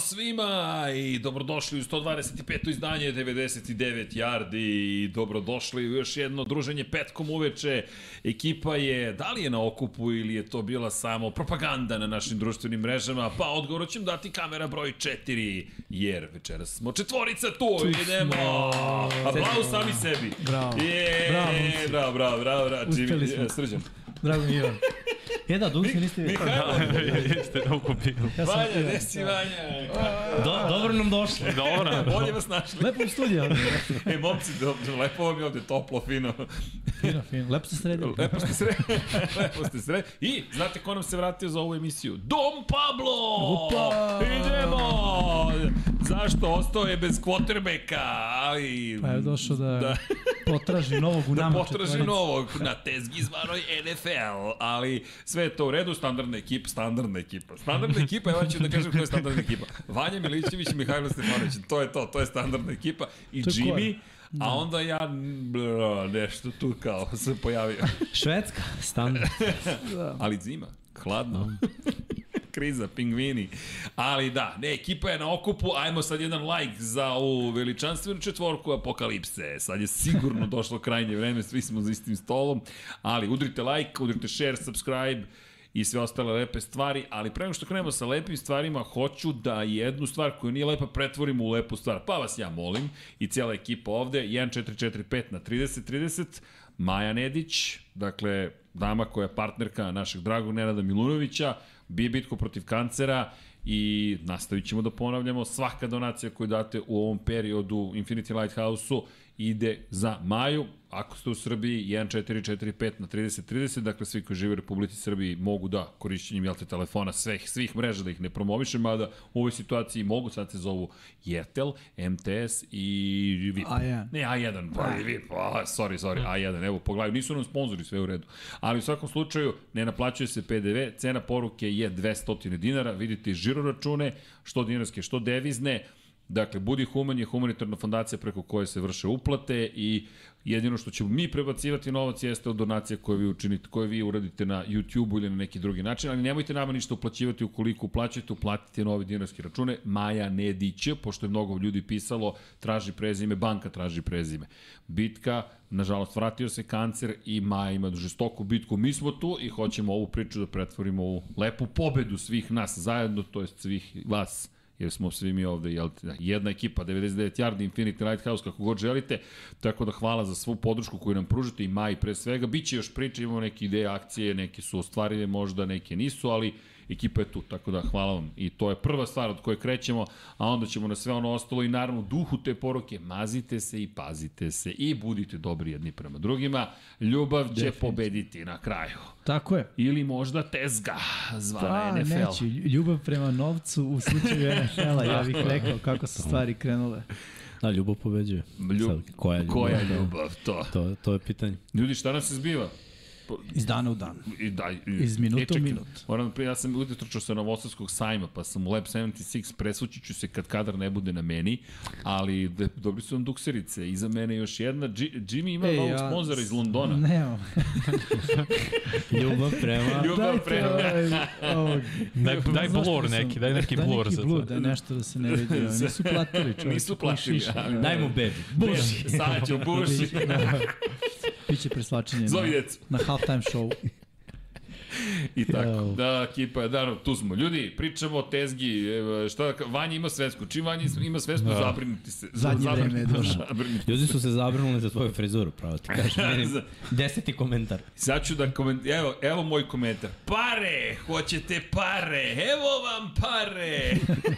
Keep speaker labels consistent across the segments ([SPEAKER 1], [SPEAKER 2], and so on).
[SPEAKER 1] svima i dobrodošli u 125. izdanje 99 Jardi i dobrodošli u još jedno druženje petkom uveče. Ekipa je, da li je na okupu ili je to bila samo propaganda na našim društvenim mrežama, pa odgovor ću im dati kamera broj 4, jer večeras smo četvorica tu, tu idemo! Aplauz sami sebi!
[SPEAKER 2] Bravo.
[SPEAKER 1] Je,
[SPEAKER 2] Bravo, Luci.
[SPEAKER 1] bravo, bravo, bravo, bravo,
[SPEAKER 2] Uspeli smo.
[SPEAKER 1] Jimmy, srđan.
[SPEAKER 2] Drago mi je Ivan. E da, dugo se niste vidjeli.
[SPEAKER 1] Mihajlo,
[SPEAKER 3] Jeste, okupio.
[SPEAKER 2] Ja sam
[SPEAKER 1] Vanja,
[SPEAKER 2] Ivan.
[SPEAKER 1] gde si Vanja?
[SPEAKER 2] Do, dobro nam došli.
[SPEAKER 3] Dobro.
[SPEAKER 1] Bolje vas našli.
[SPEAKER 2] Lepo u studiju. ali.
[SPEAKER 1] E, momci, dobro, lepo vam je ovde, toplo, fino.
[SPEAKER 2] Fino, fino. Lepo ste sredili.
[SPEAKER 1] Lepo ste sre, lepo ste sre. I, znate ko nam se vratio za ovu emisiju? Dom Pablo!
[SPEAKER 2] Opa!
[SPEAKER 1] Idemo! Zašto? Ostao je bez kvotrbeka, ali...
[SPEAKER 2] Pa je došao da,
[SPEAKER 1] Da.
[SPEAKER 2] da. potraži novog u
[SPEAKER 1] da
[SPEAKER 2] nama
[SPEAKER 1] potraži
[SPEAKER 2] četvorici.
[SPEAKER 1] novog na tezgi zvanoj NFL, ali sve je to u redu, standardna ekipa, standardna ekipa. Standardna ekipa, ja ću da kažem koja je standardna ekipa. Vanja Milićević i Mihajlo Stefanović, to je to, to je standardna ekipa. I
[SPEAKER 2] To je koja?
[SPEAKER 1] Jimmy, a onda ja m, bl, nešto tu kao se pojavio.
[SPEAKER 4] Švedska, standard.
[SPEAKER 1] Ali zima, hladno. kriza, pingvini. Ali da, ne, ekipa je na okupu, ajmo sad jedan like za ovu veličanstvenu četvorku apokalipse. Sad je sigurno došlo krajnje vreme, svi smo za istim stolom, ali udrite like, udrite share, subscribe, i sve ostale lepe stvari, ali pre nego što krenemo sa lepim stvarima, hoću da jednu stvar koja nije lepa pretvorimo u lepu stvar. Pa vas ja molim i cijela ekipa ovde, 1445 na 3030, Maja Nedić, dakle dama koja je partnerka našeg dragog Nenada Milunovića, bije bitku protiv kancera i nastavit ćemo da ponavljamo svaka donacija koju date u ovom periodu Infinity Lighthouse-u ide za maju. Ako ste u Srbiji, 1445 na 3030, dakle svi koji žive u Republici Srbiji mogu da, korišćenjem jel te, telefona svih, svih mreža da ih ne promovišem, mada u ovoj situaciji mogu, sad se zovu Jetel, MTS i VIP.
[SPEAKER 2] A1.
[SPEAKER 1] Ne, A1, pa i VIP, a, sorry, sorry, A1, evo, pogledaj, nisu nam sponzori, sve je u redu. Ali u svakom slučaju, ne naplaćuje se PDV, cena poruke je 200 dinara, vidite i žiro račune, što dinarske, što devizne, Dakle, Budi Human je humanitarna fondacija preko koje se vrše uplate i jedino što ćemo mi prebacivati novac jeste od donacija koje vi učinite, koje vi uradite na YouTube-u ili na neki drugi način, ali nemojte nama ništa uplaćivati ukoliko uplaćate, uplatite nove dinarske račune. Maja Nedić, pošto je mnogo ljudi pisalo, traži prezime, banka traži prezime. Bitka, nažalost, vratio se kancer i Maja ima žestoku bitku. Mi smo tu i hoćemo ovu priču da pretvorimo u lepu pobedu svih nas zajedno, to jest svih vas jer smo svi mi ovde, jel, te, jedna ekipa, 99 Yardi, Infinity Lighthouse, kako god želite, tako da hvala za svu podršku koju nam pružite i Maji pre svega. Biće još priče, imamo neke ideje, akcije, neke su ostvarive možda, neke nisu, ali ekipa je tu, tako da hvala vam. I to je prva stvar od koje krećemo, a onda ćemo na sve ono ostalo i naravno u duhu te poruke, mazite se i pazite se i budite dobri jedni prema drugima. Ljubav će pobediti na kraju.
[SPEAKER 2] Tako je.
[SPEAKER 1] Ili možda tezga, zvana
[SPEAKER 2] Pa,
[SPEAKER 1] NFL.
[SPEAKER 2] neće. Ljubav prema novcu u slučaju NFL-a, ja bih rekao kako su stvari krenule.
[SPEAKER 4] Da, ljubav pobeđuje.
[SPEAKER 1] Ljub...
[SPEAKER 4] Sad, koja ljubav?
[SPEAKER 1] Koja ljubav, to.
[SPEAKER 4] To, to je pitanje.
[SPEAKER 1] Ljudi, šta nam se zbiva?
[SPEAKER 2] Iz dana u dan.
[SPEAKER 1] I, da, i,
[SPEAKER 2] Iz minuta
[SPEAKER 1] e, čekaj,
[SPEAKER 2] u minut.
[SPEAKER 1] Moram, da pri- ja sam ujutro trčao sa Novosadskog sajma, pa sam u Lab 76, presvući ću se kad kadar ne bude na meni, ali de, dobri su nam dukserice. Iza mene još jedna. Dži, Jimmy ima
[SPEAKER 2] Ej,
[SPEAKER 1] novog
[SPEAKER 2] E, ja-
[SPEAKER 1] sponzora iz Londona.
[SPEAKER 2] Nemam. Pa
[SPEAKER 4] Ljubav prema...
[SPEAKER 1] Ljubav
[SPEAKER 2] Dajte
[SPEAKER 1] prema...
[SPEAKER 2] ovaj, ovog.
[SPEAKER 3] Daj, daj
[SPEAKER 2] Zašto
[SPEAKER 3] blur
[SPEAKER 2] sam-
[SPEAKER 3] neki, daj neki
[SPEAKER 2] daj
[SPEAKER 3] blur
[SPEAKER 2] neki
[SPEAKER 3] za
[SPEAKER 2] blur,
[SPEAKER 3] to.
[SPEAKER 2] da nešto da se ne vidi. ovaj, Nisu platili čovječe.
[SPEAKER 1] Nisu platili,
[SPEAKER 2] piše,
[SPEAKER 1] ali-
[SPEAKER 2] da.
[SPEAKER 4] Daj mu bebi. Buši.
[SPEAKER 1] Sađo, buši.
[SPEAKER 2] Biće preslačenje
[SPEAKER 1] Zovi
[SPEAKER 2] na,
[SPEAKER 1] djecu.
[SPEAKER 2] na halftime show.
[SPEAKER 1] I tako.
[SPEAKER 4] Jao.
[SPEAKER 1] Da, ekipa je, da, tu smo. Ljudi, pričamo o tezgi. evo, Šta, da ka- Vanja ima svesku. Čim Vanja ima svesku, da. zabrinite se.
[SPEAKER 2] Zadnje
[SPEAKER 1] Zabrinite-
[SPEAKER 2] vreme je došlo.
[SPEAKER 1] Zabrinite
[SPEAKER 4] Ljudi su se zabrinuli za tvoju frizuru, pravo ti kažem. Meni
[SPEAKER 1] Za-
[SPEAKER 4] deseti komentar.
[SPEAKER 1] Sad ću da koment... Evo, evo moj komentar. Pare! Hoćete pare! Evo vam pare!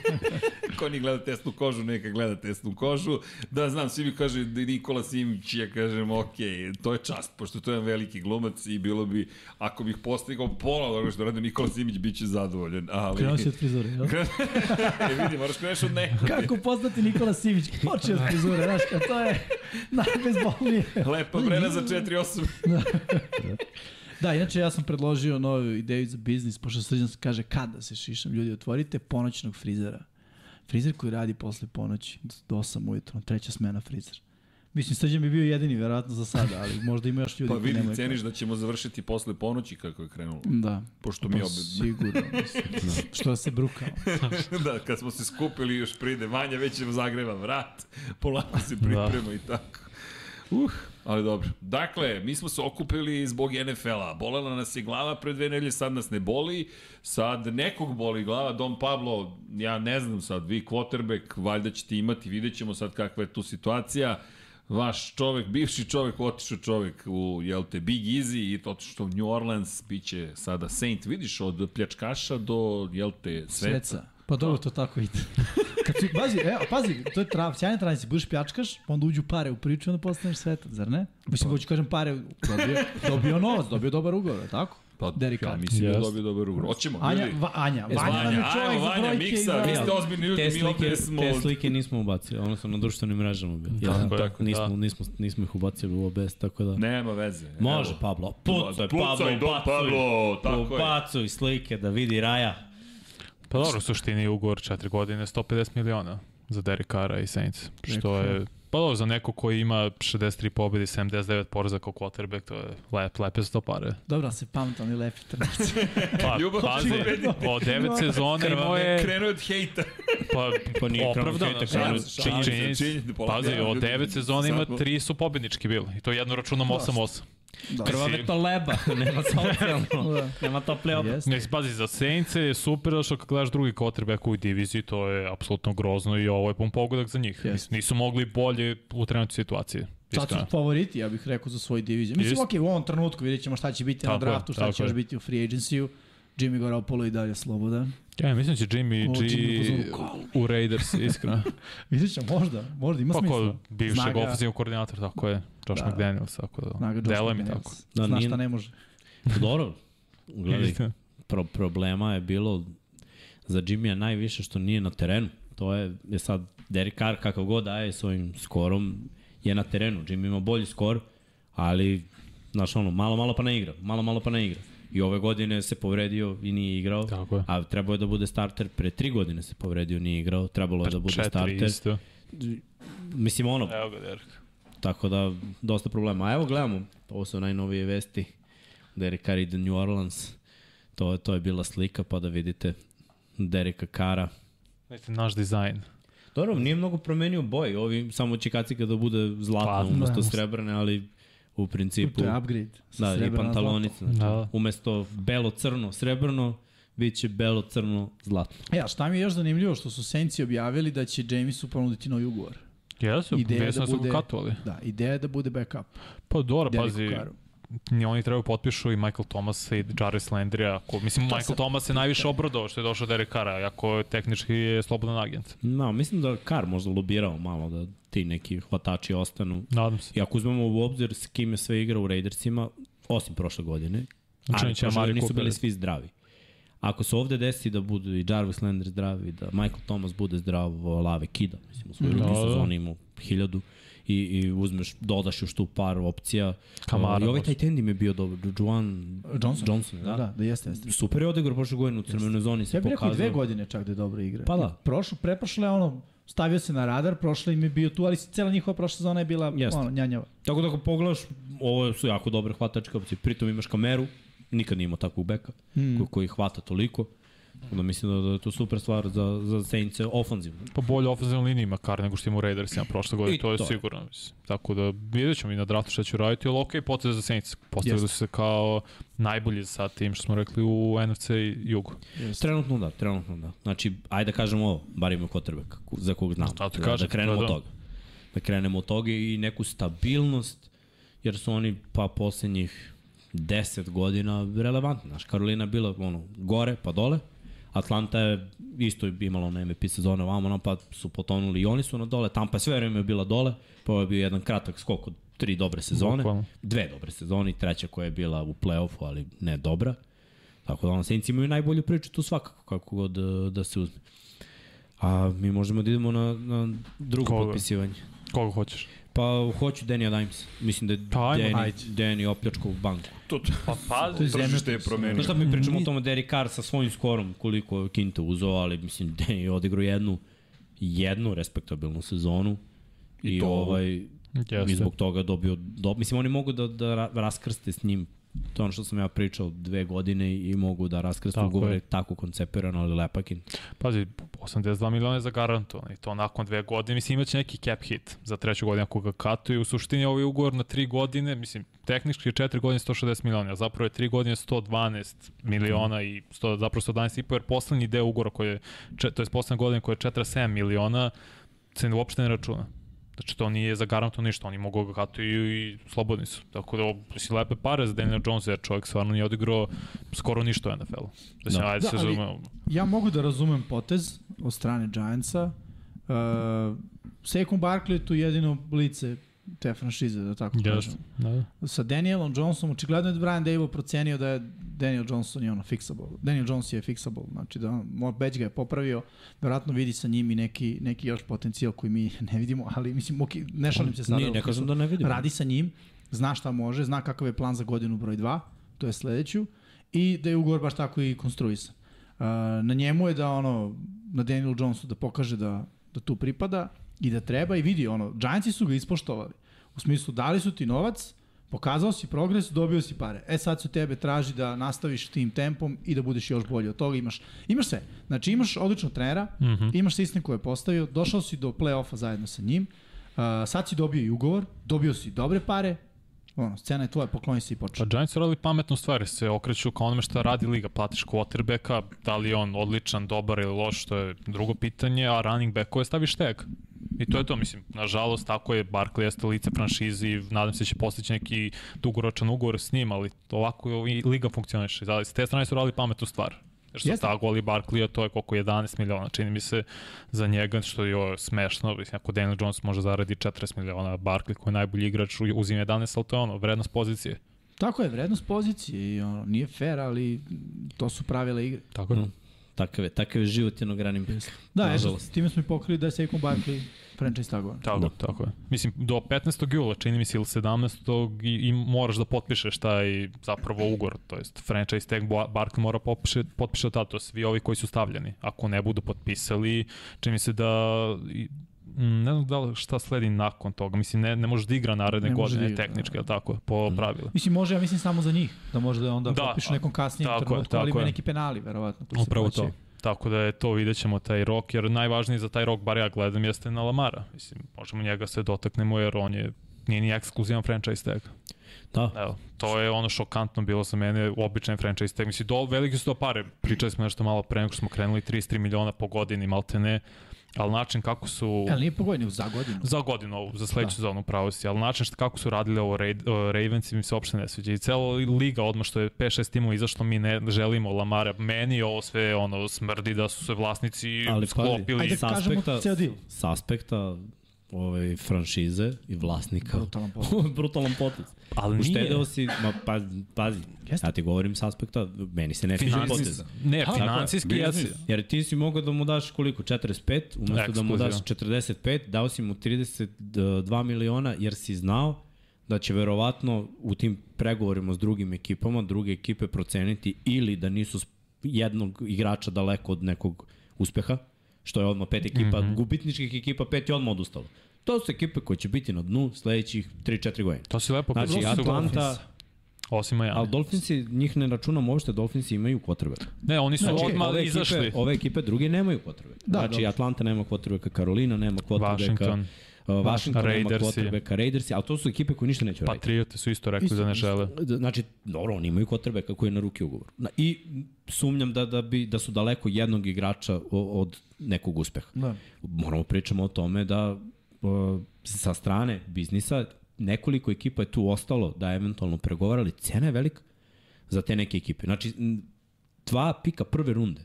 [SPEAKER 1] Ko ni gleda tesnu kožu, neka gleda tesnu kožu. Da, znam, svi mi kaže da je Nikola Simić, ja kažem, ok, to je čast, pošto to je jedan veliki glumac i bilo bi, ako bih postigao pola onoga što radi Nikola Simić, bit će zadovoljen. Ali...
[SPEAKER 2] Krenuo si od frizure, jel?
[SPEAKER 1] e, vidi, moraš kreneš od nekog.
[SPEAKER 2] Kako poznati Nikola Sivić? Počeo od frizure, znaš, kao to je najbezbolnije.
[SPEAKER 1] Lepa brena za 4-8.
[SPEAKER 2] Da, inače ja sam predložio novu ideju za biznis, pošto srđan se kaže kada se šišam, ljudi, otvorite ponoćnog frizera. Frizer koji radi posle ponoći, do 8 ujutro, treća smena frizer. Mislim, Srđan bi bio jedini, verovatno, za sada, ali možda ima još ljudi
[SPEAKER 1] Pa
[SPEAKER 2] koji
[SPEAKER 1] vidim,
[SPEAKER 2] nemaju
[SPEAKER 1] ceniš da ćemo završiti posle ponoći kako je krenulo.
[SPEAKER 2] kafu. Da.
[SPEAKER 1] Pošto mi
[SPEAKER 2] Pa
[SPEAKER 1] obe...
[SPEAKER 2] sigurno, mislim. Što da se brukamo.
[SPEAKER 1] da, kad smo se skupili još pride Vanja, već im zagreva vrat. Polako se priprema i tako. Uh, ali dobro. Dakle, mi smo se okupili zbog NFL-a. Bolela nas je glava pre dve nedelje, sad nas ne boli. Sad nekog boli glava. Don Pablo, ja ne znam sad, vi quarterback, valjda ćete imati, vidjet ćemo sad kakva je tu situacija. Vaš čovek, bivši čovek, otišao čovek u, jel te, Big Easy i otišao u New Orleans, biće sada Saint, vidiš, od pljačkaša do, jel te, sveca.
[SPEAKER 2] Sveca. Pa dobro, to tako ide. Kad si, pazi, evo, pazi, to je trav, sjajna tranzicija, budeš pljačkaš, pa onda uđu pare u priču, onda postaneš svetac, zar ne?
[SPEAKER 1] Pa-
[SPEAKER 2] Mislim, hoću kažem pare, dobio, dobio novac, dobio dobar ugovor, je tako?
[SPEAKER 1] Pa,
[SPEAKER 2] Derek
[SPEAKER 1] ja
[SPEAKER 2] Carr.
[SPEAKER 1] mislim da je
[SPEAKER 3] Jest.
[SPEAKER 1] dobio dobar ugovor. Oćemo,
[SPEAKER 2] Anja,
[SPEAKER 1] ljudi.
[SPEAKER 2] va, Anja,
[SPEAKER 1] Jes,
[SPEAKER 2] Vanja nam
[SPEAKER 1] Vanja,
[SPEAKER 2] je čovjek
[SPEAKER 1] ajmo,
[SPEAKER 2] za
[SPEAKER 1] Vanja,
[SPEAKER 2] brojke. i
[SPEAKER 1] miksa,
[SPEAKER 2] za-
[SPEAKER 1] vi ste ozbiljni ljudi,
[SPEAKER 4] te
[SPEAKER 1] mi ovde
[SPEAKER 4] slike,
[SPEAKER 1] smo-
[SPEAKER 4] te slike nismo ubacili, odnosno na društvenim mrežama bili.
[SPEAKER 3] Da, tako je,
[SPEAKER 4] nismo,
[SPEAKER 3] da.
[SPEAKER 4] nismo, nismo ih ubacili u OBS, tako da...
[SPEAKER 1] Nema veze. evo.
[SPEAKER 4] Može, pa Pablo.
[SPEAKER 3] Da,
[SPEAKER 4] Pucaj, Pablo,
[SPEAKER 1] Pucaj, Don Pablo,
[SPEAKER 4] Pa
[SPEAKER 1] tako je.
[SPEAKER 4] Ubacuj slike da vidi Raja.
[SPEAKER 3] Pa dobro, u suštini je ugovor 4 godine, 150 miliona za Derek Carra i Saints. Što je, pa dobro, za neko koji ima 63 pobjede i 79 poraza kao quarterback, to je lep, lepe su to pare.
[SPEAKER 2] Dobro, se pamta, oni lepi trenerci.
[SPEAKER 3] Pa,
[SPEAKER 1] E, Ljubav
[SPEAKER 3] pazi,
[SPEAKER 1] će pobediti.
[SPEAKER 3] od 9 sezone imao je,
[SPEAKER 1] Krenuo od hejta.
[SPEAKER 3] pa,
[SPEAKER 4] Pa nije krenuo
[SPEAKER 3] opravdano.
[SPEAKER 4] hejta,
[SPEAKER 3] stvarno,
[SPEAKER 1] krenuo- šalim se,
[SPEAKER 3] činjenica-
[SPEAKER 1] činjenica, polako,
[SPEAKER 3] Pazi,
[SPEAKER 1] ja,
[SPEAKER 3] od
[SPEAKER 1] ljudi,
[SPEAKER 3] 9 sezone ima
[SPEAKER 1] sad- Da.
[SPEAKER 3] 3 su pobednički bili. I to jedno računom 8-8.
[SPEAKER 4] Krvave to leba, nema socijalno.
[SPEAKER 2] Da.
[SPEAKER 4] nema tople op.
[SPEAKER 2] Jeste.
[SPEAKER 3] Ne, pazi, za Saints je super, zato što kad gledaš drugi quarterback u diviziji, to je apsolutno grozno i ovo je pun pogodak za njih.
[SPEAKER 2] Jeste.
[SPEAKER 3] Nisu mogli bolje u trenutnoj situaciji.
[SPEAKER 2] Sad su
[SPEAKER 3] Iskreno.
[SPEAKER 2] favoriti, ja bih rekao, za svoj diviziju. Mislim,
[SPEAKER 3] Jest.
[SPEAKER 2] okej, u ovom trenutku vidjet ćemo šta će biti na
[SPEAKER 3] Tako je,
[SPEAKER 2] draftu, šta
[SPEAKER 3] tako
[SPEAKER 2] će još
[SPEAKER 3] je.
[SPEAKER 2] biti u free agencyu. Jimmy Garoppolo i dalje slobodan.
[SPEAKER 3] Ja, mislim da će Jimmy
[SPEAKER 2] O,
[SPEAKER 3] G
[SPEAKER 2] Jimmy u fazonu,
[SPEAKER 3] u Raiders, iskreno.
[SPEAKER 2] Vidjet ćemo, možda, možda ima
[SPEAKER 3] pa
[SPEAKER 2] smisla.
[SPEAKER 3] ko bivšeg
[SPEAKER 2] Snaga-
[SPEAKER 3] ofenzivnog koordinatora, tako je. Josh
[SPEAKER 2] Da.
[SPEAKER 3] da. McDaniels, tako da.
[SPEAKER 2] Snaga
[SPEAKER 3] Delo mi
[SPEAKER 2] Josh
[SPEAKER 3] tako.
[SPEAKER 2] McDaniels.
[SPEAKER 4] Da,
[SPEAKER 2] Zna
[SPEAKER 4] nije-
[SPEAKER 2] šta ne može.
[SPEAKER 4] Dobro, gledaj,
[SPEAKER 3] Istina.
[SPEAKER 4] pro problema je bilo za Jimmya najviše što nije na terenu. To je, je sad Derek Carr kakav god daje svojim skorom je na terenu. Jimmy ima bolji skor, ali znaš ono, malo malo pa ne igra, malo malo pa ne igra. I ove godine se povredio i nije igrao.
[SPEAKER 3] Tako je.
[SPEAKER 4] A trebao je da bude starter, pre tri godine se povredio, nije igrao, trebalo je da bude
[SPEAKER 3] Četiri
[SPEAKER 4] starter.
[SPEAKER 3] isto.
[SPEAKER 4] Mislim ono,
[SPEAKER 3] Evo ga, Derek.
[SPEAKER 4] Tako da, dosta problema. A evo gledamo, ovo su najnovije vesti. Derek Carr ide u New Orleans. To, je- to je bila slika, pa da vidite Dereka Kara.
[SPEAKER 3] Vidite, naš dizajn.
[SPEAKER 4] Dobro, nije mnogo promenio boj. Ovi samo će kacika da bude zlatno
[SPEAKER 3] Zlatno,
[SPEAKER 4] umesto srebrne, ali u principu...
[SPEAKER 2] To je upgrade. sa
[SPEAKER 4] Da, i
[SPEAKER 2] srebrna
[SPEAKER 4] pantalonica. Znači,
[SPEAKER 3] Da.
[SPEAKER 4] Umesto belo-crno srebrno, bit će belo-crno zlatno.
[SPEAKER 2] zlata. E, a šta mi je još zanimljivo, što su Senci objavili da će Jamesu ponuditi novi ugovor.
[SPEAKER 3] Jesu,
[SPEAKER 2] Ideja je
[SPEAKER 3] već
[SPEAKER 2] da
[SPEAKER 3] da su
[SPEAKER 2] bude-
[SPEAKER 3] bude... katovali.
[SPEAKER 2] Da, ideja je da bude backup.
[SPEAKER 3] Pa dobro, pazi,
[SPEAKER 2] Dereku Karu.
[SPEAKER 3] ni oni trebaju potpišu i Michael Thomas i Jarvis Landry, ako, mislim, Michael
[SPEAKER 2] sam-
[SPEAKER 3] Thomas je najviše obrodao što je došao Derek Carra, ako je tehnički je slobodan agent.
[SPEAKER 4] No, mislim da Kar možda lobirao malo da ti neki hvatači ostanu
[SPEAKER 3] Nadam se.
[SPEAKER 4] I ako uzmemo u obzir s kim je sve igrao u Raidersima, osim prošle godine,
[SPEAKER 3] Znači,
[SPEAKER 4] ali
[SPEAKER 3] neće
[SPEAKER 4] prošle
[SPEAKER 3] Amari
[SPEAKER 4] godine nisu
[SPEAKER 3] Cooper.
[SPEAKER 4] bili svi zdravi. Ako se ovde desi da budu i Jarvis Landry zdravi, da Michael Thomas bude zdrav, Lave Kida, mislim, u svojoj
[SPEAKER 3] Da,
[SPEAKER 4] drugi
[SPEAKER 3] da.
[SPEAKER 4] sezoni imao hiljadu, i, i uzmeš, dodaš još tu par opcija.
[SPEAKER 3] Kamara,
[SPEAKER 4] I ovaj
[SPEAKER 3] možda.
[SPEAKER 4] taj tendim je bio dobar, Juan
[SPEAKER 2] Johnson.
[SPEAKER 4] Johnson da. da.
[SPEAKER 2] da, jeste, jeste.
[SPEAKER 4] Super je odigrao prošle godine u crvenoj zoni, se
[SPEAKER 2] Ja bih rekao i
[SPEAKER 4] pokazao.
[SPEAKER 2] dve godine čak da je dobra igra.
[SPEAKER 4] Pa da.
[SPEAKER 2] Prošlo, preprošle, ono, stavio se na radar, prošle im je bio tu, ali cela njihova prošla zona je bila,
[SPEAKER 4] Jeste.
[SPEAKER 2] ono, njanjava.
[SPEAKER 4] Tako da ako pogledaš, ovo su jako dobre hvatačke opcije. Pritom imaš kameru, nikad nije imao takvog beka mm. koji, koji hvata toliko. Onda mislim da, da je to super stvar za, za Saints ofanzivno.
[SPEAKER 3] Pa bolje ofenzivna linija ima Kar nego što ima u Raidersima prošle godine,
[SPEAKER 4] I
[SPEAKER 3] to je
[SPEAKER 4] to je.
[SPEAKER 3] sigurno. Mislim. Tako da vidjet ćemo i na draftu šta će raditi, ali okej, okay, potez za Saints. Postavili su se kao najbolji sa tim što smo rekli u NFC i jugu.
[SPEAKER 4] Trenutno da, trenutno da. Znači, ajde da kažemo ovo, bar ima kotrbek za kog znam.
[SPEAKER 3] Šta ti
[SPEAKER 4] da,
[SPEAKER 3] kažem,
[SPEAKER 4] da krenemo
[SPEAKER 3] to
[SPEAKER 4] od
[SPEAKER 3] je da.
[SPEAKER 4] toga. Da krenemo od toga i neku stabilnost, jer su oni pa poslednjih 10 godina relevantni. Znaš, Karolina je bila ono, gore pa dole, Atlanta je isto imala na MVP sezone ovamo, no, pa su potonuli i oni su na dole, Tampa je sve vreme bila dole, pa ovo je bio jedan kratak skok od tri dobre sezone,
[SPEAKER 3] Bukvalno.
[SPEAKER 4] dve dobre sezone i treća koja je bila u play-offu, ali ne dobra. Tako da ono, Saints imaju najbolju priču tu svakako, kako god e, da se uzme. A mi možemo da idemo na, na drugo
[SPEAKER 3] Koga?
[SPEAKER 4] potpisivanje.
[SPEAKER 3] Koga hoćeš?
[SPEAKER 4] Pa hoću Danny Dimes. Mislim da je
[SPEAKER 3] Pa ajmo.
[SPEAKER 4] Danny, Danny opljačkao banku.
[SPEAKER 1] To, to,
[SPEAKER 3] Pa pazi.
[SPEAKER 1] tržište je promenio.
[SPEAKER 4] Znaš Pa šta mi pričamo o tome Derek Carr sa svojim skorom koliko je Kinta uzeo, ali mislim Danny je odigrao jednu jednu respektabilnu sezonu
[SPEAKER 1] I
[SPEAKER 4] i,
[SPEAKER 1] to
[SPEAKER 4] ovaj
[SPEAKER 3] Jeste.
[SPEAKER 4] I zbog toga dobio, do, mislim oni mogu da, da ra- raskrste s njim, to je ono što sam ja pričao dve godine i mogu da raskrste
[SPEAKER 3] Tako
[SPEAKER 4] ugovore
[SPEAKER 3] je.
[SPEAKER 4] tako koncepirano, ali Lepakin.
[SPEAKER 3] Pazi, 82 miliona je zagarantovan i to nakon dve godine. Mislim, imaće neki cap hit za treću godinu ako ga katuju. U suštini ovaj ugovor na tri godine, mislim, tehnički je četiri godine 160 miliona, a zapravo je tri godine 112 miliona i 100, zapravo 112 i po, jer poslednji deo ugovora koji je, če- to je poslednja godina koja je 47 miliona, se uopšte ne računa. Znači to nije zagarantovano ništa, oni mogu da ga katuju i slobodni su. Tako da, ovo, mislim, lepe pare za Daniela Jonesa, jer čovjek stvarno nije odigrao skoro ništa u NFL-u. Mislim,
[SPEAKER 4] Da.
[SPEAKER 3] da. ajde
[SPEAKER 2] Da,
[SPEAKER 3] se
[SPEAKER 2] ali-
[SPEAKER 3] razumemo.
[SPEAKER 2] Ja mogu da razumem potez od strane Giantsa. Uh, Sekum Barkley je tu jedino lice te franšize, da tako yes. kažem.
[SPEAKER 3] Jeste, da, da.
[SPEAKER 2] Sa Danielom Johnsonom, očigledno je da Brian Dable procenio da je Daniel Johnson je ono fixable. Daniel Jones je fixable, znači da on, Beč ga je popravio, verovatno vidi sa njim i neki, neki još potencijal koji mi ne vidimo, ali mislim, ok, ne šalim se sada.
[SPEAKER 4] Nije, ne kažem da ne vidim.
[SPEAKER 2] Radi sa njim, zna šta može, zna kakav je plan za godinu broj 2, to je sledeću, i da je ugovor baš tako i konstruisan. Uh, na njemu je da ono, na Daniel Jonesu da pokaže da, da tu pripada i da treba i vidi ono, Giantsi su ga ispoštovali. U smislu, dali su ti novac, pokazao si progres, dobio si pare. E sad su tebe traži da nastaviš tim tempom i da budeš još bolji od toga. Imaš, imaš sve. Znači imaš odličnog trenera, mm -hmm. imaš sistem koji je postavio, došao si do play-offa zajedno sa njim, Uh, sad si dobio i ugovor, dobio si dobre pare, ono, scena je tvoja, pokloni se i
[SPEAKER 3] Pa
[SPEAKER 2] počne.
[SPEAKER 3] Giants su radili pametnu stvar, se okreću ka onome šta radi liga, platiš quarterbacka, da li je on odličan, dobar ili loš, to je drugo pitanje, a running backove staviš tag. I to je to, mislim, nažalost, tako je, Barkley jeste lice franšizi, i nadam se da će postići neki dugoročan ugovor s njim, ali ovako i liga funkcioniše. Znači, s te strane su radili pametnu stvar. Jer su
[SPEAKER 2] Jeste.
[SPEAKER 3] ta goli Barklija, to je koliko 11 miliona, čini mi se, za njega, što je joj, smešno, mislim, ako Daniel Jones može zaradi 40 miliona, Barkley koji je najbolji igrač uzima 11, ali to je ono, vrednost pozicije.
[SPEAKER 2] Tako je, vrednost pozicije i ono, nije fair, ali to su pravila igre.
[SPEAKER 3] Tako je. e,
[SPEAKER 4] Mm. Takav je, takav je život jednog ranim beka.
[SPEAKER 2] Da, eto,
[SPEAKER 4] Nažalost.
[SPEAKER 2] s time smo i pokrili da je Saquon Barkley franchise tagovan.
[SPEAKER 3] Tako, da. tako je. Mislim, do 15. jula, čini mi se, ili 17. i, i moraš da potpišeš taj zapravo ugor, to jest franchise tag Bar- Barkley mora potpiše, potpiše tato, svi ovi koji su stavljeni. Ako ne budu potpisali, čini mi se da i- m, ne znam da li šta sledi nakon toga. Mislim, ne, ne može da igra naredne
[SPEAKER 2] Ne može da Mm.
[SPEAKER 3] godine
[SPEAKER 2] igra,
[SPEAKER 3] tehnički, ali tako, po pravilu.
[SPEAKER 2] Mislim, može, ja mislim, samo za njih, da može da onda
[SPEAKER 3] Da,
[SPEAKER 2] da, potpišu nekom kasnijem
[SPEAKER 3] tako je,
[SPEAKER 2] trenutku, ali
[SPEAKER 3] tako
[SPEAKER 2] ima
[SPEAKER 3] je.
[SPEAKER 2] neki penali, verovatno. koji se
[SPEAKER 3] Upravo to.
[SPEAKER 2] plaćaju.
[SPEAKER 3] Tako da je to, vidjet ćemo taj rok, jer najvažniji za taj rok, bar ja gledam, jeste na Lamara. Mislim, možemo njega se dotaknemo, jer on je nije ni ekskluzivan franchise tag.
[SPEAKER 4] Da,
[SPEAKER 3] Evo, to je ono šokantno bilo za mene, običan franchise tag. Mislim, do, velike su to pare. Pričali smo nešto malo pre nego što smo krenuli, 33 miliona po godini, malte ne. Ali način kako su...
[SPEAKER 2] E, Ali nije pogodio, nego za godinu.
[SPEAKER 3] Za godinu ovu, za
[SPEAKER 4] Da.
[SPEAKER 3] sledeću sezonu pravo si, ali način što, kako su radili ovo Raid, uh, Ravens mi se uopšte ne sviđa. I cela liga odmah što je 5-6 timova izašlo, mi ne želimo Lamara. Meni ovo sve ono, smrdi da su se vlasnici
[SPEAKER 4] Ali
[SPEAKER 3] ali,
[SPEAKER 4] pazi,
[SPEAKER 3] sklopili.
[SPEAKER 2] Ajde,
[SPEAKER 3] Ajde,
[SPEAKER 4] sa
[SPEAKER 2] kažemo
[SPEAKER 4] aspekta-
[SPEAKER 2] ceo deal.
[SPEAKER 4] s aspekta ove franšize i vlasnika.
[SPEAKER 2] Brutalan potez.
[SPEAKER 4] Brutalan potez.
[SPEAKER 3] ali nije.
[SPEAKER 4] Uštedeo si, ma pa, pazi,
[SPEAKER 2] Jeste.
[SPEAKER 4] ja ti govorim s aspekta, meni se ne sviđa
[SPEAKER 1] Financijski.
[SPEAKER 4] potez.
[SPEAKER 3] Ne,
[SPEAKER 1] Tako je,
[SPEAKER 3] financijski
[SPEAKER 4] pa,
[SPEAKER 3] jesi.
[SPEAKER 1] biznis.
[SPEAKER 4] Jer ti si mogao da mu daš koliko? 45, umesto da mu daš
[SPEAKER 3] Ekskluzivan.
[SPEAKER 4] 45, dao si mu 32 miliona jer si znao da će verovatno u tim pregovorima s drugim ekipama, druge ekipe proceniti ili da nisu s- jednog igrača daleko od nekog uspeha, što je odmah pet ekipa, mm
[SPEAKER 3] Mhm.
[SPEAKER 4] -hmm. gubitničkih ekipa pet je odmah odustalo. To su ekipe koje će biti na dnu sledećih 3-4 godine.
[SPEAKER 3] To si lepo
[SPEAKER 4] Znači,
[SPEAKER 3] pričao.
[SPEAKER 4] Atlanta,
[SPEAKER 3] Osim
[SPEAKER 4] ali
[SPEAKER 3] Miami.
[SPEAKER 4] Dolfinsi, njih ne računamo uopšte, Dolfinsi imaju quarterback.
[SPEAKER 3] Ne, oni su
[SPEAKER 4] Znači,
[SPEAKER 3] odmah
[SPEAKER 4] ove
[SPEAKER 3] izašli.
[SPEAKER 4] Ekipe, ove ekipe druge nemaju quarterbacka.
[SPEAKER 2] Da,
[SPEAKER 4] Da, znači,
[SPEAKER 2] dobro.
[SPEAKER 4] Atlanta nema quarterbacka, Karolina nema quarterbacka,
[SPEAKER 3] Washington.
[SPEAKER 4] Washington, Washington nema
[SPEAKER 3] Raidersi.
[SPEAKER 4] quarterbacka, Raidersi, ali to su ekipe koje ništa neće uraditi.
[SPEAKER 3] Patriote su isto rekli da ne žele.
[SPEAKER 4] Znači, dobro, oni imaju quarterbacka koji je na ruki ugovor. Na- I sumnjam da, da, bi, da su daleko jednog igrača o- od nekog uspeha.
[SPEAKER 2] Da.
[SPEAKER 4] Moramo pričamo o tome da o, sa strane biznisa nekoliko ekipa je tu ostalo da eventualno pregovarali. Cena je velika za te neke ekipe. Znači, m, dva pika prve runde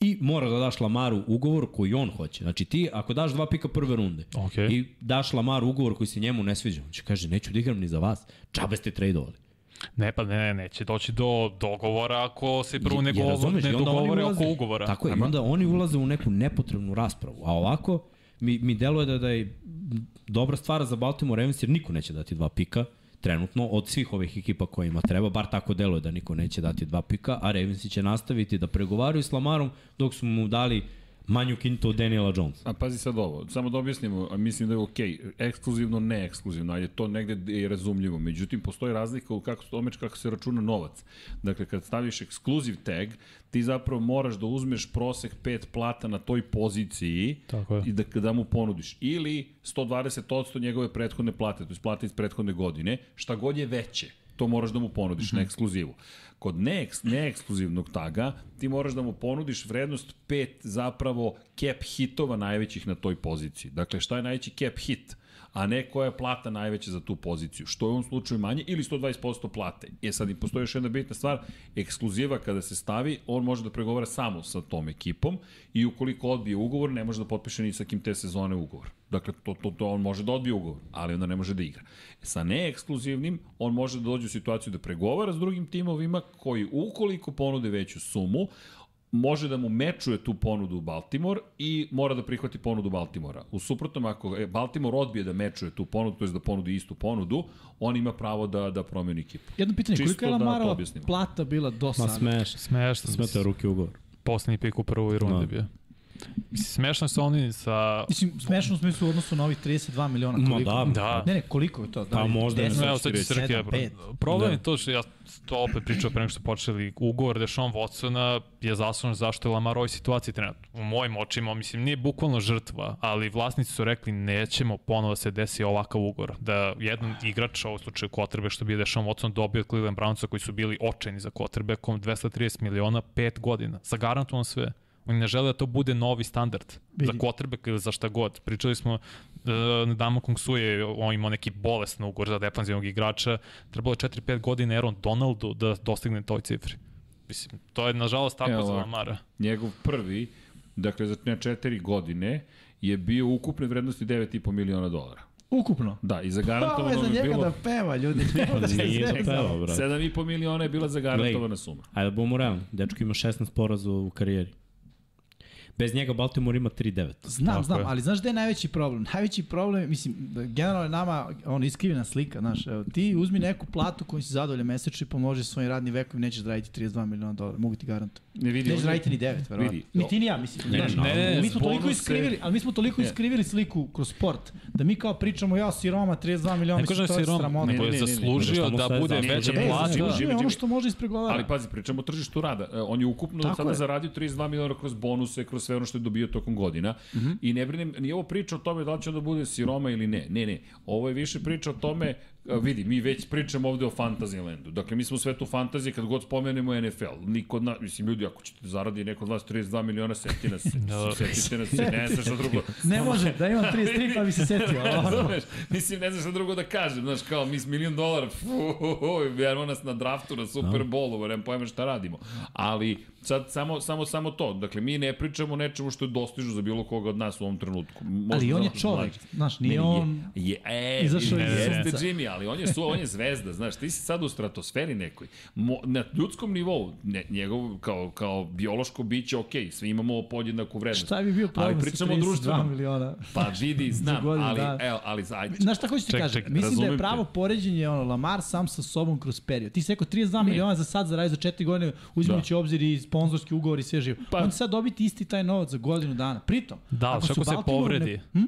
[SPEAKER 4] i mora da daš Lamaru ugovor koji on hoće. Znači ti ako daš dva pika prve runde
[SPEAKER 3] Okej.
[SPEAKER 4] i daš Lamaru ugovor koji se njemu ne sviđa, on će kaže neću da igram ni za vas, džabe ste tradeovali.
[SPEAKER 3] Ne, pa ne, ne, neće doći do dogovora ako se prvo ne,
[SPEAKER 4] Je- je,
[SPEAKER 3] govor,
[SPEAKER 4] razumeš,
[SPEAKER 3] ne
[SPEAKER 4] i onda oni
[SPEAKER 3] dogovore
[SPEAKER 4] ulaze.
[SPEAKER 3] oko ugovora.
[SPEAKER 4] Tako je, i onda oni ulaze u neku nepotrebnu raspravu. A ovako, mi, mi deluje da, da je dobra stvar za Baltimore Ravens, jer niko neće dati dva pika trenutno od svih ovih ekipa kojima treba, bar tako deluje da niko neće dati dva pika, a Ravensi će nastaviti da pregovaraju s Lamarom dok su mu dali manju kintu od Daniela Jonesa.
[SPEAKER 1] A pazi sad ovo, samo da objasnimo, a mislim da je okej, okay, ekskluzivno, ne ekskluzivno, ajde, to negde je razumljivo. Međutim, postoji razlika u kako, tome kako se računa novac. Dakle, kad staviš ekskluziv tag, ti zapravo moraš da uzmeš prosek pet plata na toj poziciji
[SPEAKER 3] Tako je.
[SPEAKER 1] i da, da mu ponudiš. Ili 120% njegove prethodne plate, to je plate iz prethodne godine, šta god je veće to moraš da mu ponudiš mm -hmm. na ekskluzivu. Kod neeks, neekskluzivnog taga ti moraš da mu ponudiš vrednost pet zapravo cap hitova najvećih na toj poziciji. Dakle, šta je najveći cap hit? a ne koja je plata najveća za tu poziciju, što je u ovom slučaju manje, ili 120% plate. E sad i postoji još jedna bitna stvar, ekskluziva kada se stavi, on može da pregovara samo sa tom ekipom i ukoliko odbije ugovor, ne može da potpiše ni sa kim te sezone ugovor. Dakle, to, to, to on može da odbije ugovor, ali onda ne može da igra. Sa neekskluzivnim, on može da dođe u situaciju da pregovara s drugim timovima koji ukoliko ponude veću sumu, može da mu mečuje tu ponudu u Baltimore i mora da prihvati ponudu Baltimora. U suprotnom, ako Baltimore odbije da mečuje tu ponudu, to je da ponudi istu ponudu, on ima pravo da, da promeni ekipu.
[SPEAKER 2] Jedno pitanje,
[SPEAKER 1] Čisto
[SPEAKER 2] koliko je
[SPEAKER 1] da to
[SPEAKER 2] Lamarova
[SPEAKER 1] objasnimo.
[SPEAKER 2] plata bila do
[SPEAKER 4] Ma
[SPEAKER 2] sada?
[SPEAKER 4] smeš,
[SPEAKER 3] Smešno.
[SPEAKER 4] smeta ruke ugovor.
[SPEAKER 3] Poslednji pik u prvoj rundi
[SPEAKER 4] Da.
[SPEAKER 3] no. bio. Mislim, Smešno su oni sa...
[SPEAKER 2] Mislim, smešno u smislu u odnosu na ovih 32 miliona.
[SPEAKER 4] Ma
[SPEAKER 2] Koliko?
[SPEAKER 4] da,
[SPEAKER 3] Da.
[SPEAKER 2] Ne, ne, koliko je to? Da
[SPEAKER 4] Pa
[SPEAKER 2] li
[SPEAKER 4] možda ne
[SPEAKER 3] No,
[SPEAKER 2] 10,
[SPEAKER 3] Evo sad će
[SPEAKER 2] 7,
[SPEAKER 3] Srkija.
[SPEAKER 2] 5?
[SPEAKER 3] Problem
[SPEAKER 4] Da.
[SPEAKER 3] je to što ja to opet pričao pre nego što počeli ugovor Deshaun Watsona je zasnovan zašto je Lamar u ovoj situaciji trenutno. U mojim očima, mislim, nije bukvalno žrtva, ali vlasnici su rekli nećemo ponovo da se desi ovakav ugovor. Da jedan igrač, u ovom slučaju kotrbe, što bi je Deshaun Watson dobio od Cleveland Brownsa koji su bili očajni za kotrbekom, 230 miliona, 5 godina. Zagarantovan sve. Oni ne žele da to bude novi standard za
[SPEAKER 2] Vidi.
[SPEAKER 3] quarterback ili za šta god. Pričali smo na Damo Kung Su je on imao neki bolesno ugor za defanzivnog igrača. Trebalo je 4-5 godina Aaron Donaldu da dostigne toj cifri. Mislim, to je nažalost tako
[SPEAKER 1] Evo
[SPEAKER 3] za
[SPEAKER 1] ovako.
[SPEAKER 3] Lamara.
[SPEAKER 1] Njegov prvi, dakle, za na četiri godine, je bio u ukupne vrednosti 9,5 miliona dolara.
[SPEAKER 2] Ukupno.
[SPEAKER 1] Da, i
[SPEAKER 2] Pa ovo je
[SPEAKER 1] zagarantovano
[SPEAKER 2] za
[SPEAKER 1] mu je
[SPEAKER 2] njega
[SPEAKER 1] bilo...
[SPEAKER 2] da peva, ljudi. Da se
[SPEAKER 4] Nije
[SPEAKER 2] sve
[SPEAKER 4] da peva, brate.
[SPEAKER 1] 7,5 miliona je bila zagarantovana suma.
[SPEAKER 4] Ajde, da budemo realni. Dečko ima 16 poraza u karijeri. Bez njega Baltimore ima 3-9.
[SPEAKER 2] Znam,
[SPEAKER 3] Tako
[SPEAKER 2] znam,
[SPEAKER 3] je.
[SPEAKER 2] ali znaš gde je najveći problem? Najveći problem, je, mislim, da generalno je nama ono, iskrivena slika, znaš, evo, ti uzmi neku platu koju si zadovoljan mesečno i pomoži svojim radnim vekom i nećeš da raditi 32 miliona dolara, mogu ti garantujem.
[SPEAKER 1] Ne vidi,
[SPEAKER 2] Nećeš da
[SPEAKER 1] on je-
[SPEAKER 2] raditi ni 9, verovatno.
[SPEAKER 1] vidi,
[SPEAKER 2] Ni ti ni ja, mislim.
[SPEAKER 4] Ne,
[SPEAKER 2] znaš,
[SPEAKER 4] ne,
[SPEAKER 2] ali
[SPEAKER 3] ne,
[SPEAKER 2] mi smo
[SPEAKER 1] s
[SPEAKER 2] toliko
[SPEAKER 1] bonuse-
[SPEAKER 2] iskrivili, ali mi smo toliko
[SPEAKER 1] Ne.
[SPEAKER 2] iskrivili sliku kroz sport, da mi kao pričamo, ja siroma 32 miliona,
[SPEAKER 3] Ne
[SPEAKER 2] mislim,
[SPEAKER 3] kažem
[SPEAKER 2] to
[SPEAKER 3] si
[SPEAKER 2] je
[SPEAKER 3] Rom,
[SPEAKER 2] sramota.
[SPEAKER 1] Ne,
[SPEAKER 3] nego je
[SPEAKER 1] ne, ne, ne.
[SPEAKER 3] zaslužio
[SPEAKER 4] Nego što mu
[SPEAKER 3] da
[SPEAKER 4] sve
[SPEAKER 3] bude
[SPEAKER 4] zaslužio.
[SPEAKER 3] veća
[SPEAKER 4] Ne,
[SPEAKER 2] E,
[SPEAKER 3] plaća.
[SPEAKER 2] znači,
[SPEAKER 1] Živi,
[SPEAKER 2] je ono
[SPEAKER 1] živi.
[SPEAKER 2] što može ispregovarati.
[SPEAKER 3] pa-
[SPEAKER 1] Ali pazi, pričamo o tržištu rada. E, On je ukupno
[SPEAKER 2] Tako
[SPEAKER 1] Tako sada
[SPEAKER 2] je.
[SPEAKER 1] je. zaradio 32 miliona kroz bonuse, kroz sve ono što je dobio tokom godina. Mm
[SPEAKER 2] Mhm.
[SPEAKER 1] -hmm. I ne brinem, nije ovo priča o tome da li će onda bude siroma ili ne. Ne, ne. Ovo je više priča o tome, a, vidi, mi već pričamo ovde o Fantasylandu. Dakle, mi smo u svetu fantazije kad god spomenemo NFL. Niko od nas, mislim, ljudi, ako ćete da zaradi neko od vas 32 miliona, setite nas,
[SPEAKER 2] Da.
[SPEAKER 1] setite nas, ne znaš šta drugo.
[SPEAKER 2] Ne može, da imam 33 pa bi se setio. ali ovako.
[SPEAKER 1] Razumeš? Mislim, ne znaš šta drugo da kažem, znaš, kao, mi s milion dolara, vjerujemo nas na draftu, na Super Bowlu, nemam pojma šta radimo. Ali, sad, samo, samo, samo to, dakle, mi ne pričamo o nečemu što je dostižno za bilo koga od nas u ovom trenutku. Možda
[SPEAKER 2] Ali on
[SPEAKER 1] za
[SPEAKER 2] je
[SPEAKER 1] vas
[SPEAKER 2] čovek,
[SPEAKER 1] mlađe.
[SPEAKER 2] znaš,
[SPEAKER 1] Ne,
[SPEAKER 2] nije on...
[SPEAKER 1] Je, je, e, izašao
[SPEAKER 2] izašao iz
[SPEAKER 1] iz
[SPEAKER 2] sunca.
[SPEAKER 1] jeste Jimmy, ali on je, su, on je zvezda, znaš, ti si sad u stratosferi nekoj. Mo, na ljudskom nivou, ne, njegov kao, kao biološko biće, okej, svi imamo podjednaku vrednost.
[SPEAKER 2] Šta bi bio problem
[SPEAKER 1] Ali
[SPEAKER 2] sa
[SPEAKER 1] pričamo o
[SPEAKER 2] 32
[SPEAKER 1] društvenom.
[SPEAKER 2] miliona?
[SPEAKER 1] Pa vidi, znam,
[SPEAKER 2] godinu
[SPEAKER 1] ali,
[SPEAKER 2] dana.
[SPEAKER 1] evo, ali, ajde,
[SPEAKER 2] Znaš šta hoću ti
[SPEAKER 3] Ček,
[SPEAKER 2] kažem?
[SPEAKER 3] ček,
[SPEAKER 2] Mislim da je
[SPEAKER 1] razumem
[SPEAKER 2] pravo poređenje ono, Lamar sam sa sobom kroz period. Ti si rekao 32 miliona za sad zaradio za 4 godine, uzimajući da. obzir i sponzorski ugovor i sve živo. Pa.
[SPEAKER 1] Pa-
[SPEAKER 2] On će sad dobiti isti taj novac za godinu dana. Pritom,
[SPEAKER 3] Da, ali
[SPEAKER 2] su
[SPEAKER 3] ako se
[SPEAKER 2] Baltimore
[SPEAKER 3] povredi.
[SPEAKER 2] Ne, hm?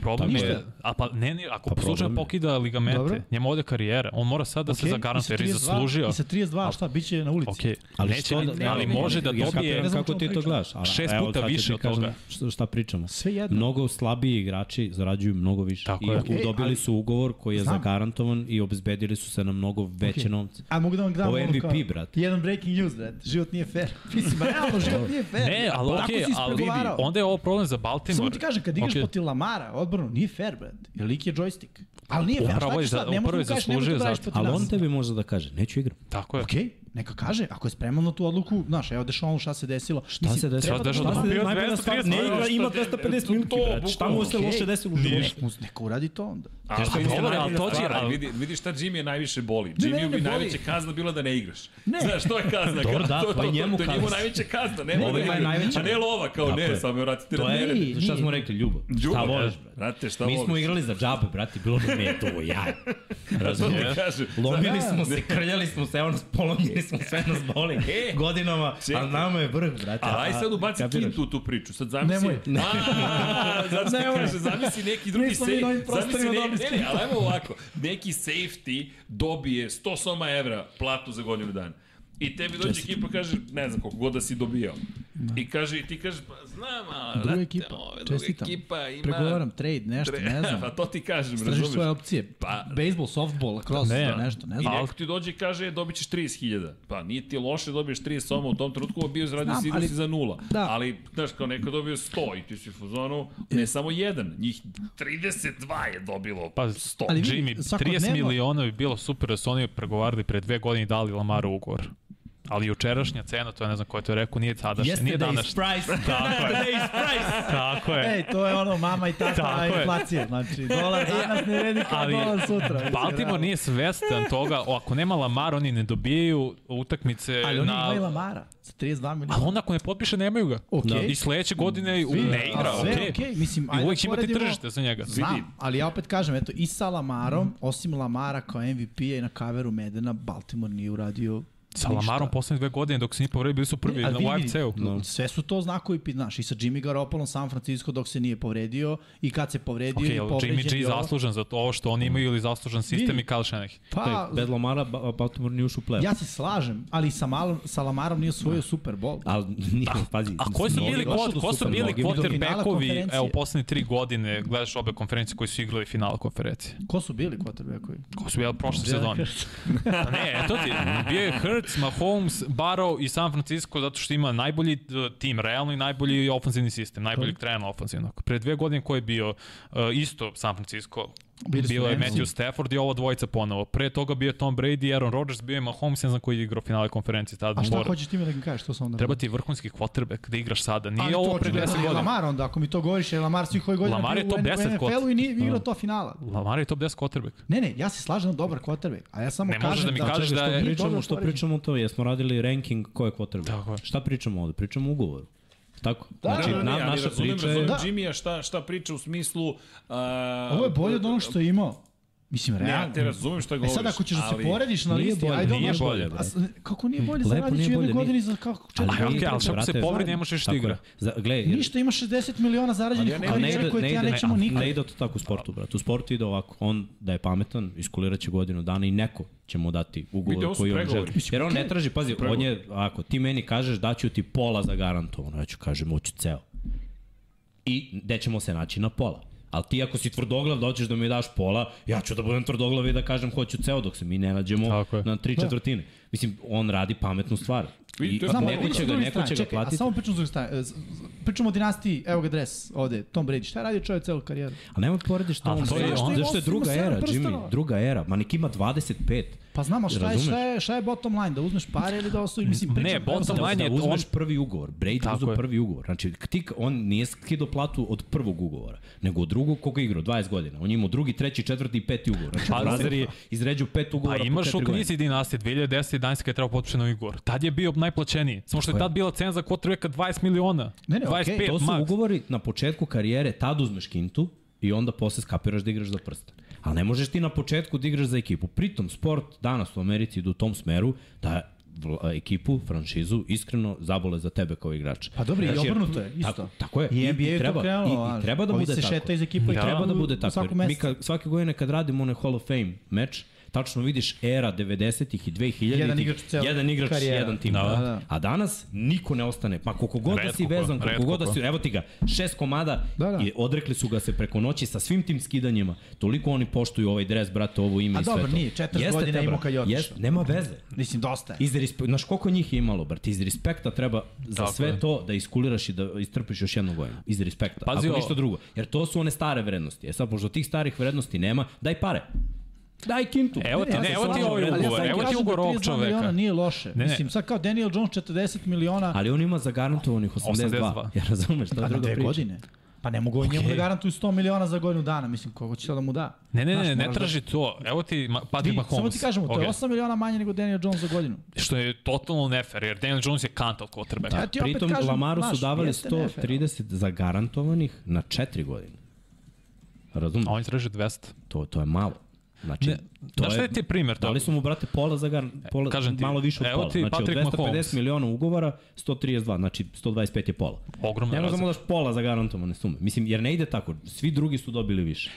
[SPEAKER 3] Problem
[SPEAKER 2] Pa
[SPEAKER 3] je,
[SPEAKER 2] ništa.
[SPEAKER 3] a pa ne, ne ako
[SPEAKER 4] Pa
[SPEAKER 3] pa slučajno
[SPEAKER 4] problem je.
[SPEAKER 3] pokida ligamente,
[SPEAKER 2] Dobro.
[SPEAKER 3] Dobro. njemu ode karijera, on mora sad da okay. se
[SPEAKER 2] Okej,
[SPEAKER 3] zagarantuje jer
[SPEAKER 2] i
[SPEAKER 3] je
[SPEAKER 2] sa 32
[SPEAKER 3] zaslužio.
[SPEAKER 2] I sa 32, šta, bit će na ulici.
[SPEAKER 3] Okej,
[SPEAKER 4] Ali
[SPEAKER 3] ali,
[SPEAKER 4] što
[SPEAKER 3] neće,
[SPEAKER 4] da-
[SPEAKER 3] ali,
[SPEAKER 4] ne, ne, ne,
[SPEAKER 3] može
[SPEAKER 4] ne,
[SPEAKER 3] da
[SPEAKER 4] ja kapiram
[SPEAKER 3] dobije
[SPEAKER 2] Ne znam
[SPEAKER 4] kako
[SPEAKER 2] čemu
[SPEAKER 4] ti to
[SPEAKER 2] pričam.
[SPEAKER 4] gledaš. Ali,
[SPEAKER 3] Šest
[SPEAKER 4] evo,
[SPEAKER 3] puta
[SPEAKER 4] sad ću
[SPEAKER 3] više
[SPEAKER 4] ti
[SPEAKER 3] od
[SPEAKER 4] kažem
[SPEAKER 3] toga.
[SPEAKER 4] Šta, šta pričamo?
[SPEAKER 2] Sve jedno.
[SPEAKER 4] Mnogo slabiji igrači zarađuju mnogo više.
[SPEAKER 3] Tako
[SPEAKER 4] I
[SPEAKER 3] je.
[SPEAKER 2] Okej,
[SPEAKER 4] dobili
[SPEAKER 2] ali-
[SPEAKER 4] su ugovor koji je
[SPEAKER 2] Znam.
[SPEAKER 4] zagarantovan i obezbedili su se na mnogo veće
[SPEAKER 2] Okej.
[SPEAKER 4] novce.
[SPEAKER 2] A mogu da vam dam
[SPEAKER 4] Ovo je
[SPEAKER 2] ono
[SPEAKER 4] MVP, brate.
[SPEAKER 2] Jedan breaking news, brate. Život nije fair. Mislim, realno, život nije fair.
[SPEAKER 3] Ne, ali
[SPEAKER 2] Tako
[SPEAKER 3] okej,
[SPEAKER 2] E, si
[SPEAKER 3] ali vidi,
[SPEAKER 2] ispregovarao.
[SPEAKER 3] onda je ovo problem za Baltimore.
[SPEAKER 2] Samo ti kažem, kad igraš okay.
[SPEAKER 3] Okej.
[SPEAKER 2] protiv Lamara, odbrano, nije fair, brad. Jer lik je joystick. Ali nije fair,
[SPEAKER 3] Upravo
[SPEAKER 2] šta
[SPEAKER 3] je
[SPEAKER 2] ćeš
[SPEAKER 3] za-
[SPEAKER 2] sad? Ne
[SPEAKER 3] upravo
[SPEAKER 2] možeš
[SPEAKER 3] je
[SPEAKER 2] da kažeš, nemoj da
[SPEAKER 3] zaslužio
[SPEAKER 2] praviš
[SPEAKER 3] zato.
[SPEAKER 2] protiv
[SPEAKER 4] Ali
[SPEAKER 2] nas.
[SPEAKER 4] on tebi može da kaže, neću igram.
[SPEAKER 3] Tako je.
[SPEAKER 2] Okej, neka kaže, ako je spreman na tu odluku, znaš, evo Dešonu šta se desilo.
[SPEAKER 4] Šta se desilo?
[SPEAKER 3] treba da-
[SPEAKER 4] Šta se
[SPEAKER 3] Bio
[SPEAKER 4] najbolja stvar?
[SPEAKER 3] 230
[SPEAKER 4] Ne igra,
[SPEAKER 3] minuta,
[SPEAKER 4] ima
[SPEAKER 1] šta-
[SPEAKER 4] 250
[SPEAKER 1] to,
[SPEAKER 4] minuti, brate. Šta mu se
[SPEAKER 1] bukvalno.
[SPEAKER 4] loše desilo u
[SPEAKER 2] Nek,
[SPEAKER 4] životu?
[SPEAKER 2] mu- neka uradi to onda.
[SPEAKER 1] A
[SPEAKER 3] šta
[SPEAKER 4] pa
[SPEAKER 1] šta
[SPEAKER 3] je dobro, ali to
[SPEAKER 1] to
[SPEAKER 3] će- ali-
[SPEAKER 1] vidi, vidi šta Jimmy je najviše boli.
[SPEAKER 2] Ne, ne,
[SPEAKER 1] Jimmy
[SPEAKER 2] ne
[SPEAKER 1] bi
[SPEAKER 2] boli.
[SPEAKER 1] najveća kazna bila da ne igraš.
[SPEAKER 2] Ne.
[SPEAKER 1] Ne. Znaš, to je kazna.
[SPEAKER 4] Dobro,
[SPEAKER 1] kao,
[SPEAKER 4] da, to je njemu
[SPEAKER 1] to, to, je njemu
[SPEAKER 4] kazna.
[SPEAKER 1] najveća kazna. Ne,
[SPEAKER 4] Ovima
[SPEAKER 1] ne,
[SPEAKER 4] je
[SPEAKER 1] ne,
[SPEAKER 4] najveća.
[SPEAKER 1] A ne lova, kao
[SPEAKER 4] Tako je.
[SPEAKER 1] ne, samo vratite
[SPEAKER 4] To
[SPEAKER 1] na
[SPEAKER 4] je,
[SPEAKER 1] mene.
[SPEAKER 2] Ej,
[SPEAKER 4] šta
[SPEAKER 2] nije.
[SPEAKER 4] smo rekli, ljubav. Šta
[SPEAKER 3] e,
[SPEAKER 1] Ljubav,
[SPEAKER 4] voliš,
[SPEAKER 1] da.
[SPEAKER 4] brate?
[SPEAKER 1] Brate, šta
[SPEAKER 4] Mi smo
[SPEAKER 1] voliš?
[SPEAKER 4] igrali za džabe, brate, bilo nam je to jaje.
[SPEAKER 1] To
[SPEAKER 4] Razumiješ?
[SPEAKER 1] ti kažem.
[SPEAKER 4] Lomili
[SPEAKER 2] Da.
[SPEAKER 4] smo se, krljali smo se, evo nas polomili smo sve nas boli e, godinama, a
[SPEAKER 1] čekaj.
[SPEAKER 4] nama je vrh, brate.
[SPEAKER 1] A aj sad ubaci
[SPEAKER 4] kapiraš?
[SPEAKER 1] Kintu u tu priču. Sad zamisli.
[SPEAKER 2] Da, Nemoj.
[SPEAKER 1] Ne. Zato što
[SPEAKER 2] Nemoj.
[SPEAKER 1] kaže, zamisli neki drugi
[SPEAKER 2] Nismo mi na ovim
[SPEAKER 1] safety. Zamisli
[SPEAKER 2] prostorima
[SPEAKER 1] ne,
[SPEAKER 2] dobri
[SPEAKER 1] ne, ne, ali ajmo ovako. Neki safety dobije 100 soma evra platu za godinu dana. I tebi dođe ekipa kaže, ne znam koliko god da si dobijao.
[SPEAKER 2] Da.
[SPEAKER 1] I kaže, i ti kažeš, pa znam, a...
[SPEAKER 2] Druga
[SPEAKER 1] brate,
[SPEAKER 2] ekipa,
[SPEAKER 1] ove
[SPEAKER 2] čestitam.
[SPEAKER 1] Druga ekipa ima...
[SPEAKER 2] Pregovaram, trade, nešto,
[SPEAKER 1] Tre-
[SPEAKER 2] ne znam.
[SPEAKER 1] pa to ti kažem,
[SPEAKER 2] Tražiš
[SPEAKER 1] razumiješ?
[SPEAKER 2] svoje opcije.
[SPEAKER 1] Pa-
[SPEAKER 2] Baseball, softball, cross,
[SPEAKER 3] Ne.
[SPEAKER 2] Da, nešto, ne
[SPEAKER 1] Da, I
[SPEAKER 2] znam.
[SPEAKER 1] neko ti dođe i kaže, e, dobit ćeš 30.000. Pa nije ti loše, dobiješ 30 soma u tom trenutku, bio zradio
[SPEAKER 2] Znam,
[SPEAKER 1] si
[SPEAKER 2] ali-
[SPEAKER 1] ali, za nula.
[SPEAKER 2] da. E.
[SPEAKER 1] Ali, znaš, kao neko je dobio 100 i ti si u fazonu, ne samo jedan, njih 32 je dobilo
[SPEAKER 3] Pa,
[SPEAKER 1] 100.
[SPEAKER 2] ali vidi,
[SPEAKER 3] Jimmy,
[SPEAKER 2] svakodnevno-
[SPEAKER 3] 30 miliona bi bilo super da su oni pregovarali pre dve godine i dali Lamaru ugovor. Ali jučerašnja cena, to ja ne znam ko je to rekao, nije tadašnja,
[SPEAKER 4] Jeste
[SPEAKER 3] nije
[SPEAKER 4] da is
[SPEAKER 3] današnja.
[SPEAKER 4] price.
[SPEAKER 3] Tako je.
[SPEAKER 4] is price.
[SPEAKER 3] Tako je.
[SPEAKER 2] Ej, to je ono mama i
[SPEAKER 3] Tako
[SPEAKER 2] tata
[SPEAKER 3] je.
[SPEAKER 2] inflacije. Znači, dolar danas ne vredi kao
[SPEAKER 3] Ali-
[SPEAKER 2] dolar sutra.
[SPEAKER 3] Baltimore nije svestan toga, o, ako nema Lamara, oni ne dobijaju utakmice
[SPEAKER 2] Ali oni
[SPEAKER 3] na...
[SPEAKER 2] imaju Lamara sa 32
[SPEAKER 3] Ali
[SPEAKER 2] miliona.
[SPEAKER 3] onda ako ne potpiše, nemaju ga. Da.
[SPEAKER 2] Okej.
[SPEAKER 3] I sledeće godine u...
[SPEAKER 2] Svi-
[SPEAKER 3] ne igra,
[SPEAKER 2] a sve
[SPEAKER 3] okej.
[SPEAKER 2] je okej, mislim,
[SPEAKER 3] I
[SPEAKER 2] ajde
[SPEAKER 3] uvijek
[SPEAKER 2] da
[SPEAKER 3] će imati
[SPEAKER 2] poredimo-
[SPEAKER 3] tržište za njega.
[SPEAKER 1] vidi.
[SPEAKER 2] Znam, ali ja opet kažem, eto, i sa Lamarom, osim Lamara kao MVP-a i na kaveru Medena, Baltimore nije uradio
[SPEAKER 3] Sa
[SPEAKER 2] ništa.
[SPEAKER 3] Lamarom poslednje dve godine, dok se nije povredio, bili su prvi
[SPEAKER 2] E, Ali
[SPEAKER 3] na
[SPEAKER 2] vidi,
[SPEAKER 3] UFC-u.
[SPEAKER 2] No. Sve su to znakovi, pi- znaš, i sa Jimmy Garoppolom San Francisco dok se nije povredio i kad se povredio
[SPEAKER 3] Okej,
[SPEAKER 2] i
[SPEAKER 3] ali
[SPEAKER 2] povređen.
[SPEAKER 3] Jimmy
[SPEAKER 2] i
[SPEAKER 3] G
[SPEAKER 2] ovo.
[SPEAKER 3] zaslužen za to ovo što oni imaju ili zaslužen sistem
[SPEAKER 2] Vidi.
[SPEAKER 3] i Kyle Shanahan.
[SPEAKER 2] Pa,
[SPEAKER 4] Bez Lamara, Ba- Baltimore nije ušao u play.
[SPEAKER 2] ja se slažem, ali sa, malom, sa Lamarom nije
[SPEAKER 3] Da.
[SPEAKER 2] osvojio Super Bowl.
[SPEAKER 4] Ali, nije, pazi.
[SPEAKER 3] Pa, A koji su
[SPEAKER 4] mnogi
[SPEAKER 3] bili,
[SPEAKER 4] došli
[SPEAKER 3] ko,
[SPEAKER 4] do
[SPEAKER 3] ko su
[SPEAKER 4] Super
[SPEAKER 3] bili
[SPEAKER 4] Bowl, mnogi
[SPEAKER 2] do finala
[SPEAKER 3] quarterbackovi,
[SPEAKER 2] konferencije.
[SPEAKER 3] evo, poslednje tri godine gledaš obe konferencije koji su igrali final konferencije?
[SPEAKER 2] Ko su bili quarterbackovi?
[SPEAKER 3] Ko su bili prošle sezone? Pa ne, eto ti, bio je Hurts, Mahomes, Barrow i San Francisco zato što ima najbolji e, tim, realno i najbolji ofenzivni sistem, najboljeg trenera ofenzivnog. Pre dve godine ko je bio e, isto San Francisco,
[SPEAKER 2] Bili su
[SPEAKER 3] bio je
[SPEAKER 2] Rams.
[SPEAKER 3] Matthew Stafford i ovo dvojica ponovo. Pre toga bio je Tom Brady, Aaron Rodgers, bio je Mahomes, ne znam koji je igrao finale konferencije tada.
[SPEAKER 2] A šta
[SPEAKER 3] Mora-
[SPEAKER 2] hoćeš time da mi kažeš? To sam onda...
[SPEAKER 3] Treba ti vrhunski quarterback da igraš sada.
[SPEAKER 2] Ali
[SPEAKER 3] Nije
[SPEAKER 2] to
[SPEAKER 3] ovo pre
[SPEAKER 2] očigledno da
[SPEAKER 3] 10
[SPEAKER 2] je
[SPEAKER 3] godina.
[SPEAKER 2] Lamar onda, ako mi to govoriš, jer Lamar svih ovih godina
[SPEAKER 3] Lamar je
[SPEAKER 2] bio
[SPEAKER 3] top
[SPEAKER 2] u N-
[SPEAKER 3] 10
[SPEAKER 2] NFL-u i nije
[SPEAKER 3] da.
[SPEAKER 2] igrao to finala.
[SPEAKER 3] Lamar je top 10 quarterback.
[SPEAKER 2] Ne, ne, ja se slažem da je dobar quarterback, a ja samo
[SPEAKER 3] Ne možeš
[SPEAKER 2] kažem
[SPEAKER 3] da mi kažeš da je-
[SPEAKER 2] nije
[SPEAKER 4] pričamo
[SPEAKER 2] dobro
[SPEAKER 4] što
[SPEAKER 2] poređen.
[SPEAKER 4] pričamo to, jesmo radili ranking ko je quarterback.
[SPEAKER 3] Tako je.
[SPEAKER 4] Šta pričamo ovde? Pričamo o ugovoru. Tako.
[SPEAKER 2] Da,
[SPEAKER 4] znači,
[SPEAKER 2] da, da,
[SPEAKER 4] na,
[SPEAKER 1] ali
[SPEAKER 4] naša
[SPEAKER 1] razumem,
[SPEAKER 4] priča je
[SPEAKER 1] razumem
[SPEAKER 2] Da.
[SPEAKER 1] Jimmy-a šta, šta priča u smislu... Uh,
[SPEAKER 2] Ovo je bolje od onog što je imao. Mislim,
[SPEAKER 1] Ne,
[SPEAKER 2] realno.
[SPEAKER 1] ja te razumem šta
[SPEAKER 2] E
[SPEAKER 1] govoriš.
[SPEAKER 2] sad ako ćeš da se
[SPEAKER 1] ali-
[SPEAKER 2] porediš na
[SPEAKER 4] Nije
[SPEAKER 2] listi,
[SPEAKER 4] bolje,
[SPEAKER 2] ajde
[SPEAKER 3] nije
[SPEAKER 2] ono-
[SPEAKER 3] bolje,
[SPEAKER 2] A s- Kako nije bolje,
[SPEAKER 4] Lepo
[SPEAKER 2] zaradit
[SPEAKER 4] nije
[SPEAKER 2] će u jednoj
[SPEAKER 4] bolje,
[SPEAKER 2] godini
[SPEAKER 4] nije.
[SPEAKER 2] za kako
[SPEAKER 4] Ali
[SPEAKER 2] četiri
[SPEAKER 3] Ali,
[SPEAKER 4] nije
[SPEAKER 3] okej, ali
[SPEAKER 4] bolje,
[SPEAKER 3] čak se
[SPEAKER 4] brate,
[SPEAKER 3] povredi,
[SPEAKER 4] zajedno.
[SPEAKER 3] ne možeš više da
[SPEAKER 4] Tako
[SPEAKER 3] igra.
[SPEAKER 4] je. Za, gle, jer-
[SPEAKER 2] Ništa, ima 60 miliona
[SPEAKER 1] Ali
[SPEAKER 2] zarađenih
[SPEAKER 1] ja ne
[SPEAKER 4] ali
[SPEAKER 1] vidim
[SPEAKER 2] kombinacija koje ti da ja nećemo
[SPEAKER 4] ne,
[SPEAKER 2] nikad.
[SPEAKER 4] Ne ide to tako u sportu, brate. U sportu ide ovako. On da je pametan, iskulirat će godinu dana i neko će mu dati
[SPEAKER 1] Vidi, ovo
[SPEAKER 4] ugovor
[SPEAKER 1] su
[SPEAKER 4] koji on želi.
[SPEAKER 1] pregovori.
[SPEAKER 4] Jer on ne traži, pazi, on je, ako ti meni kažeš daću ti pola za garantovano, ja ću kažem, hoću ceo. I gde ćemo se naći na pola. Ali ti ako si tvrdoglav da hoćeš da mi daš pola, ja ću da budem tvrdoglav i da kažem hoću ceo dok se mi ne nađemo
[SPEAKER 3] Tako je. Da.
[SPEAKER 4] na tri četvrtine. Mislim, on radi pametnu stvar.
[SPEAKER 1] Vidi,
[SPEAKER 4] I,
[SPEAKER 1] to je-
[SPEAKER 4] a
[SPEAKER 1] Znam,
[SPEAKER 2] ali
[SPEAKER 4] neko
[SPEAKER 2] pričamo
[SPEAKER 4] će
[SPEAKER 2] s
[SPEAKER 4] ga,
[SPEAKER 2] druge
[SPEAKER 4] neko
[SPEAKER 2] strane,
[SPEAKER 4] će ga
[SPEAKER 2] čekaj, A
[SPEAKER 4] platiti.
[SPEAKER 2] samo pričamo s druge strane. e, z- z- Pričamo o dinastiji, evo ga dres ovde, Tom Brady. Šta je radio čovjek celu karijeru?
[SPEAKER 4] A nemoj porediš to.
[SPEAKER 3] A
[SPEAKER 4] ono,
[SPEAKER 3] to je
[SPEAKER 4] zašto
[SPEAKER 3] on.
[SPEAKER 4] Zašto je druga
[SPEAKER 2] pa Ima sedam
[SPEAKER 4] era,
[SPEAKER 2] prstenova.
[SPEAKER 4] Jimmy? Druga era. Ma nek ima 25.
[SPEAKER 2] Pa znam, a šta je,
[SPEAKER 4] Razumeš?
[SPEAKER 2] šta je, šta je bottom line? Da uzmeš pare ili da ostavi, mislim, pričam.
[SPEAKER 3] Ne,
[SPEAKER 2] evo sam-
[SPEAKER 3] bottom line
[SPEAKER 4] Da
[SPEAKER 3] je on
[SPEAKER 4] uzmeš prvi ugovor. Brady
[SPEAKER 3] Tako
[SPEAKER 4] uzeo
[SPEAKER 3] je.
[SPEAKER 4] prvi ugovor. Znači, ti, on nije skidao platu od prvog ugovora, nego od drugog koga je igrao, 20 godina. On je imao drugi, treći, četvrti i peti ugovor. Znači,
[SPEAKER 3] Pa,
[SPEAKER 4] Brazer je izređao pet
[SPEAKER 3] Pa
[SPEAKER 4] ugovora po
[SPEAKER 3] imaš u
[SPEAKER 4] četiri godine.
[SPEAKER 3] knjizi dinastije 2010. i 11. kad je trebao potpišen novi ugovor. Tad je bio najplaćeniji. Samo što je tad bila cena za quarterbacka 20 miliona.
[SPEAKER 2] Ne, ne, okej,
[SPEAKER 3] 25
[SPEAKER 4] To su
[SPEAKER 3] max.
[SPEAKER 4] ugovori na početku karijere, tad uzmeš kintu i onda posle skapiraš da igraš za prste. Ali ne možeš ti na početku da igraš za ekipu. Pritom, sport danas u Americi ide u tom smeru da vla- ekipu, franšizu, iskreno zabole za tebe kao igrač.
[SPEAKER 2] Pa dobro, i
[SPEAKER 4] Znači,
[SPEAKER 2] obrnuto je, isto.
[SPEAKER 4] Tako, tako je.
[SPEAKER 2] I NBA je to
[SPEAKER 4] treba,
[SPEAKER 2] krenulo,
[SPEAKER 4] i,
[SPEAKER 2] znaš,
[SPEAKER 4] i treba da
[SPEAKER 2] ovi
[SPEAKER 4] bude
[SPEAKER 2] se
[SPEAKER 4] tako.
[SPEAKER 2] šeta iz ekipe
[SPEAKER 4] I
[SPEAKER 2] i
[SPEAKER 4] treba
[SPEAKER 2] krenu
[SPEAKER 4] da
[SPEAKER 2] u
[SPEAKER 4] bude tako.
[SPEAKER 2] svaku
[SPEAKER 4] jer Mi
[SPEAKER 2] mesecu.
[SPEAKER 4] kad, svake godine kad radimo onaj Hall of Fame meč, tačno vidiš era 90-ih i 2000-ih.
[SPEAKER 2] Jedan igrač u celoj
[SPEAKER 4] jedan igrač,
[SPEAKER 2] karijeri.
[SPEAKER 4] jedan tim.
[SPEAKER 2] Da,
[SPEAKER 4] Da,
[SPEAKER 2] da.
[SPEAKER 4] da. A danas niko ne ostane. Ma koliko god da
[SPEAKER 3] Retko
[SPEAKER 4] si
[SPEAKER 3] ko,
[SPEAKER 4] vezan, koliko
[SPEAKER 3] retko
[SPEAKER 4] god da
[SPEAKER 3] ko.
[SPEAKER 4] si, evo ti ga, šest komada
[SPEAKER 2] Da, da.
[SPEAKER 4] i odrekli su ga se preko noći sa svim tim skidanjima. Toliko oni poštuju ovaj dres, brate, ovo ime
[SPEAKER 2] A
[SPEAKER 4] i sve
[SPEAKER 2] dobro,
[SPEAKER 4] to.
[SPEAKER 2] nije, 14
[SPEAKER 4] Jeste
[SPEAKER 2] godina
[SPEAKER 4] te,
[SPEAKER 2] imao
[SPEAKER 4] brate,
[SPEAKER 2] kad je otišao.
[SPEAKER 4] jeste, nema veze.
[SPEAKER 2] Mislim, dosta je.
[SPEAKER 4] Iz respe... Znaš koliko njih je imalo, brate? Iz respekta treba za
[SPEAKER 3] Tako
[SPEAKER 4] sve
[SPEAKER 3] je.
[SPEAKER 4] to da iskuliraš i da istrpiš još jednu godinu. Iz respekta.
[SPEAKER 3] Pazi
[SPEAKER 4] Pazi Ako
[SPEAKER 3] ovo.
[SPEAKER 4] ništa drugo. Jer to su one stare vrednosti. E sad, pošto tih starih vrednosti nema, daj pare. Daj kintu.
[SPEAKER 3] Evo ti,
[SPEAKER 2] ja
[SPEAKER 3] ne,
[SPEAKER 2] se
[SPEAKER 3] evo ti
[SPEAKER 2] slažem,
[SPEAKER 3] ovaj
[SPEAKER 2] ali ja
[SPEAKER 3] ugovor,
[SPEAKER 2] sam
[SPEAKER 3] evo ti
[SPEAKER 2] kažem
[SPEAKER 3] ugovor
[SPEAKER 2] da
[SPEAKER 3] ovog
[SPEAKER 2] 32
[SPEAKER 3] čoveka.
[SPEAKER 2] miliona Nije loše.
[SPEAKER 3] ne.
[SPEAKER 2] Mislim, sad kao Daniel Jones 40 miliona,
[SPEAKER 4] Ali on ima zagarantovanih 82.
[SPEAKER 3] 82.
[SPEAKER 4] 82. Ja razumeš, to
[SPEAKER 2] Pa
[SPEAKER 4] je
[SPEAKER 2] na
[SPEAKER 4] druga
[SPEAKER 2] dve
[SPEAKER 4] priča.
[SPEAKER 2] godine. Pa ne mogu okay. njemu da garantuju 100 miliona za godinu dana, mislim, koga će sad da mu da?
[SPEAKER 3] Ne, ne, ne,
[SPEAKER 2] Znaš,
[SPEAKER 3] ne
[SPEAKER 2] moraš
[SPEAKER 3] traži to. Evo ti Ma-
[SPEAKER 2] Da...
[SPEAKER 3] Patrick
[SPEAKER 2] Vidi,
[SPEAKER 3] Mahomes.
[SPEAKER 2] samo ti kažemo, to je
[SPEAKER 3] Ok.
[SPEAKER 2] 8 miliona manje nego Daniel Jones za godinu.
[SPEAKER 3] Što je totalno nefer, jer Daniel Jones je kantal quarterback.
[SPEAKER 2] Da. Ja ti opet
[SPEAKER 4] Pritom
[SPEAKER 2] kažem,
[SPEAKER 4] Lamaru
[SPEAKER 2] znaš,
[SPEAKER 4] su davali
[SPEAKER 2] jeste NFL.
[SPEAKER 4] 130 zagarantovanih na 4 godine. Razumem,
[SPEAKER 3] A oni traže 200.
[SPEAKER 4] to, to je malo. Znači,
[SPEAKER 3] Ne,
[SPEAKER 4] to
[SPEAKER 3] znaš šta je ti primer
[SPEAKER 4] Dali
[SPEAKER 3] toga?
[SPEAKER 4] su mu, brate, pola za gar, pola,
[SPEAKER 3] E, kažem ti,
[SPEAKER 4] malo više od
[SPEAKER 3] evo
[SPEAKER 4] pola.
[SPEAKER 3] ti
[SPEAKER 4] Znači, od
[SPEAKER 3] Patrick
[SPEAKER 4] 250
[SPEAKER 3] Mahomes.
[SPEAKER 4] miliona ugovora, 132, znači 125 je pola.
[SPEAKER 3] Ogromna
[SPEAKER 4] Ne možeš da mu
[SPEAKER 3] razlika.
[SPEAKER 4] daš pola za garantovane sume. Mislim, jer ne ide tako. Svi drugi su dobili više.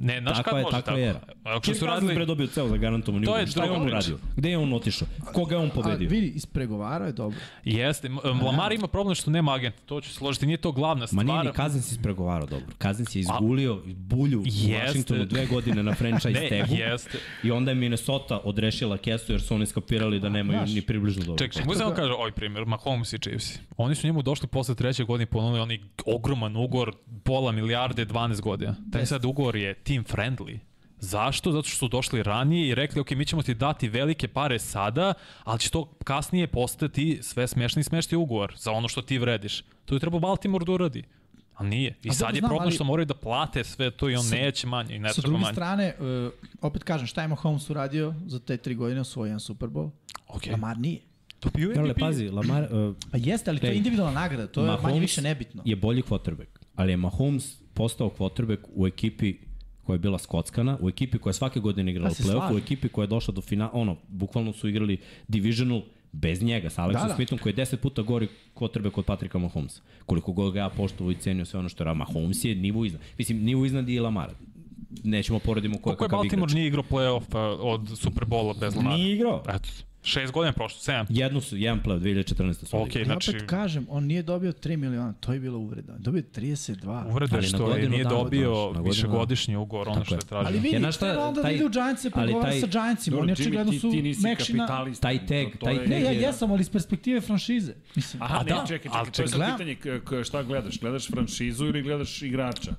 [SPEAKER 3] Ne, znaš
[SPEAKER 4] takva
[SPEAKER 3] kad
[SPEAKER 4] je,
[SPEAKER 3] može
[SPEAKER 4] takva
[SPEAKER 3] tako?
[SPEAKER 4] je era.
[SPEAKER 3] Ako
[SPEAKER 4] Kirk
[SPEAKER 3] su
[SPEAKER 4] Cousins
[SPEAKER 3] radili...
[SPEAKER 4] predobio ceo za garantovani
[SPEAKER 3] To je
[SPEAKER 4] ugovor. Šta je
[SPEAKER 3] druga
[SPEAKER 4] on
[SPEAKER 3] priča.
[SPEAKER 4] uradio? Gde je on otišao? Koga je on
[SPEAKER 5] A,
[SPEAKER 4] pobedio?
[SPEAKER 5] vidi, ispregovarao je dobro.
[SPEAKER 3] Jeste, m- Lamar ima problem što nema agenta, to ću se složiti, nije to glavna
[SPEAKER 4] Ma
[SPEAKER 3] stvar.
[SPEAKER 4] nije ni Kazens ispregovarao dobro. Kazens je izgulio bulju u
[SPEAKER 3] Jeste.
[SPEAKER 4] Washingtonu dve godine na franchise
[SPEAKER 3] Ne,
[SPEAKER 4] tagu.
[SPEAKER 3] jeste.
[SPEAKER 4] I onda je Minnesota odrešila kesu jer su oni skapirali da nemaju ni približno dobro.
[SPEAKER 3] Ček, ček, mu
[SPEAKER 2] da.
[SPEAKER 3] samo kaže, oj primjer, Mahomes i Chiefs. Oni su njemu došli posle trećeg godine i ponudili oni ogroman ugovor, pola milijarde, 12 godina. Taj sad ugovor je team friendly. Zašto? Zato što su došli ranije i rekli, ok, mi ćemo ti dati velike pare sada, ali će to kasnije postati sve smešni i smešni ugovor za ono što ti vrediš. To je trebao Baltimore da uradi. A nije. I
[SPEAKER 2] A
[SPEAKER 3] sad
[SPEAKER 2] dobro,
[SPEAKER 3] je
[SPEAKER 2] znam,
[SPEAKER 3] problem
[SPEAKER 2] ali-
[SPEAKER 3] što moraju da plate sve to i on
[SPEAKER 2] Sa-
[SPEAKER 3] neće manje i ne
[SPEAKER 2] Sa
[SPEAKER 3] treba
[SPEAKER 2] druge
[SPEAKER 3] manje.
[SPEAKER 2] strane, uh, opet kažem, šta je Mahomes uradio za te tri godine osvojio jedan Super Bowl?
[SPEAKER 3] Ok.
[SPEAKER 2] Lamar nije.
[SPEAKER 3] To bio
[SPEAKER 4] Karle,
[SPEAKER 3] MVP.
[SPEAKER 4] pazi, Lamar, uh,
[SPEAKER 2] Pa jeste, ali to je
[SPEAKER 4] Ej,
[SPEAKER 2] individualna nagrada, to je
[SPEAKER 4] Mahomes
[SPEAKER 2] manje više nebitno.
[SPEAKER 4] je bolji quarterback, ali je Mahomes postao quarterback u ekipi koja je bila skockana, u ekipi koja je svake godine igrala
[SPEAKER 2] Pa se
[SPEAKER 4] play-off,
[SPEAKER 2] slažem.
[SPEAKER 4] u ekipi koja je došla do finala, ono, bukvalno su igrali divisional bez njega, sa Alexom
[SPEAKER 2] Da,
[SPEAKER 4] da,
[SPEAKER 2] da.
[SPEAKER 4] da. Smithom koji je 10 puta gori quarterback od Patrika Mahomesa. Koliko god ga ja poštovao i cenio sve ono što je radio, Mahomes je nivo iznad. Mislim, nivo iznad je i Lamara. Nećemo poredimo koja
[SPEAKER 3] Koliko je
[SPEAKER 4] Pa kakav igrač.
[SPEAKER 3] Baltimore nije igrao play-off a, od Super Bowl-a bez Lamara?
[SPEAKER 4] Nije igrao.
[SPEAKER 3] Eto, šest godina je prošlo, sedam.
[SPEAKER 4] Jednu su, jedan play 2014. su
[SPEAKER 3] Ok,
[SPEAKER 4] odigrali.
[SPEAKER 2] Znači...
[SPEAKER 3] znači,
[SPEAKER 2] Opet kažem, on nije dobio 3 miliona, to je bila uvreda. Dobio je 32.
[SPEAKER 3] uvreda je
[SPEAKER 4] Ali na
[SPEAKER 3] što je
[SPEAKER 4] godinu
[SPEAKER 3] nije
[SPEAKER 4] dana, znaš, na
[SPEAKER 3] dobio
[SPEAKER 4] godinu
[SPEAKER 3] višegodišnji ugovor, ono
[SPEAKER 4] Tako
[SPEAKER 3] što je
[SPEAKER 4] je.
[SPEAKER 3] tražio.
[SPEAKER 2] Ali vidi,
[SPEAKER 4] Ja,
[SPEAKER 2] ja,
[SPEAKER 4] znaš šta,
[SPEAKER 2] treba onda
[SPEAKER 4] taj-
[SPEAKER 2] da ide u Giants i
[SPEAKER 4] ali
[SPEAKER 2] pregovara
[SPEAKER 4] taj-
[SPEAKER 2] sa Giantsima.
[SPEAKER 1] Dobro,
[SPEAKER 2] Oni
[SPEAKER 1] Jimmy,
[SPEAKER 2] očigledno
[SPEAKER 1] ti-
[SPEAKER 2] su
[SPEAKER 1] ti nisi
[SPEAKER 2] mekšina.
[SPEAKER 1] kapitalista,
[SPEAKER 4] Taj
[SPEAKER 1] to-
[SPEAKER 4] tag,
[SPEAKER 1] to
[SPEAKER 4] taj
[SPEAKER 1] je-
[SPEAKER 4] tag
[SPEAKER 2] Ne, ja
[SPEAKER 4] je-
[SPEAKER 2] jesam, ali iz perspektive franšize. Mislim,
[SPEAKER 1] Aha,
[SPEAKER 3] A
[SPEAKER 1] ne,
[SPEAKER 3] da,
[SPEAKER 1] da, čekaj, čekaj,
[SPEAKER 3] ali
[SPEAKER 1] to je sad
[SPEAKER 2] čekaj.
[SPEAKER 1] pitanje k- k- šta gledaš? Gledaš franšizu ili gledaš igrača?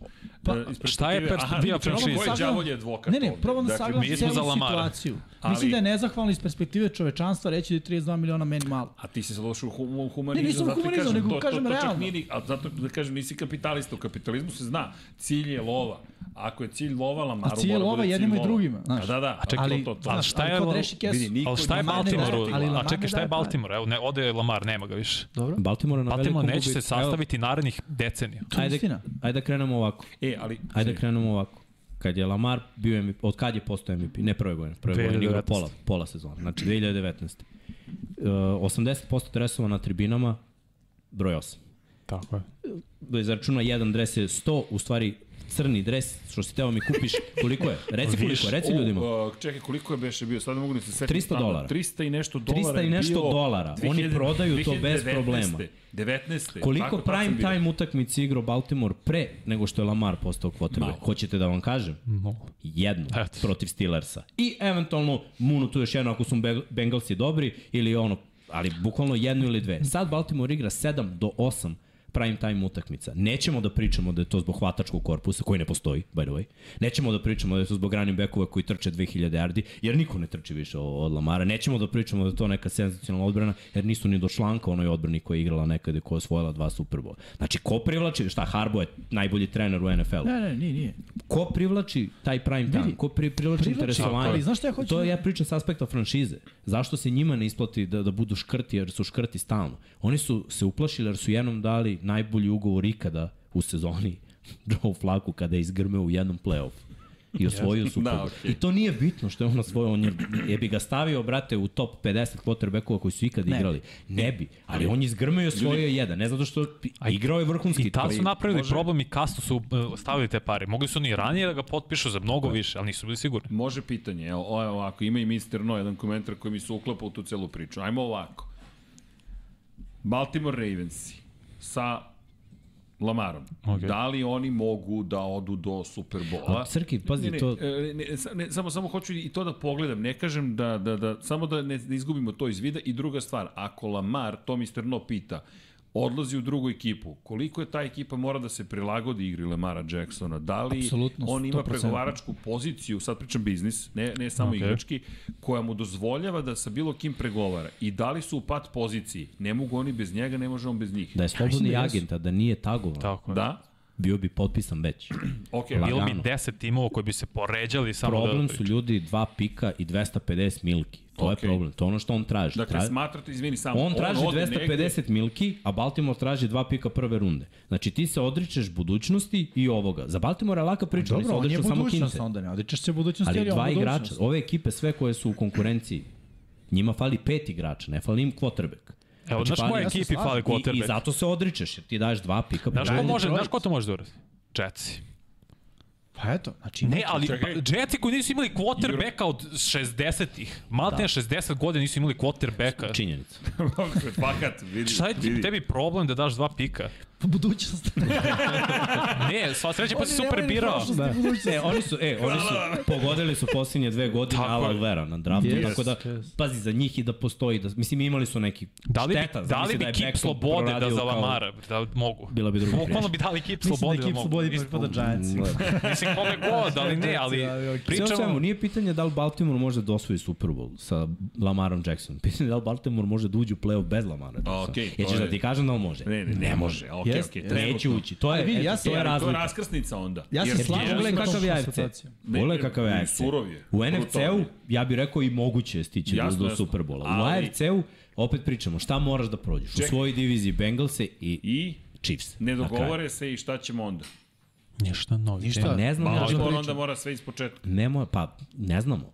[SPEAKER 2] Pa,
[SPEAKER 1] E, iz
[SPEAKER 3] šta je
[SPEAKER 1] perspektive-
[SPEAKER 3] perspektiva
[SPEAKER 1] Aha,
[SPEAKER 3] franšize?
[SPEAKER 1] Koji
[SPEAKER 2] Probam da
[SPEAKER 1] đavolj je
[SPEAKER 2] sagledam-
[SPEAKER 1] advokat?
[SPEAKER 2] Ne, ne,
[SPEAKER 1] ovde?
[SPEAKER 2] probam da
[SPEAKER 1] Dakle,
[SPEAKER 2] sagledam
[SPEAKER 3] mi smo
[SPEAKER 2] celu
[SPEAKER 3] za Lamara.
[SPEAKER 2] situaciju.
[SPEAKER 1] Ali-
[SPEAKER 2] Mislim da je nezahvalno iz perspektive čovečanstva reći da je 32 miliona meni malo.
[SPEAKER 1] A ti si se loš u hum- u humanizam.
[SPEAKER 2] Ne, nisam u
[SPEAKER 1] zato ti
[SPEAKER 2] humanizmu, nego kažem
[SPEAKER 1] to, to,
[SPEAKER 2] realno.
[SPEAKER 1] Čak nije, a zato da kažem, nisi kapitalista. U kapitalizmu se zna, cilj je lova. Ako je cilj lova, Lamaru
[SPEAKER 2] A cilj je
[SPEAKER 1] mora da
[SPEAKER 2] lova
[SPEAKER 1] bude cilj
[SPEAKER 2] jednima i
[SPEAKER 1] lova.
[SPEAKER 2] drugima,
[SPEAKER 1] A
[SPEAKER 2] znaš.
[SPEAKER 1] da, da, a čekaj,
[SPEAKER 2] ali,
[SPEAKER 1] to, to, to.
[SPEAKER 3] znaš,
[SPEAKER 2] znaš,
[SPEAKER 3] šta je
[SPEAKER 2] ali
[SPEAKER 3] ovo-
[SPEAKER 2] kod reši kesu.
[SPEAKER 1] vidi, niko
[SPEAKER 3] Ali šta je
[SPEAKER 1] njima ne
[SPEAKER 3] Baltimore
[SPEAKER 1] daje,
[SPEAKER 2] ali
[SPEAKER 3] uradilo? A
[SPEAKER 2] Lamar
[SPEAKER 3] čekaj,
[SPEAKER 2] ne
[SPEAKER 3] šta je
[SPEAKER 2] daje pare.
[SPEAKER 3] Baltimore? Evo, ne, ode Lamar, nema ga više.
[SPEAKER 2] Dobro.
[SPEAKER 4] Baltimore na
[SPEAKER 3] Baltimore
[SPEAKER 4] velikom
[SPEAKER 3] neće se
[SPEAKER 4] gubitku.
[SPEAKER 3] sastaviti narednih deceniju.
[SPEAKER 2] To je
[SPEAKER 4] ajde,
[SPEAKER 2] istina.
[SPEAKER 4] Ajde da krenemo ovako.
[SPEAKER 1] E, ali...
[SPEAKER 4] Ajde da krenemo ovako. Kad je Lamar bio MVP, od kad je postao MVP? Ne prve godine, prve godine igra
[SPEAKER 3] 2019.
[SPEAKER 4] pola, pola sezona, znači 2019. Uh, 80% dresova na tribinama, broj 8.
[SPEAKER 3] Tako je.
[SPEAKER 4] Da izračuna jedan dres je 100, u stvari crni dres, što si teo mi kupiš, koliko je? Reci koliko je, reci
[SPEAKER 1] O,
[SPEAKER 4] ljudima.
[SPEAKER 1] a, čekaj, koliko je beše bio? Sad ne mogu ni se setiti.
[SPEAKER 4] 300
[SPEAKER 1] stvarno.
[SPEAKER 4] dolara.
[SPEAKER 1] 300 i nešto dolara
[SPEAKER 4] 300 i
[SPEAKER 1] je
[SPEAKER 4] nešto
[SPEAKER 1] bilo
[SPEAKER 4] dolara. Oni
[SPEAKER 1] 2000
[SPEAKER 4] prodaju to bez
[SPEAKER 1] 2019.
[SPEAKER 4] problema.
[SPEAKER 1] 19.
[SPEAKER 4] Koliko
[SPEAKER 1] tako, tad sam
[SPEAKER 4] prime
[SPEAKER 1] bio.
[SPEAKER 4] time utakmici igrao Baltimore pre nego što je Lamar postao quarterback? Hoćete da vam kažem?
[SPEAKER 3] No.
[SPEAKER 4] jednu
[SPEAKER 3] Eto.
[SPEAKER 4] protiv Steelersa. I eventualno Munu tu još jedno ako su Beng- Bengalsi dobri ili ono, ali bukvalno jednu ili dve. Sad Baltimore igra 7 do 8 prime time utakmica. Nećemo da pričamo da je to zbog hvatačkog korpusa, koji ne postoji, by the way. Nećemo da pričamo da je to zbog running backova koji trče 2000 yardi, jer niko ne trči više o- od Lamara. Nećemo da pričamo da je to neka senzacionalna odbrana, jer nisu ni do članka onoj odbrani koja je igrala nekada, koja je osvojila dva Super Bowl. Znači, ko privlači, šta, Harbo je najbolji trener u NFL-u
[SPEAKER 2] Ne, ne, nije, nije.
[SPEAKER 4] ko privlači taj prime time,
[SPEAKER 2] Vidi,
[SPEAKER 4] ko pri, privlači,
[SPEAKER 2] privlači,
[SPEAKER 4] interesovanje.
[SPEAKER 2] ali znaš šta ja hoću
[SPEAKER 4] To
[SPEAKER 2] da-
[SPEAKER 4] ja pričam s aspekta franšize. Zašto se njima ne isplati da, da budu škrti, jer su škrti stalno. Oni su se uplašili jer su jednom dali najbolji ugovor ikada u sezoni Joe Flaku kada je izgrmeo u jednom play-off i osvojio su
[SPEAKER 1] Da,
[SPEAKER 4] da,
[SPEAKER 1] okej.
[SPEAKER 4] I to nije bitno što je on osvojio, on je, je bi ga stavio, brate, u top 50 quarterbackova koji su ikada
[SPEAKER 2] Ne bi.
[SPEAKER 4] igrali. Ne bi, ali on je izgrmeo i osvojio jedan, ne zato što igrao je vrhunski.
[SPEAKER 3] I tad
[SPEAKER 4] ali-
[SPEAKER 3] Da su napravili problem i kasno su uh, stavili te pare. Mogli su oni i ranije da ga potpišu za mnogo više, ali nisu bili
[SPEAKER 4] Da.
[SPEAKER 3] sigurni.
[SPEAKER 1] Može pitanje, evo, o, evo ovako, ima i Mr. No, jedan komentar koji mi se uklapa u tu celu priču. Ajmo ovako. Baltimore Ravensi sa Lamarom.
[SPEAKER 3] Ok.
[SPEAKER 1] Okay. Da li oni mogu da odu do Super Bola?
[SPEAKER 4] A, Srki, pazi,
[SPEAKER 1] ne, ne,
[SPEAKER 4] to-
[SPEAKER 1] e, Ne, sa- ne, samo, samo hoću i to da pogledam. Ne kažem da, da, da samo da ne, ne izgubimo to iz vida. I druga stvar, ako Lamar, to Mr. No pita, odlazi u drugu ekipu, koliko je ta ekipa mora da se prilagodi igri Lamara Jacksona? Da li
[SPEAKER 2] Apsolutno,
[SPEAKER 1] on ima
[SPEAKER 2] 100%.
[SPEAKER 1] pregovaračku poziciju, sad pričam biznis, ne, ne samo
[SPEAKER 3] Ok.
[SPEAKER 1] okay. igrački, koja mu dozvoljava da sa bilo kim pregovara. I da li su u pat poziciji? Ne mogu oni bez njega, ne može on bez njih.
[SPEAKER 4] Da je slobodni
[SPEAKER 2] da jesu.
[SPEAKER 4] agent, a da nije tagovan.
[SPEAKER 3] Tako je.
[SPEAKER 1] Da?
[SPEAKER 4] bio bi potpisan već.
[SPEAKER 1] Ok,
[SPEAKER 3] Bilo bi
[SPEAKER 4] Lagano.
[SPEAKER 3] 10 timova koji bi se poređali samo
[SPEAKER 4] problem
[SPEAKER 3] da...
[SPEAKER 4] su ljudi dva pika i 250 milki. To okay. je
[SPEAKER 1] Okej.
[SPEAKER 4] problem. To je ono što on traži.
[SPEAKER 3] da.
[SPEAKER 1] Dakle,
[SPEAKER 4] Traži-
[SPEAKER 1] smatrate, izvini samo,
[SPEAKER 4] On traži
[SPEAKER 1] ode
[SPEAKER 4] 250
[SPEAKER 1] negde-
[SPEAKER 4] milki, a Baltimore traži dva pika prve runde. Znači ti se odričeš budućnosti i ovoga. Za Baltimore je laka priča, oni se
[SPEAKER 2] Dobro, on je
[SPEAKER 4] odriču samo
[SPEAKER 2] budućnost
[SPEAKER 4] Kinte.
[SPEAKER 2] onda, ne odričeš se budućnosti,
[SPEAKER 4] Ali
[SPEAKER 2] jer je
[SPEAKER 4] dva
[SPEAKER 2] on
[SPEAKER 4] igrača,
[SPEAKER 2] budućnost.
[SPEAKER 4] ove ekipe sve koje su u konkurenciji, njima fali pet igrača, ne fali im quarterback.
[SPEAKER 3] Evo, znaš
[SPEAKER 4] fali-
[SPEAKER 3] koja
[SPEAKER 2] ja se
[SPEAKER 3] ekipi
[SPEAKER 2] slažem.
[SPEAKER 3] fali
[SPEAKER 4] I, I
[SPEAKER 3] quarterback?
[SPEAKER 4] zato se odričeš, jer ti daješ dva pika.
[SPEAKER 3] Znaš
[SPEAKER 4] prve
[SPEAKER 3] ko
[SPEAKER 2] Dalje
[SPEAKER 3] može,
[SPEAKER 2] Detroit.
[SPEAKER 3] znaš ko to može da uradi? Jetsi.
[SPEAKER 2] Pa eto, znači...
[SPEAKER 3] Ne, ali pa,
[SPEAKER 1] Čekaj.
[SPEAKER 3] Jetsi koji nisu imali quarterbacka od 60-ih. Malte
[SPEAKER 4] Da.
[SPEAKER 3] da. 60 godina nisu imali quarterbacka.
[SPEAKER 4] Činjenica.
[SPEAKER 1] Fakat, vidi.
[SPEAKER 3] Šta je ti,
[SPEAKER 1] vidi.
[SPEAKER 3] tebi problem da daš dva pika?
[SPEAKER 2] Budućnost.
[SPEAKER 3] Ne, sva sreća pa
[SPEAKER 2] Oni
[SPEAKER 3] si
[SPEAKER 2] nemaju
[SPEAKER 3] super
[SPEAKER 2] ni
[SPEAKER 3] birao.
[SPEAKER 2] prošlost.
[SPEAKER 4] Da. E, oni su, e, oni su pogodili su posljednje dve godine
[SPEAKER 3] Tako je.
[SPEAKER 4] Ala Vera na draftu,
[SPEAKER 2] Yes,
[SPEAKER 4] tako da,
[SPEAKER 2] yes.
[SPEAKER 4] pazi, za njih i da postoji, da, mislim, imali su neki
[SPEAKER 3] Da li bi,
[SPEAKER 4] šteta,
[SPEAKER 3] da li
[SPEAKER 4] zamisli
[SPEAKER 3] bi
[SPEAKER 4] je
[SPEAKER 3] kip
[SPEAKER 4] Beckham
[SPEAKER 3] slobode da
[SPEAKER 4] proradio
[SPEAKER 3] za
[SPEAKER 4] kao-
[SPEAKER 3] Lamara, da mogu.
[SPEAKER 4] Bila bi druga
[SPEAKER 3] Bukvalno
[SPEAKER 4] priča.
[SPEAKER 3] bi dali kip
[SPEAKER 2] Mislim da
[SPEAKER 3] slobode da,
[SPEAKER 2] ekipu
[SPEAKER 3] mogu.
[SPEAKER 2] slobodi
[SPEAKER 3] Mislim-
[SPEAKER 2] pripada
[SPEAKER 4] Da.
[SPEAKER 2] Giants.
[SPEAKER 3] Mislim kome god, ali ne, ali
[SPEAKER 2] Ali, okej.
[SPEAKER 4] Sve o
[SPEAKER 3] pričamo...
[SPEAKER 4] svemu, nije pitanje da li Baltimore može da osvoji Super Bowl sa Lamarom Jacksonom. Pitanje je da li Baltimore može da uđe u play-off bez Lamara Jacksona.
[SPEAKER 1] okej, to
[SPEAKER 4] Jećeš
[SPEAKER 1] je-
[SPEAKER 4] da ti kažem da on može.
[SPEAKER 1] Ne, ne, ne može. Ok,
[SPEAKER 2] Jest,
[SPEAKER 1] ok,
[SPEAKER 2] jest.
[SPEAKER 1] treba.
[SPEAKER 4] Neće ući. To
[SPEAKER 2] Ali
[SPEAKER 4] je,
[SPEAKER 2] vidi,
[SPEAKER 4] eto,
[SPEAKER 2] ja se-
[SPEAKER 4] to je
[SPEAKER 2] ali to je
[SPEAKER 1] To je
[SPEAKER 4] razlika.
[SPEAKER 1] raskrsnica onda.
[SPEAKER 2] Ja se
[SPEAKER 1] Jer-
[SPEAKER 2] slažem,
[SPEAKER 1] jer-
[SPEAKER 4] Pogledaj
[SPEAKER 2] Užasno
[SPEAKER 4] Pa, kakav je
[SPEAKER 2] točna
[SPEAKER 4] AFC.
[SPEAKER 2] situacija.
[SPEAKER 1] Ne,
[SPEAKER 4] Pogledaj kakav je
[SPEAKER 1] ne,
[SPEAKER 4] AFC.
[SPEAKER 1] surov je.
[SPEAKER 4] U
[SPEAKER 1] Brutalno.
[SPEAKER 4] NFC-u, ja bih rekao i moguće je stići
[SPEAKER 1] Jasno,
[SPEAKER 4] do, do
[SPEAKER 1] jasno.
[SPEAKER 4] Super Bowl-a. U
[SPEAKER 1] Ali-
[SPEAKER 4] AFC-u, opet pričamo, šta moraš da prođeš? U
[SPEAKER 1] Čekaj.
[SPEAKER 4] svojoj diviziji Bengalse i, i
[SPEAKER 1] I
[SPEAKER 4] Chiefs.
[SPEAKER 1] ne
[SPEAKER 4] na kraju.
[SPEAKER 1] dogovore se i šta ćemo onda?
[SPEAKER 3] Ništa novi.
[SPEAKER 2] Ništa.
[SPEAKER 4] Pa Ne znam, ja
[SPEAKER 1] Baltimore onda mora sve iz početka.
[SPEAKER 4] Ne mo, pa ne znamo.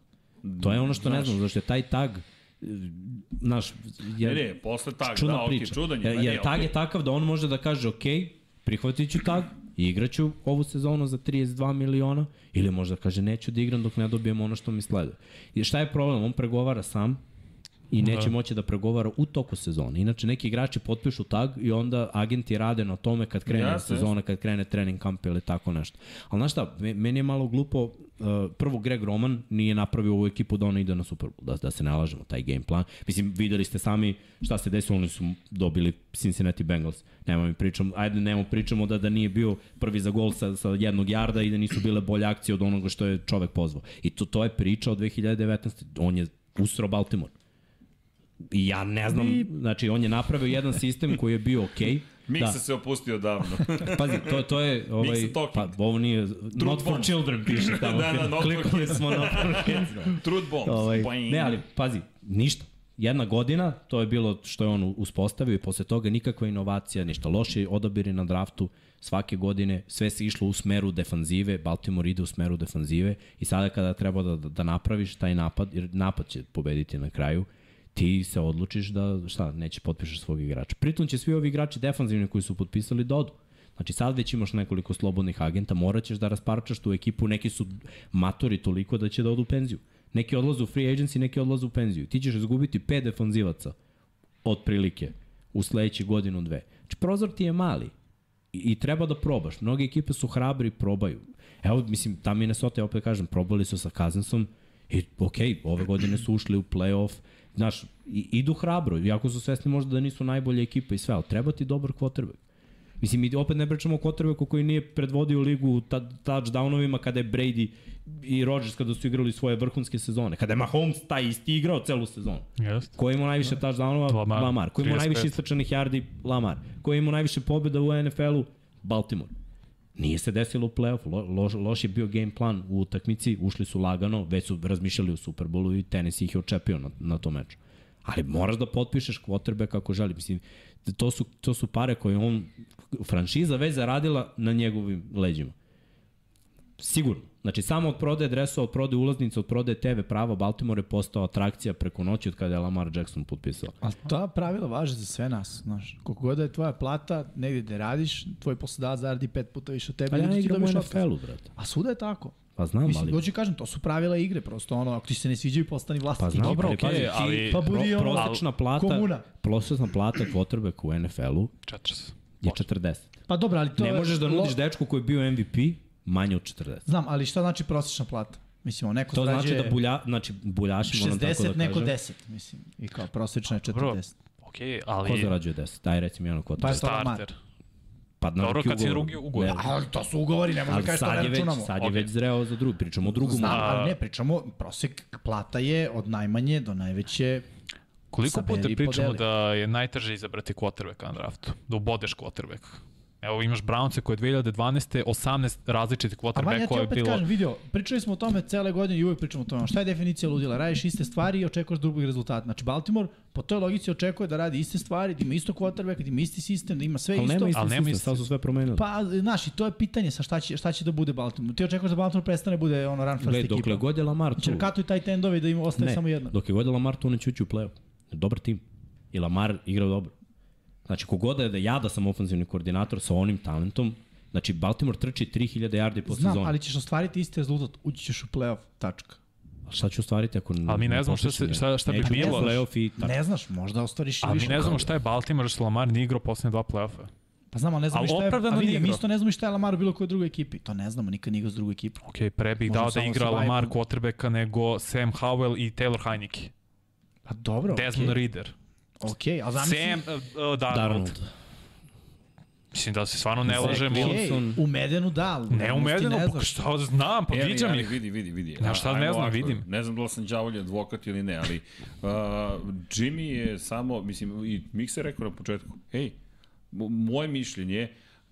[SPEAKER 4] To je ono što ne znamo, zašto je taj tag e, naš je
[SPEAKER 1] Ne, ne, posle tag,
[SPEAKER 4] čudna
[SPEAKER 1] da, ok,
[SPEAKER 4] priča.
[SPEAKER 1] čudan je.
[SPEAKER 4] jer,
[SPEAKER 1] ne,
[SPEAKER 4] jer
[SPEAKER 1] ne,
[SPEAKER 4] tag
[SPEAKER 1] okej.
[SPEAKER 4] je takav da on može da kaže ok, prihvatit ću tag i igraću ovu sezonu za 32 miliona ili možda kaže neću da igram dok ne dobijem ono što mi sleduje. I šta je problem? On pregovara sam i neće moći da pregovara u toku sezone. Inače, neki igrači potpišu tag i onda agenti rade na tome kad krene
[SPEAKER 1] Jasno,
[SPEAKER 4] sezona, kad krene trening kamp ili tako nešto. Ali znaš šta, me- meni je malo glupo, uh, prvo Greg Roman nije napravio ovu ekipu da ona ide na Super Bowl, da, da se nalažemo taj game plan. Mislim, videli ste sami šta se desilo, oni su dobili Cincinnati Bengals. Nema mi pričamo, ajde nemo pričamo da da nije bio prvi za gol sa, sa jednog jarda i da nisu bile bolje akcije od onoga što je čovek pozvao. I to, to je priča od 2019. On je usro Baltimore. I ja ne znam, znači on je napravio jedan sistem koji je bio okej. Okay.
[SPEAKER 1] Miksa se opustio davno.
[SPEAKER 4] Pazi, to, to je... Ovaj,
[SPEAKER 1] Mixed talking.
[SPEAKER 4] pa, ovo nije... not for
[SPEAKER 1] bombs.
[SPEAKER 4] children piše tamo.
[SPEAKER 1] Da, da, not for
[SPEAKER 4] Kliknuli smo na
[SPEAKER 1] Truth bombs.
[SPEAKER 4] ovaj,
[SPEAKER 3] Pa
[SPEAKER 1] Boing.
[SPEAKER 4] Ne, ali pazi, ništa. Jedna godina, to je bilo što je on uspostavio i posle toga nikakva inovacija, ništa. Loši odabiri na draftu svake godine, sve se išlo u smeru defanzive, Baltimore ide u smeru defanzive i sada kada treba da, da napraviš taj napad, jer napad će pobediti na kraju, ti se odlučiš da, šta, neće potpišeš svog igrača. Pritom će svi ovi igrači defanzivni koji su potpisali da odu. Znači sad već imaš nekoliko slobodnih agenta, morat ćeš da rasparčaš tu ekipu, neki su matori toliko da će da odu u penziju. Neki odlaze u free agency, neki odlaze u penziju. Ti ćeš izgubiti pet defanzivaca otprilike u sledeći godinu dve. Znači prozor ti je mali i, i treba da probaš. Mnoge ekipe su hrabri i probaju. Evo, mislim, ta Minnesota, ja opet kažem, probali su sa Kazensom i okej, ove godine su ušli u playoff. Znaš, i, idu hrabro, iako su svesni možda da nisu najbolje ekipa i sve, ali treba ti dobar quarterback. Mislim, mi opet ne pričamo o quarterbacku koji nije predvodio ligu u ta- touchdownovima kada je Brady i Rodgers kada su igrali svoje vrhunske sezone. Kada je Mahomes taj isti igrao celu sezonu.
[SPEAKER 3] Jeste.
[SPEAKER 4] Ko je imao najviše touchdownova? Lamar.
[SPEAKER 3] Lamar.
[SPEAKER 4] Lamar. Ko je imao
[SPEAKER 3] 35.
[SPEAKER 4] najviše istračanih yardi? Lamar. Ko je imao najviše pobjeda u NFL-u? Baltimore. Nije se desilo u play-offu, Lo, loš, loš je bio game plan u utakmici, ušli su lagano, već su razmišljali u Super Bowlu i Tennessee ih je očepio na, na tom meču. Ali moraš da potpišeš quarterback ako želi. Mislim, to su, to su pare koje on, franšiza već zaradila na njegovim leđima. Sigurno. Znači, samo od prodaje dresa, od prodaje ulaznica, od prodaje TV prava, Baltimore je postao atrakcija preko noći od kada je Lamar Jackson potpisao.
[SPEAKER 2] Ali ta pravila važe za sve nas, znaš. Koliko god da je tvoja plata, negdje gde radiš, tvoj poslodavac zaradi pet puta više od tebe.
[SPEAKER 4] Pa ja
[SPEAKER 2] ili ti
[SPEAKER 4] igram u
[SPEAKER 2] dobiješ otkaz.
[SPEAKER 4] NFL-u, brate.
[SPEAKER 2] A svuda je tako.
[SPEAKER 4] Pa znam,
[SPEAKER 2] Mislim,
[SPEAKER 4] ali...
[SPEAKER 2] dođi kažem, to su pravila igre, prosto ono, ako ti se ne sviđaju, postani vlasnik.
[SPEAKER 4] Pa znam,
[SPEAKER 2] ekipe.
[SPEAKER 3] Dobro,
[SPEAKER 4] ali
[SPEAKER 3] okej,
[SPEAKER 4] pazi, ti-
[SPEAKER 3] ali-
[SPEAKER 2] Pa budi
[SPEAKER 4] Pro,
[SPEAKER 2] ono,
[SPEAKER 4] prosečna plata,
[SPEAKER 2] komuna.
[SPEAKER 4] prosečna plata quarterbacka u NFL-u
[SPEAKER 3] Četrs.
[SPEAKER 4] je 40.
[SPEAKER 2] Pa dobro, ali to
[SPEAKER 4] Ne
[SPEAKER 2] je...
[SPEAKER 4] možeš da
[SPEAKER 2] lo-
[SPEAKER 4] nudiš dečku koji je bio MVP manje od 40.
[SPEAKER 2] Znam, ali šta znači prosječna plata? Mislim, on neko
[SPEAKER 4] To znači
[SPEAKER 2] zarađuje
[SPEAKER 4] da bulja, znači buljašimo, ono tako
[SPEAKER 2] 60,
[SPEAKER 4] da
[SPEAKER 2] neko
[SPEAKER 4] kažem.
[SPEAKER 2] 10, mislim. I kao prosječna je 40.
[SPEAKER 3] Okej,
[SPEAKER 4] Ko
[SPEAKER 3] ali
[SPEAKER 4] zarađuje 10? Daj recimo jedno ko
[SPEAKER 2] Pa,
[SPEAKER 4] pa,
[SPEAKER 3] starter.
[SPEAKER 4] pa na
[SPEAKER 3] Dobro,
[SPEAKER 4] neki
[SPEAKER 3] kad si
[SPEAKER 4] ugovor.
[SPEAKER 3] drugi ugovor.
[SPEAKER 4] Ne,
[SPEAKER 2] Ali to su ugovori, ne možemo
[SPEAKER 4] Ali
[SPEAKER 2] kažeš to
[SPEAKER 4] sad
[SPEAKER 2] ne
[SPEAKER 4] je, već,
[SPEAKER 2] računamo.
[SPEAKER 4] sad je
[SPEAKER 3] Ok.
[SPEAKER 4] već zreo za drugi, pričamo o drugom.
[SPEAKER 2] Znam,
[SPEAKER 4] ugovoru.
[SPEAKER 2] ali ne, pričamo, prosek plata je od najmanje do najveće
[SPEAKER 3] Koliko
[SPEAKER 2] Saberi
[SPEAKER 3] puta pričamo
[SPEAKER 2] podeli.
[SPEAKER 3] da je najteže izabrati quarterbacka na draftu? Da ubodeš quarterback. Evo imaš Brownce koji je 2012. 18 različitih
[SPEAKER 2] A Pa manje ja ti
[SPEAKER 3] quarterbackova je
[SPEAKER 2] opet
[SPEAKER 3] bilo.
[SPEAKER 2] kažem, vidio, pričali smo o tome cele godine i uvek pričamo o tome. Šta je definicija ludila? Radiš iste stvari i očekuješ drugi rezultat. Znači, Baltimore po toj logici očekuje da radi iste stvari, da ima isto quarterback, da ima isti sistem, da ima sve
[SPEAKER 4] Ali
[SPEAKER 2] isto.
[SPEAKER 4] nema isti
[SPEAKER 3] Ali nema
[SPEAKER 4] sistem,
[SPEAKER 3] isti-
[SPEAKER 4] sad su sve promenili.
[SPEAKER 2] Pa, znaš, i to je pitanje sa šta će, šta će da bude Baltimore. Ti očekuješ da Baltimore prestane bude ono run first
[SPEAKER 4] Gle,
[SPEAKER 2] ekipa. Znači,
[SPEAKER 4] dokle god je Lamar tu,
[SPEAKER 2] Jer katu i taj tendovi da im ostaje
[SPEAKER 4] ne,
[SPEAKER 2] samo jedna.
[SPEAKER 4] dok je god je Lamar tu, oni će ući u play-off. Dobar tim. I Lamar igra dobro. Znači, kogoda je da ja da sam ofenzivni koordinator sa onim talentom, znači Baltimore trči 3000 yardi po
[SPEAKER 2] Znam,
[SPEAKER 4] sezoni.
[SPEAKER 2] ali ćeš ostvariti isti rezultat, ući ćeš u playoff, tačka. Pa
[SPEAKER 4] A šta će ostvariti ako ne
[SPEAKER 3] Ali mi ne znamo šta
[SPEAKER 4] postigne?
[SPEAKER 3] se- šta- šta bi
[SPEAKER 4] Neće
[SPEAKER 3] bilo.
[SPEAKER 4] u play-off i tako.
[SPEAKER 2] Ne znaš, možda ostvariš i
[SPEAKER 3] A mi
[SPEAKER 2] više.
[SPEAKER 3] ne znamo šta je Baltimore, što Lamar nije igrao poslednje dva play-offa.
[SPEAKER 2] Pa znamo, ne znamo
[SPEAKER 3] Ali
[SPEAKER 2] ni šta je,
[SPEAKER 3] opravdano
[SPEAKER 2] a vidi,
[SPEAKER 3] nije
[SPEAKER 2] mi
[SPEAKER 3] igrao.
[SPEAKER 2] isto ne znamo ni šta je Lamar u bilo kojoj drugoj ekipi. To ne znamo, nikad nije igrao s drugoj ekipom.
[SPEAKER 3] Ok, pre bih
[SPEAKER 2] Možda
[SPEAKER 3] dao da
[SPEAKER 2] samo
[SPEAKER 3] igra
[SPEAKER 2] survival.
[SPEAKER 3] Lamar quarterbacka nego Sam Howell i Taylor Heineke.
[SPEAKER 2] Pa dobro, okej.
[SPEAKER 3] Desmond Reader.
[SPEAKER 2] Okej, a zamisli...
[SPEAKER 3] Sam uh, uh, Darnold.
[SPEAKER 4] Darnold.
[SPEAKER 3] Mislim da se stvarno ne lažemo.
[SPEAKER 4] Wilson.
[SPEAKER 2] Okej, u Medenu da, ali...
[SPEAKER 3] Ne umedeno,
[SPEAKER 2] Ne
[SPEAKER 3] pa
[SPEAKER 2] znaš.
[SPEAKER 3] šta znam, pa
[SPEAKER 1] Eli,
[SPEAKER 3] viđam
[SPEAKER 1] ali
[SPEAKER 3] ih.
[SPEAKER 1] Vidi, vidi, vidi.
[SPEAKER 3] Ja
[SPEAKER 1] A,
[SPEAKER 3] šta
[SPEAKER 1] ajmo
[SPEAKER 3] ne znam,
[SPEAKER 1] ovako,
[SPEAKER 3] vidim.
[SPEAKER 1] Ne znam da li sam đavolji advokat ili ne, ali uh, Jimmy je samo, mislim, i Miksa je rekao na početku, hej, mo- moje mišljenje,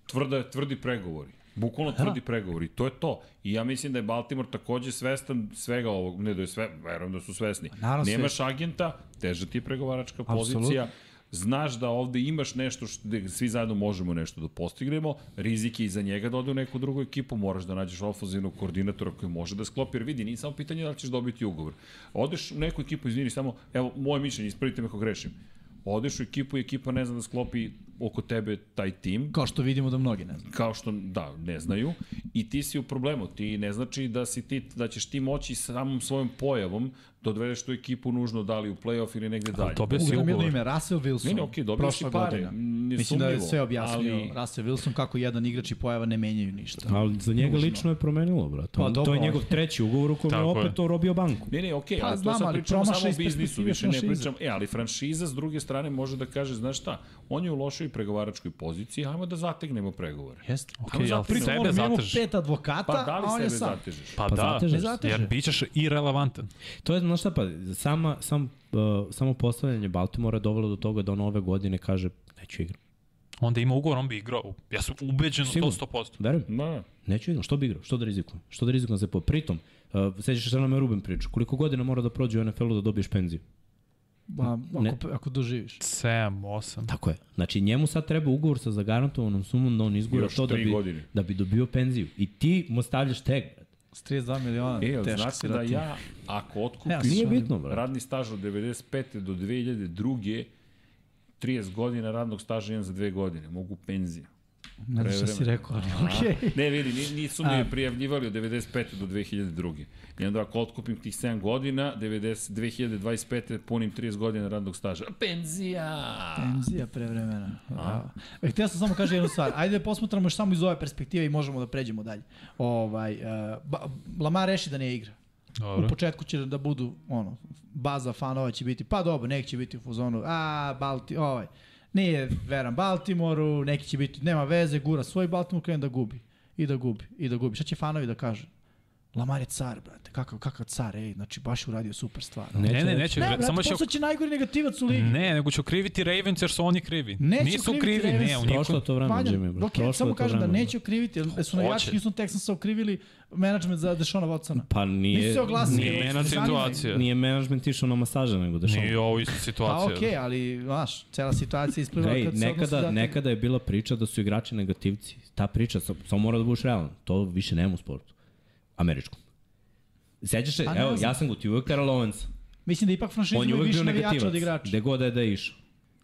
[SPEAKER 1] tvrda, tvrdi pregovori. Bukvalno tvrdi pregovori, to je to. I ja mislim da je Baltimore takođe svestan svega ovog, ne da je sve, verujem da su svesni.
[SPEAKER 2] naravno
[SPEAKER 1] Nemaš agenta, teža ti je pregovaračka
[SPEAKER 2] Apsolutno.
[SPEAKER 1] pozicija, znaš da ovde imaš nešto što, gde svi zajedno možemo nešto da postignemo, rizik je i za njega da ode u neku drugu ekipu, moraš da nađeš ofenzivnog koordinatora koji može da sklopi, jer vidi, nije samo pitanje da li ćeš dobiti ugovor. Odeš u neku ekipu, izvini, samo, evo, moje mišljenje, ispravite me ako grešim. Odeš u ekipu i ekipa ne zna da sklopi oko tebe taj tim,
[SPEAKER 2] Kao što vidimo da mnogi ne znaju.
[SPEAKER 1] kao što da ne znaju i ti si u problemu ti ne znači da si ti da ćeš ti moći samom svojom pojavom da odvedeš tu ekipu nužno da li u plej-of ili negde dalje.
[SPEAKER 3] Dobio si
[SPEAKER 2] Uglavnom jedno
[SPEAKER 3] ugovor.
[SPEAKER 2] ime, Russell Wilson.
[SPEAKER 1] Ne, ne, okej, dobio
[SPEAKER 2] prošle
[SPEAKER 1] si pare,
[SPEAKER 2] godine.
[SPEAKER 1] n- ne
[SPEAKER 2] Mislim da je
[SPEAKER 1] sumnjivo,
[SPEAKER 2] sve objasnio
[SPEAKER 1] ali-
[SPEAKER 2] Russell Wilson kako jedan igrač i pojava ne menjaju ništa.
[SPEAKER 4] Ali za njega lično je promenilo, brate.
[SPEAKER 2] Pa
[SPEAKER 4] On- to
[SPEAKER 2] dobro,
[SPEAKER 4] je njegov
[SPEAKER 2] ali-
[SPEAKER 4] treći ugovor u kojem je
[SPEAKER 3] Tako je.
[SPEAKER 4] opet on robio banku.
[SPEAKER 1] Ne, ne, okej,
[SPEAKER 2] Pa,
[SPEAKER 1] okay, ali
[SPEAKER 2] znam,
[SPEAKER 1] to sad
[SPEAKER 2] ali
[SPEAKER 1] pričamo
[SPEAKER 2] promašaj
[SPEAKER 1] samo o
[SPEAKER 2] iz
[SPEAKER 1] biznisu,
[SPEAKER 2] perspektive
[SPEAKER 1] više ne
[SPEAKER 2] franšize.
[SPEAKER 1] pričam. E, ali franšiza s druge strane može da kaže, znaš šta, on je u lošoj pregovaračkoj poziciji, ajmo da zategnemo pregovore.
[SPEAKER 2] Jeste.
[SPEAKER 3] Okej, ali
[SPEAKER 1] Pritom
[SPEAKER 3] sebe
[SPEAKER 2] Ono, mi imamo
[SPEAKER 3] zateži.
[SPEAKER 2] pet advokata,
[SPEAKER 1] Pa da li
[SPEAKER 2] a on je
[SPEAKER 1] sebe
[SPEAKER 2] sam.
[SPEAKER 1] zatežeš?
[SPEAKER 3] Pa,
[SPEAKER 4] Pa
[SPEAKER 3] da,
[SPEAKER 4] zatežeš.
[SPEAKER 2] Zatežeš.
[SPEAKER 3] jer bit ćeš irelevantan.
[SPEAKER 4] To je, znaš šta, pa, sama, sam, uh, samo postavljanje Baltimora je dovelo do toga da on ove godine kaže, neću igram.
[SPEAKER 3] Onda ima ugovor, on bi igrao. Ja sam ubeđen u
[SPEAKER 4] Sigurno.
[SPEAKER 3] to 100%.
[SPEAKER 4] Verujem,
[SPEAKER 1] Da,
[SPEAKER 4] neću igram, što bi igrao, što da rizikujem, što da rizikujem za po. Pritom, uh, sećaš se na me Ruben priču, koliko godina mora da prođe u NFL-u da dobiješ penziju?
[SPEAKER 2] Ma,
[SPEAKER 4] Ne.
[SPEAKER 2] Pa, ako, ako doživiš.
[SPEAKER 3] 7, 8.
[SPEAKER 4] Tako je. Znači njemu sad treba ugovor sa zagarantovanom sumom da on izgura
[SPEAKER 1] Još
[SPEAKER 4] to da
[SPEAKER 1] tri
[SPEAKER 4] bi,
[SPEAKER 1] godine.
[SPEAKER 4] da bi dobio penziju. I ti mu stavljaš tag. brate.
[SPEAKER 2] S 32 miliona,
[SPEAKER 1] E, jel
[SPEAKER 2] teško
[SPEAKER 1] znate
[SPEAKER 2] si
[SPEAKER 1] da
[SPEAKER 2] ratim.
[SPEAKER 1] ja, ako
[SPEAKER 2] Ne,
[SPEAKER 1] otkupim
[SPEAKER 2] ali
[SPEAKER 4] Nije
[SPEAKER 2] Šalim.
[SPEAKER 4] bitno, brate.
[SPEAKER 1] radni staž od 95. do 2002. 30 godina radnog staža imam za dve godine, mogu penzija.
[SPEAKER 2] Ne znam šta si
[SPEAKER 1] prevremeno.
[SPEAKER 2] rekao, ali okej.
[SPEAKER 1] Ne, vidi, ni- nisu mi prijavljivali od 95. do 2002. I onda ako otkupim tih 7 godina, 90, 2025. punim 30 godina radnog staža. Penzija!
[SPEAKER 2] Penzija prevremena. Da. E, Htio sam samo kažem jednu stvar. Ajde da posmatramo još samo iz ove perspektive i možemo da pređemo dalje. Ovaj, uh, ba, Lamar reši da ne igra. U
[SPEAKER 3] Dobro.
[SPEAKER 2] početku će da budu, ono, baza fanova će biti, pa dobro, neki će biti u fuzonu, a, Balti, ovaj, nije veran Baltimoru, neki će biti, nema veze, gura svoj Baltimore, krene da gubi, i da gubi, i da gubi. Šta će fanovi da kažu? Lamar je car, brate, kakav, kakav car, ej, znači baš je uradio super stvar. Ne,
[SPEAKER 3] Ne, ne, neće.
[SPEAKER 2] brate,
[SPEAKER 3] samo
[SPEAKER 2] samo
[SPEAKER 3] će...
[SPEAKER 2] postaće najgori negativac u ligi.
[SPEAKER 3] Ne, nego ću kriviti Ravens jer su oni krivi.
[SPEAKER 2] Neću
[SPEAKER 3] Nisu
[SPEAKER 2] kriviti
[SPEAKER 3] krivi, ne,
[SPEAKER 2] Ravens.
[SPEAKER 3] u
[SPEAKER 4] Prošlo
[SPEAKER 3] nikom.
[SPEAKER 4] je to vreme,
[SPEAKER 2] Vanja,
[SPEAKER 4] Jimmy. bro.
[SPEAKER 2] dok
[SPEAKER 4] Prošlo
[SPEAKER 2] je,
[SPEAKER 4] je
[SPEAKER 2] samo
[SPEAKER 4] to
[SPEAKER 2] kažem da
[SPEAKER 4] vreme,
[SPEAKER 2] neće okriviti, jer su navijači
[SPEAKER 3] Hoće.
[SPEAKER 2] Houston Texansa okrivili management za Dešona Watsona.
[SPEAKER 4] Pa nije,
[SPEAKER 2] Nisu se oglasili.
[SPEAKER 4] nije,
[SPEAKER 3] Nije
[SPEAKER 2] Zanima
[SPEAKER 3] ena
[SPEAKER 2] ih.
[SPEAKER 3] situacija.
[SPEAKER 4] nije management išao na masaže nego da
[SPEAKER 3] Nije ovo ista situacija.
[SPEAKER 2] Pa okej, okay, ali, znaš, cela situacija ispliva
[SPEAKER 4] Ej,
[SPEAKER 2] kad se odnosi
[SPEAKER 4] nekada,
[SPEAKER 2] za...
[SPEAKER 4] nekada je bila priča da su igrači negativci. Ta priča, sa- samo mora da budeš realan. To više nema u sportu. Američkom. Sećaš se,
[SPEAKER 2] A ne
[SPEAKER 4] evo,
[SPEAKER 2] znam.
[SPEAKER 4] ja sam ti uvek Terrell Owens.
[SPEAKER 2] Mislim da ipak franšiza
[SPEAKER 4] On je
[SPEAKER 2] ima
[SPEAKER 4] uvek bio
[SPEAKER 2] više navijača od
[SPEAKER 4] negativac.
[SPEAKER 2] igrača.
[SPEAKER 4] Gde god je da je išao.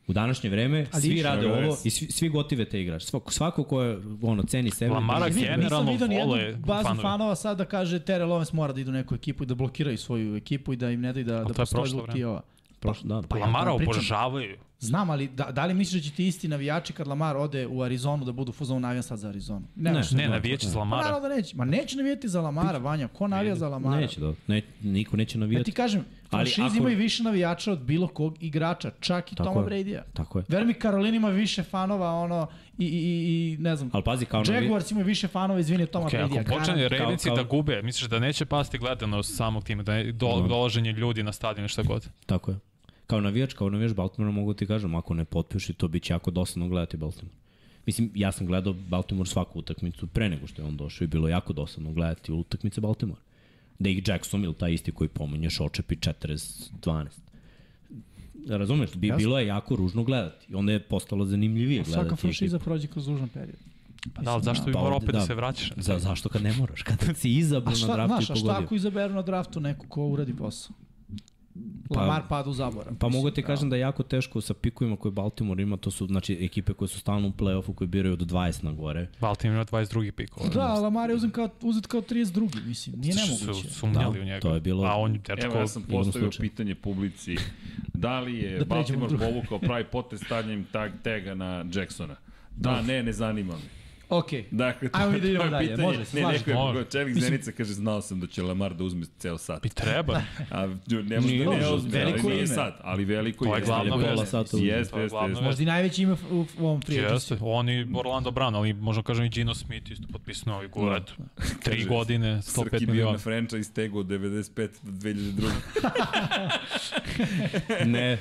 [SPEAKER 4] U današnje vreme
[SPEAKER 2] Ali
[SPEAKER 4] ali svi
[SPEAKER 2] išao
[SPEAKER 4] rade
[SPEAKER 1] je,
[SPEAKER 4] ovo
[SPEAKER 1] res.
[SPEAKER 4] i svi, svi gotive te igrače. Svako, svako ko je ono, ceni sebe.
[SPEAKER 3] Lamara
[SPEAKER 4] drži-
[SPEAKER 3] Gen- generalno
[SPEAKER 2] Nisam vidio
[SPEAKER 3] vole
[SPEAKER 2] nijednu bazu
[SPEAKER 3] fanove.
[SPEAKER 2] fanova sad da kaže Terrell Owens mora da idu u neku ekipu i da blokiraju svoju ekipu i da im ne daju da, da
[SPEAKER 3] je
[SPEAKER 2] postoje
[SPEAKER 3] prošlo
[SPEAKER 2] zbog
[SPEAKER 3] vreme.
[SPEAKER 2] tijova.
[SPEAKER 4] Prošlo, da.
[SPEAKER 2] Pa ja o
[SPEAKER 3] Lamara
[SPEAKER 2] tome pričam.
[SPEAKER 3] obožavaju.
[SPEAKER 2] Znam, ali da, da li misliš da će ti isti navijači kad Lamar ode u Arizonu da budu fuzon navijam sad za Arizonu?
[SPEAKER 4] Ne,
[SPEAKER 2] možda.
[SPEAKER 3] Ne, navijači za
[SPEAKER 2] Pa
[SPEAKER 3] Lamara.
[SPEAKER 2] naravno da neće. Ma neće navijati za Lamara, Vanja. Ko navija za Lamara?
[SPEAKER 4] Neće da, ne, niko neće
[SPEAKER 2] Ja
[SPEAKER 4] navijati.
[SPEAKER 2] ti kažem,
[SPEAKER 4] Ali
[SPEAKER 2] franšize
[SPEAKER 4] ako-
[SPEAKER 2] imaju više navijača od bilo kog igrača, čak i
[SPEAKER 4] Tako
[SPEAKER 2] Toma
[SPEAKER 4] je.
[SPEAKER 2] Brady-a.
[SPEAKER 4] Tako je.
[SPEAKER 2] Veruj mi, Karolina ima više fanova, ono, i, i, i- i ne znam,
[SPEAKER 4] Ali pazi, kao navi-
[SPEAKER 2] Jaguars imaju više fanova, izvini, od Toma
[SPEAKER 3] Okay,
[SPEAKER 2] Brady-a.
[SPEAKER 3] ako počne
[SPEAKER 2] garant.
[SPEAKER 3] Ravensi
[SPEAKER 4] kao-
[SPEAKER 3] da gube, misliš da neće pasti gledanost samog tima, da je do, dolaženje ljudi na stadion i šta god.
[SPEAKER 4] Tako je. da Kao navijač, kao navijač Baltimora mogu ti kažem, ako ne potpiši, to bit će jako dosadno gledati Baltimore. Mislim, ja sam gledao Baltimore svaku utakmicu pre nego što je on došao i bilo je jako dosadno gledati utakmice Baltimore. Da ih Jackson ili taj isti koji pominješ očepi 40-12. Razumeš, bi, bilo je jako ružno gledati. I onda je postalo zanimljivije gledati.
[SPEAKER 2] Svaka
[SPEAKER 4] ekipu.
[SPEAKER 2] franšiza prođe kroz ružan period.
[SPEAKER 3] Pa da, ali zašto bi
[SPEAKER 4] Pa
[SPEAKER 3] morao
[SPEAKER 4] ovde,
[SPEAKER 3] opet da
[SPEAKER 4] da.
[SPEAKER 3] se vraćaš?
[SPEAKER 4] Za, zašto kad ne moraš? Kada si izabran
[SPEAKER 2] A
[SPEAKER 4] na
[SPEAKER 2] šta,
[SPEAKER 4] draftu
[SPEAKER 2] znaš,
[SPEAKER 4] i
[SPEAKER 2] a šta
[SPEAKER 4] pogodio.
[SPEAKER 2] ako izaberu na draftu neko ko uradi posao? Lamar pada u zaborav.
[SPEAKER 4] Pa mogu ti kažem da je jako teško sa pikovima koje Baltimore ima, to su znači ekipe koje su stalno u play-offu koje biraju od 20 na gore.
[SPEAKER 3] Baltimore ima 22. pik. ovo.
[SPEAKER 2] Da, Lamar je uzet kao, uzet kao 32. Mislim, nije
[SPEAKER 3] Su
[SPEAKER 2] nemoguće.
[SPEAKER 3] sumnjali
[SPEAKER 4] Da,
[SPEAKER 3] u njega.
[SPEAKER 4] to je bilo-
[SPEAKER 3] A on, dečko,
[SPEAKER 1] Evo ja sam
[SPEAKER 4] imamo
[SPEAKER 1] postavio
[SPEAKER 4] slučaj.
[SPEAKER 1] pitanje publici. Da li je da
[SPEAKER 2] Da pređemo
[SPEAKER 1] Baltimore
[SPEAKER 2] u drugo.
[SPEAKER 1] povukao pravi potez stavljanjem tag, tega na Jacksona? Da, ne, ne zanima me.
[SPEAKER 2] Okej. Okay.
[SPEAKER 1] Dakle, to,
[SPEAKER 2] Ajmo mi da
[SPEAKER 1] to je
[SPEAKER 2] idemo dalje,
[SPEAKER 1] pitanje.
[SPEAKER 2] može se,
[SPEAKER 1] ne,
[SPEAKER 2] slažem.
[SPEAKER 1] neko je
[SPEAKER 3] Može.
[SPEAKER 1] mogao, čelik Zenica kaže, znao sam da će Lamar da uzme ceo sat.
[SPEAKER 3] bi treba.
[SPEAKER 1] A ne može
[SPEAKER 4] Nije
[SPEAKER 1] da ne
[SPEAKER 4] nužno,
[SPEAKER 1] uzme, ali
[SPEAKER 2] veliko
[SPEAKER 1] nije
[SPEAKER 2] ime.
[SPEAKER 1] sad, ali veliko
[SPEAKER 3] To je
[SPEAKER 1] jeste.
[SPEAKER 3] glavna
[SPEAKER 4] Ali pola
[SPEAKER 3] vest.
[SPEAKER 4] sata
[SPEAKER 1] Jeste,
[SPEAKER 4] uzme.
[SPEAKER 1] jeste,
[SPEAKER 3] To je glavna
[SPEAKER 1] jeste.
[SPEAKER 3] vest.
[SPEAKER 2] Možda i najveći ime u, u ovom prijatelju.
[SPEAKER 3] Jeste, oni Orlando Brown, ali možemo kažem i Gino Smith isto potpisano ovaj
[SPEAKER 2] Da.
[SPEAKER 3] gol, eto. Tri
[SPEAKER 1] Kaže,
[SPEAKER 3] godine,
[SPEAKER 1] Srki
[SPEAKER 3] 105
[SPEAKER 1] bio
[SPEAKER 3] miliona.
[SPEAKER 1] na franchise tagu od 95 do 2002.
[SPEAKER 4] ne,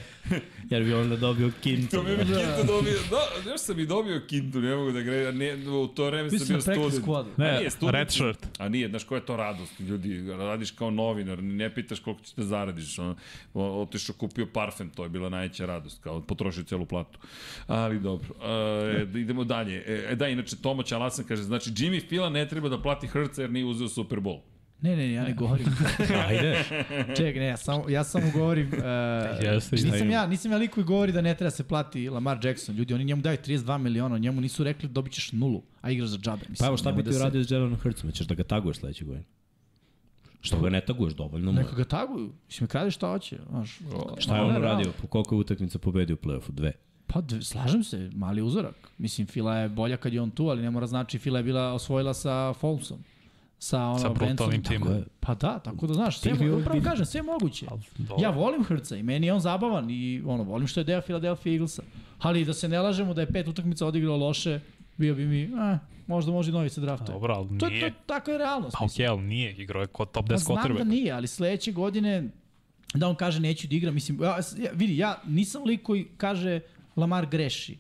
[SPEAKER 4] jer bi onda dobio kintu.
[SPEAKER 1] to mi je Kintu dobio, da, još sam i dobio Kintu, ne mogu da gre, ne, u to vreme sam
[SPEAKER 2] Mislim
[SPEAKER 1] bio
[SPEAKER 2] na practice
[SPEAKER 1] student.
[SPEAKER 2] squadu.
[SPEAKER 1] A
[SPEAKER 3] Ne,
[SPEAKER 1] nije, student
[SPEAKER 3] red
[SPEAKER 1] sam.
[SPEAKER 3] shirt.
[SPEAKER 1] A nije, znaš koja je to radost, ljudi, radiš kao novinar, ne pitaš koliko ćeš da zaradiš, ono, o- otišao kupio parfem, to je bila najveća radost, kao potrošio celu platu. Ali dobro, e, da idemo dalje. E, da, inače, Tomać Alasan kaže, znači, Jimmy Fila ne treba da plati Hrca jer nije uzeo Super Bowl.
[SPEAKER 2] Ne, ne, ja ne govorim.
[SPEAKER 4] Ajde.
[SPEAKER 2] Ček, ne, ja samo, ja samo govorim... Uh,
[SPEAKER 3] Jeste,
[SPEAKER 2] nisam
[SPEAKER 3] jeste.
[SPEAKER 2] ja, nisam ja lik koji govori da ne treba se plati Lamar Jackson. Ljudi, oni njemu daju 32 miliona, njemu nisu rekli dobit ćeš nulu, a igraš za džabe. Mislim,
[SPEAKER 4] Pa evo šta
[SPEAKER 2] nemoj
[SPEAKER 4] bi
[SPEAKER 2] da
[SPEAKER 4] ti
[SPEAKER 2] se-
[SPEAKER 4] uradio s Jelenom Hurtsom? Ćeš da ga taguješ sledeće godine? Što ga ne taguješ dovoljno mu? je.
[SPEAKER 2] Neka ga taguju. Mislim, krade šta hoće. Znaš, da
[SPEAKER 4] Šta je on uradio? Po koliko je utakmica pobedio u play-offu? Dve.
[SPEAKER 2] Pa, d- slažem se, mali uzorak. Mislim, Fila je bolja kad je on tu, ali ne mora znači Fila je bila osvojila sa Folsom. Sa, ono,
[SPEAKER 3] Sa brutalnim
[SPEAKER 2] Bensonom.
[SPEAKER 3] timom.
[SPEAKER 2] Tako je. Pa da, tako da znaš, sve,
[SPEAKER 4] Tim je
[SPEAKER 2] mo- upravo
[SPEAKER 4] ozbiljan.
[SPEAKER 2] kažem, sve je moguće.
[SPEAKER 3] dobro.
[SPEAKER 2] Ja volim Hrca i meni je on zabavan i ono, volim što je deo Philadelphia Eaglesa. Ali da se ne lažemo da je pet utakmica odigrao loše, bio bi mi, eh, možda može i novi se draftuje.
[SPEAKER 3] Dobro, ali
[SPEAKER 2] To je, to,
[SPEAKER 3] nije.
[SPEAKER 2] tako je realnost.
[SPEAKER 3] Pa okej, ali nije. Igrao je kod top 10
[SPEAKER 2] Pa znam da
[SPEAKER 3] quarterback.
[SPEAKER 2] nije, ali sledeće godine da on kaže neću da igram, mislim, ja, ja, vidi, ja nisam lik koji kaže Lamar greši.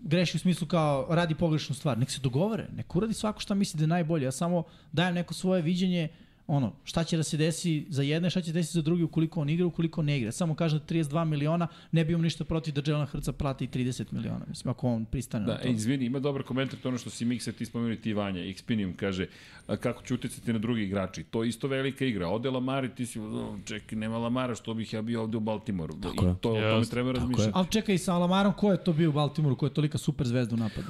[SPEAKER 2] Greši u smislu kao radi pogrešnu stvar. Nek se dogovore, nek uradi svako šta misli da je najbolje. Ja samo dajem neko svoje viđenje ono, šta će da se desi za jedne, šta će da se desi za drugi ukoliko on igra, ukoliko ne igra. Samo kažem da 32 miliona, ne bi imam ništa protiv da Jelen Hrca plati i 30 miliona, mislim, ako on pristane
[SPEAKER 1] Da,
[SPEAKER 2] na to.
[SPEAKER 1] e, izvini, ima dobar komentar, to je ono što si Miksa ti spomenuo i ti Vanja, Xpinium kaže a, kako će uticati na drugi igrači. To je isto velika igra. Ode Lamari, ti si, "O, čekaj, nema Lamara, što bih ja bio ovde u Baltimoru.
[SPEAKER 4] Tako
[SPEAKER 1] I
[SPEAKER 4] je.
[SPEAKER 1] to, o tome
[SPEAKER 3] Jasno,
[SPEAKER 1] treba razmišljati.
[SPEAKER 2] Ali čekaj, sa Alamarom, ko je to bio u Baltimoru, ko je tolika super zvezda u napadu?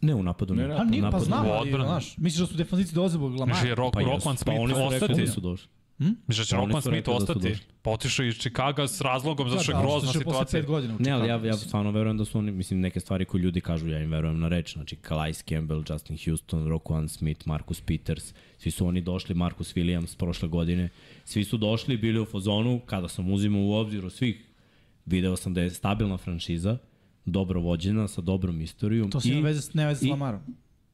[SPEAKER 4] Ne u napadu.
[SPEAKER 1] Ne,
[SPEAKER 4] Ne,
[SPEAKER 1] ne,
[SPEAKER 2] A
[SPEAKER 4] napadu.
[SPEAKER 2] ni, pa
[SPEAKER 4] napadu.
[SPEAKER 2] znam,
[SPEAKER 3] u
[SPEAKER 2] ali,
[SPEAKER 3] odbrani.
[SPEAKER 2] znaš, misliš da su defanzici dolaze zbog
[SPEAKER 3] Znači,
[SPEAKER 2] Lamara?
[SPEAKER 3] Rock,
[SPEAKER 4] Pa
[SPEAKER 3] Rockman
[SPEAKER 4] jesu. Pa
[SPEAKER 3] Smith
[SPEAKER 4] oni su rekli
[SPEAKER 3] ostati.
[SPEAKER 4] da su došli.
[SPEAKER 3] Mislim da će
[SPEAKER 4] Pa oni
[SPEAKER 3] Rockman
[SPEAKER 4] su
[SPEAKER 3] Smith
[SPEAKER 4] rekli da su
[SPEAKER 3] ostati.
[SPEAKER 4] došli.
[SPEAKER 3] Pa otišao iz Čikaga s razlogom, zato što je
[SPEAKER 2] Da,
[SPEAKER 3] grozna
[SPEAKER 2] otišao je Posle
[SPEAKER 3] situacija.
[SPEAKER 2] 5 godina u
[SPEAKER 4] Ne, ali ja,
[SPEAKER 2] Chicago,
[SPEAKER 4] ja
[SPEAKER 2] mislim.
[SPEAKER 4] stvarno verujem da su oni, mislim, neke stvari koje ljudi kažu, ja im verujem na reč. Znači, Calais Campbell, Justin Houston, Roquan Smith, Marcus Peters, svi su oni došli, Marcus Williams prošle godine, svi su došli, bili u fazonu, kada sam uzimao u obziru svih, video sam da je stabilna franšiza, dobro vođena, sa dobrom istorijom.
[SPEAKER 2] To se
[SPEAKER 4] i-
[SPEAKER 2] ne veze, ne veze s
[SPEAKER 4] i-
[SPEAKER 2] Lamarom.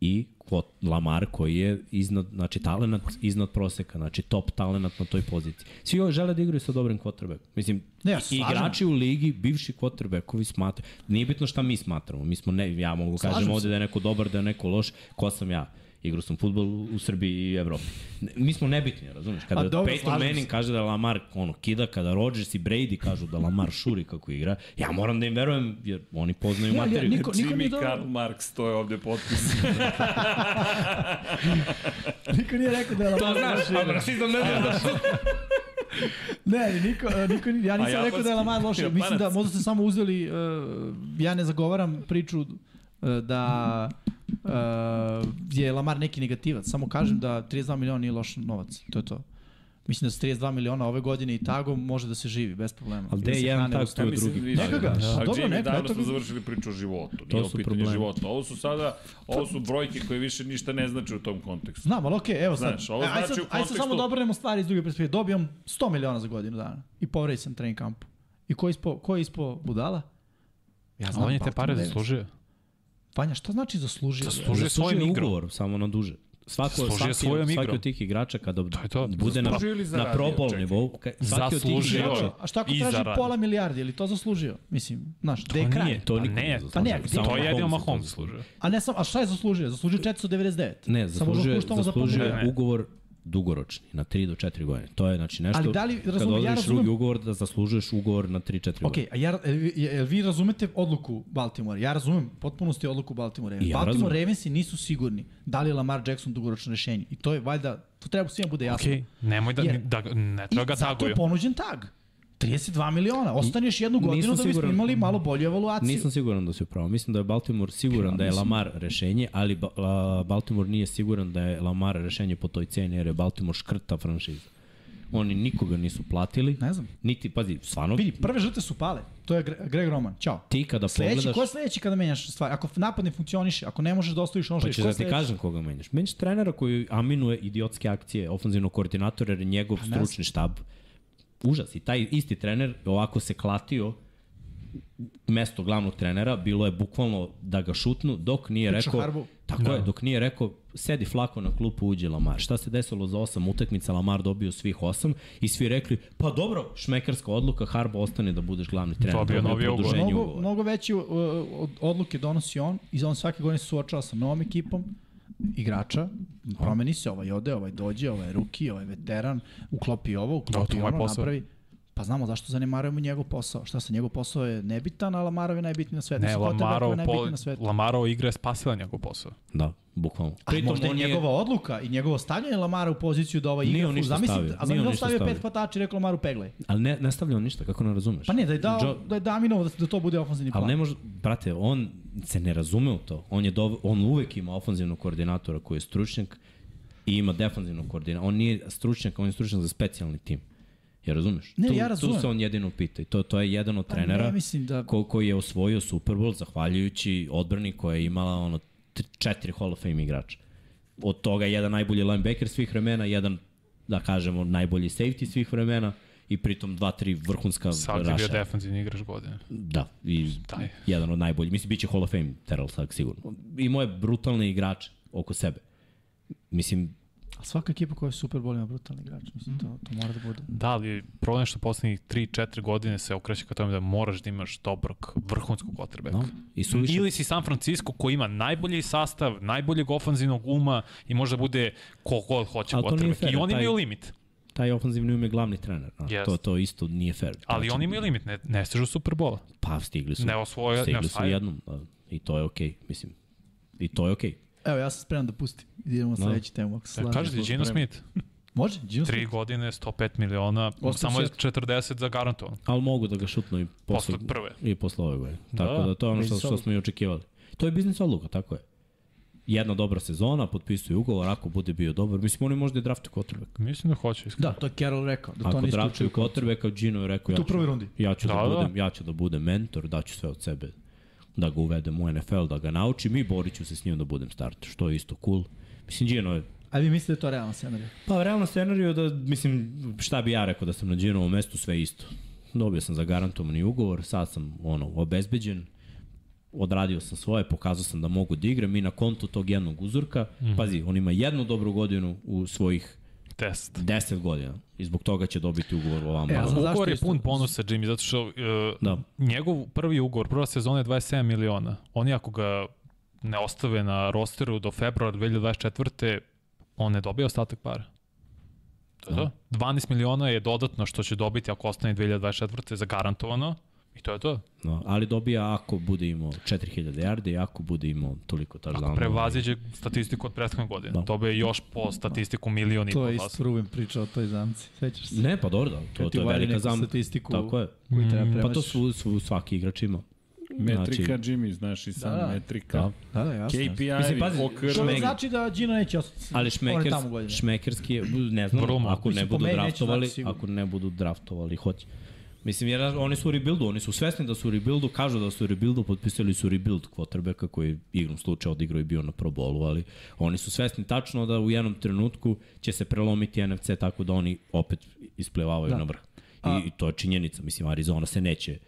[SPEAKER 4] i kvot, Lamar koji je iznad, znači talenat iznad proseka, znači top talenat na toj poziciji. Svi ovo žele da igraju sa dobrim quarterbackom. Mislim,
[SPEAKER 2] Ne,
[SPEAKER 4] ne,
[SPEAKER 2] ja
[SPEAKER 4] ja,
[SPEAKER 2] se slažem.
[SPEAKER 4] igrači u ligi, bivši quarterbackovi smatraju, nije bitno šta mi smatramo, mi smo, ne, ja mogu
[SPEAKER 2] Slažem
[SPEAKER 4] kažem
[SPEAKER 2] se.
[SPEAKER 4] ovde da je neko dobar, da je neko loš, ko sam ja? Igrao sam futbol u Srbiji i Evropi. Ne, Mi smo nebitni, razumiješ? Kada
[SPEAKER 2] A dobro,
[SPEAKER 4] Peyton
[SPEAKER 2] slažem se.
[SPEAKER 4] Manning kaže da Lamar ono, kida, kada Rodgers i Brady kažu da Lamar šuri kako igra, ja moram da im verujem jer oni poznaju
[SPEAKER 2] Ne, ali ja-
[SPEAKER 4] materiju.
[SPEAKER 2] niko- niko nije
[SPEAKER 1] Jimmy
[SPEAKER 2] dobro.
[SPEAKER 1] Karl Marx, to je ovde potpis.
[SPEAKER 2] Niko nije rekao da je Lamar.
[SPEAKER 4] rasizam ne znam da
[SPEAKER 2] Ne, ali niko, e, niko, nije- ja nisam
[SPEAKER 1] A
[SPEAKER 2] rekao da je Lamar loš.
[SPEAKER 1] japanski,
[SPEAKER 2] Mislim da
[SPEAKER 1] japanac.
[SPEAKER 2] možda ste samo uzeli, uh, ja ne zagovaram priču uh, da uh, je Lamar neki negativac. Samo kažem da 32 miliona nije loš novac. To je to. Mislim da sa 32 miliona ove godine i tagom može da se živi, bez problema.
[SPEAKER 4] Ali
[SPEAKER 2] Da
[SPEAKER 4] gde je
[SPEAKER 2] se
[SPEAKER 4] jedan
[SPEAKER 2] hrane
[SPEAKER 4] tag,
[SPEAKER 2] uz
[SPEAKER 4] tu je drugi.
[SPEAKER 1] više.
[SPEAKER 2] Neka ga,
[SPEAKER 1] Da.
[SPEAKER 2] šta,
[SPEAKER 1] Ali
[SPEAKER 2] dobro,
[SPEAKER 1] Jimmy,
[SPEAKER 2] neka,
[SPEAKER 1] davno
[SPEAKER 2] eto
[SPEAKER 1] smo
[SPEAKER 2] ga.
[SPEAKER 1] završili priču o životu. Nije
[SPEAKER 4] To
[SPEAKER 1] ovo
[SPEAKER 4] su
[SPEAKER 1] pitanje
[SPEAKER 4] problemi.
[SPEAKER 1] života. Ovo su sada, ovo su brojke koje više ništa ne znači u tom kontekstu.
[SPEAKER 2] Znam, ali okej, evo sad.
[SPEAKER 1] Znaš, ovo
[SPEAKER 2] E, ajde
[SPEAKER 1] znači
[SPEAKER 2] sad-
[SPEAKER 1] u
[SPEAKER 2] ajde sad
[SPEAKER 1] kontekstu-
[SPEAKER 2] samo da obrnemo stvari iz druge perspektive. Dobijam 100 miliona za godinu dana i povredi sam trening kampu. I ko je ispo, ko je ispo budala? Ja
[SPEAKER 3] A on je te
[SPEAKER 2] Baltimore
[SPEAKER 3] pare
[SPEAKER 2] Ravens.
[SPEAKER 3] zaslužio.
[SPEAKER 2] Vanja, šta znači zaslužio?
[SPEAKER 3] Zaslužio svojim
[SPEAKER 4] Zaslužio je
[SPEAKER 3] igrom.
[SPEAKER 4] ugovor, samo na duže. svako,
[SPEAKER 3] Zaslužio
[SPEAKER 4] svaki,
[SPEAKER 3] svojom
[SPEAKER 4] svaki
[SPEAKER 3] igrom.
[SPEAKER 4] od tih igrača kada to
[SPEAKER 3] je to.
[SPEAKER 4] bude na,
[SPEAKER 1] Zaslužio ili
[SPEAKER 4] na
[SPEAKER 1] zaradio?
[SPEAKER 4] Pro Bowl
[SPEAKER 1] Čekaj.
[SPEAKER 4] nivou, ka, svaki od tih
[SPEAKER 3] Zaslužio.
[SPEAKER 4] igrača,
[SPEAKER 2] Igrača. A šta ako
[SPEAKER 3] I
[SPEAKER 2] traži
[SPEAKER 3] zaradi.
[SPEAKER 2] pola milijardi, ili to zaslužio? Mislim, znaš, gde je
[SPEAKER 4] to
[SPEAKER 2] kraj?
[SPEAKER 4] nije, to
[SPEAKER 3] Pa
[SPEAKER 4] niko
[SPEAKER 3] ne,
[SPEAKER 4] ne
[SPEAKER 3] pa
[SPEAKER 4] zaslužio.
[SPEAKER 2] ne,
[SPEAKER 4] Samo
[SPEAKER 3] To je jedino
[SPEAKER 4] Mahomes
[SPEAKER 3] Mahomes
[SPEAKER 4] zaslužio.
[SPEAKER 3] služio.
[SPEAKER 2] A ne sam, a šta je zaslužio? Zaslužio 499.
[SPEAKER 4] Ne, zaslužio, je-
[SPEAKER 2] Samo ga puštamo
[SPEAKER 4] zaslužio
[SPEAKER 2] za
[SPEAKER 4] je
[SPEAKER 2] pomoć.
[SPEAKER 3] Ne, ne.
[SPEAKER 4] ugovor dugoročni, na 3 do 4 godine. To je znači nešto,
[SPEAKER 2] Ali da li-
[SPEAKER 4] kad
[SPEAKER 2] razumem, ja
[SPEAKER 4] odrediš
[SPEAKER 2] razumem.
[SPEAKER 4] drugi ugovor, da zaslužuješ ugovor na 3-4
[SPEAKER 2] Ok,
[SPEAKER 4] godine.
[SPEAKER 2] a ja, jel, vi- jel vi razumete odluku Baltimore? Ja razumem u potpunosti odluku Baltimore.
[SPEAKER 4] I ja
[SPEAKER 2] Baltimore
[SPEAKER 4] razumem.
[SPEAKER 2] Ravensi nisu sigurni da li je Lamar Jackson dugoročno rešenje. I to je valjda, to treba svima da bude jasno.
[SPEAKER 3] Okej, nemoj da,
[SPEAKER 2] Jer-
[SPEAKER 3] da, ne treba ga
[SPEAKER 2] I zato
[SPEAKER 3] taguju.
[SPEAKER 2] je ponuđen tag. 32 miliona. Ostaneš jednu
[SPEAKER 4] Nisam
[SPEAKER 2] godinu da bismo
[SPEAKER 4] siguran.
[SPEAKER 2] imali malo bolju evaluaciju.
[SPEAKER 4] Nisam siguran da si upravo. Mislim da je Baltimore siguran da je Lamar rešenje, ali ba la Baltimore nije siguran da je Lamar rešenje po toj ceni, jer je Baltimore škrta franšiza. Oni nikoga nisu platili.
[SPEAKER 2] Ne znam.
[SPEAKER 4] Niti, pazi, stvarno,
[SPEAKER 2] Vidi, prve žrtve su pale. To je Gre- Greg Roman. Ćao.
[SPEAKER 4] ti kada
[SPEAKER 2] Sledeći,
[SPEAKER 4] pogledaš...
[SPEAKER 2] ko je sledeći kada menjaš stvari? Ako napad ne funkcioniše, ako ne možeš da ostaviš ono što
[SPEAKER 4] Pa
[SPEAKER 2] ješ,
[SPEAKER 4] ću
[SPEAKER 2] ko je
[SPEAKER 4] da ti
[SPEAKER 2] sledeći?
[SPEAKER 4] kažem koga menjaš. Menjaš trenera koji aminuje idiotske akcije ofenzivnog koordinatora jer je njegov
[SPEAKER 2] ne znam.
[SPEAKER 4] stručni štab. Užas. I taj isti trener ovako se klatio mesto glavnog trenera, bilo je bukvalno da ga šutnu, dok nije
[SPEAKER 2] Priča Da.
[SPEAKER 4] rekao...
[SPEAKER 2] Harbaugh.
[SPEAKER 4] Tako je, dok nije rekao, sedi flako na klupu, uđe Lamar. Šta se desilo za osam utakmica, Lamar dobio svih osam i svi rekli, pa dobro, šmekarska odluka, Harbo ostane da budeš glavni trener.
[SPEAKER 3] Dobio
[SPEAKER 4] Dobio
[SPEAKER 3] novi ugovor.
[SPEAKER 4] produženje
[SPEAKER 2] mnogo,
[SPEAKER 4] ugovora.
[SPEAKER 2] mnogo veće uh, od- odluke donosi on i on svake godine se suočava sa novom ekipom igrača, promeni se, ovaj ode, ovaj dođe, ovaj je ruki, ovaj je veteran, uklopi ovo,
[SPEAKER 3] to
[SPEAKER 4] Da,
[SPEAKER 2] uklopi
[SPEAKER 3] mu je
[SPEAKER 2] ono,
[SPEAKER 3] posao.
[SPEAKER 2] napravi. Pa znamo zašto zanemarujemo njegov posao. Šta sa njegov posao je nebitan, a Lamarov je najbitniji na svetu.
[SPEAKER 3] Ne,
[SPEAKER 2] Mislim,
[SPEAKER 3] Lamarov,
[SPEAKER 2] quarterbackova je
[SPEAKER 3] pol,
[SPEAKER 2] najbitniji na svetu.
[SPEAKER 3] Lamarov igra je spasila njegov posao.
[SPEAKER 4] Da, bukvalno.
[SPEAKER 2] A možda i njegova odluka i njegovo stavljanje Lamara u poziciju da ovaj
[SPEAKER 4] Nije
[SPEAKER 2] igra.
[SPEAKER 4] on
[SPEAKER 2] full.
[SPEAKER 4] ništa
[SPEAKER 2] Zamisli-
[SPEAKER 4] stavio,
[SPEAKER 2] A
[SPEAKER 4] nije on
[SPEAKER 2] zamisli da on
[SPEAKER 4] ništa
[SPEAKER 2] stavio pet
[SPEAKER 4] stavio.
[SPEAKER 2] hvatača i rekao Lamaru peglej.
[SPEAKER 4] Ali ne, ne stavlja on ništa, kako ne razumeš?
[SPEAKER 2] Pa ne, da je dao,
[SPEAKER 4] Joe-
[SPEAKER 2] da je Daminovo da, da to bude ofenzivni plan.
[SPEAKER 4] Ali ne može, brate, on se ne razume u to. On, je dov, on uvek ima ofenzivnog koordinatora koji je stručnjak i ima defanzivnog koordinatora. On nije stručnjak, on je stručnjak za specijalni tim. Ja razumeš?
[SPEAKER 2] Ne,
[SPEAKER 4] tu,
[SPEAKER 2] ja razumem.
[SPEAKER 4] Tu se on jedino pita i to, to je jedan od trenera
[SPEAKER 2] ne, mislim da-
[SPEAKER 4] ko, koji je osvojio Super Bowl zahvaljujući odbrani koja je imala ono, tr- četiri Hall of Fame igrača. Od toga jedan najbolji linebacker svih vremena, jedan, da kažemo, najbolji safety svih vremena i pritom dva, tri vrhunska
[SPEAKER 3] Sad je bio
[SPEAKER 4] raša.
[SPEAKER 3] defanzivni igrač godine.
[SPEAKER 4] Da, i
[SPEAKER 3] Taj.
[SPEAKER 4] jedan od najboljih. Mislim, bit će Hall of Fame Terrell Suggs sigurno. Imao je brutalne igrače oko sebe. Mislim,
[SPEAKER 2] A svaka ekipa koja je Super Bowl ima brutalni igrač. Mislim, to, to mora da bude.
[SPEAKER 3] Da, ali problem je što poslednjih 3-4 godine se okreće ka tome da moraš da imaš dobrog vrhunskog quarterbacka.
[SPEAKER 4] no, i suviše.
[SPEAKER 3] Ili si San Francisco koji ima najbolji sastav, najboljeg ofanzivnog uma i može da bude ko god hoće
[SPEAKER 4] Ali to nije
[SPEAKER 3] quarterback.
[SPEAKER 4] fair,
[SPEAKER 3] I oni
[SPEAKER 4] taj-
[SPEAKER 3] imaju limit.
[SPEAKER 4] Taj ofenzivni um je glavni trener. No,
[SPEAKER 3] Jest.
[SPEAKER 4] to, to isto nije fair.
[SPEAKER 3] Ali
[SPEAKER 4] Znači,
[SPEAKER 3] oni imaju limit, ne, ne stižu Super Bowl.
[SPEAKER 4] Pa, stigli su.
[SPEAKER 3] Ne osvoje, ne
[SPEAKER 4] Stigli su
[SPEAKER 3] osvaja.
[SPEAKER 4] jednom. Da, I to je okej, okay, mislim. I to je okej. Okay.
[SPEAKER 2] Evo, ja sam spreman da pustim. Idemo na
[SPEAKER 4] Da.
[SPEAKER 2] sledeću temu. Ako se
[SPEAKER 3] Da
[SPEAKER 2] slažeš.
[SPEAKER 3] kažete Gino Smith,
[SPEAKER 2] Može? Gino
[SPEAKER 3] tri
[SPEAKER 2] Smith?
[SPEAKER 3] godine, 105 miliona,
[SPEAKER 2] Ostao
[SPEAKER 3] samo je
[SPEAKER 2] svet.
[SPEAKER 3] 40 za garantovan.
[SPEAKER 4] Ali mogu da ga šutnu i posle,
[SPEAKER 3] Posle prve.
[SPEAKER 4] i posle ove godine. Tako da,
[SPEAKER 3] Da,
[SPEAKER 4] to je ono što,
[SPEAKER 2] biznis
[SPEAKER 4] što
[SPEAKER 2] odluka.
[SPEAKER 4] smo i očekivali. To je biznis odluka, tako je. Jedna dobra sezona, potpisuje ugovor, ako bude bio dobar. Mislim, oni možda i draftuju quarterback.
[SPEAKER 3] Mislim da hoće, iskreno.
[SPEAKER 2] Da, to je Carroll rekao. Da to
[SPEAKER 4] Ako
[SPEAKER 2] ne
[SPEAKER 4] draftuju
[SPEAKER 2] isključuju.
[SPEAKER 4] quarterbacka, Gino je rekao ja
[SPEAKER 2] Tu u
[SPEAKER 4] ću,
[SPEAKER 2] prvoj rundi.
[SPEAKER 4] ja ću da,
[SPEAKER 3] Da, da.
[SPEAKER 4] budem, ja ću da budem mentor, daću sve od sebe da ga uvedem u NFL, da ga naučim i borit ću se s njim da budem starter, što je isto cool. Mislim, Gino je
[SPEAKER 2] A vi mislite da je to realno scenarij?
[SPEAKER 4] Pa realno scenariju da, mislim, šta bi ja rekao da sam na Ginovom mestu, sve isto. Dobio sam zagarantovani ugovor, sad sam ono, obezbeđen, odradio sam svoje, pokazao sam da mogu da igram i na kontu tog jednog uzorka, mm. pazi, on ima jednu dobru godinu u svojih
[SPEAKER 3] Test.
[SPEAKER 4] 10 godina i zbog toga će dobiti ugovor ovam.
[SPEAKER 2] E, a
[SPEAKER 4] malo.
[SPEAKER 2] za- zašto
[SPEAKER 3] Ugovor je
[SPEAKER 2] isto-
[SPEAKER 3] pun bonusa, Jimmy, zato što uh,
[SPEAKER 4] Da.
[SPEAKER 3] da. njegov prvi ugovor, prva sezona je 27 miliona. Oni ako ga ne ostave na rosteru do februara 2024. on ne dobija ostatak para. To je
[SPEAKER 4] Da.
[SPEAKER 3] to. 12 miliona je dodatno što će dobiti ako ostane 2024. zagarantovano. I to je to.
[SPEAKER 4] No, ali dobija ako bude imao 4000 yardi, ako bude imao toliko touchdowna.
[SPEAKER 3] Prevaziđe statistiku od prethodne godine.
[SPEAKER 4] Da.
[SPEAKER 3] Da. Dobije još po statistiku milion i
[SPEAKER 2] To
[SPEAKER 3] po
[SPEAKER 2] je
[SPEAKER 3] glasa.
[SPEAKER 2] isto Ruben pričao o toj zamci. Sećaš se?
[SPEAKER 4] Ne, pa dobro, da, to,
[SPEAKER 2] Kad ti
[SPEAKER 4] to je
[SPEAKER 2] uvali
[SPEAKER 4] velika
[SPEAKER 2] neku
[SPEAKER 4] zamka.
[SPEAKER 2] statistiku
[SPEAKER 4] Tako je.
[SPEAKER 2] koju treba premaći.
[SPEAKER 4] Pa to su, su svaki igrač ima.
[SPEAKER 1] Metrika, Jimmy, znaš i sam
[SPEAKER 2] Da,
[SPEAKER 1] da,
[SPEAKER 2] da.
[SPEAKER 1] metrika.
[SPEAKER 4] Znači- Da.
[SPEAKER 1] Da.
[SPEAKER 2] Da, da, jasno.
[SPEAKER 1] KPI,
[SPEAKER 4] Mislim, pazi,
[SPEAKER 1] OKR,
[SPEAKER 2] Što ne
[SPEAKER 4] Šmeg-
[SPEAKER 2] znači da Gino neće ostati.
[SPEAKER 4] Ali šmekers,
[SPEAKER 2] tamo godine.
[SPEAKER 4] šmekerski, je, ne znam,
[SPEAKER 3] Vrlo malo.
[SPEAKER 4] ako ne
[SPEAKER 2] Mislim, po
[SPEAKER 4] budu
[SPEAKER 2] meni neće
[SPEAKER 4] draftovali,
[SPEAKER 2] znati sigurno.
[SPEAKER 4] ako ne budu draftovali, hoće. Mislim, jer oni su u rebuildu, oni su svesni da su u rebuildu, kažu da su u rebuildu, potpisali su rebuild quarterbacka koji je igrom slučaja odigrao i bio na pro bolu, ali oni su svesni tačno da u jednom trenutku će se prelomiti NFC tako da oni opet isplevavaju da. na vrh. I,
[SPEAKER 2] A-
[SPEAKER 4] I to je činjenica, mislim, Arizona se neće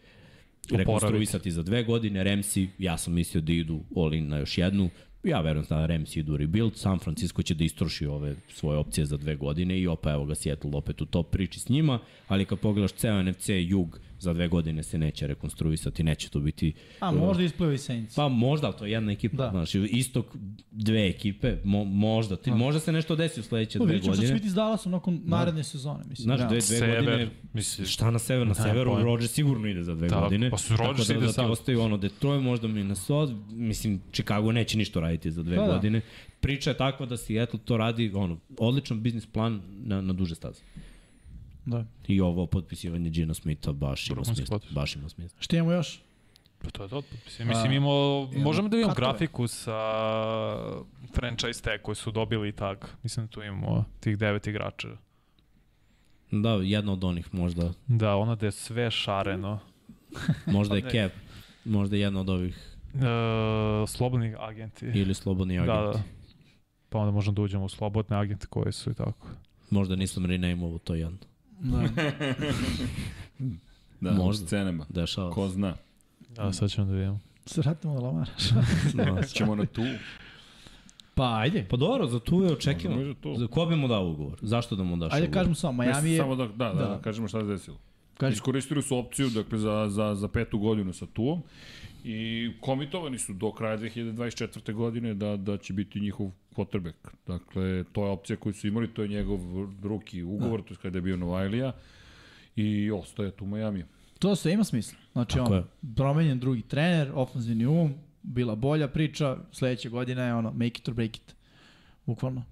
[SPEAKER 4] rekonstruisati za dve godine, Remsi, ja sam mislio da idu all in na još jednu, ja verujem da Rams idu u rebuild, San Francisco će da istroši ove svoje opcije za dve godine i opa evo ga Seattle opet u top priči s njima, ali kad pogledaš ceo NFC jug za dve godine se neće rekonstruisati, neće to biti...
[SPEAKER 2] A možda isplivaju i Saints.
[SPEAKER 4] Pa možda, ali to je jedna ekipa, da.
[SPEAKER 2] Da.
[SPEAKER 4] znaš, istok dve ekipe, mo, možda, ti, možda se nešto desi u sledeće
[SPEAKER 2] Pa
[SPEAKER 4] dve
[SPEAKER 2] vidjet ćemo što će
[SPEAKER 4] godine.
[SPEAKER 2] biti s Dallasom nakon naredne sezone, mislim.
[SPEAKER 4] Znaš, dve, dve
[SPEAKER 3] Sever,
[SPEAKER 4] godine...
[SPEAKER 3] misliš.
[SPEAKER 4] Šta na sever? Na
[SPEAKER 3] Nemam
[SPEAKER 4] severu
[SPEAKER 3] pojma.
[SPEAKER 4] Rodgers sigurno ide za dve
[SPEAKER 3] Da,
[SPEAKER 4] godine.
[SPEAKER 3] pa su Rodgers
[SPEAKER 4] tako da,
[SPEAKER 3] ide
[SPEAKER 4] da ti
[SPEAKER 3] sad.
[SPEAKER 4] ostaju ono Detroit, možda Minnesota, mislim, Chicago neće ništa raditi za dve
[SPEAKER 3] Pa
[SPEAKER 2] Da, da.
[SPEAKER 4] godine. Priča je takva da Seattle to radi, ono, odličan biznis plan na, na duže staze.
[SPEAKER 2] Da.
[SPEAKER 4] I ovo potpisivanje Gina Smitha baš ima
[SPEAKER 3] Vrhunski
[SPEAKER 4] smisla.
[SPEAKER 3] potpis.
[SPEAKER 4] Baš ima smisla.
[SPEAKER 2] Šta imamo još?
[SPEAKER 3] Pa to je to. Mislim, mislim imamo, možemo da vidimo
[SPEAKER 2] katove.
[SPEAKER 3] grafiku sa franchise tag koji su dobili i tag. Mislim da tu imamo tih devet igrača.
[SPEAKER 4] Da, jedna od onih možda,
[SPEAKER 3] Da, ono da je sve šareno.
[SPEAKER 4] možda je
[SPEAKER 3] ne.
[SPEAKER 4] cap, možda je jedna od ovih
[SPEAKER 3] E, slobodni agenti.
[SPEAKER 4] ili slobodni agent.
[SPEAKER 3] Da, da. Pa onda možemo da uđemo u slobodne agente koji su i tako.
[SPEAKER 4] Možda nisam rename-ovo to jedno.
[SPEAKER 2] Da.
[SPEAKER 1] Da,
[SPEAKER 4] Možda.
[SPEAKER 1] u scenama.
[SPEAKER 4] Dešava.
[SPEAKER 1] Ko zna.
[SPEAKER 3] Da, sad ćemo da vidimo.
[SPEAKER 2] Se vratimo na Lamara.
[SPEAKER 4] Da.
[SPEAKER 1] Ćemo na tu.
[SPEAKER 2] Pa ajde.
[SPEAKER 4] Pa dobro, za tu je očekivano.
[SPEAKER 1] Možda tu.
[SPEAKER 4] Za ko bi mu dao ugovor? Zašto da mu daš
[SPEAKER 2] Ajde
[SPEAKER 4] ugovor?
[SPEAKER 2] kažemo samo, Miami
[SPEAKER 1] Mislim,
[SPEAKER 2] je...
[SPEAKER 1] Samo da, da, da,
[SPEAKER 2] Da.
[SPEAKER 1] da, kažemo šta se desilo.
[SPEAKER 2] Kaži,
[SPEAKER 1] Iskoristili su opciju dakle, za, za, za petu godinu sa Tuom i komitovani su do kraja 2024. godine da, da će biti njihov quarterback. Dakle, to je opcija koju su imali, to je njegov drugi ugovor, da. to je kada je bio Novajlija i ostaje tu u Miami.
[SPEAKER 2] to sve ima smisla. Znači,
[SPEAKER 4] Tako je.
[SPEAKER 2] on, promenjen drugi trener, ofenzivni um, bila bolja priča, sledeća godina je ono, make it or break it. Bukvalno.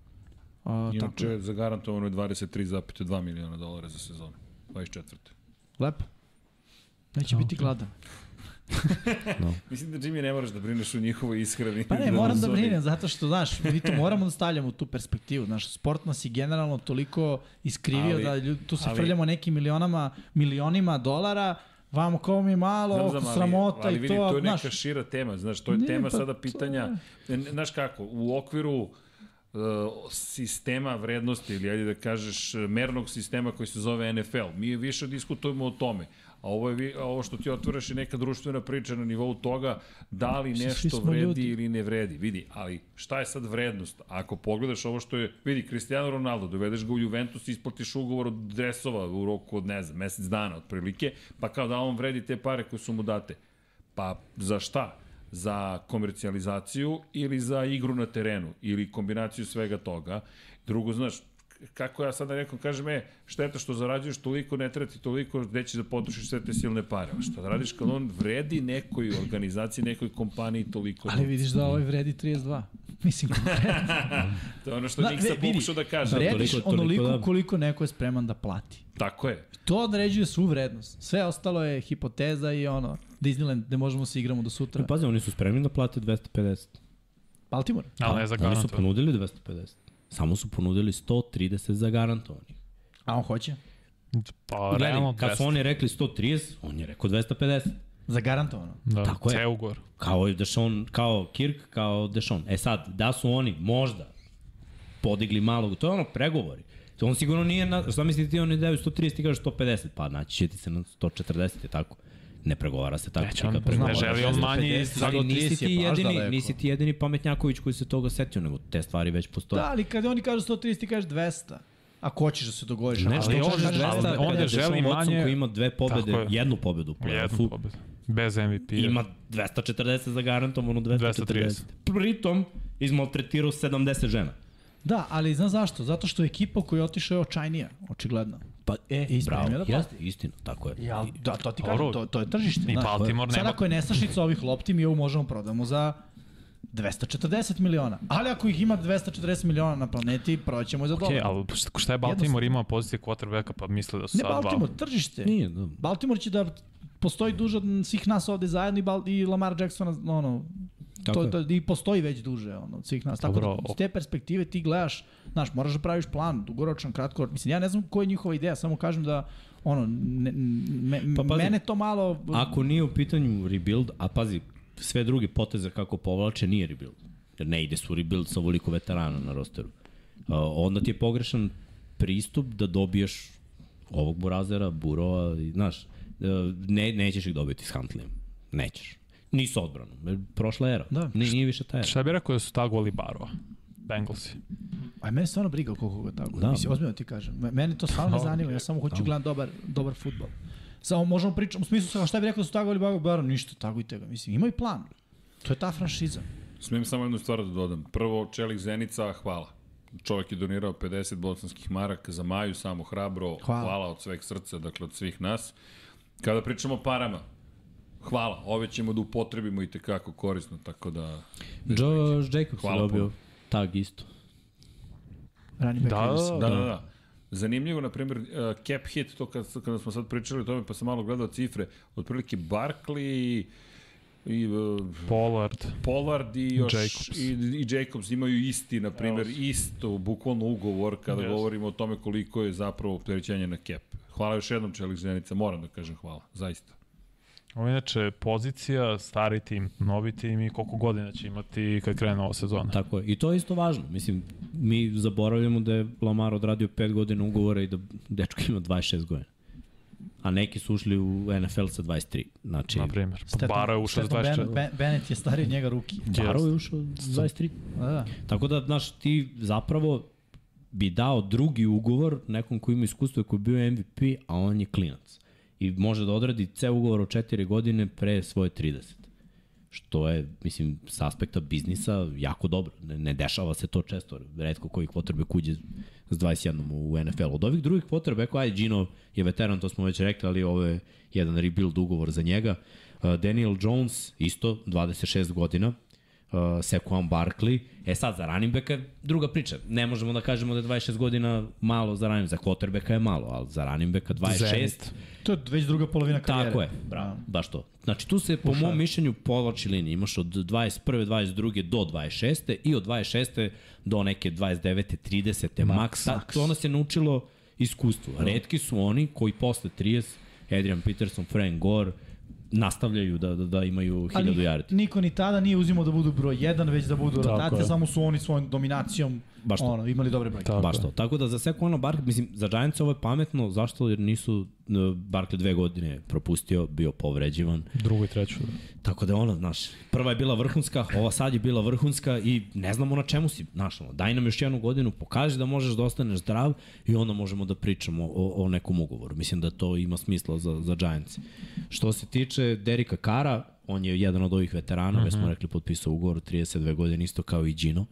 [SPEAKER 2] A, tako, je.
[SPEAKER 1] Inače, zagarantovano je 23,2 miliona dolara za sezonu. 24.
[SPEAKER 2] lepo. Neće biti gladan.
[SPEAKER 1] Mislim da Jimmy ne moraš da brineš u njihovoj ishrani.
[SPEAKER 2] Pa ne, moram da brinem, zato što, znaš, mi to moramo da stavljamo u tu perspektivu. Znaš, sport nas je generalno toliko iskrivio
[SPEAKER 1] Ali-
[SPEAKER 2] ali, da ljudi, tu se
[SPEAKER 1] ali-
[SPEAKER 2] ali, frljamo nekim milionama, milionima dolara, vamo kao mi je malo,
[SPEAKER 1] Znam,
[SPEAKER 2] oko
[SPEAKER 1] znam, ali-
[SPEAKER 2] sramota
[SPEAKER 1] ali
[SPEAKER 2] i
[SPEAKER 1] vidi,
[SPEAKER 2] to,
[SPEAKER 1] to je neka
[SPEAKER 2] znaš,
[SPEAKER 1] znaš, šira tema, znaš, to je ne,
[SPEAKER 2] Ne,
[SPEAKER 1] tema
[SPEAKER 2] pa
[SPEAKER 1] sada
[SPEAKER 2] to
[SPEAKER 1] pitanja, e, n- znaš kako, u okviru uh, sistema vrednosti ili ajde da kažeš e, mernog sistema koji se zove NFL. Mi više diskutujemo o tome. A ovo, je, vi- a ovo što ti otvaraš je neka društvena priča na nivou toga da li
[SPEAKER 2] svi
[SPEAKER 1] nešto
[SPEAKER 2] smo
[SPEAKER 1] vredi
[SPEAKER 2] ljudi.
[SPEAKER 1] ili ne vredi. Vidi, ali šta je sad vrednost? Ako pogledaš ovo što je, vidi, Cristiano Ronaldo, dovedeš ga u Juventus, isplatiš ugovor od dresova u roku od, ne znam, mesec dana otprilike, pa kao da on vredi te pare koje su mu date. Pa za šta? Za komercijalizaciju ili za igru na terenu ili kombinaciju svega toga. Drugo, znaš, kako ja sada nekom kažem, e, šteta što zarađuješ toliko, ne treba ti toliko, gde ćeš da potrošiš sve te silne pare. A Šta da radiš kad on vredi nekoj organizaciji, nekoj kompaniji toliko?
[SPEAKER 2] ali vidiš da ovaj vredi 32. Mislim,
[SPEAKER 1] To je ono što
[SPEAKER 2] Da,
[SPEAKER 1] Niksa
[SPEAKER 2] vidi,
[SPEAKER 1] pokušao da kaže.
[SPEAKER 2] vrediš
[SPEAKER 4] toliko- toliko
[SPEAKER 2] onoliko
[SPEAKER 4] da.
[SPEAKER 2] koliko neko je spreman da plati.
[SPEAKER 1] Tako je.
[SPEAKER 2] To određuje svu vrednost. Sve ostalo je hipoteza i ono, Disneyland, gde možemo se igramo do sutra.
[SPEAKER 4] E, Pazi, oni su spremni da plate 250.
[SPEAKER 2] Baltimore.
[SPEAKER 3] Ali ne za
[SPEAKER 4] Oni su
[SPEAKER 3] Pa garantovano.
[SPEAKER 4] ponudili 250. Samo su ponudili 130 za garantovanih.
[SPEAKER 2] A on hoće?
[SPEAKER 3] Pa, realno
[SPEAKER 4] Gledaj, kad su
[SPEAKER 3] 200.
[SPEAKER 4] oni rekli 130, on je rekao 250.
[SPEAKER 2] Zagarantovano.
[SPEAKER 3] Da,
[SPEAKER 4] Tako je.
[SPEAKER 3] Ceo ugor.
[SPEAKER 4] Kao i Dešon, kao Kirk, kao Dešon. E sad, da su oni možda podigli malo, to je ono pregovori. To on sigurno nije, na, šta mislite ti oni daju 130 i kaže 150, pa naći će ti se na 140 i tako. Ne pregovara se tako.
[SPEAKER 3] Neće
[SPEAKER 4] Ti
[SPEAKER 3] on-
[SPEAKER 4] kad
[SPEAKER 3] ne
[SPEAKER 4] pregovaraš
[SPEAKER 2] da
[SPEAKER 3] želi on
[SPEAKER 4] 250,
[SPEAKER 3] manji
[SPEAKER 2] za
[SPEAKER 4] Ali
[SPEAKER 2] 130
[SPEAKER 4] nisi ti,
[SPEAKER 2] je baš
[SPEAKER 4] jedini,
[SPEAKER 2] daleko.
[SPEAKER 4] nisi ti jedini pametnjaković koji se toga setio, nego te stvari već postoje.
[SPEAKER 2] Da, ali kada oni kažu 130, ti kažeš 200. Ako hoćeš da se dogovoriš.
[SPEAKER 4] Ne,
[SPEAKER 2] ako
[SPEAKER 4] što
[SPEAKER 3] ali
[SPEAKER 2] hoćeš
[SPEAKER 3] on-
[SPEAKER 2] da
[SPEAKER 4] kažeš
[SPEAKER 2] kažeš
[SPEAKER 3] ali
[SPEAKER 4] 250,
[SPEAKER 3] on je želi
[SPEAKER 4] Watson
[SPEAKER 3] manje-
[SPEAKER 4] koji ima dve pobede,
[SPEAKER 3] Tako je.
[SPEAKER 4] jednu pobedu u
[SPEAKER 3] Jednu
[SPEAKER 4] play-offu,
[SPEAKER 3] pobedu. Bez P-a. MVP.
[SPEAKER 4] ima 240 za garantom, ono 240.
[SPEAKER 3] 230.
[SPEAKER 4] Pritom, izmaltretirao 70 žena.
[SPEAKER 2] Da, ali znaš zašto? Zato što ekipa koja je otišla je očajnija, očigledno.
[SPEAKER 4] Pa, e,
[SPEAKER 2] I spremio
[SPEAKER 4] bravo,
[SPEAKER 2] da plati.
[SPEAKER 4] jeste, istina, tako je.
[SPEAKER 2] Ja, da, to ti
[SPEAKER 3] Dobro.
[SPEAKER 2] kažem, to, to je tržište.
[SPEAKER 3] I
[SPEAKER 2] znaš.
[SPEAKER 3] Baltimore
[SPEAKER 2] Sad
[SPEAKER 3] nema-
[SPEAKER 2] ako je nestašica ovih lopti, mi ovu možemo prodamo za 240 miliona. Ali ako ih ima 240 miliona na planeti, proćemo i za dolar.
[SPEAKER 3] Ok, ali šta- šta je Baltimore imao pozicije quarterbacka pa misle da su
[SPEAKER 2] Ne,
[SPEAKER 3] sad dva.
[SPEAKER 2] Baltimore, tržište.
[SPEAKER 4] Nije, da.
[SPEAKER 2] Baltimore će da postoji duže od svih nas ovde zajedno i, Bal i Lamar Jacksona, ono,
[SPEAKER 4] Tako
[SPEAKER 2] to,
[SPEAKER 4] je.
[SPEAKER 2] to, i postoji već duže ono, od svih nas. Tako
[SPEAKER 3] Dobro,
[SPEAKER 2] da,
[SPEAKER 3] ok.
[SPEAKER 2] s te perspektive ti gledaš, znaš, moraš da praviš plan, dugoročan, kratko, mislim, ja ne znam koja je njihova ideja, samo kažem da, ono, ne, me,
[SPEAKER 4] Pa
[SPEAKER 2] pa,
[SPEAKER 4] pazi,
[SPEAKER 2] mene to malo...
[SPEAKER 4] Ako nije u pitanju rebuild, a pazi, sve druge poteze kako povlače nije rebuild. Jer ne ide su rebuild sa ovoliko veterana na rosteru. A, onda ti je pogrešan pristup da dobiješ ovog Burazera, Burova, i, znaš, e, ne, nećeš ih dobiti s Huntleyem. Nećeš. Nisu odbranu. Prošla era.
[SPEAKER 2] Da.
[SPEAKER 4] Ni, nije više ta era.
[SPEAKER 3] Šta bih rekao da su ta goli barova? Bengalsi.
[SPEAKER 2] A mene je stvarno briga koliko ga tako. Da.
[SPEAKER 4] Da.
[SPEAKER 2] Mislim, ozbiljno ti kažem. Me- Mene to stvarno ne
[SPEAKER 3] Da.
[SPEAKER 2] zanima. Ja samo hoću gledam dobar, dobar futbol. Samo možemo pričati, u smislu sa šta bih rekao da su tako ili bago, bar ništa, tako i tega. Mislim, imaju plan. To je ta franšiza.
[SPEAKER 1] Smijem samo jednu stvar da dodam. Prvo, Čelik Zenica, hvala. Čovjek je donirao 50 bosanskih maraka za Maju, samo hrabro.
[SPEAKER 2] Hvala.
[SPEAKER 1] Hvala. hvala od sveg srca, dakle od svih nas. Kada pričamo o parama, hvala. Ove ćemo da upotrebimo i tekako korisno, tako da...
[SPEAKER 4] Josh Jacobs je
[SPEAKER 1] Hvala
[SPEAKER 4] dobio
[SPEAKER 1] puno.
[SPEAKER 4] tag isto.
[SPEAKER 2] Rani back
[SPEAKER 3] Da,
[SPEAKER 2] Liversa.
[SPEAKER 1] Da, da, da. Zanimljivo, na primjer, uh, cap hit, to kad, kada smo sad pričali o tome, pa sam malo gledao cifre, otprilike Barkley i uh,
[SPEAKER 3] Pollard.
[SPEAKER 1] Pollard i još
[SPEAKER 3] Jacobs.
[SPEAKER 1] I, i Jacobs imaju isti, na primjer, isto, bukvalno ugovor kada
[SPEAKER 3] Yes.
[SPEAKER 1] govorimo o tome koliko je zapravo opterećenje na cap. Hvala još jednom Čelik Zenica, moram da kažem hvala, zaista.
[SPEAKER 3] Ovo je inače pozicija, stari tim, novi tim i koliko godina će imati kad krene nova sezona.
[SPEAKER 4] Tako je. I to je isto važno. Mislim, mi zaboravljamo da je Lamar odradio 5 godina ugovora i da dečko ima 26 godina. A neki su ušli u NFL sa 23. Znači,
[SPEAKER 3] Na primjer. Pa
[SPEAKER 2] Stefan-
[SPEAKER 3] Baro je ušao s
[SPEAKER 2] Stefan
[SPEAKER 3] 24.
[SPEAKER 2] Ben, ben, Bennett je stariji od njega ruki.
[SPEAKER 4] Baro je ušao sa 23.
[SPEAKER 2] Da, da.
[SPEAKER 4] Tako da, znaš, ti zapravo bi dao drugi ugovor nekom koji ima iskustvo i koji je bio MVP, a on je klinac. I može da odradi ceo ugovor od 4 godine pre svoje 30. Što je, mislim, s aspekta biznisa jako dobro. Ne, ne dešava se to često. Redko koji kvotrbe kuđe s 21 u NFL. Od ovih drugih kvotrbe, ako aj, Gino je veteran, to smo već rekli, ali ovo je jedan rebuild ugovor za njega. Uh, Daniel Jones, isto, 26 godina, uh, Sekuan Barkley. E sad, za running backa je druga priča. Ne možemo da kažemo da je 26 godina malo za running Za quarterbacka je malo, ali za running backa 26...
[SPEAKER 3] Zenit.
[SPEAKER 2] To je već druga polovina karijere.
[SPEAKER 4] Tako je, bravo, baš to. Znači tu se po mom mišljenju povlači linija. Imaš od 21. 22. do 26. i od 26. do neke 29. 30. maks. Ta, to ono se naučilo iskustvo. Redki su oni koji posle 30, Adrian Peterson, Frank Gore, nastavljaju da, da, da imaju 1000
[SPEAKER 2] Ali
[SPEAKER 4] yardi.
[SPEAKER 2] niko ni tada nije uzimao da budu broj 1, već da budu
[SPEAKER 3] Tako
[SPEAKER 2] rotacije,
[SPEAKER 3] je.
[SPEAKER 2] samo su oni svojom dominacijom
[SPEAKER 4] Baš to.
[SPEAKER 2] ono, imali dobre brojke.
[SPEAKER 3] Tako
[SPEAKER 4] Baš
[SPEAKER 3] je.
[SPEAKER 4] to. Tako da za Seku ono Barkley, mislim, za Giants ovo je pametno, zašto? Jer nisu e, Barkley dve godine propustio, bio povređivan.
[SPEAKER 3] Drugu i treću.
[SPEAKER 4] Tako da ono, znaš, prva je bila vrhunska, ova sad je bila vrhunska i ne znamo na čemu si, znaš, ono, daj nam još jednu godinu, pokaži da možeš da ostaneš zdrav i onda možemo da pričamo o, o nekom ugovoru. Mislim da to ima smisla za, za Giants. Što se tiče Derika Kara, on je jedan od ovih veterana, mm -hmm. već
[SPEAKER 2] Mhm.
[SPEAKER 4] smo rekli potpisao ugovor 32 godine, isto kao i Gino.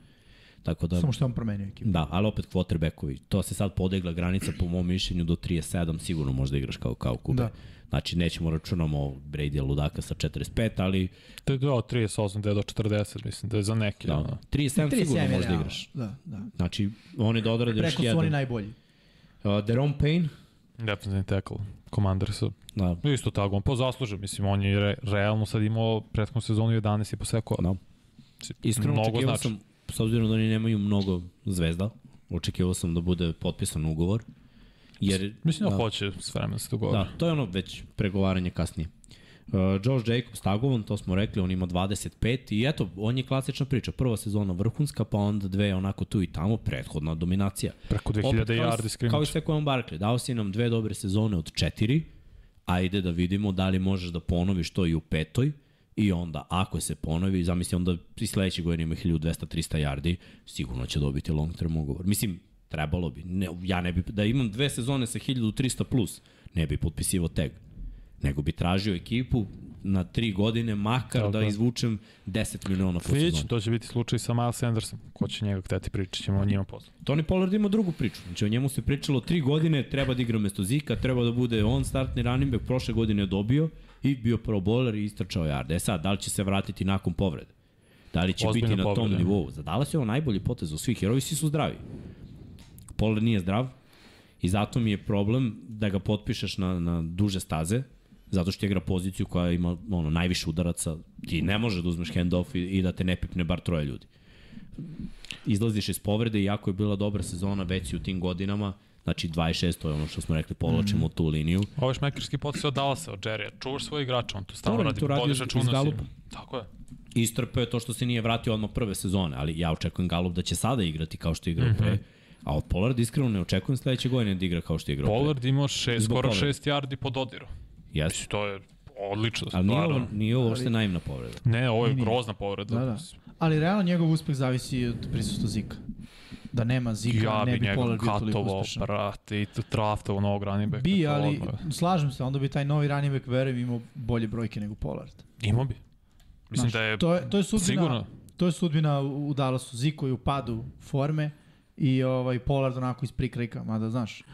[SPEAKER 4] Tako da,
[SPEAKER 2] Samo što je on promenio ekipu.
[SPEAKER 4] da, ali opet quarterbackovi, to se sad podegla granica po mom mišljenju do 37, sigurno možda igraš kao, kao
[SPEAKER 2] Da.
[SPEAKER 4] kube. Da. Znači, nećemo računamo Brady ludaka sa 45, ali
[SPEAKER 3] To je do 38, da je do 40, mislim, da je za neki. Da. Ono.
[SPEAKER 4] Da. 37, 37 sigurno možda
[SPEAKER 2] realno.
[SPEAKER 4] igraš.
[SPEAKER 2] Da, da.
[SPEAKER 4] Znači, on je da odrade još
[SPEAKER 2] Preko su oni
[SPEAKER 4] jedan.
[SPEAKER 2] najbolji.
[SPEAKER 4] Uh, Deron Payne,
[SPEAKER 3] Defensive tackle, Commandersa.
[SPEAKER 4] da,
[SPEAKER 3] Isto tako, on po zasluže, mislim, on je re, realno sad imao prethodnu sezonu 11 i posekao.
[SPEAKER 4] da. Iskreno
[SPEAKER 3] Mnogo
[SPEAKER 4] očekivao
[SPEAKER 3] znači.
[SPEAKER 4] sam, s obzirom da oni nemaju mnogo zvezda, očekivao sam da bude potpisan ugovor. Jer,
[SPEAKER 3] Mislim da,
[SPEAKER 4] da,
[SPEAKER 3] hoće s vremena se dogovore.
[SPEAKER 4] da, to je ono već pregovaranje kasnije. Uh, Josh Jacobs tagovan, to smo rekli, on ima 25 i eto, on je klasična priča. Prva sezona vrhunska, pa onda dve onako tu i tamo, prethodna dominacija.
[SPEAKER 3] Preko
[SPEAKER 4] Opet
[SPEAKER 3] 2000
[SPEAKER 4] kao i-
[SPEAKER 3] yardi
[SPEAKER 4] Kao i
[SPEAKER 3] skrimača.
[SPEAKER 4] sve kojom Barkley, dao si nam dve dobre sezone od četiri, ajde da vidimo da li možeš da ponoviš to i u petoj, i onda ako se ponovi, zamisli onda i sledeće godine ima 1200-300 yardi, sigurno će dobiti long term ugovor. Mislim, trebalo bi. Ne, ja ne bi, da imam dve sezone sa 1300 plus, ne bi potpisivao tag. Nego bi tražio ekipu na tri godine, makar
[SPEAKER 3] Tako
[SPEAKER 4] da
[SPEAKER 3] je.
[SPEAKER 4] izvučem 10 miliona po
[SPEAKER 3] Vidjet ću,
[SPEAKER 4] sezoni.
[SPEAKER 3] to će biti slučaj sa Miles Andersom. Ko će njega hteti pričat ćemo o njima posle.
[SPEAKER 4] Tony Pollard ima drugu priču. Znači, o njemu se pričalo tri godine, treba da igra mesto Zika, treba da bude on startni running back, prošle godine je dobio i bio pro bowler i istračao jarde. E sad, da li će se vratiti nakon povrede? Da li će
[SPEAKER 3] Ozbiljna
[SPEAKER 4] biti na tom
[SPEAKER 3] povreda.
[SPEAKER 4] nivou? Zadala se ovo najbolji potez u svih, jer ovi svi su zdravi. Pollard nije zdrav i zato mi je problem da ga potpišeš na, na duže staze, zato što igra poziciju koja ima ono, najviše udaraca, ti ne može da uzmeš handoff i, i da te ne pipne bar troje ljudi izlaziš iz povrede, iako je bila dobra sezona već i u tim godinama, znači 26, to je ono što smo rekli, povlačimo
[SPEAKER 3] Mhm.
[SPEAKER 4] mm. tu liniju.
[SPEAKER 3] Ovo je šmekerski potis od Dallasa, od Jerrya. Čuvaš svoje igrače, on to stalno
[SPEAKER 4] Dobro,
[SPEAKER 3] radi.
[SPEAKER 4] to radi
[SPEAKER 3] Vodiš
[SPEAKER 4] iz-
[SPEAKER 3] računa
[SPEAKER 4] iz
[SPEAKER 3] o
[SPEAKER 4] galupa.
[SPEAKER 3] svima. Tako je.
[SPEAKER 4] Istrpeo je to što se nije vratio odmah prve sezone, ali ja očekujem Galup da će sada igrati kao što je igrao mm
[SPEAKER 3] Mhm.
[SPEAKER 4] -hmm. pre, a od Pollard iskreno ne očekujem sledeće godine da igra kao što je igrao
[SPEAKER 3] Pollard imao šest,
[SPEAKER 4] Zbog
[SPEAKER 3] skoro
[SPEAKER 4] povrede.
[SPEAKER 3] šest yardi po dodiru.
[SPEAKER 4] pre. Yes.
[SPEAKER 3] To je odlično,
[SPEAKER 4] Ali nije
[SPEAKER 3] stvarno.
[SPEAKER 4] ovo, nije ovo uopšte naivna povreda.
[SPEAKER 3] Ne, ovo je
[SPEAKER 2] Nije, nije.
[SPEAKER 3] grozna povreda.
[SPEAKER 2] Da, da. Ali realno njegov uspeh zavisi od prisustva Zika. Da nema Zika,
[SPEAKER 3] Ja
[SPEAKER 2] ne
[SPEAKER 3] bi
[SPEAKER 2] bi
[SPEAKER 3] njega
[SPEAKER 2] Polar bio toliko
[SPEAKER 3] katovao,
[SPEAKER 2] uspešan.
[SPEAKER 3] brate, i traftovao novog running backa.
[SPEAKER 2] Bi,
[SPEAKER 3] to
[SPEAKER 2] ali
[SPEAKER 3] odmah.
[SPEAKER 2] slažem se, onda bi taj novi running back verujem imao bolje brojke nego Pollard.
[SPEAKER 3] Imao bi. Mislim da je
[SPEAKER 2] To je, to je sudbina,
[SPEAKER 3] sigurno...
[SPEAKER 2] to je sudbina u u Dallasu. Zico je u padu forme i ovaj Pollard onako iz prikrajka, mada znaš, e,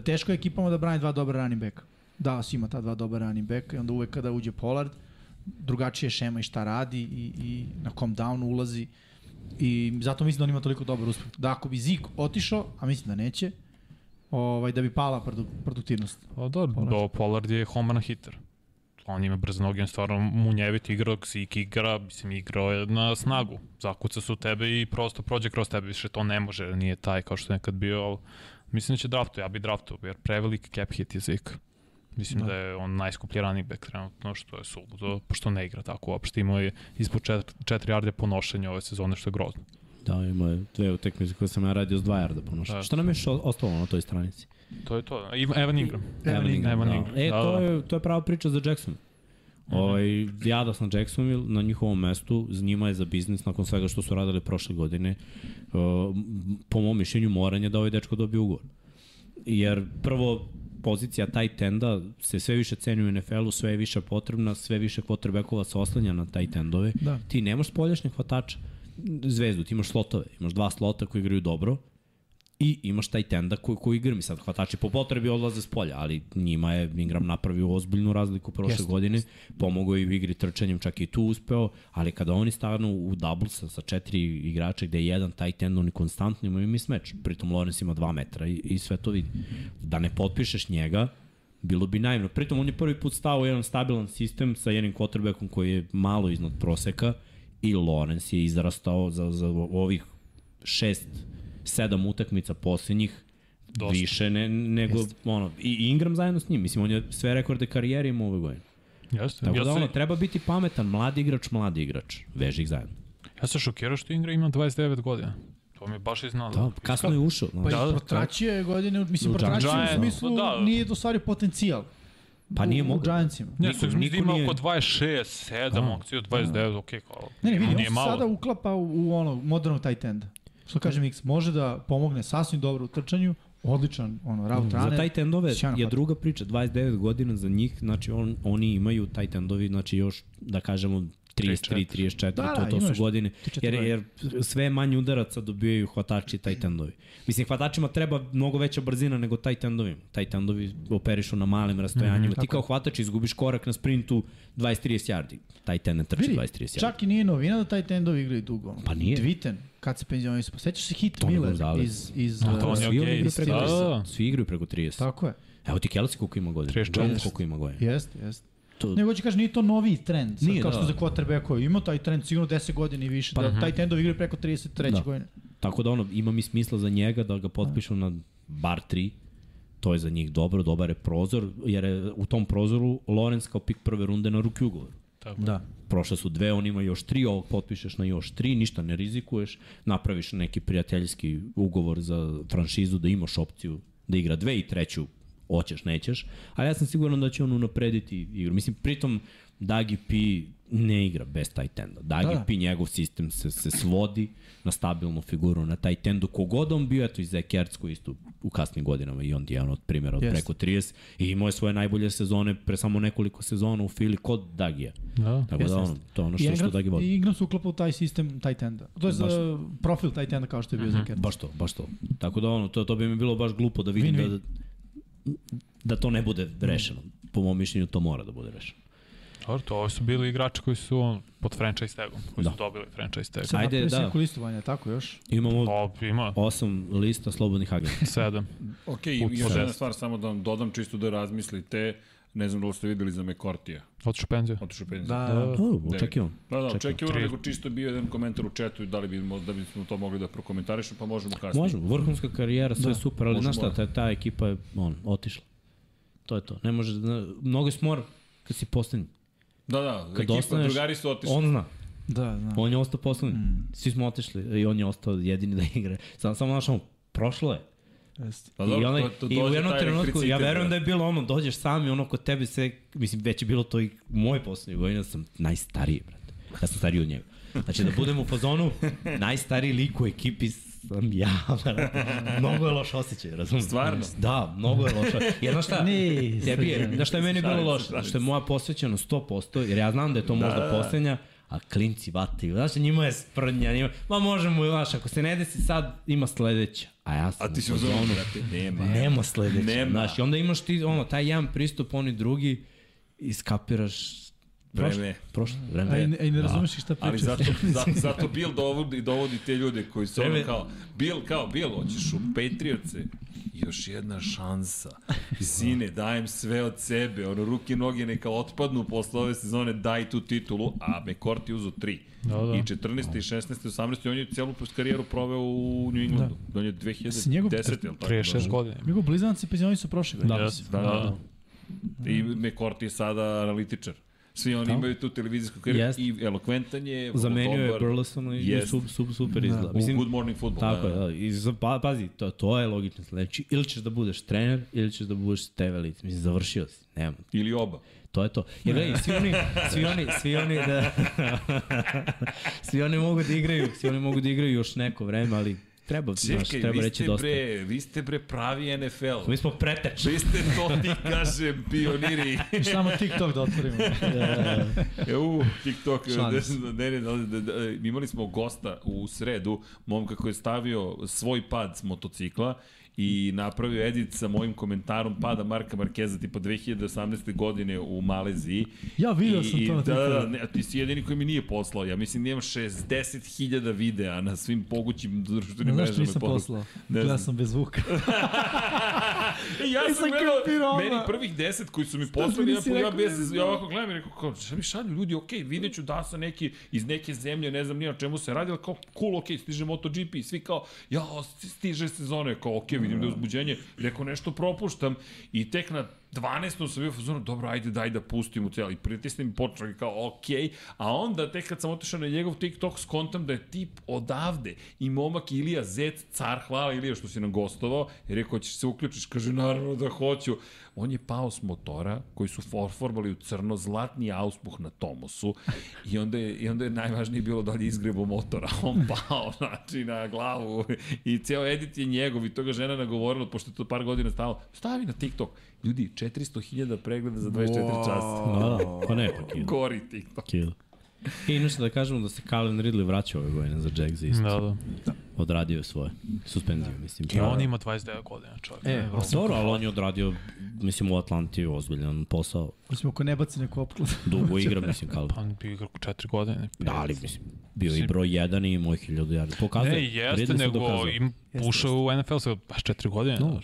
[SPEAKER 2] teško je ekipama da brani dva dobra running backa. Dallas ima ta dva dobra running backa i onda uvek kada uđe Pollard, drugačije je šema i šta radi i, i na kom downu ulazi i zato mislim da on ima toliko dobar uspeh. Da ako bi Zik otišao, a mislim da neće, ovaj, da bi pala produ- produktivnost.
[SPEAKER 3] Pa da, Pollard. do Pollard je home run hitter. On ima brze noge, on je stvarno munjevit igra, Zik igra, mislim igrao je na snagu. Zakuca su tebe i prosto prođe kroz tebe, više to ne može, nije taj kao što je nekad bio, ali mislim da će draftu, ja bi draftu, jer preveliki cap hit je Zik. Mislim da.
[SPEAKER 2] Da.
[SPEAKER 3] da je on najskuplji running back trenutno, što je suludo, pošto ne igra tako uopšte. Imao je ispod 4 yarde ponošenja ove sezone, što je grozno.
[SPEAKER 4] Da, ima je dve utekmice koje sam ja radio s dva jarda pa ponošao.
[SPEAKER 3] Da.
[SPEAKER 4] Šta nam je još o- ostalo na toj stranici?
[SPEAKER 3] To da. je to. Iv- Evan Ingram.
[SPEAKER 2] Evan Ingram,
[SPEAKER 3] Evan
[SPEAKER 4] da.
[SPEAKER 3] Ingram.
[SPEAKER 4] E,
[SPEAKER 3] Da,
[SPEAKER 4] to
[SPEAKER 3] da. Mhm.
[SPEAKER 4] je, to je prava priča za Jackson. Ovaj, ja da sam Jackson na njihovom mestu, z njima je za biznis nakon svega što su radili prošle godine. Uh, m- po mom mišljenju moranje da ovaj dečko dobije ugovor. Jer prvo pozicija taj tenda se sve više ceni u NFL-u, sve je više potrebna, sve više quarterbackova se oslanja na taj tendove.
[SPEAKER 2] Da.
[SPEAKER 4] Ti nemaš spoljašnje hvatača zvezdu, ti imaš slotove, imaš dva slota koji igraju dobro, i imaš taj tenda koji, koji igra mi sad hvatači po potrebi odlaze s polja, ali njima je Ingram napravio ozbiljnu razliku prošle
[SPEAKER 2] Jeste,
[SPEAKER 4] godine, pomogao je u igri trčanjem, čak i tu uspeo, ali kada oni stanu u doublesa sa četiri igrača gde je jedan taj tend, oni konstantno imaju mis meč, pritom Lorenz ima dva metra i, i sve to vidi. Da ne potpišeš njega, bilo bi naivno. Pritom on je prvi put stao u jedan stabilan sistem sa jednim quarterbackom koji je malo iznad proseka i Lorenz je izrastao za, za ovih šest, sedam utakmica posljednjih
[SPEAKER 3] Dosta.
[SPEAKER 4] više ne, nego ono, i i Ingram zajedno s njim. Mislim, on je sve rekorde karijere imao ove godine.
[SPEAKER 3] Jeste.
[SPEAKER 4] Tako
[SPEAKER 3] Ja
[SPEAKER 4] da
[SPEAKER 3] se-
[SPEAKER 4] ono, treba biti pametan, mladi igrač, mladi igrač. Veži ih zajedno.
[SPEAKER 3] Ja sam šokirao što Ingram ima 29 godina. To mi je baš
[SPEAKER 4] Da,
[SPEAKER 3] iznenadilo.
[SPEAKER 4] kasno je ušao.
[SPEAKER 2] Pa
[SPEAKER 4] Pa,
[SPEAKER 3] Da,
[SPEAKER 2] da,
[SPEAKER 3] da,
[SPEAKER 2] i protračio je godine, mislim,
[SPEAKER 4] U
[SPEAKER 2] protračio u
[SPEAKER 3] Giants,
[SPEAKER 2] smislu
[SPEAKER 3] da.
[SPEAKER 2] nije ostvario potencijal.
[SPEAKER 4] pa nije
[SPEAKER 2] u, u
[SPEAKER 4] mogo.
[SPEAKER 2] Giantsima.
[SPEAKER 3] Ne,
[SPEAKER 4] Niko-
[SPEAKER 3] su mi
[SPEAKER 4] niko
[SPEAKER 3] ima
[SPEAKER 4] nije- da.
[SPEAKER 3] oko 26, 7, akciju 29, okej, kao.
[SPEAKER 2] Ne, ne, vidi, on
[SPEAKER 3] nije
[SPEAKER 2] se
[SPEAKER 3] malo.
[SPEAKER 2] sada uklapa u, u ono, modernog tight enda. Što kaže Mix, može da pomogne sasvim dobro u trčanju, odličan ono, route runner.
[SPEAKER 4] Mm, Za taj tendove
[SPEAKER 2] sjajan
[SPEAKER 4] je
[SPEAKER 2] hvatač.
[SPEAKER 4] druga priča, 29 godina za njih, znači on, oni imaju taj tendovi, znači još, da kažemo, 33, 34,
[SPEAKER 2] Da, da,
[SPEAKER 4] to, to
[SPEAKER 2] imaš
[SPEAKER 4] su godine,
[SPEAKER 2] 34.
[SPEAKER 4] jer, jer sve manje udaraca dobijaju hvatači i taj tendovi. Mislim, hvatačima treba mnogo veća brzina nego taj tendovima. Taj tendovi operišu na malim
[SPEAKER 2] Mhm,
[SPEAKER 4] rastojanjima. Mm, Ti kao hvatač izgubiš korak na sprintu 20-30 yardi. Taj ten ne trči
[SPEAKER 2] Vidi,
[SPEAKER 4] 20-30 yardi.
[SPEAKER 2] čak i nije novina da taj tendovi igraju dugo. Ono.
[SPEAKER 4] Pa nije.
[SPEAKER 2] Dviten, kad se penzionali su. Pa Sećaš se hit
[SPEAKER 4] Tony
[SPEAKER 2] Miller
[SPEAKER 4] Gonzalez.
[SPEAKER 2] iz...
[SPEAKER 4] Da,
[SPEAKER 2] iz uh,
[SPEAKER 3] Antonio
[SPEAKER 4] Svi, oni igraju
[SPEAKER 3] Gates,
[SPEAKER 4] preko
[SPEAKER 3] da,
[SPEAKER 4] 30.
[SPEAKER 3] da.
[SPEAKER 4] Svi igraju preko 30.
[SPEAKER 2] Tako je.
[SPEAKER 4] Evo ti Kelsey koliko ima godina.
[SPEAKER 3] 34.
[SPEAKER 4] Jones koliko ima godina.
[SPEAKER 2] Jeste, jeste.
[SPEAKER 4] To-
[SPEAKER 2] Nego ću kažem, nije to novi trend. Sad,
[SPEAKER 4] Nije,
[SPEAKER 2] kao
[SPEAKER 4] da. Pa,
[SPEAKER 2] što za quarterbacko ima taj trend sigurno 10 godina i više. da, taj tendovi igraju preko 33.
[SPEAKER 4] Da.
[SPEAKER 2] godine.
[SPEAKER 4] Tako da ono, ima mi smisla za njega da ga potpišu na bar 3. To je za njih dobro, dobar je prozor, jer je u tom prozoru Lorenz kao pik prve runde na ruki ugovor.
[SPEAKER 3] Tako.
[SPEAKER 2] Da.
[SPEAKER 4] Prošle su dve, on ima još tri, ovog potpišeš na još tri, ništa ne rizikuješ, napraviš neki prijateljski ugovor za franšizu da imaš opciju da igra dve i treću, hoćeš, nećeš, ali ja sam siguran da će on unaprediti igru. Mislim, pritom Dagi P ne igra bez tight enda. Dagi
[SPEAKER 2] Da, da.
[SPEAKER 4] P njegov sistem se, se svodi na stabilnu figuru na tight endu. Kogod on bio, eto i Zach Ertz koji isto u kasnim godinama i on je jedan od primjera od
[SPEAKER 2] Jeste.
[SPEAKER 4] preko 30 i imao je svoje najbolje sezone pre samo nekoliko sezona u Fili kod Dagija.
[SPEAKER 3] Da.
[SPEAKER 4] Tako da
[SPEAKER 2] Jeste,
[SPEAKER 4] ono, to je ono
[SPEAKER 2] I
[SPEAKER 4] što, što
[SPEAKER 2] Ingram-
[SPEAKER 4] Dagi vodi.
[SPEAKER 2] I Ingram se uklapa u taj sistem tight enda. To je
[SPEAKER 4] Baš.
[SPEAKER 2] za profil tight enda kao što je bio mm -hmm.
[SPEAKER 4] Baš to, baš to. Tako da ono, to, to bi mi bilo baš glupo da vidim
[SPEAKER 2] Win-win.
[SPEAKER 4] da, da to ne bude rešeno. Po mom mišljenju to mora da bude rešeno.
[SPEAKER 3] Dobro, to ovo su bili igrači koji su on, pod franchise tagom, koji
[SPEAKER 4] Da.
[SPEAKER 3] su dobili franchise tag.
[SPEAKER 2] Sad
[SPEAKER 4] Ajde,
[SPEAKER 2] Ajde,
[SPEAKER 4] da.
[SPEAKER 2] da. listovanja, tako još.
[SPEAKER 4] Imamo
[SPEAKER 3] O, ima
[SPEAKER 4] osam lista slobodnih agenta.
[SPEAKER 3] 7.
[SPEAKER 1] Ok, i
[SPEAKER 3] Put
[SPEAKER 1] još
[SPEAKER 3] šest.
[SPEAKER 1] jedna stvar samo da vam dodam čisto da razmislite. Ne znam da li ste videli za Mekortija.
[SPEAKER 3] Otišu penziju.
[SPEAKER 1] Otišu penziju.
[SPEAKER 2] Da,
[SPEAKER 4] O, očekivao.
[SPEAKER 1] Da, da,
[SPEAKER 4] Čekam.
[SPEAKER 1] očekivano,
[SPEAKER 3] Tri-
[SPEAKER 1] nego čisto bio jedan komentar u četu i da li bi, da bi smo to mogli da prokomentarišemo, pa možemo kasnije.
[SPEAKER 4] Možemo, vrhunska karijera, sve da. super, ali
[SPEAKER 1] Možemo,
[SPEAKER 4] znaš šta, ta, ta ekipa je on, otišla. To je to. Ne može, da, mnogo je smor kad si poslednji.
[SPEAKER 1] Da, da,
[SPEAKER 4] Kad
[SPEAKER 1] ekipa,
[SPEAKER 4] ostaneš,
[SPEAKER 1] drugari su otišli.
[SPEAKER 4] On zna.
[SPEAKER 2] da, da.
[SPEAKER 4] On je ostao
[SPEAKER 2] Mm.
[SPEAKER 4] poslednji. Svi smo otišli i on je ostao jedini da igra. Samo, samo našao, prošlo je.
[SPEAKER 2] Jeste.
[SPEAKER 1] Pa
[SPEAKER 4] I,
[SPEAKER 1] dobro,
[SPEAKER 4] onaj,
[SPEAKER 1] to, to
[SPEAKER 4] I u
[SPEAKER 1] dođe
[SPEAKER 4] jednom
[SPEAKER 1] taj
[SPEAKER 4] trenutku, ja
[SPEAKER 1] elektricitet,
[SPEAKER 4] verujem da
[SPEAKER 1] brate.
[SPEAKER 4] je bilo ono, dođeš sam i ono kod tebe sve, mislim, već je bilo to i moje poslednje godine, da sam najstariji, brate. Ja sam stariji od njega. Znači, da budem u fazonu, najstariji lik u ekipi sam ja, brate. Mnogo je loš osjećaj, razumiješ?
[SPEAKER 1] Stvarno?
[SPEAKER 4] Da, mnogo je loša. Jer znaš šta,
[SPEAKER 2] Ne,
[SPEAKER 4] tebi je, znaš šta je meni bilo
[SPEAKER 1] Šalim se,
[SPEAKER 4] loše?
[SPEAKER 1] šalim
[SPEAKER 4] Što je moja posvećenost 100%, jer ja znam da je to možda da. poslednja, a klinci vate. Znaš, njima je sprnja, njima, ma možemo, znaš, ako se ne desi sad, ima sledeća. A ja sam
[SPEAKER 1] A ti si
[SPEAKER 4] u
[SPEAKER 1] u
[SPEAKER 4] fazonu,
[SPEAKER 1] zonu, brate, nema.
[SPEAKER 4] Nema sledeće.
[SPEAKER 1] Pa, Nema.
[SPEAKER 4] Nema. Znaš, i onda imaš ti ono, taj jedan pristup, oni drugi, iskapiraš
[SPEAKER 1] Vreme.
[SPEAKER 4] Prošlo,
[SPEAKER 2] A i,
[SPEAKER 4] vreme.
[SPEAKER 2] ne- a i ne razumeš i šta pričaš.
[SPEAKER 1] Ali zato, zato, zato Bill dovodi, dovodi te ljude koji su ono
[SPEAKER 4] Vreme.
[SPEAKER 1] kao, Bill, kao, Bill, hoćeš u Patriotce, još jedna šansa. Sine, dajem sve od sebe, ono, ruke i noge neka otpadnu posle ove sezone, daj tu titulu, a McCourt je uzo tri.
[SPEAKER 3] Da, da.
[SPEAKER 1] I 14. i 16. i 18. on je celu karijeru proveo u New Englandu. Da. On je 2010.
[SPEAKER 2] Si njegov-
[SPEAKER 1] jel tako?
[SPEAKER 4] da.
[SPEAKER 3] 36 godina.
[SPEAKER 2] Njegov blizanci penzioni su prošli. Da.
[SPEAKER 3] Da,
[SPEAKER 1] Da, da. I McCourt je sada analitičar. Svi oni imaju tu televizijsku karijeru
[SPEAKER 4] Jest.
[SPEAKER 1] i elokventan je,
[SPEAKER 4] Zamenio je
[SPEAKER 1] dobar.
[SPEAKER 4] Burlesona i
[SPEAKER 1] Jest.
[SPEAKER 4] yes. sub, sub, super izgleda.
[SPEAKER 1] U Mislim, Good Morning Football.
[SPEAKER 4] Tako je,
[SPEAKER 1] da.
[SPEAKER 4] da. I za, pa, pazi, to, to je logično sledeći. Ili ćeš da budeš trener, ili ćeš da budeš TV lic. Mislim, završio si. Nema.
[SPEAKER 1] Ili oba.
[SPEAKER 4] To je to. Jer gledaj, svi oni, svi oni, svi oni da... svi oni mogu da igraju, svi oni mogu da igraju još neko vreme, ali treba, znaš,
[SPEAKER 1] Čekaj,
[SPEAKER 4] treba
[SPEAKER 1] vi
[SPEAKER 4] reći
[SPEAKER 1] ste,
[SPEAKER 4] dosta.
[SPEAKER 1] bre, vi ste bre pravi NFL.
[SPEAKER 4] Mi smo preteč.
[SPEAKER 1] Vi ste to ti kažem pioniri.
[SPEAKER 2] Još samo TikTok da otvorimo.
[SPEAKER 1] E, u, TikTok,
[SPEAKER 2] Šalim se.
[SPEAKER 1] ne, ne, ne, da, da, da, imali smo gosta u sredu, momka koji je stavio svoj pad s motocikla i napravio edit sa mojim komentarom pada Marka Markeza tipa 2018. godine u Maleziji.
[SPEAKER 2] Ja, video
[SPEAKER 1] I,
[SPEAKER 2] sam to
[SPEAKER 1] i,
[SPEAKER 2] na
[SPEAKER 1] da, da,
[SPEAKER 2] Twitteru.
[SPEAKER 1] da, ne, a ti si jedini koji mi nije poslao. Ja mislim da imam 60.000 videa na svim mogućim društvenim
[SPEAKER 2] Ne
[SPEAKER 1] mrežama.
[SPEAKER 2] znaš što
[SPEAKER 1] i
[SPEAKER 2] nisam
[SPEAKER 1] porukama.
[SPEAKER 2] poslao?
[SPEAKER 1] Ne
[SPEAKER 2] Gledao
[SPEAKER 1] znam.
[SPEAKER 2] sam bez zvuka.
[SPEAKER 1] E, ja sam
[SPEAKER 2] Nisam
[SPEAKER 1] gledao,
[SPEAKER 2] kapirao,
[SPEAKER 1] meni
[SPEAKER 2] ono.
[SPEAKER 1] prvih deset koji su mi
[SPEAKER 2] mi
[SPEAKER 1] poslali, ja,
[SPEAKER 2] nisi
[SPEAKER 1] po- ja,
[SPEAKER 2] rekao,
[SPEAKER 1] bez,
[SPEAKER 2] ne?
[SPEAKER 1] ja ovako gledam i rekao, kao, šta mi šalju ljudi, okej, okay, vidjet ću da su neki iz neke zemlje, ne znam ni o čemu se radi, ali kao, cool, okej, okay, stiže MotoGP i svi kao, ja, stiže sezone, kao, okej, okay, vidim da je uzbuđenje, rekao, nešto propuštam i tek na 12. sam bio u fazonu, dobro, ajde, daj da pustim u celo. I pritisnem i počeo i kao, okej. Okay. A onda, tek kad sam otišao na njegov TikTok, skontam da je tip odavde. I momak Ilija Zec, car, hvala Ilija što si nam gostovao. I rekao, ćeš se uključiš? Kaže, naravno da hoću. On je pao s motora, koji su forformali u crno, zlatni auspuh na Tomosu. I onda je, i onda je najvažnije bilo da li je izgrebo motora. On pao, znači, na glavu. I ceo edit je njegov. I to ga žena nagovorila, pošto je to par godina stalo. Stavi na TikTok. Ljudi, 400.000 pregleda za 24 wow. časa.
[SPEAKER 4] Da, da, pa ne, pa kilo.
[SPEAKER 1] Gori TikTok.
[SPEAKER 4] Kill. I inače da kažemo da se Calvin Ridley vraća ove godine za Jags isto.
[SPEAKER 3] Da, da.
[SPEAKER 4] Odradio je svoje. Suspenziju, mislim.
[SPEAKER 3] I on ima 29 godina, čovjek.
[SPEAKER 4] E, dobro, ali on je odradio, mislim, u Atlanti ozbiljan posao.
[SPEAKER 2] Osim ako ne baci neku opklad.
[SPEAKER 4] Dugo igra, mislim, Calvin.
[SPEAKER 3] On bi igrao 4 godine.
[SPEAKER 4] Da, ali mislim, bio i broj 1 i moj 1000 jardi. Pokazuje.
[SPEAKER 3] Ne, jeste,
[SPEAKER 4] Ridley se
[SPEAKER 3] nego
[SPEAKER 4] dokazao.
[SPEAKER 3] im ušao u NFL sa baš 4 godine. No.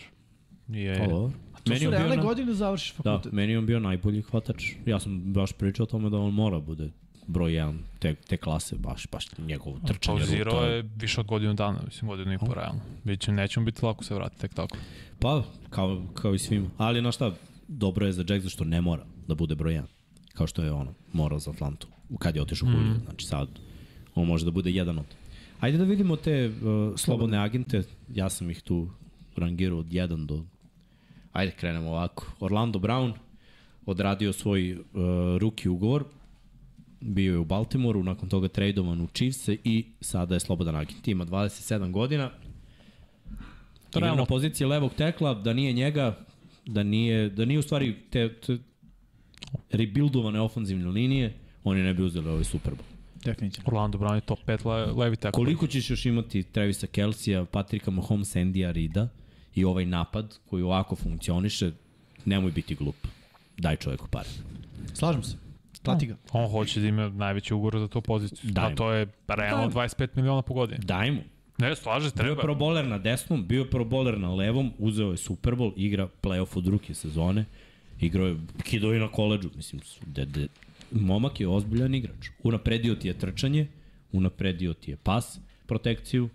[SPEAKER 4] Pa,
[SPEAKER 3] Je,
[SPEAKER 4] dobro.
[SPEAKER 2] To
[SPEAKER 4] Meni
[SPEAKER 2] su
[SPEAKER 4] je on
[SPEAKER 2] realne
[SPEAKER 4] bio na...
[SPEAKER 2] godine da završiš
[SPEAKER 4] Da,
[SPEAKER 2] fakultet.
[SPEAKER 4] meni je on bio najbolji hvatač. Ja sam baš pričao o tome da on mora bude broj 1 te, te klase, baš, baš njegovo trčanje.
[SPEAKER 3] Pauzirao
[SPEAKER 4] ruta.
[SPEAKER 3] Pa je više od godinu dana, mislim, godinu i po realno. Biće, neće mu biti lako se vratiti tek tako.
[SPEAKER 4] Pa, kao, kao i svima. Ali, znaš šta, dobro je za Jack zašto ne mora da bude broj 1. Kao što je ono, morao za Atlantu. Kad je otišao mm. Julio, znači sad on može da bude jedan od. Ajde da vidimo te uh, slobodne agente. Ja sam ih tu rangirao od 1 do... Ajde, krenemo ovako. Orlando Brown odradio svoj uh, ruki ugovor. Bio je u Baltimoru, nakon toga tradovan u Chiefs i sada je slobodan agent. Ima 27 godina,
[SPEAKER 3] To
[SPEAKER 4] To igra
[SPEAKER 3] realno-
[SPEAKER 4] na poziciji levog tekla, da nije njega, da nije, da nije u stvari te, te rebuildovane ofanzivne linije, oni ne bi uzeli ovaj Super Bowl.
[SPEAKER 2] Definitivno.
[SPEAKER 3] Orlando Brown je top 5 le, levi tako.
[SPEAKER 4] Koliko ćeš još imati Travisa Kelsija, Patrika Mahomes, Andy Arida i ovaj napad koji ovako funkcioniše, nemoj biti glup. Daj čoveku pare.
[SPEAKER 2] Slažem se. Plati ga.
[SPEAKER 3] On hoće da ima najveći ugovor za tu poziciju.
[SPEAKER 4] Daj
[SPEAKER 3] Da,
[SPEAKER 4] mu.
[SPEAKER 3] to je realno 25 miliona po godini.
[SPEAKER 4] Daj mu.
[SPEAKER 3] Ne, slaže,
[SPEAKER 4] Bio je
[SPEAKER 3] treba.
[SPEAKER 4] pro bowler na desnom, bio je pro bowler na levom, uzeo je Super Bowl, igra playoff od druge sezone, igrao je kidovi na koleđu, mislim, su- de, de, momak je ozbiljan igrač. Unapredio ti je trčanje, unapredio ti je pas, protekciju,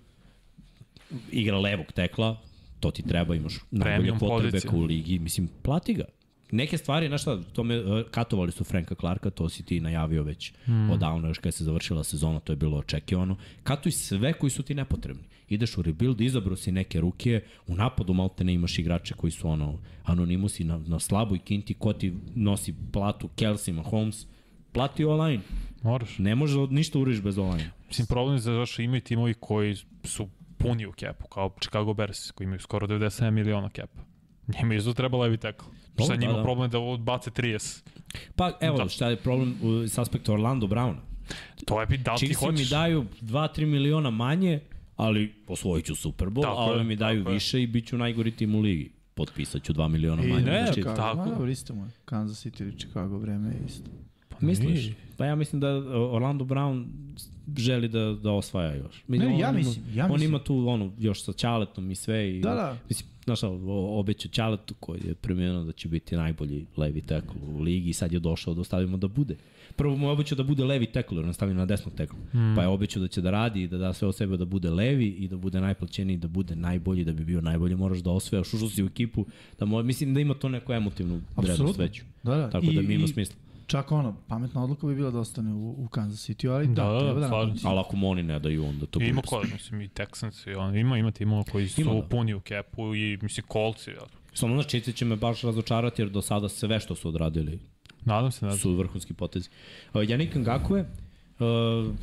[SPEAKER 4] igra levog tekla, to ti treba, imaš najbolje
[SPEAKER 3] Premium
[SPEAKER 4] potrebe
[SPEAKER 3] pozicija.
[SPEAKER 4] u ligi, mislim, plati ga. neke stvari, znaš šta, to me, e, katovali su Franka Clarka, to si ti najavio već
[SPEAKER 3] Hmm.
[SPEAKER 4] mm. odavno, još kada se završila sezona, to je bilo očekivano. Katuj sve koji su ti nepotrebni. Ideš u rebuild, izabro si neke ruke, u napadu malte ne imaš igrače koji su ono, anonimusi na, na slaboj kinti, ko ti nosi platu, Kelsey, Mahomes, plati online.
[SPEAKER 3] Moraš.
[SPEAKER 4] Ne možeš od- ništa uriš bez online.
[SPEAKER 3] Mislim, problem je zato što imaju timovi koji su puni u kepu, kao Chicago Bears, koji imaju skoro 97 miliona kepa. Njima je isto treba levi tackle.
[SPEAKER 4] Dobro,
[SPEAKER 3] Sad njima
[SPEAKER 4] da, da.
[SPEAKER 3] problem je da odbace 30.
[SPEAKER 4] Pa evo,
[SPEAKER 3] Da.
[SPEAKER 4] da. šta je problem u, s aspekta Orlando Browna.
[SPEAKER 3] To je bi da li ti
[SPEAKER 4] Chiefs mi
[SPEAKER 3] hoćeš.
[SPEAKER 4] daju 2-3 miliona manje, ali osvojit ću Super Bowl,
[SPEAKER 3] Tako
[SPEAKER 4] a
[SPEAKER 3] je,
[SPEAKER 4] ovi mi daju
[SPEAKER 3] tako je.
[SPEAKER 4] više i bit ću najgori tim u ligi. Potpisat ću 2 miliona
[SPEAKER 3] I
[SPEAKER 4] manje. Znači,
[SPEAKER 3] ne,
[SPEAKER 4] za Chiefs.
[SPEAKER 3] kao-
[SPEAKER 5] Chicago,
[SPEAKER 3] tako.
[SPEAKER 5] ma dobro, isto
[SPEAKER 2] е.
[SPEAKER 5] mu je. Kansas City ili Chicago vreme je isto.
[SPEAKER 3] Pa
[SPEAKER 4] Misliš?
[SPEAKER 3] nije.
[SPEAKER 4] Pa ja mislim da Orlando Brown želi da, da osvaja još. Mislim,
[SPEAKER 2] Ne, ja
[SPEAKER 4] on ima-
[SPEAKER 2] mislim, ja
[SPEAKER 4] On
[SPEAKER 2] mislim.
[SPEAKER 4] ima tu ono, još sa Ćaletom i sve. I,
[SPEAKER 5] Da, da.
[SPEAKER 4] Mislim, znaš, šta, o- obećao Ćaletu koji je primjerno da će biti najbolji levi tackle u ligi i sad je došao da ostavimo da bude. Prvo mu je obećao da bude levi tackle, jer on stavio na desnog tackle.
[SPEAKER 3] Hmm.
[SPEAKER 4] Mm. Pa je obećao da će da radi i da da sve od sebe da bude levi i da bude najplaćeniji, da bude najbolji, da bi bio najbolji, moraš da osvajaš, ušao si u ekipu, da mo, mislim da ima to neku emotivnu vrednost
[SPEAKER 5] Apsolutno.
[SPEAKER 4] veću.
[SPEAKER 5] Da, da.
[SPEAKER 4] Tako
[SPEAKER 5] I-
[SPEAKER 4] da mi ima
[SPEAKER 5] i
[SPEAKER 4] smisla.
[SPEAKER 5] Čak ono, pametna odluka bi bila da ostane u, u Kansas City, ali da,
[SPEAKER 3] Da,
[SPEAKER 5] da treba da
[SPEAKER 3] slažem
[SPEAKER 5] napusti.
[SPEAKER 4] Ali ako mu oni ne daju, onda to
[SPEAKER 3] I
[SPEAKER 4] bude
[SPEAKER 3] ima ko, mislim, i Texans, i on, ima, ima timova koji su
[SPEAKER 4] Ima, da.
[SPEAKER 3] puni u kepu i, mislim, kolci. Ja.
[SPEAKER 4] Samo znači, Chiefs će me baš razočarati jer do sada sve što su odradili
[SPEAKER 3] Nadam se, da nadam se.
[SPEAKER 4] su vrhunski potezi. Uh, Janik Ngakue, uh,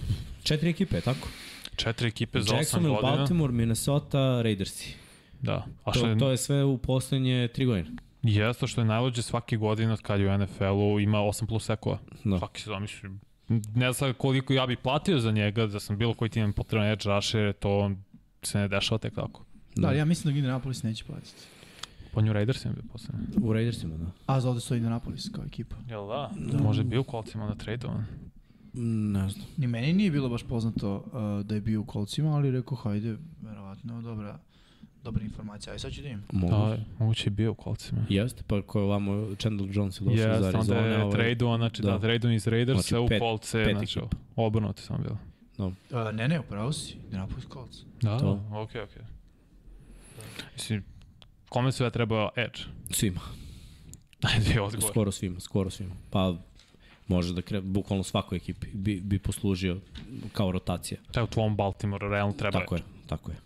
[SPEAKER 4] četiri ekipe, je tako?
[SPEAKER 3] Četiri ekipe za osam
[SPEAKER 4] Jacksonville,
[SPEAKER 3] godina.
[SPEAKER 4] Baltimore, Minnesota, Raidersi.
[SPEAKER 3] Da. A što
[SPEAKER 4] To,
[SPEAKER 3] je,
[SPEAKER 4] to je sve u poslednje tri godine.
[SPEAKER 3] Jeste što je najluđe svake godine od kad je u NFL-u ima 8 plus sekova.
[SPEAKER 4] Da.
[SPEAKER 3] No. Svaki sezon mislim, ne znam sad koliko ja bi platio za njega, da sam bilo koji tim potreban edge rusher, to se ne dešava tek tako.
[SPEAKER 5] Da, ali ja mislim da Indianapolis neće platiti.
[SPEAKER 3] Po New Raiders je bio poslednji.
[SPEAKER 4] U Raidersima, da.
[SPEAKER 5] A za ovde stoji Indianapolis kao ekipa.
[SPEAKER 3] Jel da? da. Može bio kolcima na tradeovan.
[SPEAKER 4] Mm, Ne znam.
[SPEAKER 5] Ni meni nije bilo baš poznato uh, da je bio u kolcima, ali rekao, hajde, verovatno, dobra, dobra informacija. Aj sad ću da im.
[SPEAKER 4] Mogu.
[SPEAKER 3] Da, moguće je bio u kolcima.
[SPEAKER 4] Jeste, pa ko je ovamo, Chandler Jones je došao yes, za
[SPEAKER 3] Jeste, onda
[SPEAKER 4] Arizona.
[SPEAKER 3] je tradeovan, znači da,
[SPEAKER 4] da.
[SPEAKER 3] da tradeovan iz Raidersa
[SPEAKER 4] Znači,
[SPEAKER 3] u
[SPEAKER 4] pet-
[SPEAKER 3] kolce,
[SPEAKER 4] pet
[SPEAKER 3] znači
[SPEAKER 4] ekipa.
[SPEAKER 3] obrnuto sam bilo.
[SPEAKER 5] Uh, ne, ne, upravo si, Indianapolis Colts.
[SPEAKER 3] Da,
[SPEAKER 4] To.
[SPEAKER 3] da, okej, okej. Da. Mislim, kome sve treba edge?
[SPEAKER 4] Svima,
[SPEAKER 3] Ajde, odgovor.
[SPEAKER 4] skoro svima, skoro svima. Pa može da kre, bukvalno svakoj ekipi bi, bi poslužio kao rotacija.
[SPEAKER 3] Šta je u tvom Baltimore, realno treba
[SPEAKER 4] Tako je, tako je.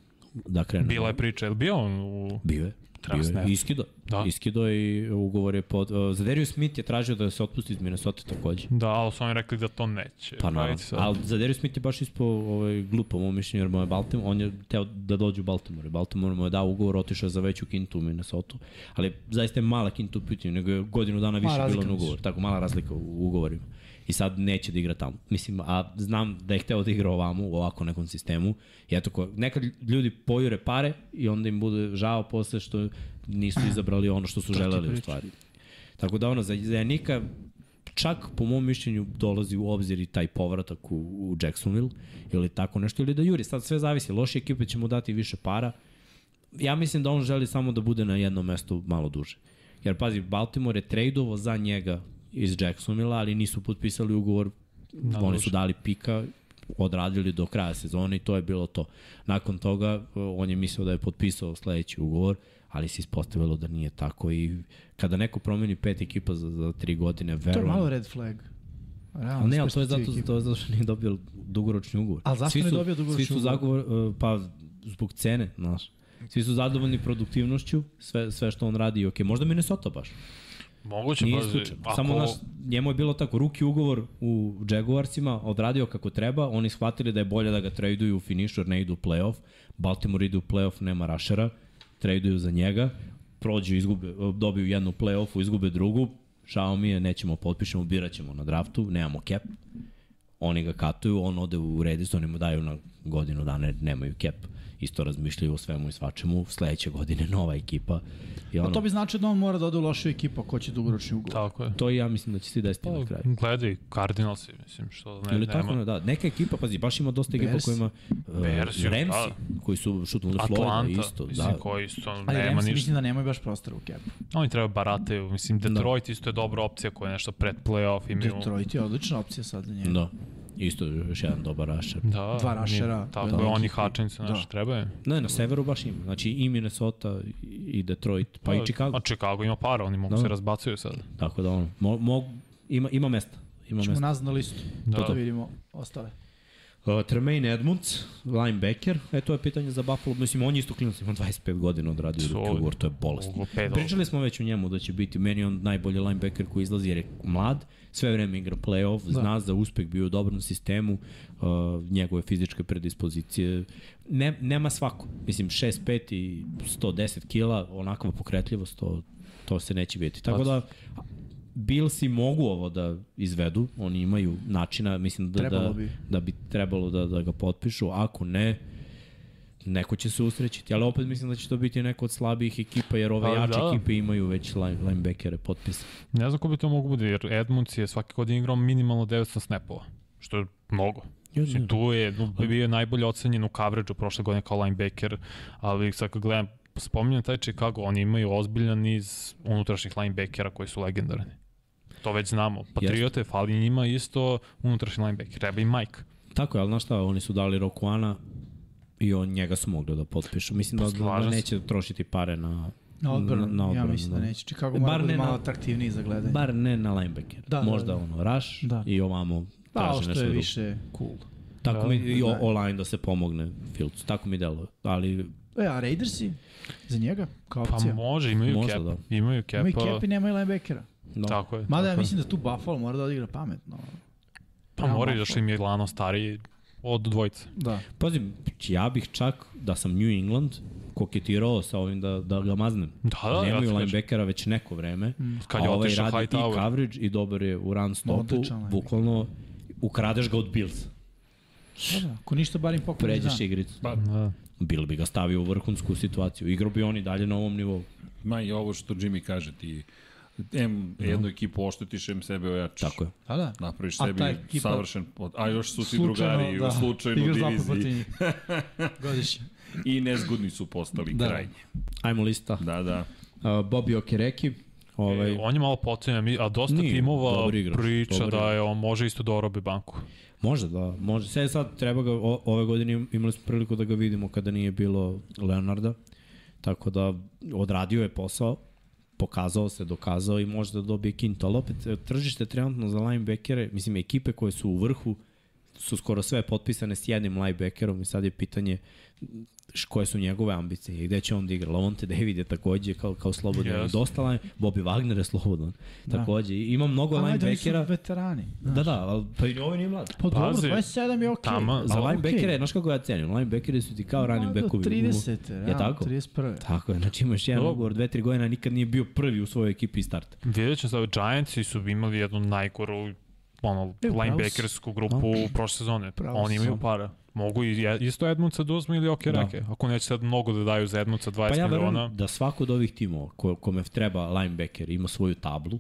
[SPEAKER 4] Da krenu.
[SPEAKER 3] Bila je priča, je li bio on u...
[SPEAKER 4] Bio je. Bio
[SPEAKER 3] Transnet.
[SPEAKER 4] je. Iskido.
[SPEAKER 3] Da.
[SPEAKER 4] Da. Iskido i ugovor je pod... Uh, Zadarius Smith je tražio da se otpusti iz Minnesota takođe.
[SPEAKER 3] Da, ali su oni rekli da to neće.
[SPEAKER 4] Pa naravno.
[SPEAKER 3] Ajde sad.
[SPEAKER 4] Ali Zadarius Smith je baš ispao ovaj, glupo, moj mišljenju, jer mu je Baltimore, on je teo da dođe u Baltimore. Baltimore mu je dao ugovor, otišao je za veću kintu u Minnesota. Ali zaista je mala kinta u pitanju, nego je godinu dana više
[SPEAKER 5] razlika
[SPEAKER 4] bilo na
[SPEAKER 5] mislim.
[SPEAKER 4] ugovor. Tako, mala razlika u ugovorima. I sad neće da igra tamo. Mislim, a znam da je hteo da igra ovamo, u ovako nekom sistemu. I eto, ko, nekad ljudi pojure pare i onda im bude žao posle što nisu izabrali ono što su želeli u stvari. Tako da ono, za, za Janika čak po mom mišljenju dolazi u obzir i taj povratak u, u Jacksonville ili tako nešto ili da juri. Sad sve zavisi, loše ekipe će mu dati više para. Ja mislim da on želi samo da bude na jednom mestu malo duže. Jer pazi, Baltimore je tradeovo za njega iz Jacksonville, ali nisu potpisali ugovor,
[SPEAKER 5] Da,
[SPEAKER 3] Na
[SPEAKER 4] oni
[SPEAKER 3] duže.
[SPEAKER 4] su dali pika, odradili do kraja sezone i to je bilo to. Nakon toga e, on je mislio da je potpisao sledeći ugovor, ali se ispostavilo da nije tako i kada neko promeni pet ekipa za, za tri godine,
[SPEAKER 5] To je
[SPEAKER 4] verujem
[SPEAKER 5] malo red flag. Realno,
[SPEAKER 4] Ali ne, ali to je zato,
[SPEAKER 5] perspektive ekipe.
[SPEAKER 4] to je zato što nije dobio dugoročni ugovor.
[SPEAKER 5] Ali zašto
[SPEAKER 4] Svi
[SPEAKER 5] nije
[SPEAKER 4] su-
[SPEAKER 5] dobio dugoročni
[SPEAKER 4] Svi su
[SPEAKER 5] ugovor?
[SPEAKER 4] zagovor, e, pa zbog cene, znaš. Svi su zadovoljni produktivnošću, sve, sve što on radi, ok, možda Minnesota baš.
[SPEAKER 5] Znači,
[SPEAKER 3] Moguće,
[SPEAKER 4] Nije
[SPEAKER 3] pazi,
[SPEAKER 4] slučajno.
[SPEAKER 3] ako-
[SPEAKER 4] Samo naš, njemu je bilo tako, ruki ugovor u Jaguarsima, odradio kako treba, oni shvatili da je bolje da ga traduju u finišu jer ne idu u playoff, Baltimore ide u playoff, nema rašera, traduju za njega, prođu, izgube, dobiju jednu playoffu, izgube drugu, žao mi je, nećemo potpišemo, birat ćemo na draftu, nemamo cap, oni ga katuju, on ode u Redis, oni mu daju na godinu dana, jer nemaju cap. Isto razmišljaju o svemu i svačemu, sledeće godine nova ekipa. I
[SPEAKER 5] A
[SPEAKER 4] ono,
[SPEAKER 5] to bi znači da on mora da ode u lošu ekipu ako će dugoročni ugovor.
[SPEAKER 3] Tako je. Pa,
[SPEAKER 4] to i ja mislim da će se i desiti
[SPEAKER 5] Pa,
[SPEAKER 4] na kraju.
[SPEAKER 3] Gledaj, Cardinals, mislim, što ne,
[SPEAKER 4] Ne, Ili
[SPEAKER 3] nema.
[SPEAKER 4] tako, ne, da. Neka ekipa, pazi, baš ima dosta ekipa
[SPEAKER 5] Bears.
[SPEAKER 4] koja ima
[SPEAKER 3] Bears,
[SPEAKER 4] uh,
[SPEAKER 3] da.
[SPEAKER 4] Ramsi, koji su šutnuli Florida
[SPEAKER 3] Atlanta,
[SPEAKER 4] isto.
[SPEAKER 3] mislim,
[SPEAKER 4] Da.
[SPEAKER 3] koji isto
[SPEAKER 5] Ali
[SPEAKER 3] nema
[SPEAKER 5] Rams
[SPEAKER 3] ništa.
[SPEAKER 5] mislim da nemaju baš prostora u kepu.
[SPEAKER 3] Oni treba barataju, mislim, Detroit isto je dobra opcija koja je nešto pred playoff imaju.
[SPEAKER 5] Detroit je odlična opcija sad za njega.
[SPEAKER 4] da. Isto još jedan dobar rašar.
[SPEAKER 3] Da,
[SPEAKER 5] Dva rašera.
[SPEAKER 3] ni- Tako
[SPEAKER 5] Da.
[SPEAKER 3] je, oni Hutchinson, znaš,
[SPEAKER 5] Da.
[SPEAKER 3] treba je.
[SPEAKER 4] Ne, na severu baš ima. Znači i Minnesota i Detroit, pa i Chicago.
[SPEAKER 3] Da, A Chicago ima para, oni mogu
[SPEAKER 4] Da.
[SPEAKER 3] se razbacuju sad.
[SPEAKER 4] Tako da ono, mo, mo, ima, ima mesta. Ima
[SPEAKER 5] Ćemo
[SPEAKER 4] mesta.
[SPEAKER 5] nazad na listu. Da.
[SPEAKER 3] Da.
[SPEAKER 5] To da vidimo ostale.
[SPEAKER 4] Uh, Tremaine Edmunds, linebacker, e to je pitanje za Buffalo, mislim on je isto klinac, ima 25 godina odradio
[SPEAKER 3] Solid.
[SPEAKER 4] ruke ugovor, to je bolest.
[SPEAKER 3] Ovo, pedo.
[SPEAKER 4] Pričali smo već o njemu da će biti, meni je on najbolji linebacker koji izlazi jer je mlad, sve vreme igra playoff, da. zna za uspeh, bio je u dobrom sistemu, uh, njegove fizičke predispozicije, ne, nema svako, mislim 6'5 i 110 kila, onakva pokretljivost, to, to se neće vidjeti. Tako da, Billsi mogu ovo da izvedu, oni imaju načina, mislim da, da,
[SPEAKER 5] Trebalo bi.
[SPEAKER 4] da bi trebalo da, da ga potpišu, ako ne, neko će se usrećiti, ali opet mislim da će to biti neko od slabijih ekipa, jer ove
[SPEAKER 3] Pa
[SPEAKER 4] jače
[SPEAKER 3] da.
[SPEAKER 4] ekipe imaju već line, linebackere potpisa.
[SPEAKER 3] Ne znam ko bi to mogu bude, jer Edmunds je svake godine igrao minimalno 900 snapova, što je mnogo. Mislim, Znači, tu je, no, bio je najbolje ocenjen u coverage-u prošle godine kao linebacker, ali sad kad gledam, spominjam taj Chicago, oni imaju ozbiljan niz unutrašnjih linebackera koji su legendarni. To već znamo. Patriote, fali njima isto unutrašnji linebacker. Treba i Mike.
[SPEAKER 4] Tako je, ali znaš šta, oni su dali Rokuana i on njega su mogli da potpišu. Mislim da, da, da
[SPEAKER 3] Pa Slažem se.
[SPEAKER 4] neće trošiti pare na,
[SPEAKER 5] Na odbranu,
[SPEAKER 4] na, na odbranu E,
[SPEAKER 5] ja mislim da neće. Chicago
[SPEAKER 4] Bar
[SPEAKER 5] mora
[SPEAKER 4] ne
[SPEAKER 5] bude malo
[SPEAKER 4] na-
[SPEAKER 5] atraktivniji za gledanje.
[SPEAKER 4] Bar ne na linebacker. Da,
[SPEAKER 5] Pa Da,
[SPEAKER 4] Možda
[SPEAKER 5] da, da.
[SPEAKER 4] ono, raš da.
[SPEAKER 5] Da.
[SPEAKER 4] i ovamo
[SPEAKER 5] Pa, ovo
[SPEAKER 4] traži
[SPEAKER 5] što
[SPEAKER 4] nešto
[SPEAKER 5] je
[SPEAKER 4] drugo.
[SPEAKER 5] više cool.
[SPEAKER 4] Tako
[SPEAKER 3] Da,
[SPEAKER 4] mi i o,
[SPEAKER 5] da.
[SPEAKER 4] online da se pomogne Filcu, tako mi deluje. Ali
[SPEAKER 5] E, a Raidersi? Za njega? Kao
[SPEAKER 3] Pa
[SPEAKER 5] opcija?
[SPEAKER 3] može, imaju
[SPEAKER 4] Možda
[SPEAKER 3] cap.
[SPEAKER 4] da.
[SPEAKER 3] Imaju cap.
[SPEAKER 5] Ima i cap i nema i linebackera.
[SPEAKER 4] no,
[SPEAKER 3] Tako je.
[SPEAKER 5] Mada ja
[SPEAKER 3] tako je.
[SPEAKER 5] mislim da tu Buffalo mora da odigra pametno.
[SPEAKER 3] Pa
[SPEAKER 5] Pravo
[SPEAKER 3] mora i
[SPEAKER 5] Buffalo.
[SPEAKER 3] zašto im je Lano stariji od dvojice.
[SPEAKER 5] Da.
[SPEAKER 4] pazi, ja bih čak da sam New England koketirao sa ovim da, da ga maznem.
[SPEAKER 3] Da, da, ja ti
[SPEAKER 4] Nemaju
[SPEAKER 3] kažem. Mm.
[SPEAKER 4] linebackera već neko vreme.
[SPEAKER 3] Kad
[SPEAKER 4] a
[SPEAKER 3] je
[SPEAKER 4] ovaj
[SPEAKER 3] otišao
[SPEAKER 4] radi i
[SPEAKER 3] Hightower.
[SPEAKER 4] coverage i dobar je u run stopu.
[SPEAKER 5] Odličan linebacker.
[SPEAKER 4] Bukvalno ukradeš ga od Bills.
[SPEAKER 5] da. Ako ništa, bar im pokuđe
[SPEAKER 4] Pređeš igricu.
[SPEAKER 3] Da.
[SPEAKER 4] Bill bi ga stavio u vrhunsku situaciju. Igrao bi on i dalje na ovom nivou.
[SPEAKER 1] Ma i ovo što Jimmy kaže, ti em jednu ekipu oštetiš, em sebe ojačaš.
[SPEAKER 4] Da. Tako je.
[SPEAKER 5] Da, da.
[SPEAKER 1] Napraviš
[SPEAKER 5] A
[SPEAKER 1] sebi
[SPEAKER 5] ta ekipa-
[SPEAKER 1] savršen, pot- a još su ti
[SPEAKER 5] Slučajno,
[SPEAKER 1] drugari da. u slučajno
[SPEAKER 5] Igraš dva puta protiv
[SPEAKER 1] diviziji
[SPEAKER 5] njih. Godišnje.
[SPEAKER 1] i nezgodni su postali da.
[SPEAKER 4] Da.
[SPEAKER 1] krajnje.
[SPEAKER 4] Ajmo lista.
[SPEAKER 1] Da, da.
[SPEAKER 4] Uh, Bobby Okereki. Ovaj,
[SPEAKER 3] E, on je malo pocenjen, a dosta
[SPEAKER 4] Nije,
[SPEAKER 3] timova
[SPEAKER 4] dobar igrač,
[SPEAKER 3] priča
[SPEAKER 4] dobar
[SPEAKER 3] da
[SPEAKER 4] igrač.
[SPEAKER 3] je on može isto da orobi banku.
[SPEAKER 4] Može da, može. Sve sad treba ga, o, ove godine im- imali smo priliku da ga vidimo kada nije bilo Leonarda. Tako da odradio je posao, pokazao se, dokazao i može da dobije kinto. Ali opet, e, tržište trenutno za linebackere, mislim, ekipe koje su u vrhu, su skoro sve potpisane s jednim linebackerom i sad je pitanje š- koje su njegove ambicije i gde će on da igra. Lavonte David je takođe kao, kao slobodan.
[SPEAKER 3] Jasno.
[SPEAKER 4] Yes. Dosta line, Bobby Wagner je slobodan. Da.
[SPEAKER 5] Da.
[SPEAKER 4] Takođe. I Ima mnogo
[SPEAKER 5] A najde, oni su
[SPEAKER 4] linebackera.
[SPEAKER 5] veterani.
[SPEAKER 4] Da, da, ali pa i ovaj nije mlad.
[SPEAKER 5] Pa dobro,
[SPEAKER 3] Pazi.
[SPEAKER 5] 27 je okej.
[SPEAKER 3] Tama-
[SPEAKER 5] Okay.
[SPEAKER 4] Za
[SPEAKER 3] Ali,
[SPEAKER 4] linebackere, okay. znaš kako ja cenim, linebackere su ti kao running backovi.
[SPEAKER 5] Do 30.
[SPEAKER 4] Je
[SPEAKER 5] realno,
[SPEAKER 4] tako?
[SPEAKER 5] 31.
[SPEAKER 4] Tako je, znači imaš jedan
[SPEAKER 3] Dobro.
[SPEAKER 4] ugovor, dve, tri godina, nikad nije bio prvi u svojoj ekipi i start.
[SPEAKER 3] Vidjet ćemo sad, Giantsi su imali jednu najgoru ono,
[SPEAKER 5] E, upravo si.
[SPEAKER 3] linebackersku grupu
[SPEAKER 4] Da.
[SPEAKER 3] prošle sezone.
[SPEAKER 5] Upravo
[SPEAKER 3] Oni
[SPEAKER 5] si.
[SPEAKER 3] imaju para. Mogu i je- isto Edmundsa da uzme ili Okereke.
[SPEAKER 4] Da.
[SPEAKER 3] reke. Ako neće sad mnogo da daju za Edmundsa 20
[SPEAKER 4] Pa ja
[SPEAKER 3] miliona.
[SPEAKER 4] verujem da svako od ovih timova ko, kome treba linebacker ima svoju tablu.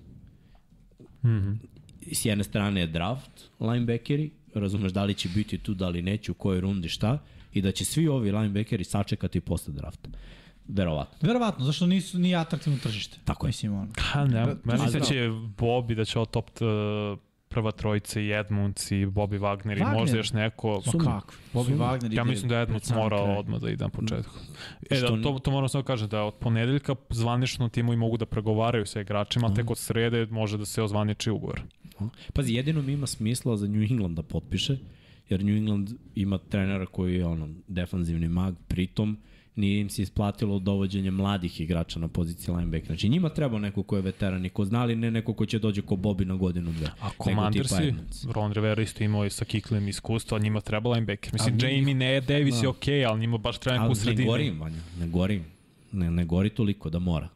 [SPEAKER 4] S jedne strane je draft linebackeri, razumeš da li će biti tu, da li neće, u kojoj rundi, šta, i da će svi ovi linebackeri sačekati posle drafta. Verovatno.
[SPEAKER 5] Verovatno, zašto nisu ni atraktivno tržište.
[SPEAKER 4] Tako je.
[SPEAKER 5] Mislim, ono.
[SPEAKER 3] Ha, ne,
[SPEAKER 4] Da,
[SPEAKER 3] meni se
[SPEAKER 5] zdravo.
[SPEAKER 3] će Bobby da će ovo top t, prva trojica i Edmunds i Bobby Wagner, i
[SPEAKER 5] Wagner?
[SPEAKER 3] možda još neko.
[SPEAKER 5] Ma kakvi? Bobby
[SPEAKER 4] Sumnjam.
[SPEAKER 5] Wagner ide
[SPEAKER 3] Ja mislim da je Edmunds
[SPEAKER 5] pred sam
[SPEAKER 3] mora
[SPEAKER 5] kraj.
[SPEAKER 3] odmah da ide na početku. E,
[SPEAKER 4] Što
[SPEAKER 3] da,
[SPEAKER 4] ni-
[SPEAKER 3] to, to moram samo kažem, da od ponedeljka zvanično timovi mogu da pregovaraju sa igračima, a tek od srede može da se ozvaniči ugovor.
[SPEAKER 4] Pazi, jedino mi ima smisla za New England da potpiše, jer New England ima trenera koji je ono, defanzivni mag, pritom nije im se isplatilo dovođenje mladih igrača na poziciji linebacker. Znači njima treba neko ko je veteran i ko zna, ali ne neko ko će dođe ko Bobby na godinu dve.
[SPEAKER 3] A
[SPEAKER 4] nego
[SPEAKER 3] komandar
[SPEAKER 4] tipa
[SPEAKER 3] si,
[SPEAKER 4] Edmonds.
[SPEAKER 3] Ron Rivera isto imao i sa Kiklem iskustva, njima treba linebacker. Mislim, Jamie ne, Davis je okej, okay, ali njima baš treba neko u
[SPEAKER 4] Da. Ali ne
[SPEAKER 3] sredini.
[SPEAKER 4] gori, Vanja, ne gori. Ne, ne gori toliko da mora.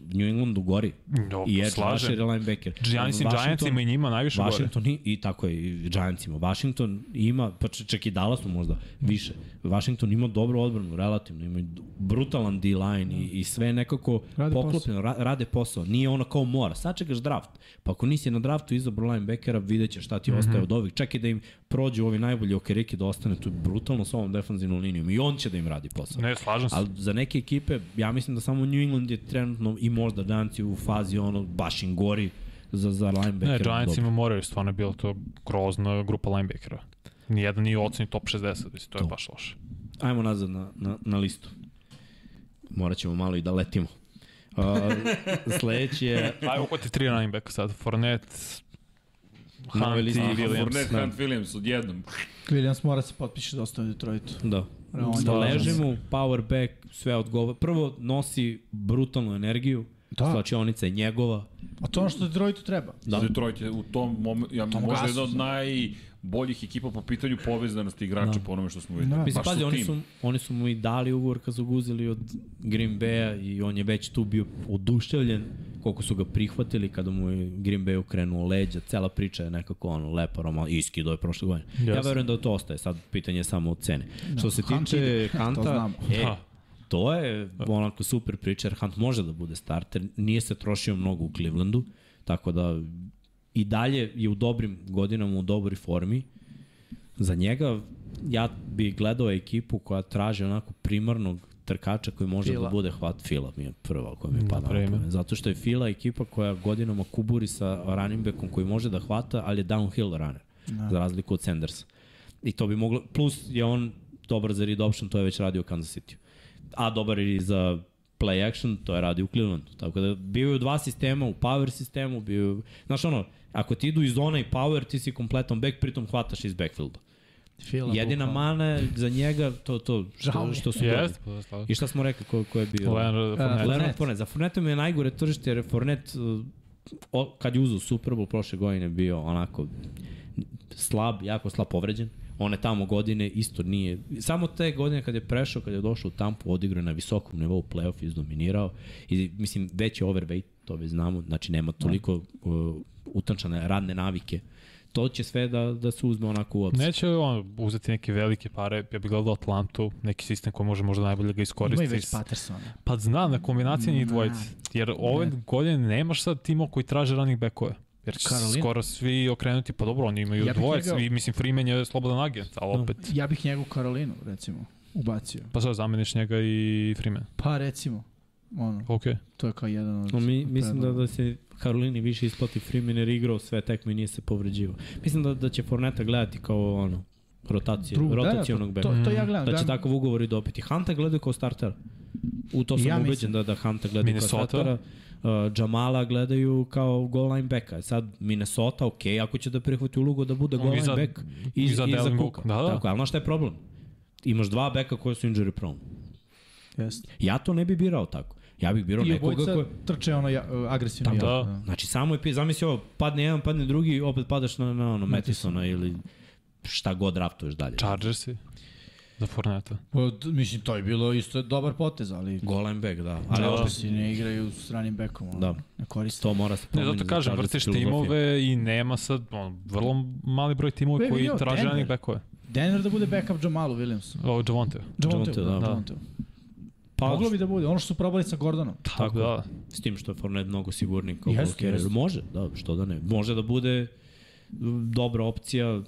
[SPEAKER 4] New Englandu gori.
[SPEAKER 3] Dobro,
[SPEAKER 4] I Edge
[SPEAKER 3] slažem.
[SPEAKER 4] Rusher i linebacker.
[SPEAKER 3] Giants i
[SPEAKER 4] Washington-
[SPEAKER 3] Giantsima i njima najviše gore.
[SPEAKER 4] Washington i, i tako je, i Giantsima. Washington ima, pa č- čak i Dallasu možda, više. Washington ima dobru odbranu, relativno, ima brutalan D-line i, i sve je nekako
[SPEAKER 5] Rade
[SPEAKER 4] rade poklopljeno, ra, rade posao. Nije ono kao mora, sad čekaš draft. Pa ako nisi na draftu izabro linebackera, vidjet ćeš šta ti
[SPEAKER 3] Mhm.
[SPEAKER 4] mm -hmm. ostaje od ovih. Čak i da im prođu ovi najbolji okereke da ostane tu brutalno s ovom defanzivnom linijom i on će da im radi posao.
[SPEAKER 3] Ne, slažem se.
[SPEAKER 4] Ali za neke ekipe, ja mislim da samo New England je trenutno i možda Danci u fazi ono baš im gori za, za
[SPEAKER 3] Ne,
[SPEAKER 4] linebacker.
[SPEAKER 3] Giantsima moraju, stvarno je bila to grozna grupa linebackera. Nijedan nije ocenjen top 60, mislim, to je
[SPEAKER 4] To.
[SPEAKER 3] baš loše.
[SPEAKER 4] Ajmo nazad na, na, na listu. Morat ćemo malo i da letimo. Uh, sledeći je
[SPEAKER 3] Ajde, uhvati tri linebacka sad. Fournette,
[SPEAKER 4] Nove
[SPEAKER 3] Hunt i
[SPEAKER 4] liste. Aha,
[SPEAKER 3] Williams.
[SPEAKER 1] Fournette,
[SPEAKER 4] da.
[SPEAKER 1] Hunt Williams odjednom.
[SPEAKER 5] Williams mora se potpiše da ostane u Detroitu.
[SPEAKER 4] Da.
[SPEAKER 5] Realno,
[SPEAKER 4] Da
[SPEAKER 5] da.
[SPEAKER 4] leži mu, power back, sve odgovara. Prvo nosi brutalnu energiju, da.
[SPEAKER 5] Da.
[SPEAKER 4] slačionica je njegova.
[SPEAKER 5] A to je ono što Detroitu treba.
[SPEAKER 1] Da.
[SPEAKER 4] Da.
[SPEAKER 1] Detroit je u tom momentu, ja,
[SPEAKER 5] Tom
[SPEAKER 1] možda
[SPEAKER 5] gasu,
[SPEAKER 1] jedna od
[SPEAKER 5] da.
[SPEAKER 1] najboljih ekipa po pitanju povezanosti igrača
[SPEAKER 4] Da.
[SPEAKER 1] po onome što smo videli.
[SPEAKER 5] Da.
[SPEAKER 4] Mislim,
[SPEAKER 1] Baš
[SPEAKER 4] pazi,
[SPEAKER 1] su
[SPEAKER 4] oni
[SPEAKER 1] tim.
[SPEAKER 4] su, oni su mu i dali ugovor kad su ga uzeli od Green Bay-a i on je već tu bio oduševljen koliko su ga prihvatili kada mu je Green Bay ukrenuo leđa, cela priča je nekako ono lepa, roman, iskido je prošle godine. Ja
[SPEAKER 3] Jasno.
[SPEAKER 4] verujem da to ostaje, sad pitanje je samo od cene. Što se
[SPEAKER 5] Hunt
[SPEAKER 4] tiče
[SPEAKER 5] ide. To
[SPEAKER 4] Hanta,
[SPEAKER 5] znamo.
[SPEAKER 4] e,
[SPEAKER 3] Ha.
[SPEAKER 4] to je onako super priča, jer Hunt može da bude starter, nije se trošio mnogo u Clevelandu, tako da i dalje je u dobrim godinama, u dobroj formi. Za njega ja bi gledao ekipu koja traži onako primarnog trkača koji može
[SPEAKER 5] Fila.
[SPEAKER 4] da bude hvat Fila, mi je prva koja mi pada na
[SPEAKER 3] Napravimo.
[SPEAKER 4] pamet. Zato što je Fila ekipa koja godinama kuburi sa running backom koji može da hvata, ali je downhill runner, za razliku od Sandersa. I to bi moglo, plus je on dobar za read option, to je već radio u Kansas City. A dobar je i za play action, to je radio u Clevelandu. Tako da bio je u dva sistema, u power sistemu, bio je, u- znaš ono, ako ti idu iz zona i power, ti si kompletan back, pritom hvataš iz backfielda.
[SPEAKER 5] Fila,
[SPEAKER 4] Jedina
[SPEAKER 5] bukvalno.
[SPEAKER 4] mana je za njega to to
[SPEAKER 5] Žao mi
[SPEAKER 4] što,
[SPEAKER 5] je.
[SPEAKER 4] što su dobili.
[SPEAKER 3] Jest, pa da
[SPEAKER 4] I šta smo rekli ko, ko je bio?
[SPEAKER 3] Leonard
[SPEAKER 4] Leonard
[SPEAKER 3] Fournette.
[SPEAKER 4] Fournette. Fournette. Za Fournette mi je najgore tržište jer je Fournette uh, o, kad je uzao Super Bowl prošle godine bio onako slab, jako slab povređen. One tamo godine isto nije, samo te godine kad je prešao, kad je došao u Tampu, odigrao je na visokom nivou playoff, izdominirao i mislim već je overweight, to već znamo, znači nema toliko
[SPEAKER 5] Da.
[SPEAKER 4] uh, utančane radne navike. To će sve da, da se uzme onako u obzir.
[SPEAKER 3] Neće on uzeti neke velike pare, ja bih gledao Atlantu, neki sistem koji može možda najbolje da ga
[SPEAKER 5] Ima i
[SPEAKER 3] iskoristi.
[SPEAKER 5] već Pattersona.
[SPEAKER 3] Pa znam, na kombinaciji njih dvojice.
[SPEAKER 4] Mm, da.
[SPEAKER 3] Jer ove godine nemaš sad timova koji traže running backove. Jer će se
[SPEAKER 5] Karolina.
[SPEAKER 3] skoro svi okrenuti, pa dobro, oni imaju
[SPEAKER 5] Ja
[SPEAKER 3] ja
[SPEAKER 5] bih
[SPEAKER 3] dvojec,
[SPEAKER 5] njega-
[SPEAKER 3] i mislim Freeman je slobodan agent, ali
[SPEAKER 4] Da.
[SPEAKER 3] opet.
[SPEAKER 5] Ja bih njegu Karolinu, recimo, ubacio.
[SPEAKER 3] Pa sad zameniš njega i Freeman.
[SPEAKER 5] Pa recimo, ono,
[SPEAKER 3] Ok.
[SPEAKER 5] to je kao jedan od...
[SPEAKER 4] No, mi,
[SPEAKER 5] od
[SPEAKER 4] mislim da,
[SPEAKER 5] predloga.
[SPEAKER 4] da se Karolini više isplati Freeman jer je igrao sve tekme i nije se povređivao. Mislim da, da će Forneta gledati kao ono, rotacije,
[SPEAKER 5] Drugo, da, da,
[SPEAKER 4] rotacionog
[SPEAKER 5] to,
[SPEAKER 4] beka.
[SPEAKER 5] to, to ja gledam.
[SPEAKER 4] Da će
[SPEAKER 5] gledam-
[SPEAKER 4] takav ugovor i dobiti. Hanta gleda kao startera. U to sam
[SPEAKER 5] Ja
[SPEAKER 4] ja
[SPEAKER 5] mislim.
[SPEAKER 4] ubeđen da, da Hanta gleda
[SPEAKER 3] Minnesota.
[SPEAKER 4] kao startera. Uh, Jamala gledaju kao goal line backa. Sad Minnesota, ok, ako će da prihvati ulogu da bude goal
[SPEAKER 3] I
[SPEAKER 4] line
[SPEAKER 3] za-
[SPEAKER 4] back i,
[SPEAKER 3] i
[SPEAKER 4] i
[SPEAKER 3] za
[SPEAKER 4] za,
[SPEAKER 3] Delvin
[SPEAKER 4] Kuka.
[SPEAKER 3] Cooka, da, da.
[SPEAKER 4] Tako, je, ali znaš šta je problem? Imaš dva beka koje su injury prone.
[SPEAKER 5] Jeste.
[SPEAKER 4] Ja to ne bi birao tako. Ja bih birao
[SPEAKER 5] I
[SPEAKER 4] nekoga
[SPEAKER 5] obojica
[SPEAKER 4] koji...
[SPEAKER 5] trče ono ja, agresivno.
[SPEAKER 3] Da.
[SPEAKER 5] jako, da.
[SPEAKER 4] Znači, samo je pitanje, zamisli ovo, padne jedan, padne drugi, opet padaš na, na ono, Metisona ili šta god draftuješ dalje.
[SPEAKER 3] Chargersi za Forneta.
[SPEAKER 5] Pa, d- mislim, to je bilo isto dobar potez, ali...
[SPEAKER 4] Golem back, da. Ali
[SPEAKER 5] Ali
[SPEAKER 4] da.
[SPEAKER 5] da. si ne igraju s running backom. ono,
[SPEAKER 4] Da.
[SPEAKER 5] Ne koriste.
[SPEAKER 4] to mora se
[SPEAKER 3] Ne,
[SPEAKER 4] promeni.
[SPEAKER 3] zato kažem, vrtiš timove i nema sad on, vrlo mali broj timova
[SPEAKER 5] E,
[SPEAKER 3] koji
[SPEAKER 5] vidio,
[SPEAKER 3] traže
[SPEAKER 5] Denver.
[SPEAKER 3] running backove.
[SPEAKER 5] Denver da bude backup Jamalu Williamsu.
[SPEAKER 3] O, Javonte.
[SPEAKER 5] Javonte,
[SPEAKER 4] Javonte,
[SPEAKER 5] da.
[SPEAKER 4] da.
[SPEAKER 5] Javonte.
[SPEAKER 4] Pa,
[SPEAKER 5] Moglo bi da bude, ono što su probali sa Gordonom.
[SPEAKER 3] Tako da.
[SPEAKER 4] S tim što je Fournette mnogo sigurniji kao
[SPEAKER 5] Jeste,
[SPEAKER 4] yes, bloker.
[SPEAKER 5] jeste.
[SPEAKER 4] Može, da, što da ne. Može da bude dobra opcija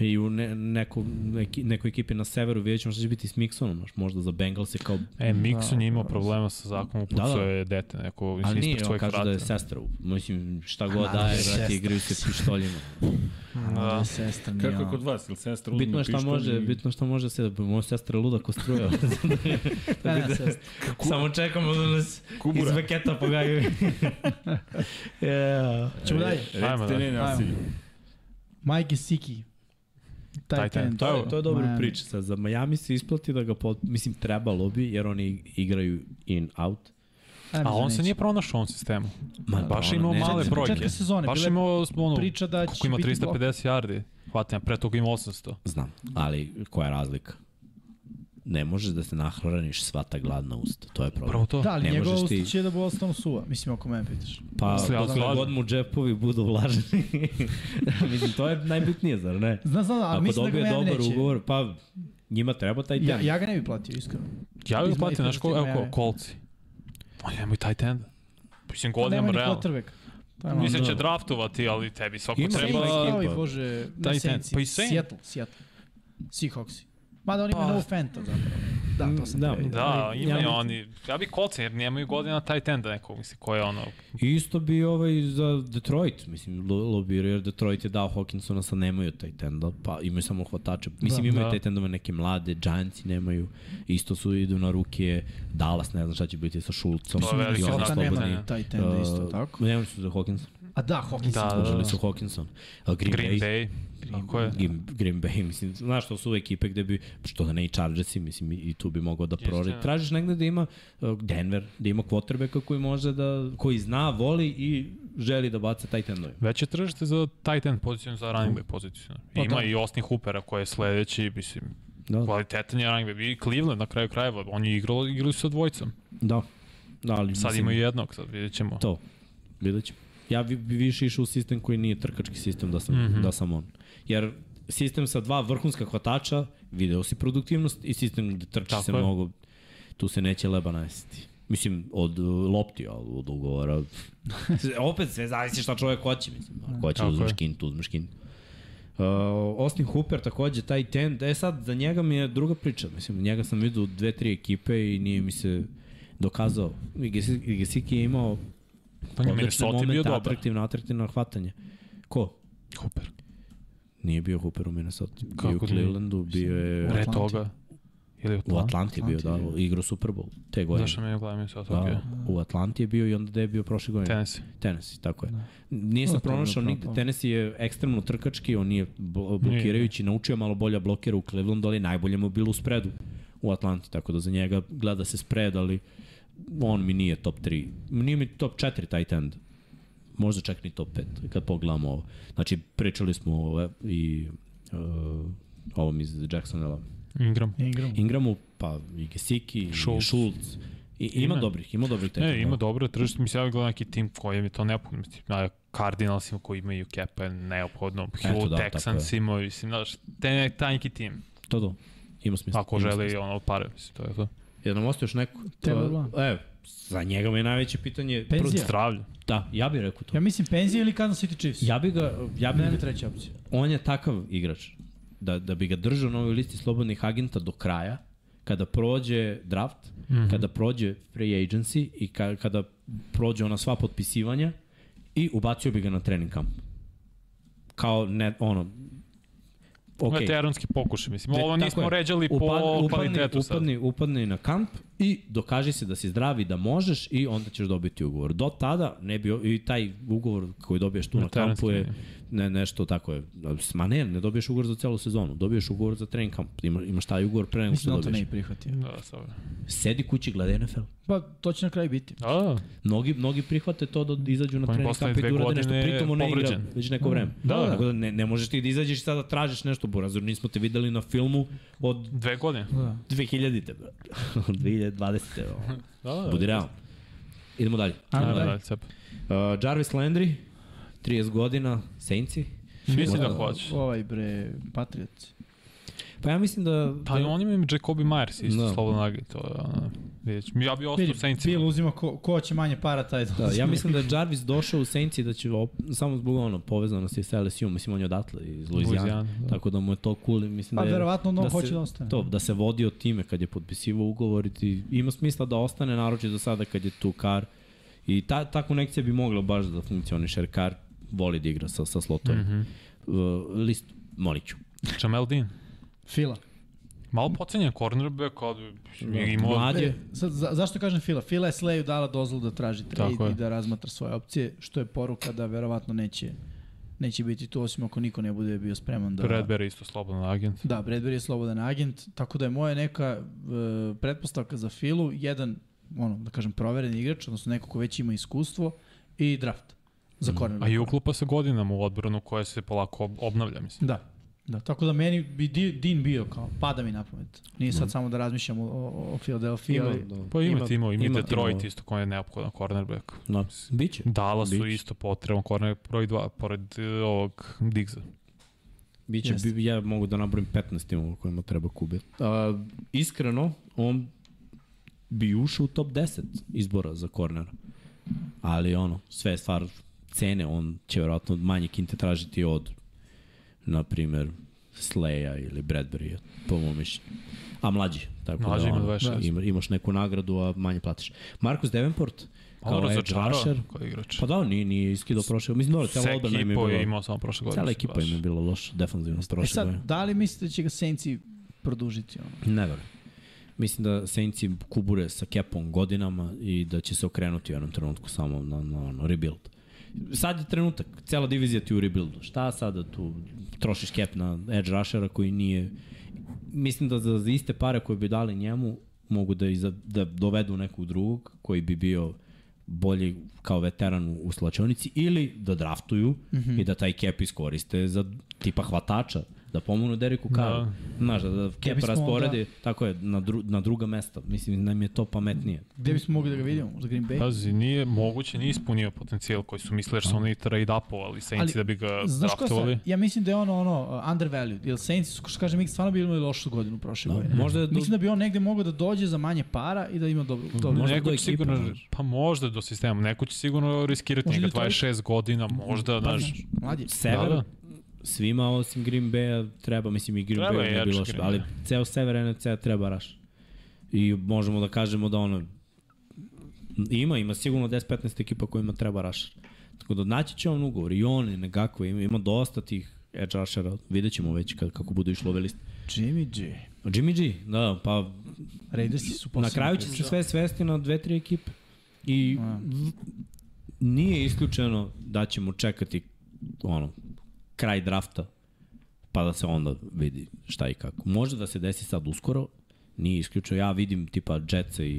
[SPEAKER 4] i u ne, neko, neki, nekoj ekipi na severu vidjet ćemo što će biti s Mixonom, znaš, možda za Bengals je kao
[SPEAKER 3] E, Mixon je imao problema sa zakonom, upucao
[SPEAKER 4] da.
[SPEAKER 3] je dete neko
[SPEAKER 4] Ali
[SPEAKER 3] mislim,
[SPEAKER 4] nije,
[SPEAKER 3] ispred
[SPEAKER 4] on
[SPEAKER 3] svojih
[SPEAKER 4] kaže da
[SPEAKER 3] vrata. da,
[SPEAKER 4] je sestra. Mislim, šta god daje, vrati, igraju se pištoljima.
[SPEAKER 5] Da. Sestra nije
[SPEAKER 1] Kako je
[SPEAKER 5] ono.
[SPEAKER 1] kod vas, ili sestra uzme
[SPEAKER 4] Bitno je šta
[SPEAKER 1] pištolj
[SPEAKER 4] može,
[SPEAKER 1] i-
[SPEAKER 4] bitno je šta može se da moja sestra je luda ko struja.
[SPEAKER 5] Da, da, sestra.
[SPEAKER 4] Samo čekamo da nas
[SPEAKER 1] Kubura.
[SPEAKER 4] iz paketa pogaju. yeah.
[SPEAKER 5] Ćemo dalje.
[SPEAKER 3] Ajmo,
[SPEAKER 1] Recite
[SPEAKER 3] da.
[SPEAKER 1] ne nasilje.
[SPEAKER 5] Mike Siki. Taj
[SPEAKER 3] Tight
[SPEAKER 5] ten.
[SPEAKER 3] end. To je-
[SPEAKER 4] To je dobra
[SPEAKER 5] Miami.
[SPEAKER 4] priča. Sad, za Miami se isplati da ga pot... Mislim, trebalo bi, jer oni igraju in-out.
[SPEAKER 2] Ами,
[SPEAKER 3] A on
[SPEAKER 2] значи.
[SPEAKER 3] se nije pronašao u ovom sistemu.
[SPEAKER 4] Ma, pa
[SPEAKER 3] Baš
[SPEAKER 4] ono,
[SPEAKER 3] imao
[SPEAKER 4] ne-
[SPEAKER 3] male
[SPEAKER 4] ne-
[SPEAKER 3] brojke.
[SPEAKER 5] Početka sezone.
[SPEAKER 3] Baš
[SPEAKER 5] Baš
[SPEAKER 3] imao ono,
[SPEAKER 5] priča da
[SPEAKER 3] koliko
[SPEAKER 5] će
[SPEAKER 3] ima
[SPEAKER 5] biti
[SPEAKER 3] 350 yardi hvatanja, pre toga ima 800.
[SPEAKER 4] Znam, ali koja je razlika? Ne možeš da se nahraniš sva ta gladna usta. To je problem.
[SPEAKER 3] Prvo to.
[SPEAKER 5] Da, ali
[SPEAKER 4] Ne
[SPEAKER 5] njegova
[SPEAKER 4] možeš ti-
[SPEAKER 5] usta
[SPEAKER 2] е
[SPEAKER 5] će da bude ostanu suva. Mislim, ako mene pitaš.
[SPEAKER 4] Pa,
[SPEAKER 3] Mislim, ali
[SPEAKER 4] dokle
[SPEAKER 3] slažem.
[SPEAKER 4] god mu džepovi budu vlaženi. Mislim, to je najbitnije, zar ne?
[SPEAKER 5] Znam, znam, ali
[SPEAKER 4] Ako
[SPEAKER 5] mislim da ga
[SPEAKER 4] dobije
[SPEAKER 5] mene
[SPEAKER 4] dobar
[SPEAKER 2] е
[SPEAKER 5] neće.
[SPEAKER 4] ugovor, pa njima treba taj
[SPEAKER 5] Ja,
[SPEAKER 4] teren.
[SPEAKER 5] ja ga ne bi platio, iskreno.
[SPEAKER 3] Ja bih
[SPEAKER 5] Iz
[SPEAKER 3] platio, znaš ko, evo
[SPEAKER 5] Miami.
[SPEAKER 3] ko, kolci. Pa nemoj tight Pa enda. Mislim,
[SPEAKER 5] Nema
[SPEAKER 3] godinama
[SPEAKER 5] ni
[SPEAKER 3] realno.
[SPEAKER 5] quarterback. To je malo.
[SPEAKER 3] Mislim
[SPEAKER 4] Da.
[SPEAKER 3] će draftovati, ali tebi svako
[SPEAKER 4] Ima,
[SPEAKER 3] treba...
[SPEAKER 4] ima ekipa.
[SPEAKER 5] Kao i Bože,
[SPEAKER 3] Taj
[SPEAKER 5] ne Saints,
[SPEAKER 3] ten. Pa i Saints.
[SPEAKER 5] Seattle, Seattle. Seahawksi. Mada oni imaju
[SPEAKER 3] Pa-
[SPEAKER 5] novog Fenta zapravo. Da, to sam
[SPEAKER 4] Da.
[SPEAKER 5] da. vidio.
[SPEAKER 3] Da,
[SPEAKER 4] Ali,
[SPEAKER 3] imaju
[SPEAKER 4] ja mislim-
[SPEAKER 3] oni, ja bih kocen jer nemaju godina taj tenda nekog, mislim, ko je ono,
[SPEAKER 4] I isto bi ovaj za Detroit, mislim, lo- lobirao, jer Detroit je dao Hawkinsona, sad nemaju taj tenda, pa imaju samo hvatače. Mislim, da, imaju
[SPEAKER 3] da.
[SPEAKER 4] da. taj tendove neke mlade, Giantsi nemaju, isto su idu na ruke, Dallas, ne znam šta će biti sa Šulcom.
[SPEAKER 3] To je
[SPEAKER 4] i
[SPEAKER 3] veliki
[SPEAKER 4] oni
[SPEAKER 3] Hawkinson
[SPEAKER 5] Sota
[SPEAKER 4] slobodni.
[SPEAKER 3] slobodno,
[SPEAKER 5] nema
[SPEAKER 3] ne.
[SPEAKER 5] taj tenda isto,
[SPEAKER 4] Uh,
[SPEAKER 5] tako?
[SPEAKER 4] Nemaju su za Hawkinson,
[SPEAKER 5] A da, Hawkins
[SPEAKER 3] Da, da,
[SPEAKER 4] služili su Hawkinson. A Green,
[SPEAKER 3] Green
[SPEAKER 4] Green Bay,
[SPEAKER 3] Bay, tako je.
[SPEAKER 4] Green, Green Bay, mislim, znaš, to su uvek ekipe gde bi, što da ne i Chargersi, mislim, i- i tu bi mogao da prori.
[SPEAKER 3] da.
[SPEAKER 4] Tražiš negde da ima uh, Denver, da ima quarterbacka koji može da, koji zna, voli i želi da baca taj tendoj.
[SPEAKER 3] Već je tržište za tight end poziciju, za running back poziciju.
[SPEAKER 4] Pa
[SPEAKER 3] Ima
[SPEAKER 4] da.
[SPEAKER 3] i Austin Hoopera koji je sledeći, mislim,
[SPEAKER 4] Da,
[SPEAKER 3] kvalitetan je running back. I Cleveland na kraju krajeva, oni igrali, igrali su sa dvojicom.
[SPEAKER 4] da. da ali,
[SPEAKER 3] Sad
[SPEAKER 4] mislim,
[SPEAKER 3] imaju jednog, sad vidjet ćemo.
[SPEAKER 4] To, vidjet ćemo. Ja bi, bi više išao u sistem koji nije trkački sistem da sam,
[SPEAKER 3] Mhm.
[SPEAKER 4] da sam on. Jer sistem sa dva vrhunska hvatača, video si produktivnost i sistem gde trči
[SPEAKER 3] Tako
[SPEAKER 4] se
[SPEAKER 3] je.
[SPEAKER 4] mnogo, tu se neće leba najesti. Mislim, od uh, lopti, ali od ugovora. Sve- Opet sve zavisi šta čovjek hoće. Mislim. Ako hoće
[SPEAKER 3] Tako
[SPEAKER 4] uzmeš
[SPEAKER 3] je.
[SPEAKER 4] kintu, uzmeš kintu. Uh, Austin Hooper takođe, taj tend, e sad, za njega mi je druga priča, mislim, njega sam vidio u dve, tri ekipe i nije mi se dokazao. I Gesicki- i Gesicki je imao
[SPEAKER 3] Pa nije
[SPEAKER 4] odlične
[SPEAKER 3] Minnesota je bio
[SPEAKER 4] momente,
[SPEAKER 3] dobar.
[SPEAKER 4] atraktivno, atraktivno hvatanje. Ko?
[SPEAKER 3] Hooper.
[SPEAKER 4] Nije bio Hooper u Minnesota, bio
[SPEAKER 3] Kako
[SPEAKER 4] u
[SPEAKER 3] nije?
[SPEAKER 4] Clevelandu, bio je
[SPEAKER 3] Pre
[SPEAKER 5] Atlanti.
[SPEAKER 3] toga. Ili
[SPEAKER 4] E, u
[SPEAKER 3] u Atlanti.
[SPEAKER 4] Atlanti je bio, da, igrao Super Bowl te godine.
[SPEAKER 3] Zašto mi je gledam Minnesota?
[SPEAKER 4] Da,
[SPEAKER 3] Da.
[SPEAKER 4] u Atlanti je bio i onda gde je bio prošle godine?
[SPEAKER 3] Tennessee.
[SPEAKER 4] Tennessee, tako je.
[SPEAKER 3] Da.
[SPEAKER 4] Nije
[SPEAKER 5] No,
[SPEAKER 4] se
[SPEAKER 5] to je
[SPEAKER 4] pronašao
[SPEAKER 5] bilo
[SPEAKER 4] nigde.
[SPEAKER 5] propalo.
[SPEAKER 4] Tennessee je ekstremno trkački, on je blo- blokirajući, naučio je malo bolja blokira u Clevelandu, ali najbolje mu je bilo u spredu u Atlanti, tako da za njega gleda se spred, ali on mi nije top 3. Nije mi top 4 tight end. Možda čak ni top 5, kad pogledamo ovo. Znači, pričali smo ove, i uh, ovom iz Jacksonela.
[SPEAKER 3] Ingram.
[SPEAKER 4] E,
[SPEAKER 3] E,
[SPEAKER 5] Ingram.
[SPEAKER 4] Ingramu, pa i Gesicki, i
[SPEAKER 3] Schultz.
[SPEAKER 4] Schultz. I, ima,
[SPEAKER 3] Ima.
[SPEAKER 4] dobrih, ima dobrih tight
[SPEAKER 3] Ne,
[SPEAKER 4] endova.
[SPEAKER 3] ima dobro tržište, mislim, ja gledam neki tim koji mi to neophodno, mislim, na Cardinalsima koji imaju kepe, neophodno, Hugh
[SPEAKER 4] da,
[SPEAKER 3] da,
[SPEAKER 4] tako
[SPEAKER 3] Texans imaju, mislim, znaš, te ne, taj neki tim,
[SPEAKER 4] To do. Ima smisla.
[SPEAKER 3] ako
[SPEAKER 4] ima
[SPEAKER 3] želi
[SPEAKER 4] smisla.
[SPEAKER 3] ono pare, mislim, to je to.
[SPEAKER 4] Jel nam ostaje još neko?
[SPEAKER 5] Taylor Law.
[SPEAKER 4] E, za njega mi je najveće pitanje...
[SPEAKER 5] Penzija.
[SPEAKER 4] Prvo-
[SPEAKER 3] Zdravlje.
[SPEAKER 4] Da, ja bih rekao to.
[SPEAKER 5] Ja mislim penzija ili Kansas City Chiefs.
[SPEAKER 4] Ja bih ga... Ja bih,
[SPEAKER 5] Meni treća opcija.
[SPEAKER 4] on je takav igrač. Da, da bi ga držao na ovoj listi slobodnih agenta do kraja, kada prođe draft, mm
[SPEAKER 5] Mhm.
[SPEAKER 4] -hmm. kada prođe free agency i ka, kada prođe ona sva potpisivanja i ubacio bi ga na trening kamp. Kao ne, ono,
[SPEAKER 3] Okay.
[SPEAKER 4] okej,
[SPEAKER 3] Ovo je aronski pokušaj, mislim,
[SPEAKER 4] Ne,
[SPEAKER 3] ovo
[SPEAKER 4] E, tako
[SPEAKER 3] nismo
[SPEAKER 4] je.
[SPEAKER 3] ređali
[SPEAKER 4] Upadni-
[SPEAKER 3] po
[SPEAKER 4] upadni-
[SPEAKER 3] kvalitetu sad.
[SPEAKER 4] upadni, Upadni na kamp i dokaži se da si zdravi, da možeš i onda ćeš dobiti ugovor. Do tada ne bi, i taj ugovor koji dobiješ tu na
[SPEAKER 3] Veteranski, da.
[SPEAKER 4] kampu je ne, nešto tako je. Ma ne, ne dobiješ ugovor za celu sezonu, dobiješ ugovor za trening kamp. Ima, imaš taj ugovor pre nego što
[SPEAKER 5] Mislim da on to ne
[SPEAKER 4] dobiješ.
[SPEAKER 5] bi prihvatio.
[SPEAKER 3] Da, dobro.
[SPEAKER 4] Sedi kući, gledaj NFL.
[SPEAKER 5] Pa, to će na kraju biti.
[SPEAKER 3] A,
[SPEAKER 4] Mnogi, mnogi prihvate to da izađu na
[SPEAKER 3] On je
[SPEAKER 4] trening
[SPEAKER 3] poslednje
[SPEAKER 4] kamp i da
[SPEAKER 3] Pa dve
[SPEAKER 4] urade nešto.
[SPEAKER 3] godine
[SPEAKER 4] Pritom on ne igra
[SPEAKER 3] povređen.
[SPEAKER 4] već neko vreme.
[SPEAKER 3] Da, da.
[SPEAKER 4] Tako da ne, ne možeš ti da izađeš i sada da tražiš nešto, Burazor. Nismo te videli na filmu od
[SPEAKER 3] dve godine.
[SPEAKER 4] 2000-te, brate. 2020-te. ono.
[SPEAKER 3] Da, da.
[SPEAKER 4] Budi realan. Idemo dalje.
[SPEAKER 3] Ajmo
[SPEAKER 4] Idemo
[SPEAKER 3] dalje.
[SPEAKER 4] dalje.
[SPEAKER 3] dalje, cep.
[SPEAKER 4] Uh, Jarvis Landry, 30 godina, Saintsi.
[SPEAKER 3] Mislim da
[SPEAKER 4] Da.
[SPEAKER 3] hoće.
[SPEAKER 5] Ovaj bre, Patriots.
[SPEAKER 4] Pa ja mislim da...
[SPEAKER 3] Pa on ima i Jacobi Myers isto,
[SPEAKER 4] Da.
[SPEAKER 3] no. slobodno nagi, to je ono, vidjet ćemo. Ja bi ostao u
[SPEAKER 5] Vidi, Bill
[SPEAKER 3] Saintsima.
[SPEAKER 5] uzima ko, ko će manje para, taj
[SPEAKER 4] Da, ja mislim da je Jarvis došao u Saints i da će op, samo zbog ono povezanosti sa LSU, mislim on je odatle iz Luizijana,
[SPEAKER 3] Louisiana, da.
[SPEAKER 4] tako da mu je to cool i mislim
[SPEAKER 5] Pa,
[SPEAKER 4] da je...
[SPEAKER 5] verovatno on
[SPEAKER 4] da
[SPEAKER 5] hoće
[SPEAKER 4] se-
[SPEAKER 5] da ostane.
[SPEAKER 4] To, da se vodi od time kad je potpisivao ugovor i ti, ima smisla da ostane, naroče do sada kad je tu Kar. I ta, ta konekcija bi mogla baš da funkcioniše, jer Kar voli da igra sa, sa slotovima.
[SPEAKER 3] Mhm.
[SPEAKER 4] Mm -hmm. uh, list, molit ću.
[SPEAKER 3] Jamel Dean.
[SPEAKER 5] Fila.
[SPEAKER 3] Malo pocenjen cornerback, ali
[SPEAKER 4] Da.
[SPEAKER 3] je imao...
[SPEAKER 4] Mlad
[SPEAKER 5] E,
[SPEAKER 4] je,
[SPEAKER 5] sad, za, zašto kažem Fila? Fila je Slayu dala dozvolu da traži
[SPEAKER 3] Tako
[SPEAKER 5] trade
[SPEAKER 3] je.
[SPEAKER 5] i da razmatra svoje opcije, što je poruka da verovatno neće, neće biti tu, osim ako niko ne bude bio spreman da...
[SPEAKER 3] Bradbury isto slobodan agent.
[SPEAKER 5] Da, Bradbury je slobodan agent, tako da je moja neka e, pretpostavka za Filu jedan, ono, da kažem, provereni igrač, odnosno neko ko već ima iskustvo i draft za cornerback.
[SPEAKER 3] Mm. A i uklupa se godinama u odbranu koja se polako ob- obnavlja, mislim.
[SPEAKER 5] Da. Da, tako da meni bi Di- Dean bio kao, pada mi na pamet. Nije sad samo da razmišljam o, o, o Philadelphia, ali
[SPEAKER 3] Pa Mm. ima, ima timo,
[SPEAKER 4] ima
[SPEAKER 3] ima, ima Detroit
[SPEAKER 4] timova.
[SPEAKER 3] isto koji je neophodan cornerback.
[SPEAKER 4] No, biće.
[SPEAKER 3] Dallas su
[SPEAKER 4] Bić.
[SPEAKER 3] isto potreban cornerback broj 2, pored eh, ovog Digza.
[SPEAKER 4] Biće,
[SPEAKER 5] Jeste.
[SPEAKER 4] bi, ja mogu da nabrojim 15 timova kojima treba kube. A, iskreno, on bi ušao u top 10 izbora za kornera. Ali ono, sve je stvar cene, on će verovatno manje kinte tražiti od, na primer, Sleja ili Bradbury, po mom mišljenju. A mlađi, Tako da,
[SPEAKER 3] Mlađi ima
[SPEAKER 4] ono,
[SPEAKER 3] 26.
[SPEAKER 4] Ima, imaš neku nagradu, a manje platiš. Marcus Davenport,
[SPEAKER 3] Malo
[SPEAKER 4] kao edge
[SPEAKER 3] razočarao
[SPEAKER 4] rusher.
[SPEAKER 3] koji igrač.
[SPEAKER 4] Pa da, nije, nije iskidao prošle. Mislim, dobro,
[SPEAKER 3] Sa
[SPEAKER 4] cela odbrana im je
[SPEAKER 3] ekipom je
[SPEAKER 4] bila.
[SPEAKER 3] imao samo prošle godine.
[SPEAKER 4] Cela
[SPEAKER 3] mislim,
[SPEAKER 4] ekipa
[SPEAKER 3] baš.
[SPEAKER 4] im je bila loša, defensivno
[SPEAKER 5] E
[SPEAKER 4] prošle
[SPEAKER 5] sad,
[SPEAKER 4] godine.
[SPEAKER 5] da li mislite da će ga Saintsi produžiti? Ono?
[SPEAKER 4] Ne verujem. Mislim da Saintsi kubure sa kepom godinama i da će se okrenuti u jednom trenutku samo na, na ono, rebuild. Sad je trenutak, cela divizija ti u rebuildu. Šta sada tu trošiš cap na edge rushera koji nije... Mislim da za, za iste pare koje bi dali njemu mogu da, iza, da dovedu nekog drugog koji bi bio bolji kao veteran u, u slačionici ili da draftuju mm -hmm. i da taj cap iskoriste za tipa hvatača da pomognu Deriku Karu. Da. Znaš, da, da cap
[SPEAKER 5] bismo
[SPEAKER 4] rasporede tako je, na, dru, na druga mesta. Mislim, nam je to pametnije.
[SPEAKER 5] Gde bismo mogli da ga vidimo? Možda Green Bay?
[SPEAKER 3] Pazi, nije moguće, nije ispunio potencijal koji su mislili jer su oni trade upovali Saintsi
[SPEAKER 5] Ali,
[SPEAKER 3] da bi ga
[SPEAKER 5] Znaš ko
[SPEAKER 3] draftovali.
[SPEAKER 5] sam? Ja mislim da je ono, ono, uh, undervalued. Jer Saints, su, kao što kažem, Mik stvarno bi imali lošu godinu prošle
[SPEAKER 4] Da,
[SPEAKER 5] godine.
[SPEAKER 4] možda je do-
[SPEAKER 5] Mislim da bi on negde mogao da dođe za manje para i da ima dobro. dobro.
[SPEAKER 4] Možda do
[SPEAKER 3] Neko će
[SPEAKER 4] ekipe,
[SPEAKER 3] sigurno,
[SPEAKER 4] znaš.
[SPEAKER 3] pa možda do sistema, neko će sigurno riskirati
[SPEAKER 5] Možda
[SPEAKER 3] njega
[SPEAKER 5] i to-
[SPEAKER 3] 26 godina, možda, znaš,
[SPEAKER 5] Mlad je.
[SPEAKER 4] Sever,
[SPEAKER 3] Da,
[SPEAKER 4] da,
[SPEAKER 3] da.
[SPEAKER 4] da. svima osim Green Bay-a treba, mislim i Green
[SPEAKER 3] Treba
[SPEAKER 4] Bay
[SPEAKER 3] i
[SPEAKER 4] ne bi
[SPEAKER 3] jači
[SPEAKER 4] loš,
[SPEAKER 3] Green
[SPEAKER 4] ali
[SPEAKER 3] Bay.
[SPEAKER 4] ceo sever NFC-a treba raš. I možemo da kažemo da ono, ima, ima sigurno 10-15 ekipa kojima treba raš. Tako da naći će on ugovor i on i negako, ima, ima dosta tih edge rushera, vidjet ćemo već kad, kako budu išlo ove liste.
[SPEAKER 5] Jimmy G.
[SPEAKER 4] Jimmy G, da, pa
[SPEAKER 5] Raidersi su
[SPEAKER 4] na
[SPEAKER 5] posebna
[SPEAKER 4] kraju će se
[SPEAKER 5] priča.
[SPEAKER 4] sve svesti na dve, tri ekipe. I
[SPEAKER 5] A.
[SPEAKER 4] v- nije isključeno da ćemo čekati ono, kraj drafta pa da se onda vidi šta i kako. Može da se desi sad uskoro, nije isključeno. Ja vidim tipa Jetsa i,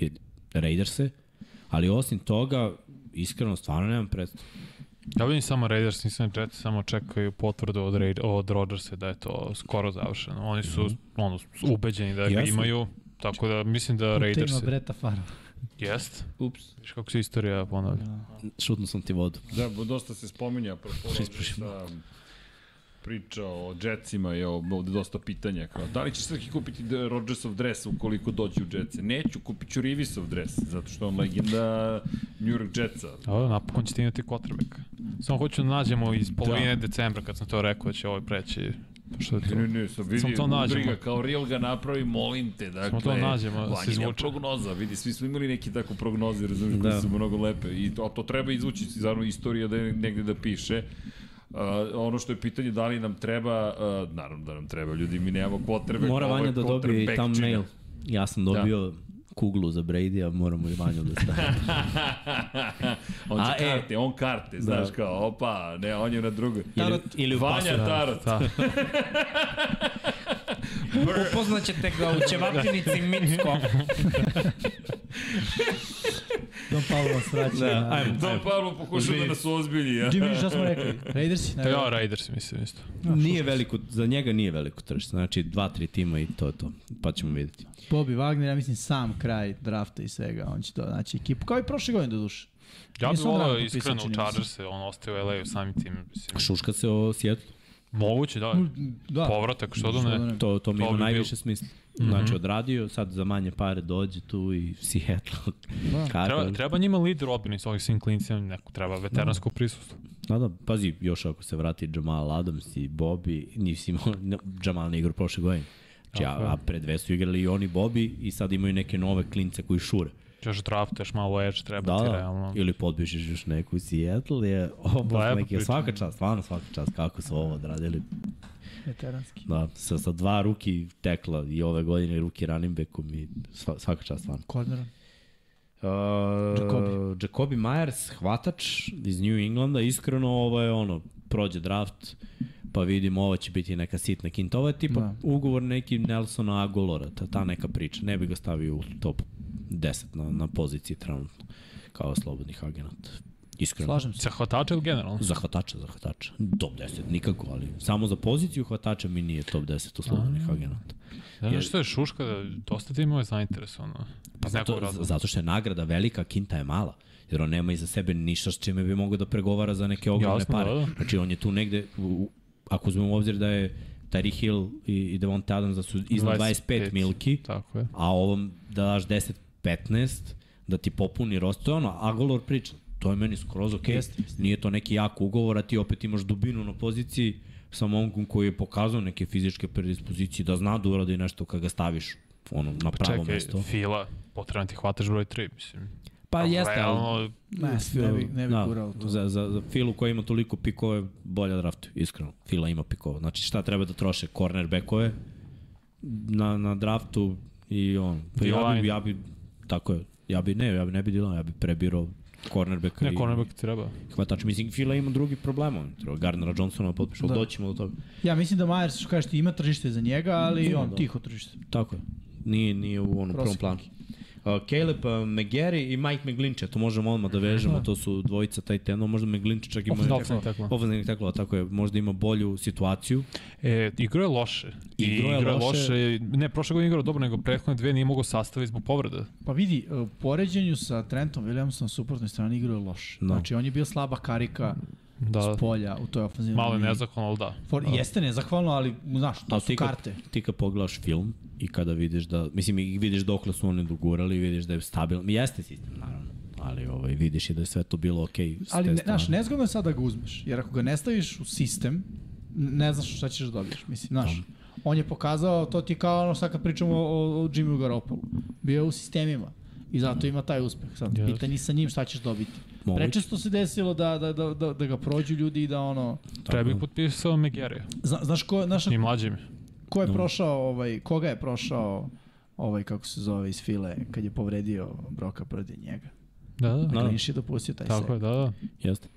[SPEAKER 4] i Raiderse, ali osim toga, iskreno, stvarno nemam predstavu.
[SPEAKER 3] Ja vidim samo Raiders, nisam Jets, samo čekaju potvrdu od, Raid, od Rodgersa da je to skoro završeno. Oni su, ono, su ubeđeni da ga
[SPEAKER 4] Jesu.
[SPEAKER 3] imaju, tako da mislim da Raiders...
[SPEAKER 5] Raiders. Breta Fara.
[SPEAKER 3] Jest,
[SPEAKER 4] Ups,
[SPEAKER 3] viš kako se istorija ponavlja.
[SPEAKER 5] Da.
[SPEAKER 4] šutno sam ti vodu.
[SPEAKER 1] Da, bo- dosta se spominja apropo Rodgersa, priča o Jetsima je ovde dosta pitanja kao da li će Srki kupiti d- Rodgersov dres ukoliko dođe u Jetse? Neću, kupit ću Rivisov dres zato što je on legenda New York Jetsa.
[SPEAKER 3] Dobro, napokon ćete imati quarterbacka. Samo hoću da nađemo iz polovine da. decembra kad sam to rekao da će ovaj preći. Što je to?
[SPEAKER 1] Ne, ne, sam vidi,
[SPEAKER 3] Samo to nađemo.
[SPEAKER 1] Briga, kao real ga napravi, molim te, dakle,
[SPEAKER 3] to nađemo, da se
[SPEAKER 1] vanjina
[SPEAKER 3] izvuče.
[SPEAKER 1] prognoza, vidi, svi smo imali neke tako prognoze, razumiješ, da.
[SPEAKER 4] Da.
[SPEAKER 1] koje su mnogo lepe, I to, a to treba izvući, zaravno, istorija da je negde da piše. Uh, ono što je pitanje da li nam treba, uh, naravno da nam treba, ljudi, mi nemamo quarterback.
[SPEAKER 4] Mora
[SPEAKER 1] ovo je
[SPEAKER 4] Vanja da dobije i
[SPEAKER 1] quarterback
[SPEAKER 4] thumbnail.
[SPEAKER 1] čine.
[SPEAKER 4] Ja sam dobio da. kuglu za Brady, a moramo i Vanju da stavimo.
[SPEAKER 1] on će
[SPEAKER 4] A,
[SPEAKER 1] a,
[SPEAKER 4] e.
[SPEAKER 1] karte, on karte, da. znaš kao, opa, ne, on je na drugoj.
[SPEAKER 4] Tarot. Ili u
[SPEAKER 1] Vanja
[SPEAKER 4] pasu.
[SPEAKER 1] Tarot.
[SPEAKER 3] Da.
[SPEAKER 4] Upoznaćete ga u ćevapinici Micko.
[SPEAKER 5] Don Pablo Sraće.
[SPEAKER 4] Da,
[SPEAKER 5] da.
[SPEAKER 4] ajmo.
[SPEAKER 1] Don Pablo pokušao da nas ozbilji. Ja.
[SPEAKER 5] Jimmy G, šta smo rekli? Raidersi?
[SPEAKER 3] Pa ja, Raiders mislim isto.
[SPEAKER 4] Nije veliko, za njega nije veliko tržište. Znači, dva, tri tima i to je to. Pa ćemo vidjeti.
[SPEAKER 5] Bobby Wagner, ja mislim sam kraj drafta i svega, on će to naći ekipu, kao i prošle godine do duše.
[SPEAKER 3] Ja bih
[SPEAKER 5] Nisam odavno
[SPEAKER 3] volao
[SPEAKER 5] potpisao,
[SPEAKER 3] iskreno u
[SPEAKER 5] čini mi se.
[SPEAKER 3] Chargers-e, on ostaje u LA-u samim tim. Mislim,
[SPEAKER 4] Šuška se o Sjetlu.
[SPEAKER 3] moguće,
[SPEAKER 4] Pa,
[SPEAKER 3] da.
[SPEAKER 5] Da,
[SPEAKER 3] Povratak, što da ne.
[SPEAKER 4] To, to mi
[SPEAKER 3] To
[SPEAKER 4] ima
[SPEAKER 3] bi
[SPEAKER 4] najviše smisla.
[SPEAKER 3] Mhm.
[SPEAKER 4] Znači, odradio, sad za manje pare dođe tu i Sjetlu. Da.
[SPEAKER 3] Pa, Treba, treba njima lead Robin iz ovih svim klincima, neko treba veteransko prisustvo.
[SPEAKER 4] Da, da, pazi, još ako se vrati Jamal Adams i Bobby, nisi imao ne, Jamal na igru prošle godine. Znači, a, a pre dve su igrali i oni Bobby i sad imaju neke nove klince koji šure.
[SPEAKER 3] Češ draftaš malo edge, treba
[SPEAKER 4] Da,
[SPEAKER 3] ti
[SPEAKER 4] da.
[SPEAKER 3] realno.
[SPEAKER 4] Ili podpišeš još neku u Seattle je
[SPEAKER 3] Lepa
[SPEAKER 5] Da,
[SPEAKER 4] opas neke.
[SPEAKER 3] priča.
[SPEAKER 4] Svaka čast, stvarno svaka čast kako su ovo odradili.
[SPEAKER 5] Veteranski.
[SPEAKER 4] Da, sa, sa dva ruki tekla i ove godine i ruki running backom i sva, svaka čast stvarno.
[SPEAKER 5] Kornerom.
[SPEAKER 4] Uh,
[SPEAKER 5] Jacobi.
[SPEAKER 4] Jacobi Myers, hvatač iz New Englanda, iskreno ovo je ono, prođe draft, pa vidimo ovo će biti neka sitna kinta. Ovo je tipa
[SPEAKER 5] Da.
[SPEAKER 4] ugovor neki Nelsona Agolora, ta, ta neka priča. Ne bi ga stavio u top 10 na, na poziciji trenutno, kao slobodnih agenata. Iskreno.
[SPEAKER 5] Slažem se.
[SPEAKER 3] Sa hvatača ili generalno?
[SPEAKER 4] Za hvatača, za hvatača. Top 10, nikako, ali samo za poziciju hvatača mi nije top 10 u slobodnih agenata.
[SPEAKER 3] Da, znaš što je šuška, da dosta ti imao je zainteresovano.
[SPEAKER 4] Pa
[SPEAKER 3] Iz nekog
[SPEAKER 4] zato,
[SPEAKER 3] razloga.
[SPEAKER 4] zato što je nagrada velika, kinta je mala. Jer on nema iza sebe ništa s čime bi mogao da pregovara za neke ogromne
[SPEAKER 3] Jasno,
[SPEAKER 4] pare.
[SPEAKER 3] da, da.
[SPEAKER 4] Znači on je tu negde, u, u, ako uzmemo u obzir da je Tari Hill i, i Devonta Adams da su iznad 25, 25 milki,
[SPEAKER 3] Tako je.
[SPEAKER 4] a ovom da daš 10-15, da ti popuni rost, to je ono, Agolor priča, to je meni skroz okej,
[SPEAKER 5] Jeste, jeste.
[SPEAKER 4] nije to neki jak ugovor, a ti opet imaš dubinu na poziciji sa momkom koji je pokazao neke fizičke predispozicije, da zna da uradi nešto kad ga staviš ono, na pravo
[SPEAKER 3] Pa Čekaj,
[SPEAKER 4] mesto.
[SPEAKER 3] Fila, potrebno da ti hvataš broj 3, mislim.
[SPEAKER 4] Pa
[SPEAKER 3] Ali
[SPEAKER 4] jeste, ali...
[SPEAKER 3] Realno,
[SPEAKER 2] Ne, ne bi, ne bi
[SPEAKER 4] da,
[SPEAKER 2] gurao to.
[SPEAKER 4] Za, za, za Filu koja ima toliko pikove, bolje draftu, iskreno. Fila ima pikova. Znači šta treba da troše? Cornerbackove na, na draftu i on. Pa ja
[SPEAKER 3] D-line.
[SPEAKER 4] bi, ja bi, tako je, ja bi ne, ja bi ne bi dilao, ja bi prebirao cornerbacka
[SPEAKER 3] ne,
[SPEAKER 4] i
[SPEAKER 3] cornerback ti treba.
[SPEAKER 4] hvatač. Mislim, Fila ima drugi problem, on treba Gardnera Johnsona potpišu, da. doćemo do toga.
[SPEAKER 2] Ja mislim da Myers, što kažeš ti, ima tržište za njega, ali i on
[SPEAKER 4] da.
[SPEAKER 2] tiho tržište.
[SPEAKER 4] Tako je. Nije, nije u onom prvom
[SPEAKER 2] Prosek.
[SPEAKER 4] planu. Uh, Caleb uh, McGarry i Mike McGlinche, to možemo odmah da vežemo, to su dvojica taj tenova, možda McGlinche čak ima...
[SPEAKER 3] Ofenzivnih teklova.
[SPEAKER 4] Ofenzivnih teklova, tako je, možda ima bolju situaciju.
[SPEAKER 3] E, igro je loše. I igro je loše. Ne, prošle godine igrao dobro, nego prethodne dve nije mogao sastaviti zbog povreda.
[SPEAKER 2] Pa vidi, e, u poređenju sa Trentom Williamsom na suprotnoj strani igrao je loš.
[SPEAKER 4] Da.
[SPEAKER 2] Znači, on je bio slaba karika
[SPEAKER 3] Da,
[SPEAKER 2] s polja u toj ofenzivnoj
[SPEAKER 3] malo je
[SPEAKER 2] liniji.
[SPEAKER 3] nezahvalno, ali da.
[SPEAKER 2] For, jeste nezahvalno, ali znaš, to
[SPEAKER 4] Ali
[SPEAKER 2] su
[SPEAKER 4] ti kad-
[SPEAKER 2] karte.
[SPEAKER 4] Ti kad pogledaš film i kada vidiš da, mislim, i vidiš dokle su oni dogurali, vidiš da je stabilan, jeste sistem, naravno, ali ovaj, vidiš i da je sve to bilo okej. Okay
[SPEAKER 2] Ali, ne, znaš, nezgodno je sad da ga uzmeš, jer ako ga ne staviš u sistem, n- ne znaš šta ćeš da dobiješ, mislim, znaš. On je pokazao, to ti je kao ono sad kad pričamo o, o, o Jimmy Garoppolu. Bio je u sistemima i zato ima taj uspeh. Sad,
[SPEAKER 3] Jeste.
[SPEAKER 2] pitanje sa njim šta ćeš dobiti.
[SPEAKER 4] Moguće.
[SPEAKER 2] Prečesto se desilo da, da, da, da, da ga prođu ljudi i da ono...
[SPEAKER 3] Treba bih potpisao McGarry.
[SPEAKER 2] Zna, znaš, ko, znaš
[SPEAKER 3] I mlađim.
[SPEAKER 2] ko je prošao, ovaj, koga je prošao ovaj, kako se zove iz file, kad je povredio Broka protiv njega.
[SPEAKER 3] Da, da.
[SPEAKER 2] Da. Glinš je dopustio taj
[SPEAKER 3] Tako je,
[SPEAKER 2] sek.
[SPEAKER 3] da, da.
[SPEAKER 4] Jeste.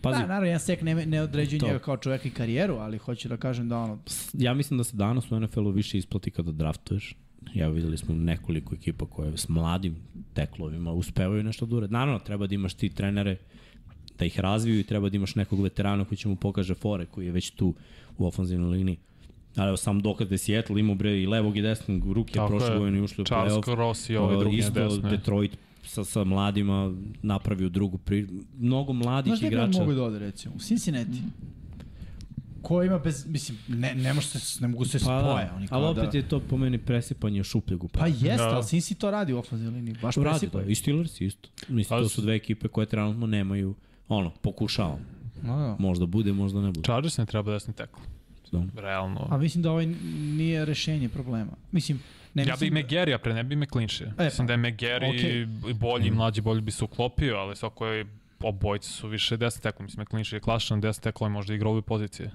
[SPEAKER 4] Pazi,
[SPEAKER 2] Da, naravno, jedan sek ne, ne određuje
[SPEAKER 4] To.
[SPEAKER 2] njega kao čoveka i karijeru, ali hoću da kažem da ono,
[SPEAKER 4] ja mislim da se danas u NFL-u više isplati kada draftuješ. Ja videli smo nekoliko ekipa koje s mladim teklovima uspevaju nešto da urade. Naravno, treba da imaš ti trenere da ih razviju i treba da imaš nekog veterana koji će mu pokaže fore koji je već tu u ofanzivnoj liniji. Ali evo sam dokad je Seattle imao bre i levog i desnog ruke
[SPEAKER 3] Tako
[SPEAKER 4] prošle
[SPEAKER 3] je.
[SPEAKER 4] godine i ušli u
[SPEAKER 3] Charles
[SPEAKER 4] play-off.
[SPEAKER 3] Cross i ovaj
[SPEAKER 4] Uh,
[SPEAKER 3] drugi na
[SPEAKER 4] Isto
[SPEAKER 3] desnoj.
[SPEAKER 4] Detroit sa, sa mladima napravio drugu pri... Mnogo mladih
[SPEAKER 2] Znaš gde bi on
[SPEAKER 4] igrača.
[SPEAKER 2] mogu da ode, recimo? U Cincinnati. Ko ima bez, mislim, ne, ne, može se, ne mogu se
[SPEAKER 4] Pa,
[SPEAKER 2] spoje.
[SPEAKER 4] da,
[SPEAKER 2] Oni kao
[SPEAKER 4] ali opet
[SPEAKER 2] da,
[SPEAKER 4] je to po meni presipanje šupljeg u
[SPEAKER 2] Pa
[SPEAKER 4] prazno.
[SPEAKER 2] jeste,
[SPEAKER 3] Da.
[SPEAKER 2] ali Cincy to radi u ofenzivnoj liniji. Baš
[SPEAKER 4] Radi to.
[SPEAKER 2] presipaju.
[SPEAKER 4] I Steelers isto. Mislim,
[SPEAKER 3] Ali
[SPEAKER 4] to
[SPEAKER 3] da. Pa s-
[SPEAKER 4] su dve ekipe koje trenutno nemaju, ono, pokušavam.
[SPEAKER 2] Da, da.
[SPEAKER 4] Možda bude, možda ne bude.
[SPEAKER 3] Chargers ne treba desni tekl.
[SPEAKER 4] Da.
[SPEAKER 2] A
[SPEAKER 3] Realno.
[SPEAKER 2] mislim da ovaj nije rešenje problema. Mislim, ne
[SPEAKER 3] Ja bi
[SPEAKER 2] mislim da-
[SPEAKER 3] McGarry, a pre ne bi McClinchija.
[SPEAKER 2] pa.
[SPEAKER 3] Mislim da je McGarry bolji i mlađi, bolji bi se uklopio, ali svako je obojice su više desni tekl. Mislim, McClinchija je klašan desni tekl, ali možda igra obe pozicije.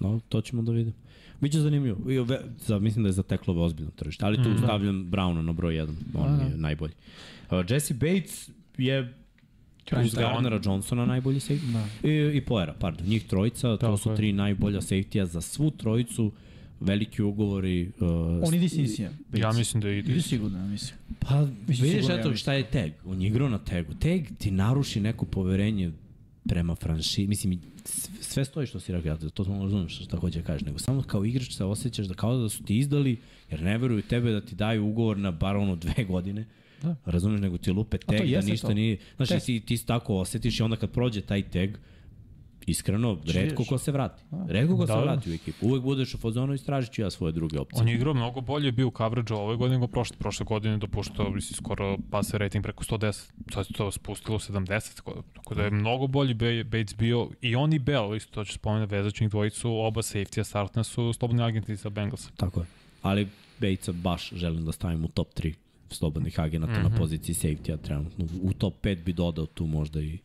[SPEAKER 4] No, to ćemo da vidimo. Biće zanimljivo. I ove, za, mislim da je za teklove ozbiljno tržište, ali
[SPEAKER 3] Mhm.
[SPEAKER 4] tu stavljam Browna na broj 1.
[SPEAKER 3] Da,
[SPEAKER 4] On je najbolji. Uh, Jesse Bates je uz
[SPEAKER 3] time.
[SPEAKER 4] Gardnera Johnsona najbolji safety. Da. I, I Poera, pardon. Njih trojica, to
[SPEAKER 3] Tako
[SPEAKER 4] su
[SPEAKER 3] je.
[SPEAKER 4] tri najbolja safety-a za svu trojicu. Veliki ugovori. Uh,
[SPEAKER 2] On ide Cincy.
[SPEAKER 3] Ja mislim da ide.
[SPEAKER 2] Ide sigurno, ja mislim.
[SPEAKER 4] Pa,
[SPEAKER 2] Mislim,
[SPEAKER 4] vidiš
[SPEAKER 2] sigurno
[SPEAKER 4] eto
[SPEAKER 2] ja
[SPEAKER 4] šta je tag. On je igrao na tagu. Tag ti naruši neko poverenje prema franši... Mislim, s- sve stoji što si rekao, ja to to razumem šta hoće da kažeš, nego samo kao igrač se osjećaš da kao da su ti izdali, jer ne veruju tebe da ti daju ugovor na bar ono dve godine. Da. Razumeš, nego ti lupe tag da
[SPEAKER 2] jeste
[SPEAKER 4] ništa
[SPEAKER 2] to.
[SPEAKER 4] nije... Znači,
[SPEAKER 2] Test.
[SPEAKER 4] ti, ti se tako osjetiš i onda kad prođe taj tag, iskreno, redko ko se vrati. Redko ko
[SPEAKER 3] Da,
[SPEAKER 4] se
[SPEAKER 3] da.
[SPEAKER 4] vrati u ekipu. Uvek budeš u fazonu i stražit ću ja svoje druge opcije.
[SPEAKER 3] On je igrao mnogo bolje, bio u coverage ove godine nego prošle. Prošle godine je dopuštao mislim, skoro passer rating preko 110, sad se to spustilo u 70, tako- tako da je mnogo bolji Ba- Bates bio i on i Bell, isto to ću spomenuti, vezačnih dvojicu, oba safety-a startna su slobodni agenti za Bengalsa.
[SPEAKER 4] Tako je. Ali Batesa baš želim da stavim u top 3 slobodnih agenata mm
[SPEAKER 2] Mhm.
[SPEAKER 4] -hmm. na poziciji safety-a trenutno. U top 5 bi dodao tu možda i...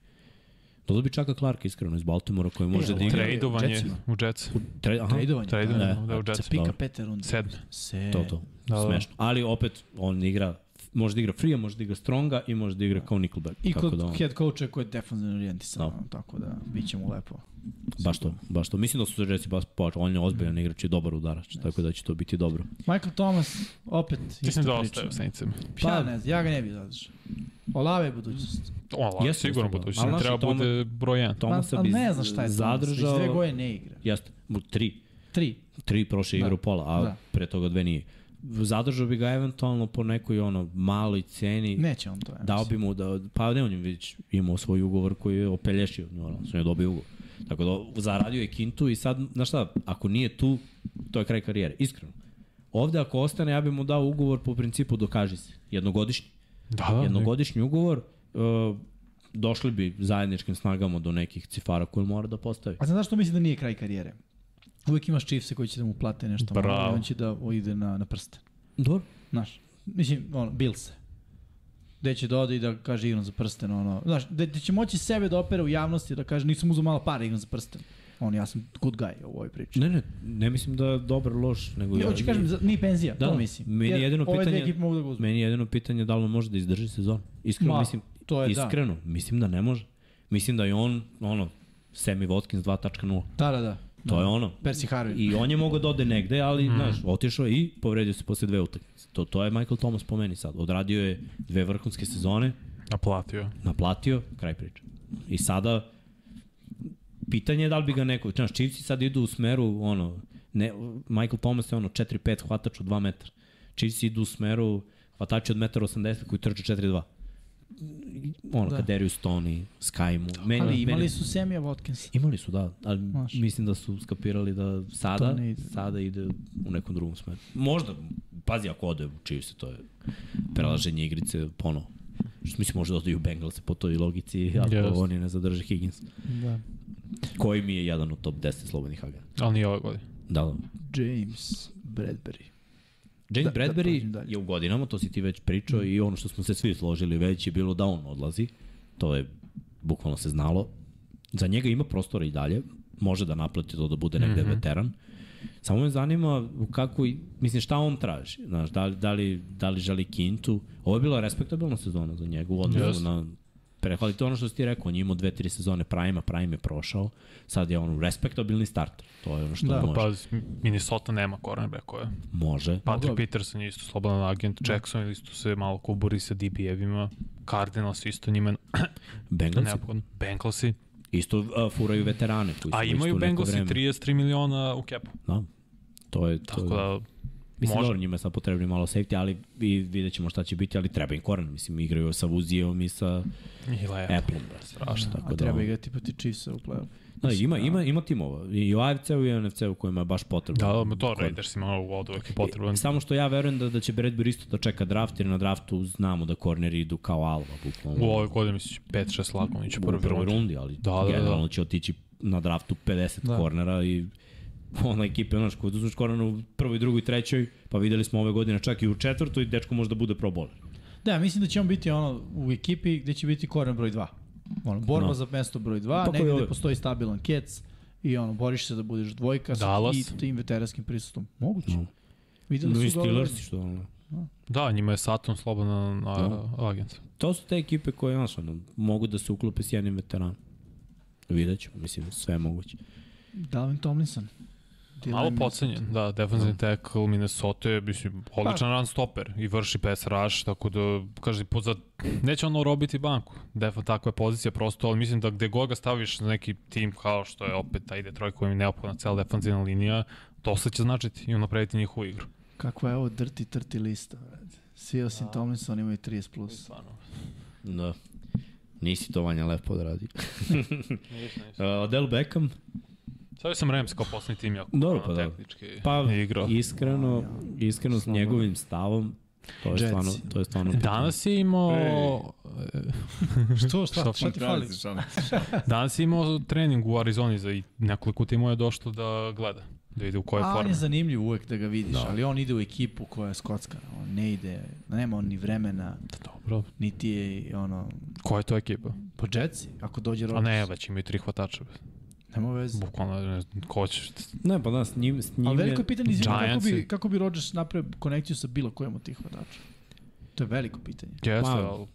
[SPEAKER 4] Dodao bi Čaka Clarka iskreno iz Baltimora koji može
[SPEAKER 2] E,
[SPEAKER 4] da igra.
[SPEAKER 3] Tradeovan je
[SPEAKER 2] Jetsima.
[SPEAKER 3] u Jets.
[SPEAKER 4] Tre, aha,
[SPEAKER 2] Tradovanje.
[SPEAKER 3] Tradeovan
[SPEAKER 4] Ne,
[SPEAKER 3] je da, u
[SPEAKER 2] Sa
[SPEAKER 3] Jets.
[SPEAKER 2] pika
[SPEAKER 4] dobro.
[SPEAKER 2] pete runde.
[SPEAKER 3] Sedme.
[SPEAKER 2] Se...
[SPEAKER 4] to, to.
[SPEAKER 3] Da,
[SPEAKER 4] Da,
[SPEAKER 3] da.
[SPEAKER 4] Smešno. Ali opet, on igra, može da igra free, može da igra stronga i može da igra kao Nickelback.
[SPEAKER 2] I kod
[SPEAKER 4] Tako da on,
[SPEAKER 2] head coacha koji je defensivno orijentisan,
[SPEAKER 4] Da.
[SPEAKER 2] tako da bit će mu lepo.
[SPEAKER 4] baš to, baš to. Mislim da su se Jetsi baš pojačali. On je ozbiljan igrač i dobar udarač, tako da će to biti dobro.
[SPEAKER 2] Michael Thomas, opet isto
[SPEAKER 3] Mislim da
[SPEAKER 2] priča.
[SPEAKER 3] ostaje u Saintsima.
[SPEAKER 2] Pa, ja
[SPEAKER 4] Pa-
[SPEAKER 2] ne znam, ja ga ne bih zadržao. Olave je budućnost.
[SPEAKER 3] Ola,
[SPEAKER 4] Jeste,
[SPEAKER 3] sigurno
[SPEAKER 4] jeste,
[SPEAKER 3] budućnost.
[SPEAKER 4] ali
[SPEAKER 3] Ne
[SPEAKER 4] naši
[SPEAKER 3] treba
[SPEAKER 4] Toma-
[SPEAKER 3] bude broj 1.
[SPEAKER 4] Tomasa
[SPEAKER 2] Ma,
[SPEAKER 4] bi
[SPEAKER 2] Pa, ne znam šta je zadržao.
[SPEAKER 4] zadržao.
[SPEAKER 2] Tomas, već dve godine ne igra.
[SPEAKER 4] Jeste, mu tri.
[SPEAKER 2] Tri.
[SPEAKER 4] tri prošle igre
[SPEAKER 2] Da.
[SPEAKER 4] u pola, a
[SPEAKER 2] Da.
[SPEAKER 4] pre toga dve nije. Zadržao bi ga eventualno po nekoj ono maloj ceni.
[SPEAKER 2] Neće on to. Ja
[SPEAKER 4] Dao
[SPEAKER 2] mislim.
[SPEAKER 4] bi mu da, pa ne on je već imao svoj ugovor koji je opelješio New Orleans, on je dobio ugovor. Tako da zaradio je kintu i sad, znaš šta, ako nije tu, to je kraj karijere, iskreno. Ovde ako ostane, ja bih mu dao ugovor po principu dokaži se, jednogodišnji
[SPEAKER 3] Da, da,
[SPEAKER 4] jednogodišnji ugovor, uh, došli bi zajedničkim snagama do nekih cifara koje mora da postavi.
[SPEAKER 2] A znaš zašto mislim da nije kraj karijere? Uvijek imaš Chiefse koji će da mu plate nešto.
[SPEAKER 3] Bravo.
[SPEAKER 2] Bravo. On će da ide na, na prste.
[SPEAKER 4] Dobro.
[SPEAKER 2] Znaš, mislim, ono, Bills. Gde će da ode i da kaže igram za prsten, ono. Znaš, gde, gde će moći sebe da opere u javnosti, da kaže nisam uzao malo para, igram za prsten. On, ja sam good guy u ovoj priči.
[SPEAKER 4] Ne, ne, ne mislim da je dobar, loš, nego...
[SPEAKER 2] Ne, hoću kažem, za- ni penzija,
[SPEAKER 4] Da,
[SPEAKER 2] to
[SPEAKER 4] da.
[SPEAKER 2] mislim.
[SPEAKER 4] Meni
[SPEAKER 2] Jer
[SPEAKER 4] jedino
[SPEAKER 2] ove
[SPEAKER 4] pitanje-
[SPEAKER 2] dve ekipe mogu da ga uzmu.
[SPEAKER 4] Meni je jedino pitanje da li on može da izdrži sezon. Iskreno,
[SPEAKER 2] Ma,
[SPEAKER 4] mislim,
[SPEAKER 2] to je da.
[SPEAKER 4] iskreno, mislim da ne može. Mislim da je on, ono, Sammy Watkins 2.0.
[SPEAKER 2] Da, da, da. Mhm.
[SPEAKER 4] To je ono.
[SPEAKER 2] Percy Harvey.
[SPEAKER 4] I on je mogao da ode negde, ali, mm. znaš, otišao je i povredio se posle dve utakmice. To, to je Michael Thomas po meni sad. Odradio je dve vrhunske sezone,
[SPEAKER 3] naplatio.
[SPEAKER 4] naplatio, kraj priče. I sada, pitanje je da li bi ga neko, znaš, Chiefs sad idu u smeru, ono, ne, Michael Thomas je ono 4-5 hvatač od 2 metra. Chiefs idu u smeru hvatači od 1,80 m koji trče 4-2 ono, da.
[SPEAKER 2] Da.
[SPEAKER 4] kad Darius Stoney, Skymu. Meni,
[SPEAKER 2] Ali imali
[SPEAKER 4] meni,
[SPEAKER 2] su Semija Watkins.
[SPEAKER 4] Imali su, da, ali
[SPEAKER 2] Znaš.
[SPEAKER 4] mislim da su skapirali da
[SPEAKER 2] To
[SPEAKER 4] sada,
[SPEAKER 2] ne ide.
[SPEAKER 4] ide. sada ide u nekom drugom smeru. Možda, pazi ako ode u Chiefs, to je prelaženje igrice ponovo. Što mislim, možda odu i u Bengalse po toj logici, ako
[SPEAKER 3] Jasno.
[SPEAKER 4] oni ne zadrže Higgins.
[SPEAKER 2] Da.
[SPEAKER 4] Koji mi je jedan od top 10 slobodnih agenta?
[SPEAKER 3] Ali nije ove godine.
[SPEAKER 4] Da, da.
[SPEAKER 2] James Bradbury.
[SPEAKER 4] James
[SPEAKER 2] Da, da
[SPEAKER 4] Bradbury
[SPEAKER 2] prođem dalje. Mhm.
[SPEAKER 4] je u godinama, to si ti već pričao i ono što smo se svi složili već je bilo da on odlazi. To je bukvalno se znalo. Za njega ima prostora i dalje. Može da naplati to da bude negde
[SPEAKER 2] Mhm.
[SPEAKER 4] mm -hmm. veteran. Samo me zanima kako, i- mislim šta on traži. Znaš, da, li, da, li, da li želi Kintu. Ovo je bila respektabilna sezona za njega u odnosu yes.
[SPEAKER 3] Jeste.
[SPEAKER 4] na prehvali. To je ono što si ti rekao, on je imao dve, tri sezone Prime-a, Prime je prošao. Sad je on respektabilni starter. To je ono što
[SPEAKER 2] Da.
[SPEAKER 4] da, može. Pa,
[SPEAKER 3] Pazi, Minnesota nema cornerbackove.
[SPEAKER 4] može. Da.
[SPEAKER 3] Patrick
[SPEAKER 2] Mogla bi.
[SPEAKER 3] Peterson je isto slobodan agent, Jackson isto se malo kuburi sa DB-evima, Cardinals isto njima
[SPEAKER 4] Bengalsi
[SPEAKER 3] neophodno, Bengalsi,
[SPEAKER 4] isto uh, furaju veterane koji su
[SPEAKER 3] a
[SPEAKER 4] već tu
[SPEAKER 3] imaju
[SPEAKER 4] neko
[SPEAKER 3] Bengalsi
[SPEAKER 4] vreme.
[SPEAKER 3] 33 miliona u capu,
[SPEAKER 4] Da. To je, to
[SPEAKER 3] tako
[SPEAKER 4] je.
[SPEAKER 3] da
[SPEAKER 4] mislim,
[SPEAKER 3] može.
[SPEAKER 4] dobro, njima je sad potrebni malo safety, ali i vidjet ćemo šta će biti, ali treba im koren. Mislim, igraju sa Vuzijevom i sa
[SPEAKER 3] i lepo.
[SPEAKER 4] Apple-om. Strašno. Tako
[SPEAKER 2] A treba
[SPEAKER 4] da, treba
[SPEAKER 2] igrati proti Chiefsa u play-off.
[SPEAKER 4] da, ima, ima, ima timova. I u AFC-u i u NFC-u kojima je baš potrebno.
[SPEAKER 3] Da, da, ma to
[SPEAKER 4] koren.
[SPEAKER 3] Raidersima u vodu uvek
[SPEAKER 4] E,
[SPEAKER 3] je potreban.
[SPEAKER 4] Samo što ja verujem da, da će Bradbury isto da čeka draft, jer na draftu znamo da korneri idu kao alva, bukvalno.
[SPEAKER 3] U ovoj godini mislim 5-6 lagom iće
[SPEAKER 4] u
[SPEAKER 3] prvi
[SPEAKER 4] prvoj
[SPEAKER 3] rund.
[SPEAKER 4] rundi, ali
[SPEAKER 3] Da, da, da.
[SPEAKER 4] generalno će otići na draftu 50 da.
[SPEAKER 2] Da.
[SPEAKER 4] kornera i ona ekipa, znaš, kada uzmeš korner u prvoj, drugoj, trećoj, pa videli smo ove godine čak i u četvrtoj, dečko može da bude pro bowler.
[SPEAKER 2] Da, mislim da će on biti ono u ekipi gde će biti koren broj 2. Ono, borba
[SPEAKER 4] No.
[SPEAKER 2] no. za mesto broj 2,
[SPEAKER 4] Pa
[SPEAKER 2] pa
[SPEAKER 4] koji
[SPEAKER 2] negde
[SPEAKER 4] ove?
[SPEAKER 2] gde postoji stabilan kec i ono, boriš se da budeš dvojka sa
[SPEAKER 3] Dallas.
[SPEAKER 2] i tim veteranskim prisustvom. Moguće.
[SPEAKER 4] No.
[SPEAKER 2] No. Videli
[SPEAKER 4] No i
[SPEAKER 2] su ga ove
[SPEAKER 4] Steelers,
[SPEAKER 2] godine.
[SPEAKER 4] što ono.
[SPEAKER 3] Da, njima je Saturn slobodan
[SPEAKER 4] Da.
[SPEAKER 3] a, agent.
[SPEAKER 4] To su te ekipe koje, znaš, ono, mogu da se uklope s jednim veteranom. Vidjet ćemo, mislim, sve je moguće.
[SPEAKER 2] Dalvin Tomlinson. Dylan
[SPEAKER 3] Malo
[SPEAKER 2] Mays.
[SPEAKER 3] pocenjen, da, defensive tackle Minnesota je, mislim, odličan run stopper i vrši pass rush, tako da, kaže, po, za, neće ono robiti banku, defa takva je pozicija prosto, ali mislim da gde god ga staviš na neki tim kao što je opet taj Detroit kojim je neophodna cela defensivna linija, to se će značiti i unaprediti njihovu igru.
[SPEAKER 2] Kakva je ovo drti trti lista. brate. Svi osim Tomlinson imaju 30 plus.
[SPEAKER 4] Da. Nisi to Vanja lepo odradio. E, Odell Beckham,
[SPEAKER 3] Sada sam Rams kao poslednji tim, jako
[SPEAKER 4] Dobro,
[SPEAKER 3] ono,
[SPEAKER 4] pa da.
[SPEAKER 3] tehnički
[SPEAKER 4] Pa,
[SPEAKER 3] E, igrao.
[SPEAKER 4] iskreno, iskreno s njegovim stavom, to je
[SPEAKER 2] Jetsi.
[SPEAKER 4] stvarno, to je stvarno
[SPEAKER 3] Danas je imao,
[SPEAKER 2] Što, šta,
[SPEAKER 3] Šta
[SPEAKER 2] šta, šta ti fali?
[SPEAKER 3] danas je imao trening u Arizoni za i nekoliko timova je došlo da gleda, da vidi u kojoj
[SPEAKER 2] A on
[SPEAKER 3] formi.
[SPEAKER 2] je zanimljiv uvek da ga vidiš, da. ali on ide u ekipu koja je skockana. On ne ide, nema on ni vremena,
[SPEAKER 3] Pa Dobro,
[SPEAKER 2] niti je ono...
[SPEAKER 3] koja je to ekipa?
[SPEAKER 2] Po Jetsi, ako dođe
[SPEAKER 3] A
[SPEAKER 2] Rodgers.
[SPEAKER 3] ne, već imaju tri hvatača. bre.
[SPEAKER 2] Nema veze.
[SPEAKER 3] Bukvalno, ne znam, ko će...
[SPEAKER 4] Ne, pa da, s njim, s njim
[SPEAKER 2] Ali
[SPEAKER 4] je-
[SPEAKER 2] veliko je pitanje izvini, kako
[SPEAKER 3] Giants i-
[SPEAKER 2] bi, kako bi Rodgers napravio konekciju sa bilo kojim od tih hvatača. To je veliko pitanje.
[SPEAKER 3] Jeste,
[SPEAKER 4] Ma,
[SPEAKER 3] ali...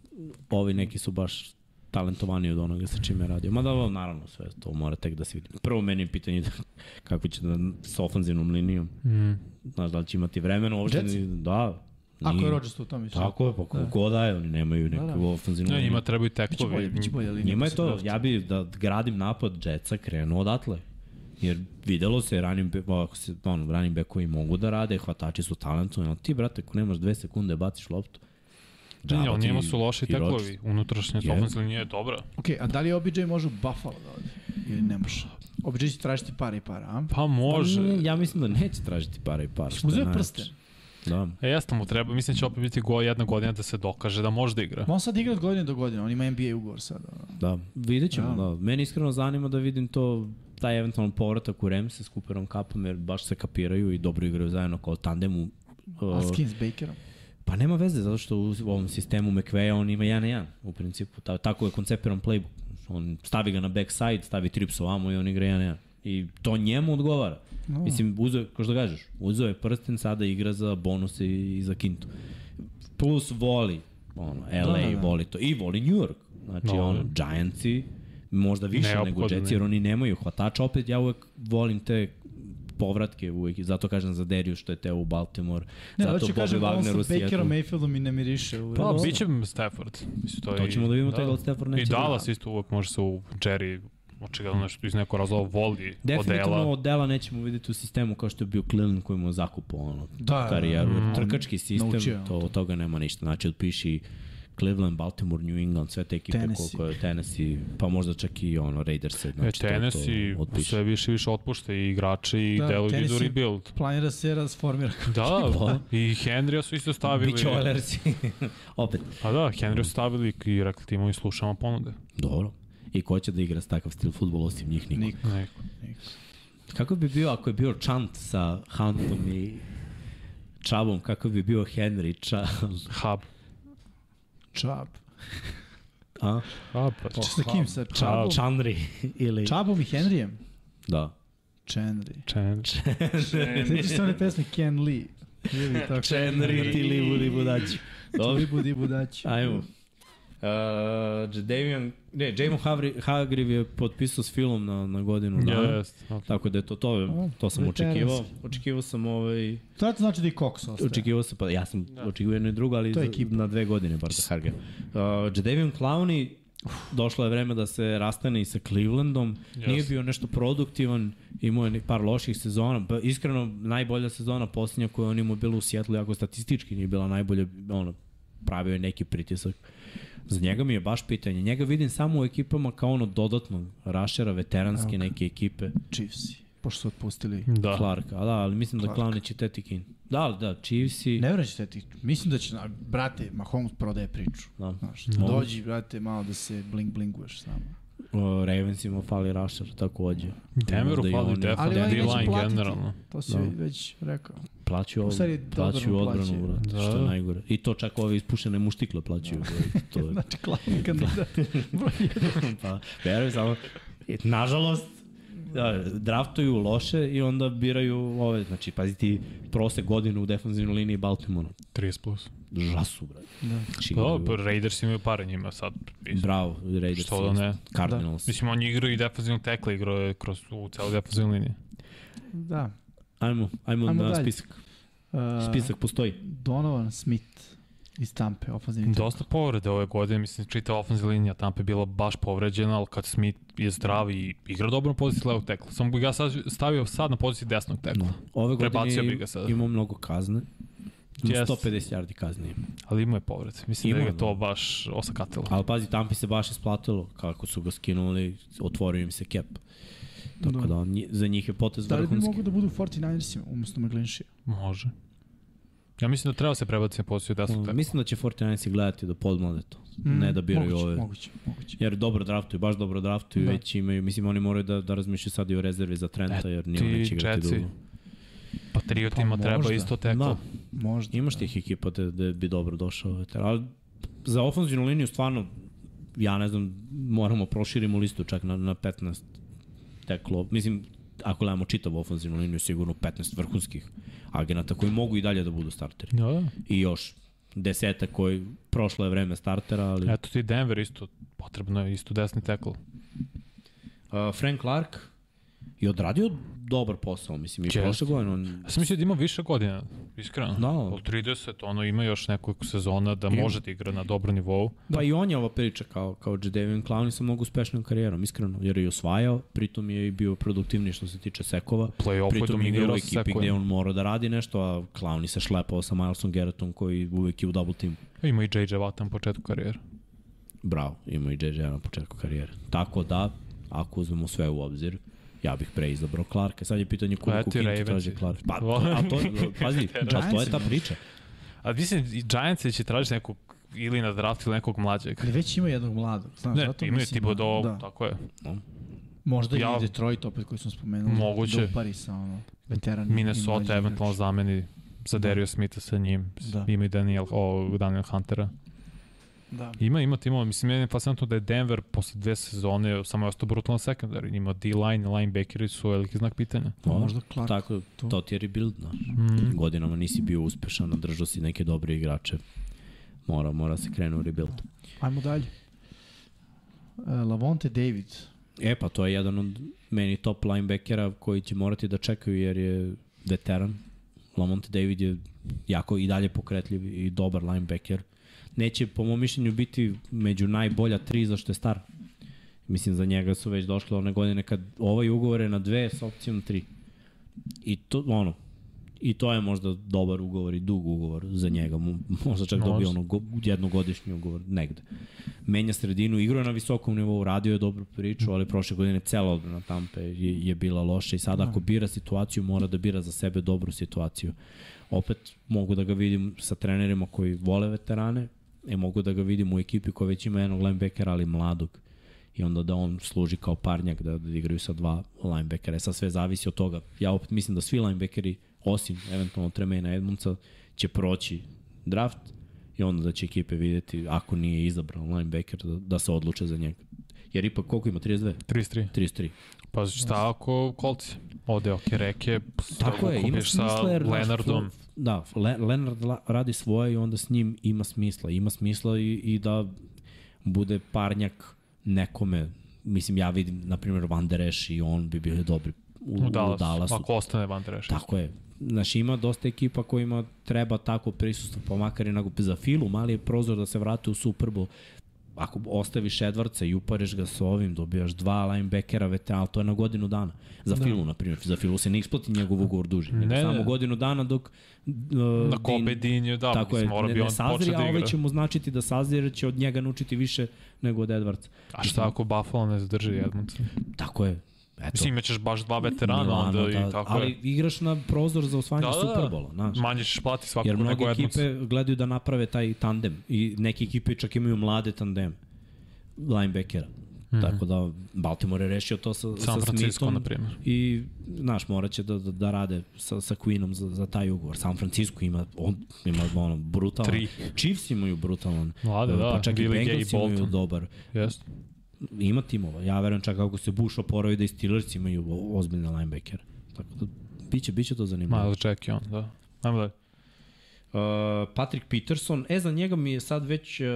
[SPEAKER 4] ovi neki su baš talentovani od onoga sa čime je radio. Mada ovo, naravno, sve to mora tek da se vidi. Prvo meni je pitanje da, kako će da sa ofenzivnom linijom.
[SPEAKER 3] Mm.
[SPEAKER 4] Znaš, da li će imati vremena uopšte?
[SPEAKER 2] Jetsi?
[SPEAKER 4] Da.
[SPEAKER 2] Ako
[SPEAKER 4] nije-
[SPEAKER 2] je Rodgers to u tom više.
[SPEAKER 4] Tako je, pa kako da. daje, oni nemaju neku da,
[SPEAKER 2] Da,
[SPEAKER 4] da.
[SPEAKER 2] da.
[SPEAKER 4] ofenzivnu
[SPEAKER 3] Ne,
[SPEAKER 4] liniju.
[SPEAKER 3] njima trebaju
[SPEAKER 2] Biće bolje,
[SPEAKER 3] tekovi.
[SPEAKER 2] biće bolje linija.
[SPEAKER 3] pa
[SPEAKER 4] Njima je
[SPEAKER 2] posle
[SPEAKER 4] to,
[SPEAKER 2] drafta.
[SPEAKER 4] ja bi da gradim napad Jetsa, krenuo odatle. Jer videlo se, ranim, ako se, ono, ranim bekovi mogu da rade, hvatači su talentovani, ali ti, brate, ako nemaš dve sekunde, baciš loptu.
[SPEAKER 3] Ne,
[SPEAKER 4] Džaba
[SPEAKER 3] Da, ali
[SPEAKER 4] ti
[SPEAKER 3] njima su loši
[SPEAKER 4] i Rodgers.
[SPEAKER 3] tekovi. Unutrašnja
[SPEAKER 4] Je.
[SPEAKER 3] ofenzivna linija je Pa dobra.
[SPEAKER 2] Ok, a da li OBJ može u Buffalo da ode? Ili ne može? OBJ će tražiti pare i para, a?
[SPEAKER 3] Pa može.
[SPEAKER 4] Pa ne, ja mislim da neće tražiti para i para.
[SPEAKER 2] Što mu uzeo
[SPEAKER 4] najveće.
[SPEAKER 2] prsten?
[SPEAKER 4] Da.
[SPEAKER 3] E, jasno mu treba. Mislim će opet biti go jedna godina da se dokaže da može da igra.
[SPEAKER 2] Ma On sad igra od godine do godine, on ima NBA ugovor sad. Ono.
[SPEAKER 4] Da, vidjet ćemo, da. Meni iskreno zanima da vidim to, taj eventualno povratak u Remse s Cooperom Cupom, jer baš se kapiraju i dobro igraju zajedno kao tandemu.
[SPEAKER 2] A
[SPEAKER 4] Uh,
[SPEAKER 2] Skins Bakerom.
[SPEAKER 4] Pa nema veze, zato što u ovom sistemu McVeja on ima 1 na 1, u principu. Ta, tako je koncepiran playbook. On stavi ga na backside, stavi trips ovamo i on igra 1 na 1. I to njemu odgovara. No. Mislim, uzeo, kao što kažeš, uzeo je prsten, sada igra za bonuse i za kintu. Plus voli, ono, LA da, da, da. voli to. I voli New York. Znači,
[SPEAKER 3] Da.
[SPEAKER 4] no, ono, Giantsi, možda više nego
[SPEAKER 3] Neophodno
[SPEAKER 4] Jetsi,
[SPEAKER 3] je.
[SPEAKER 4] jer oni nemaju hvatača. Opet, ja uvek volim te povratke uvek i zato kažem za Deriju što je teo u Baltimore,
[SPEAKER 5] Ne,
[SPEAKER 4] zato
[SPEAKER 5] zato hoću
[SPEAKER 4] Bobby
[SPEAKER 5] kažem da on
[SPEAKER 4] Wagner u
[SPEAKER 5] sa
[SPEAKER 4] Seattle.
[SPEAKER 5] Bakerom Mayfieldom i ne miriše. U
[SPEAKER 3] Pa,
[SPEAKER 5] redu.
[SPEAKER 3] bit će Stafford. Mislim, to,
[SPEAKER 4] To
[SPEAKER 3] Pa i-
[SPEAKER 4] ćemo da vidimo, taj Gold Stafford neće
[SPEAKER 3] I
[SPEAKER 4] da
[SPEAKER 3] Dallas
[SPEAKER 4] da.
[SPEAKER 3] isto uvek može se u Jerry očigledno nešto iz nekog razloga voli
[SPEAKER 4] Definitivno
[SPEAKER 3] odela.
[SPEAKER 4] od dela nećemo vidjeti u sistemu kao što je bio Cleveland koji mu je zakupao ono,
[SPEAKER 5] Da,
[SPEAKER 4] da, karijeru. Trkački sistem,
[SPEAKER 5] Naučio je on
[SPEAKER 4] to, od toga nema ništa. Znači, otpiši Cleveland, Baltimore, New England, sve te ekipe
[SPEAKER 5] Tennessee.
[SPEAKER 4] koliko je Tennessee, pa možda čak i ono Raiders.
[SPEAKER 3] E,
[SPEAKER 4] Znači, to- to
[SPEAKER 3] Tennessee
[SPEAKER 4] otpiši.
[SPEAKER 3] sve više i više otpušta i igrače i
[SPEAKER 5] Da,
[SPEAKER 3] da, deluju idu
[SPEAKER 5] Tennessee-
[SPEAKER 3] rebuild.
[SPEAKER 5] Planira se razformira.
[SPEAKER 3] Da, i Henrya su isto stavili.
[SPEAKER 4] Biće Oilers. Opet.
[SPEAKER 3] Pa da, Henrya su stavili i rekli timo i slušamo ponude.
[SPEAKER 4] Dobro. I ko će da igra s takav stil futbola osim njih niko.
[SPEAKER 5] Niko.
[SPEAKER 3] Neko.
[SPEAKER 4] Kako bi bio ako je bio Chant sa Huntom i Čabom, kako bi bio Henry, Čab,
[SPEAKER 3] Hub.
[SPEAKER 5] Čab.
[SPEAKER 4] a?
[SPEAKER 3] Hub, pa
[SPEAKER 5] Če sa kim? Sa Čabom?
[SPEAKER 4] Čanri ili...
[SPEAKER 5] Čabom i Henrijem?
[SPEAKER 4] Da.
[SPEAKER 5] Čenri.
[SPEAKER 3] Chen.
[SPEAKER 5] Sveći se one pesme Ken Lee. Ili tako.
[SPEAKER 4] Čenri ti libu libu daći. Dobro.
[SPEAKER 5] Libu dibu daći.
[SPEAKER 4] Ajmo. Uh, Jadavion, ne, Jamon Havri, Hagriv je potpisao s filmom na, na godinu dana. Yeah.
[SPEAKER 3] Yes. Okay.
[SPEAKER 4] Tako da je to, to, to sam
[SPEAKER 5] Veteranski.
[SPEAKER 4] očekivao. Očekivao sam ovaj...
[SPEAKER 5] To znači da i Cox ostaje.
[SPEAKER 4] Očekivao sam, pa ja sam očekivao jedno i drugo, ali
[SPEAKER 5] Da. To je
[SPEAKER 4] za-
[SPEAKER 5] ekipa.
[SPEAKER 4] na dve godine bar za Hargera. Uh, Jadavion Clowney, došlo je vreme da se rastane i sa Clevelandom. Yes. Nije bio nešto produktivan, imao je ne- par loših sezona. Pa, iskreno, najbolja sezona posljednja koju je on imao bila u Sjetlu, jako statistički nije bila najbolja, ono, pravio je neki pritisak. Za njega mi je baš pitanje. Njega vidim samo u ekipama kao ono dodatno rašera, veteranske neke ekipe.
[SPEAKER 5] Chiefs. Pošto su otpustili.
[SPEAKER 3] Da.
[SPEAKER 4] Clarka, a da, ali mislim da Clowney će teti kin. Da, ali da, Chiefs-i...
[SPEAKER 5] Ne vjerujem će ti. Mislim da će, na- brate, Mahomes prodaje priču.
[SPEAKER 4] Da.
[SPEAKER 5] Znaš,
[SPEAKER 4] Da.
[SPEAKER 5] dođi, brate, malo da se bling blinguješ s nama.
[SPEAKER 4] O, Ravensima fali Rašar takođe.
[SPEAKER 3] Denveru
[SPEAKER 4] Možda i
[SPEAKER 3] fali
[SPEAKER 4] oni
[SPEAKER 5] Ali
[SPEAKER 3] definitivno.
[SPEAKER 5] ovaj neće
[SPEAKER 3] D-line
[SPEAKER 5] platiti.
[SPEAKER 3] generalno.
[SPEAKER 5] To si
[SPEAKER 4] Da.
[SPEAKER 5] već rekao.
[SPEAKER 4] Plaćaju,
[SPEAKER 5] U stvari,
[SPEAKER 4] od, plaćaju
[SPEAKER 5] odbranu plaćaju. Da.
[SPEAKER 4] odbranu, brate,
[SPEAKER 3] Da.
[SPEAKER 4] što je najgore. I to čak ove ispušene muštikle plaćaju. brate, to je,
[SPEAKER 5] Znači, glavni kandidat.
[SPEAKER 4] pa, veruj samo, nažalost, da, draftuju loše i onda biraju ove, znači, pazi ti, prose godinu u defanzivnoj liniji Baltimora.
[SPEAKER 3] 30 plus.
[SPEAKER 4] Žasu, brate.
[SPEAKER 5] Da.
[SPEAKER 4] Znači,
[SPEAKER 3] Da, pa Raiders imaju pare njima sad.
[SPEAKER 4] Bravo, Raiders.
[SPEAKER 3] Što da ne?
[SPEAKER 4] Cardinals. Da.
[SPEAKER 3] Mislim, on je igrao i defensivnog tekla, igrao je kroz u celu defensivnu liniju.
[SPEAKER 5] Da.
[SPEAKER 4] Ajmo, ajmo,
[SPEAKER 5] Ajmo
[SPEAKER 4] ajmo na
[SPEAKER 5] dalje.
[SPEAKER 4] spisak.
[SPEAKER 5] Uh,
[SPEAKER 4] Da. Spisak postoji.
[SPEAKER 5] Donovan Smith iz Tampe, ofazivni
[SPEAKER 3] Dosta povrede ove godine, mislim, čita ofenzivna linija Tampa je bila baš povređena, ali kad Smith je zdrav i igra dobro na poziciji levog tekla. Samo bi ga sad stavio sad na poziciji desnog tekla.
[SPEAKER 4] No. Ove
[SPEAKER 3] Prebacio bi
[SPEAKER 4] godine
[SPEAKER 3] ga sada.
[SPEAKER 4] imao mnogo kazne. Ima
[SPEAKER 3] Jest.
[SPEAKER 4] 150 yardi kazne ima.
[SPEAKER 3] Ali imao je povrede. Mislim
[SPEAKER 4] Imao
[SPEAKER 3] da
[SPEAKER 4] je,
[SPEAKER 3] ga to baš osakatilo.
[SPEAKER 4] Ali pazi, Tampi se baš isplatilo kako su ga skinuli, otvorio im se cap. Tako da, nji- za njih je potez
[SPEAKER 5] Da li bi
[SPEAKER 4] vrhunski.
[SPEAKER 5] mogu da budu 49ersima umjesto McGlinchija?
[SPEAKER 3] Može. Ja mislim da treba se prebaciti na poziciju desnog
[SPEAKER 5] Mm,
[SPEAKER 3] tekla.
[SPEAKER 4] Mislim da će 49 gledati da podmlade to, ne da biraju
[SPEAKER 5] moguće,
[SPEAKER 4] ove.
[SPEAKER 5] Moguće, moguće.
[SPEAKER 4] Jer dobro draftuju, baš dobro draftuju,
[SPEAKER 5] Da.
[SPEAKER 4] već imaju, mislim oni moraju da, da razmišljaju sad i o rezervi za Trenta, jer nije on
[SPEAKER 3] ti
[SPEAKER 4] neće igrati
[SPEAKER 3] Jetsi.
[SPEAKER 4] dugo.
[SPEAKER 3] Patriotima
[SPEAKER 5] Pa
[SPEAKER 3] treba
[SPEAKER 5] možda.
[SPEAKER 3] isto teklo.
[SPEAKER 4] Da,
[SPEAKER 5] Možda.
[SPEAKER 4] imaš tih ekipa da, da bi dobro došao. veteran. Ali za ofenzivnu liniju stvarno, ja ne znam, moramo proširimo listu čak na, na 15 teklo. Mislim, ako gledamo čitavu ofenzivnu liniju, sigurno 15 vrhunskih agenata koji mogu i dalje da budu starteri.
[SPEAKER 3] Da, da.
[SPEAKER 4] I još deseta koji prošlo je vreme startera, ali...
[SPEAKER 5] Da.
[SPEAKER 3] Eto ti Denver isto, potrebno je isto desni tekl.
[SPEAKER 4] Uh, Frank Clark je odradio dobar posao, mislim, i
[SPEAKER 3] Jeste.
[SPEAKER 4] prošle godine. On,
[SPEAKER 3] Ja sam mislio da ima više godina, iskreno.
[SPEAKER 4] Da.
[SPEAKER 3] Od 30, ono ima još nekoliko sezona da može da igra na dobrom nivou.
[SPEAKER 4] Pa i on je ova priča kao, kao Jadavion Clowney sa mnogo uspešnom karijerom, iskreno, jer je osvajao, pritom je i bio produktivniji što se tiče sekova,
[SPEAKER 3] play-offu je
[SPEAKER 4] pritom je igrao
[SPEAKER 3] dominirao
[SPEAKER 4] u
[SPEAKER 3] sa
[SPEAKER 4] ekipi
[SPEAKER 3] sekovima.
[SPEAKER 4] gde on mora da radi nešto, a Clowney se šlepao sa Milesom Garrettom koji uvek je u double teamu.
[SPEAKER 3] Ima i JJ Watt na početku karijere.
[SPEAKER 4] Bravo, ima i JJ na početku karijere. Tako da, ako uzmemo sve u obzir, ja bih pre izabrao Clarka. Sad je pitanje
[SPEAKER 3] Pa
[SPEAKER 4] koliko
[SPEAKER 3] ti
[SPEAKER 4] Kintu
[SPEAKER 3] Ravens.
[SPEAKER 4] traži Clark. Pa, to, a to, pazi, a to je ta priča.
[SPEAKER 3] A mislim, i Giants će tražiti nekog ili na draft ili nekog mlađeg.
[SPEAKER 5] Ali već ima jednog mladog, znaš,
[SPEAKER 3] Ne,
[SPEAKER 5] zato
[SPEAKER 3] imaju
[SPEAKER 5] mislim
[SPEAKER 3] ti Bodo,
[SPEAKER 5] da,
[SPEAKER 3] tako je.
[SPEAKER 5] Možda
[SPEAKER 3] Ja-
[SPEAKER 5] ja, i Detroit opet koji smo spomenuli.
[SPEAKER 3] Moguće.
[SPEAKER 5] Da upari sa ono, veteran. i mlađi
[SPEAKER 3] Minnesota
[SPEAKER 5] igrač.
[SPEAKER 3] eventualno zameni Sa
[SPEAKER 4] Da.
[SPEAKER 3] Dario Smitha, sa njim.
[SPEAKER 2] Da.
[SPEAKER 3] Da. Ima i Daniel, o, Daniel Huntera.
[SPEAKER 5] Da.
[SPEAKER 3] Ima, ima timova. Mislim, meni je fascinantno da je Denver posle dve sezone samo je ostao brutalno secondary. Ima D-line, linebackeri su veliki znak pitanja.
[SPEAKER 2] Pa možda Clark.
[SPEAKER 4] Tako,
[SPEAKER 2] to.
[SPEAKER 4] to, to ti je rebuild, znaš.
[SPEAKER 3] Mm.
[SPEAKER 4] Godinama nisi bio uspešan, održao si neke dobre igrače. Mora, mora se krenu u rebuild.
[SPEAKER 5] Ajmo dalje. Uh, Lavonte David.
[SPEAKER 4] E pa to je jedan od meni top linebackera koji će morati da čekaju jer je veteran. Lamonte David je jako i dalje pokretljiv i dobar linebacker. Neće po mom mišljenju biti među najbolja tri zašto je star. Mislim za njega su već došle one godine kad ovaj ugovor je na dve s opcijom tri. I to ono I to je možda dobar ugovor i dug ugovor za njega. Mo- Možda čak dobije
[SPEAKER 3] Možda.
[SPEAKER 4] ono go, jednogodišnji ugovor negde menja sredinu, igrao je na visokom nivou, radio je dobru priču, ali prošle godine cela odbrana Tampe je, je bila loša i sada ako bira situaciju, mora da bira za sebe dobru situaciju. Opet mogu da ga vidim sa trenerima koji vole veterane, e mogu da ga vidim u ekipi koja već ima jednog linebackera, ali mladog. I onda da on služi kao parnjak, da, da igraju sa dva linebackera. E Sad sve zavisi od toga. Ja opet mislim da svi linebackeri, osim eventualno Tremena Edmundsa, će proći draft, i onda da će ekipe vidjeti ako nije izabran linebacker da, da se odluče za njega. Jer ipak koliko ima 32?
[SPEAKER 3] 33.
[SPEAKER 4] 33.
[SPEAKER 3] Pa šta ako kolci? Ode oko reke,
[SPEAKER 4] Da.
[SPEAKER 3] da,
[SPEAKER 4] Tako je, ima
[SPEAKER 3] kupiš sa
[SPEAKER 4] smisla jer znaš,
[SPEAKER 3] Lenardom.
[SPEAKER 4] Flo- Da, Le, Lenard la- radi svoje i onda s njim ima smisla. Ima smisla i, i da bude parnjak nekome. Mislim, ja vidim, na primjer, Van Der Esch i on bi bili dobri u,
[SPEAKER 3] U
[SPEAKER 4] u Dallasu.
[SPEAKER 3] Dallasu, ako ostane Van Der Esch.
[SPEAKER 4] Tako je. Znaš, ima dosta ekipa kojima treba tako prisustvo, pa makar i onako za filu, mali je prozor da se vrate u Super Bowl. Ako ostaviš Edvarca i upareš ga sa ovim, dobijaš dva linebackera veterana, ali to je na godinu dana. Za da. filu, na primjer. Za filu se ne isplati njegov ugovor duži. Ne,
[SPEAKER 3] Ne,
[SPEAKER 4] nego
[SPEAKER 3] ne.
[SPEAKER 4] samo godinu dana dok... Uh,
[SPEAKER 3] Na Kobe Dinju, da,
[SPEAKER 4] tako je,
[SPEAKER 3] mislim, mora
[SPEAKER 4] ne,
[SPEAKER 3] bi on
[SPEAKER 4] ne
[SPEAKER 3] početi
[SPEAKER 4] sazri,
[SPEAKER 3] da
[SPEAKER 4] a ovaj
[SPEAKER 3] igra.
[SPEAKER 4] će mu značiti da sazri, jer će od njega naučiti više nego od Edvarca.
[SPEAKER 3] A šta ako Buffalo ne zadrži Edmundsa?
[SPEAKER 4] Tako je. Eto.
[SPEAKER 3] Mislim, imaćeš baš dva veterana onda
[SPEAKER 4] Milano,
[SPEAKER 3] i tako
[SPEAKER 4] da, ali
[SPEAKER 3] je.
[SPEAKER 4] igraš na prozor za osvajanje da, Superbola, znaš.
[SPEAKER 3] Manje ćeš plati
[SPEAKER 4] Jer
[SPEAKER 3] svakog
[SPEAKER 4] mnoge
[SPEAKER 3] nego Edmundsa.
[SPEAKER 4] ekipe gledaju da naprave taj tandem i neke ekipe čak imaju mlade tandeme linebackera. Mm -hmm. Tako da Baltimore je rešio to sa,
[SPEAKER 3] Mhm. San
[SPEAKER 4] sa
[SPEAKER 3] Francisco,
[SPEAKER 4] Smithom
[SPEAKER 3] na primjer.
[SPEAKER 4] i znaš, morat će da, da, da rade sa, sa Queenom za, za taj ugovor. San Francisco ima, on, ima ono, brutalan.
[SPEAKER 3] Tri.
[SPEAKER 4] Chiefs imaju brutalan.
[SPEAKER 3] Mlade, da,
[SPEAKER 4] Pa čak i
[SPEAKER 3] Billy Gay i
[SPEAKER 4] Bengals imaju
[SPEAKER 3] Bolton.
[SPEAKER 4] dobar.
[SPEAKER 3] Jeste.
[SPEAKER 4] Ima timova. Ja verujem čak ako se Bush oporavi da i Steelers imaju o- ozbiljne linebackera. Tako da, biće, biće to zanimljivo.
[SPEAKER 3] Malo Jack i on, da. Ajmo dalje.
[SPEAKER 4] Uh, Patrick Peterson, e za njega mi je sad već uh,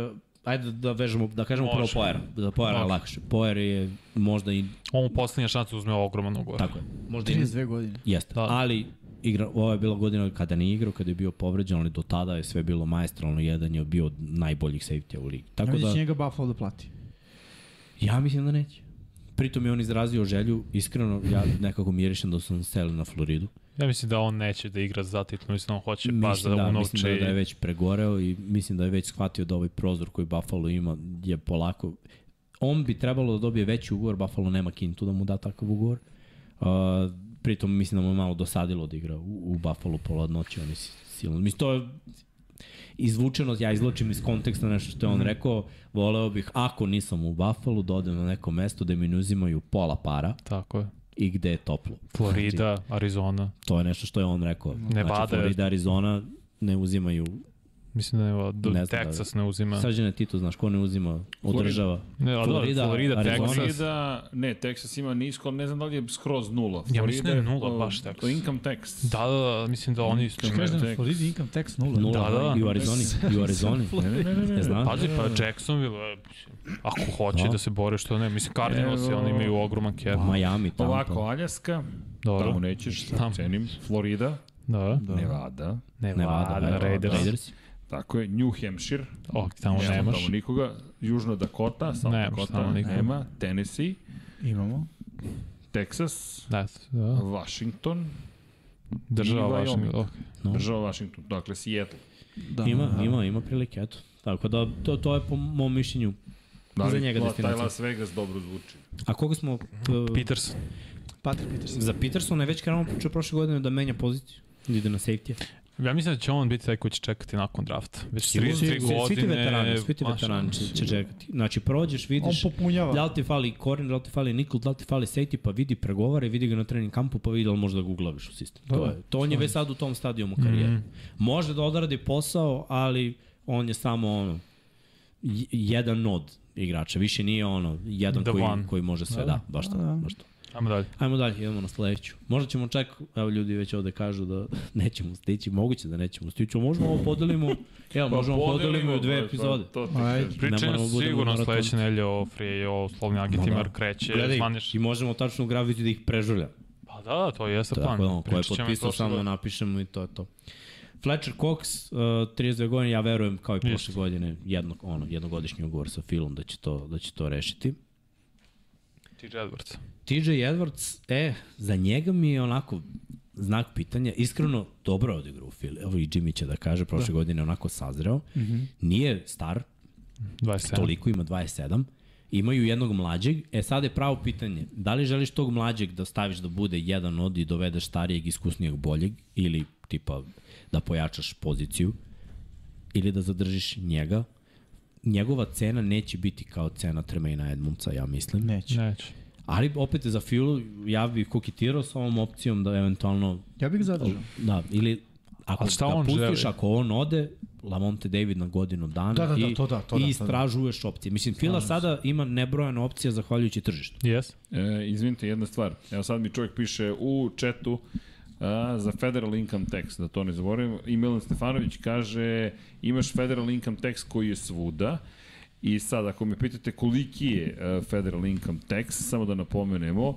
[SPEAKER 4] ajde da vežemo, da kažemo prvo
[SPEAKER 3] Može.
[SPEAKER 4] Poera. Da Poera je
[SPEAKER 3] Može.
[SPEAKER 4] lakše. Poer je možda i
[SPEAKER 3] On u poslednja šansa uzme ogroman ugovor.
[SPEAKER 4] tako je. Možda i
[SPEAKER 5] 32 godine.
[SPEAKER 4] jeste.
[SPEAKER 3] Da.
[SPEAKER 4] Ali igra, ovo je bila godina kada nije igrao, kada je bio povređen, ali do tada je sve bilo maestralno, jedan je bio od najboljih safety u ligi.
[SPEAKER 5] Ja
[SPEAKER 4] Tako
[SPEAKER 5] mislim da
[SPEAKER 4] da
[SPEAKER 5] će njega Buffalo da plati.
[SPEAKER 4] ja mislim da neće. Pritom je on izrazio želju, iskreno ja nekako mirišem da su on seli na Floridu.
[SPEAKER 3] Ja mislim da on neće da igra za titul, mislim da on hoće baš da,
[SPEAKER 4] Mislim da, mislim da,
[SPEAKER 3] unovče.
[SPEAKER 4] da je
[SPEAKER 3] i-
[SPEAKER 4] već pregoreo i mislim da je već shvatio da ovaj prozor koji Buffalo ima je polako... On bi trebalo da dobije veći ugovor, Buffalo nema kintu da mu da takav ugovor. Uh, pritom mislim da mu je malo dosadilo da igra u, u Buffalo pola noći, on je si- silno. Mislim, to je izvučeno, ja izločim iz konteksta nešto što je
[SPEAKER 3] Mhm.
[SPEAKER 4] on rekao, voleo bih, ako nisam u Buffalo, da odem na neko mesto da mi ne uzimaju pola para
[SPEAKER 3] Tako je.
[SPEAKER 4] i gde je toplo. Znači,
[SPEAKER 3] Florida, Arizona.
[SPEAKER 4] To je nešto što je on rekao.
[SPEAKER 3] Nevada.
[SPEAKER 4] Znači, Florida, Arizona ne uzimaju
[SPEAKER 3] Mislim da nema, do,
[SPEAKER 4] Ne
[SPEAKER 3] ne
[SPEAKER 4] znam da-
[SPEAKER 3] Texas ne uzima.
[SPEAKER 4] Srđane, ti to znaš, ko ne uzima od
[SPEAKER 1] Florida.
[SPEAKER 4] država?
[SPEAKER 3] Ne, da, da,
[SPEAKER 4] Florida,
[SPEAKER 3] Florida,
[SPEAKER 4] Arizona.
[SPEAKER 3] Texas.
[SPEAKER 1] Florida, ne, Texas ima nisko, ali ne znam da li je skroz nula. Florida,
[SPEAKER 3] Ja mislim da je nula
[SPEAKER 1] to-
[SPEAKER 3] baš Texas.
[SPEAKER 1] To income tax.
[SPEAKER 3] Da, da, da, mislim da oni...
[SPEAKER 1] Šta
[SPEAKER 5] Kažeš da
[SPEAKER 1] Tek.
[SPEAKER 5] na Floridi income tax nula.
[SPEAKER 4] Nula,
[SPEAKER 3] Da, da.
[SPEAKER 4] i u Arizoni, i u Arizoni.
[SPEAKER 1] Ne, ne, ne, ne, ne.
[SPEAKER 4] Ne znam.
[SPEAKER 3] Pazi, pa Jacksonville, e, mislim, ako hoće
[SPEAKER 4] Da.
[SPEAKER 3] da se bore, što ne, mislim, Cardinals,
[SPEAKER 1] Evo.
[SPEAKER 3] oni imaju ogroman cap.
[SPEAKER 4] Miami, Tampa.
[SPEAKER 1] Ovako, Aljaska,
[SPEAKER 3] Dobro.
[SPEAKER 1] tamo nećeš,
[SPEAKER 3] Tamo.
[SPEAKER 1] cenim. Florida,
[SPEAKER 3] Da,
[SPEAKER 1] da. Nevada,
[SPEAKER 4] Nevada,
[SPEAKER 3] Nevada, Raiders. Raiders.
[SPEAKER 4] Raiders.
[SPEAKER 1] tako je, New Hampshire,
[SPEAKER 3] O, tamo
[SPEAKER 1] Nema
[SPEAKER 3] nemaš.
[SPEAKER 1] tamo nikoga. Južna Dakota, South
[SPEAKER 3] Nemaš
[SPEAKER 1] Dakota,
[SPEAKER 3] tamo nikoga.
[SPEAKER 1] nema. Tennessee,
[SPEAKER 5] Imamo.
[SPEAKER 1] Texas,
[SPEAKER 3] Da, da.
[SPEAKER 1] Washington,
[SPEAKER 3] Država
[SPEAKER 1] I
[SPEAKER 3] vaša.
[SPEAKER 1] Wyoming.
[SPEAKER 3] ok.
[SPEAKER 4] No.
[SPEAKER 1] država Washington, dakle Seattle.
[SPEAKER 5] Da.
[SPEAKER 4] Ima, ima, ima prilike, eto. Tako da, to, to je po mom mišljenju.
[SPEAKER 1] Da li
[SPEAKER 4] Za njega
[SPEAKER 1] La-
[SPEAKER 4] destinacija.
[SPEAKER 1] Taj Las Vegas dobro zvuči.
[SPEAKER 4] A koga smo... Uh,
[SPEAKER 3] Peters.
[SPEAKER 5] Patrick Peterson.
[SPEAKER 4] za Peterson je već krenuo pričao prošle godine da menja poziciju. Da ide na safety.
[SPEAKER 3] Ja mislim da će on biti taj koji će čekati nakon drafta. Već 33
[SPEAKER 4] Svi- svi-
[SPEAKER 3] godine.
[SPEAKER 4] Svi ti veterani, svi ti
[SPEAKER 3] maš-
[SPEAKER 4] veterani će, će čekati. Znači, prođeš,
[SPEAKER 5] On
[SPEAKER 4] vidiš,
[SPEAKER 5] popunjava.
[SPEAKER 4] da li ti fali korin, da li ti fali nikl, da li ti fali safety, pa vidi, pregovara i vidi ga na trening kampu, pa vidi da li možda ga uglaviš u sistem. To, je, to on je već sad u tom stadijumu karijere. Mm. Može da odradi posao, ali on je samo ono, j- jedan nod igrača. Više nije ono, jedan
[SPEAKER 3] The
[SPEAKER 4] koji,
[SPEAKER 3] one.
[SPEAKER 4] koji može sve. Da, baš to. Baš to.
[SPEAKER 3] Ajmo dalje.
[SPEAKER 4] Ajmo dalje, idemo na sledeću. Možda ćemo čak, evo ljudi već ovde kažu da nećemo stići, moguće da nećemo stići, ali možemo ovo podelimo, evo, Pa
[SPEAKER 1] Pa
[SPEAKER 4] možemo podelimo u dve
[SPEAKER 1] to-
[SPEAKER 4] epizode.
[SPEAKER 1] To, to,
[SPEAKER 5] Ajde.
[SPEAKER 1] to,
[SPEAKER 3] Pričanje
[SPEAKER 4] moramo da budemo
[SPEAKER 3] sigurno
[SPEAKER 4] maraton.
[SPEAKER 3] sledeće nelje o Free, o Slovni Agitimer kreće,
[SPEAKER 4] da. Gledaj,
[SPEAKER 3] zvaniš.
[SPEAKER 4] i možemo tačno u graviti da ih prežuljam.
[SPEAKER 3] Pa da, da, to jeste plan.
[SPEAKER 4] Tako da, ono, ko je
[SPEAKER 3] Pričat ćemo i
[SPEAKER 4] potpisao,
[SPEAKER 3] prošle
[SPEAKER 4] samo
[SPEAKER 3] godine.
[SPEAKER 4] napišemo i to je to. Fletcher Cox, uh, 32 godine, ja verujem kao i prošle
[SPEAKER 3] Isto.
[SPEAKER 4] godine, jedno, ono, jednogodišnji ugovor sa Filom da će to, da će to rešiti.
[SPEAKER 3] TJ Edwards.
[SPEAKER 4] TJ Edwards, e, za njega mi je onako znak pitanja. Iskreno, dobro je odigrao u Fili. Evo i Jimmy će da kaže, prošle da. godine je onako sazreo. Mm
[SPEAKER 3] Mhm.
[SPEAKER 4] -hmm. Nije star,
[SPEAKER 3] 27.
[SPEAKER 4] toliko ima 27. Imaju jednog mlađeg. E sad je pravo pitanje, da li želiš tog mlađeg da staviš da bude jedan od i dovedeš starijeg, iskusnijeg, boljeg ili tipa da pojačaš poziciju ili da zadržiš njega? Njegova cena neće biti kao cena Tremaina Edmundsa, ja mislim.
[SPEAKER 5] Neće.
[SPEAKER 3] Neće.
[SPEAKER 4] Ali opet za Filu ja bih kokitirao sa ovom opcijom da eventualno
[SPEAKER 5] Ja bih ga zadržao.
[SPEAKER 4] da ili ako
[SPEAKER 3] Ali šta
[SPEAKER 4] ga
[SPEAKER 3] on
[SPEAKER 4] pustiš,
[SPEAKER 3] želi?
[SPEAKER 4] ako on ode, Lamonte David na godinu dana
[SPEAKER 5] Da, da, da,
[SPEAKER 4] i,
[SPEAKER 5] to da, to da,
[SPEAKER 4] i
[SPEAKER 5] to da.
[SPEAKER 4] istražuješ opcije. Mislim, Fila sada ima nebrojeno opcija zahvaljujući tržištu.
[SPEAKER 3] Jes?
[SPEAKER 1] E, izvinite, jedna stvar. Evo sad mi čovjek piše u četu a, za federal income tax, da to ne zaboravim. I Milan Stefanović kaže imaš federal income tax koji je svuda. I sad, ako me pitate koliki je e, federal income tax, samo da napomenemo,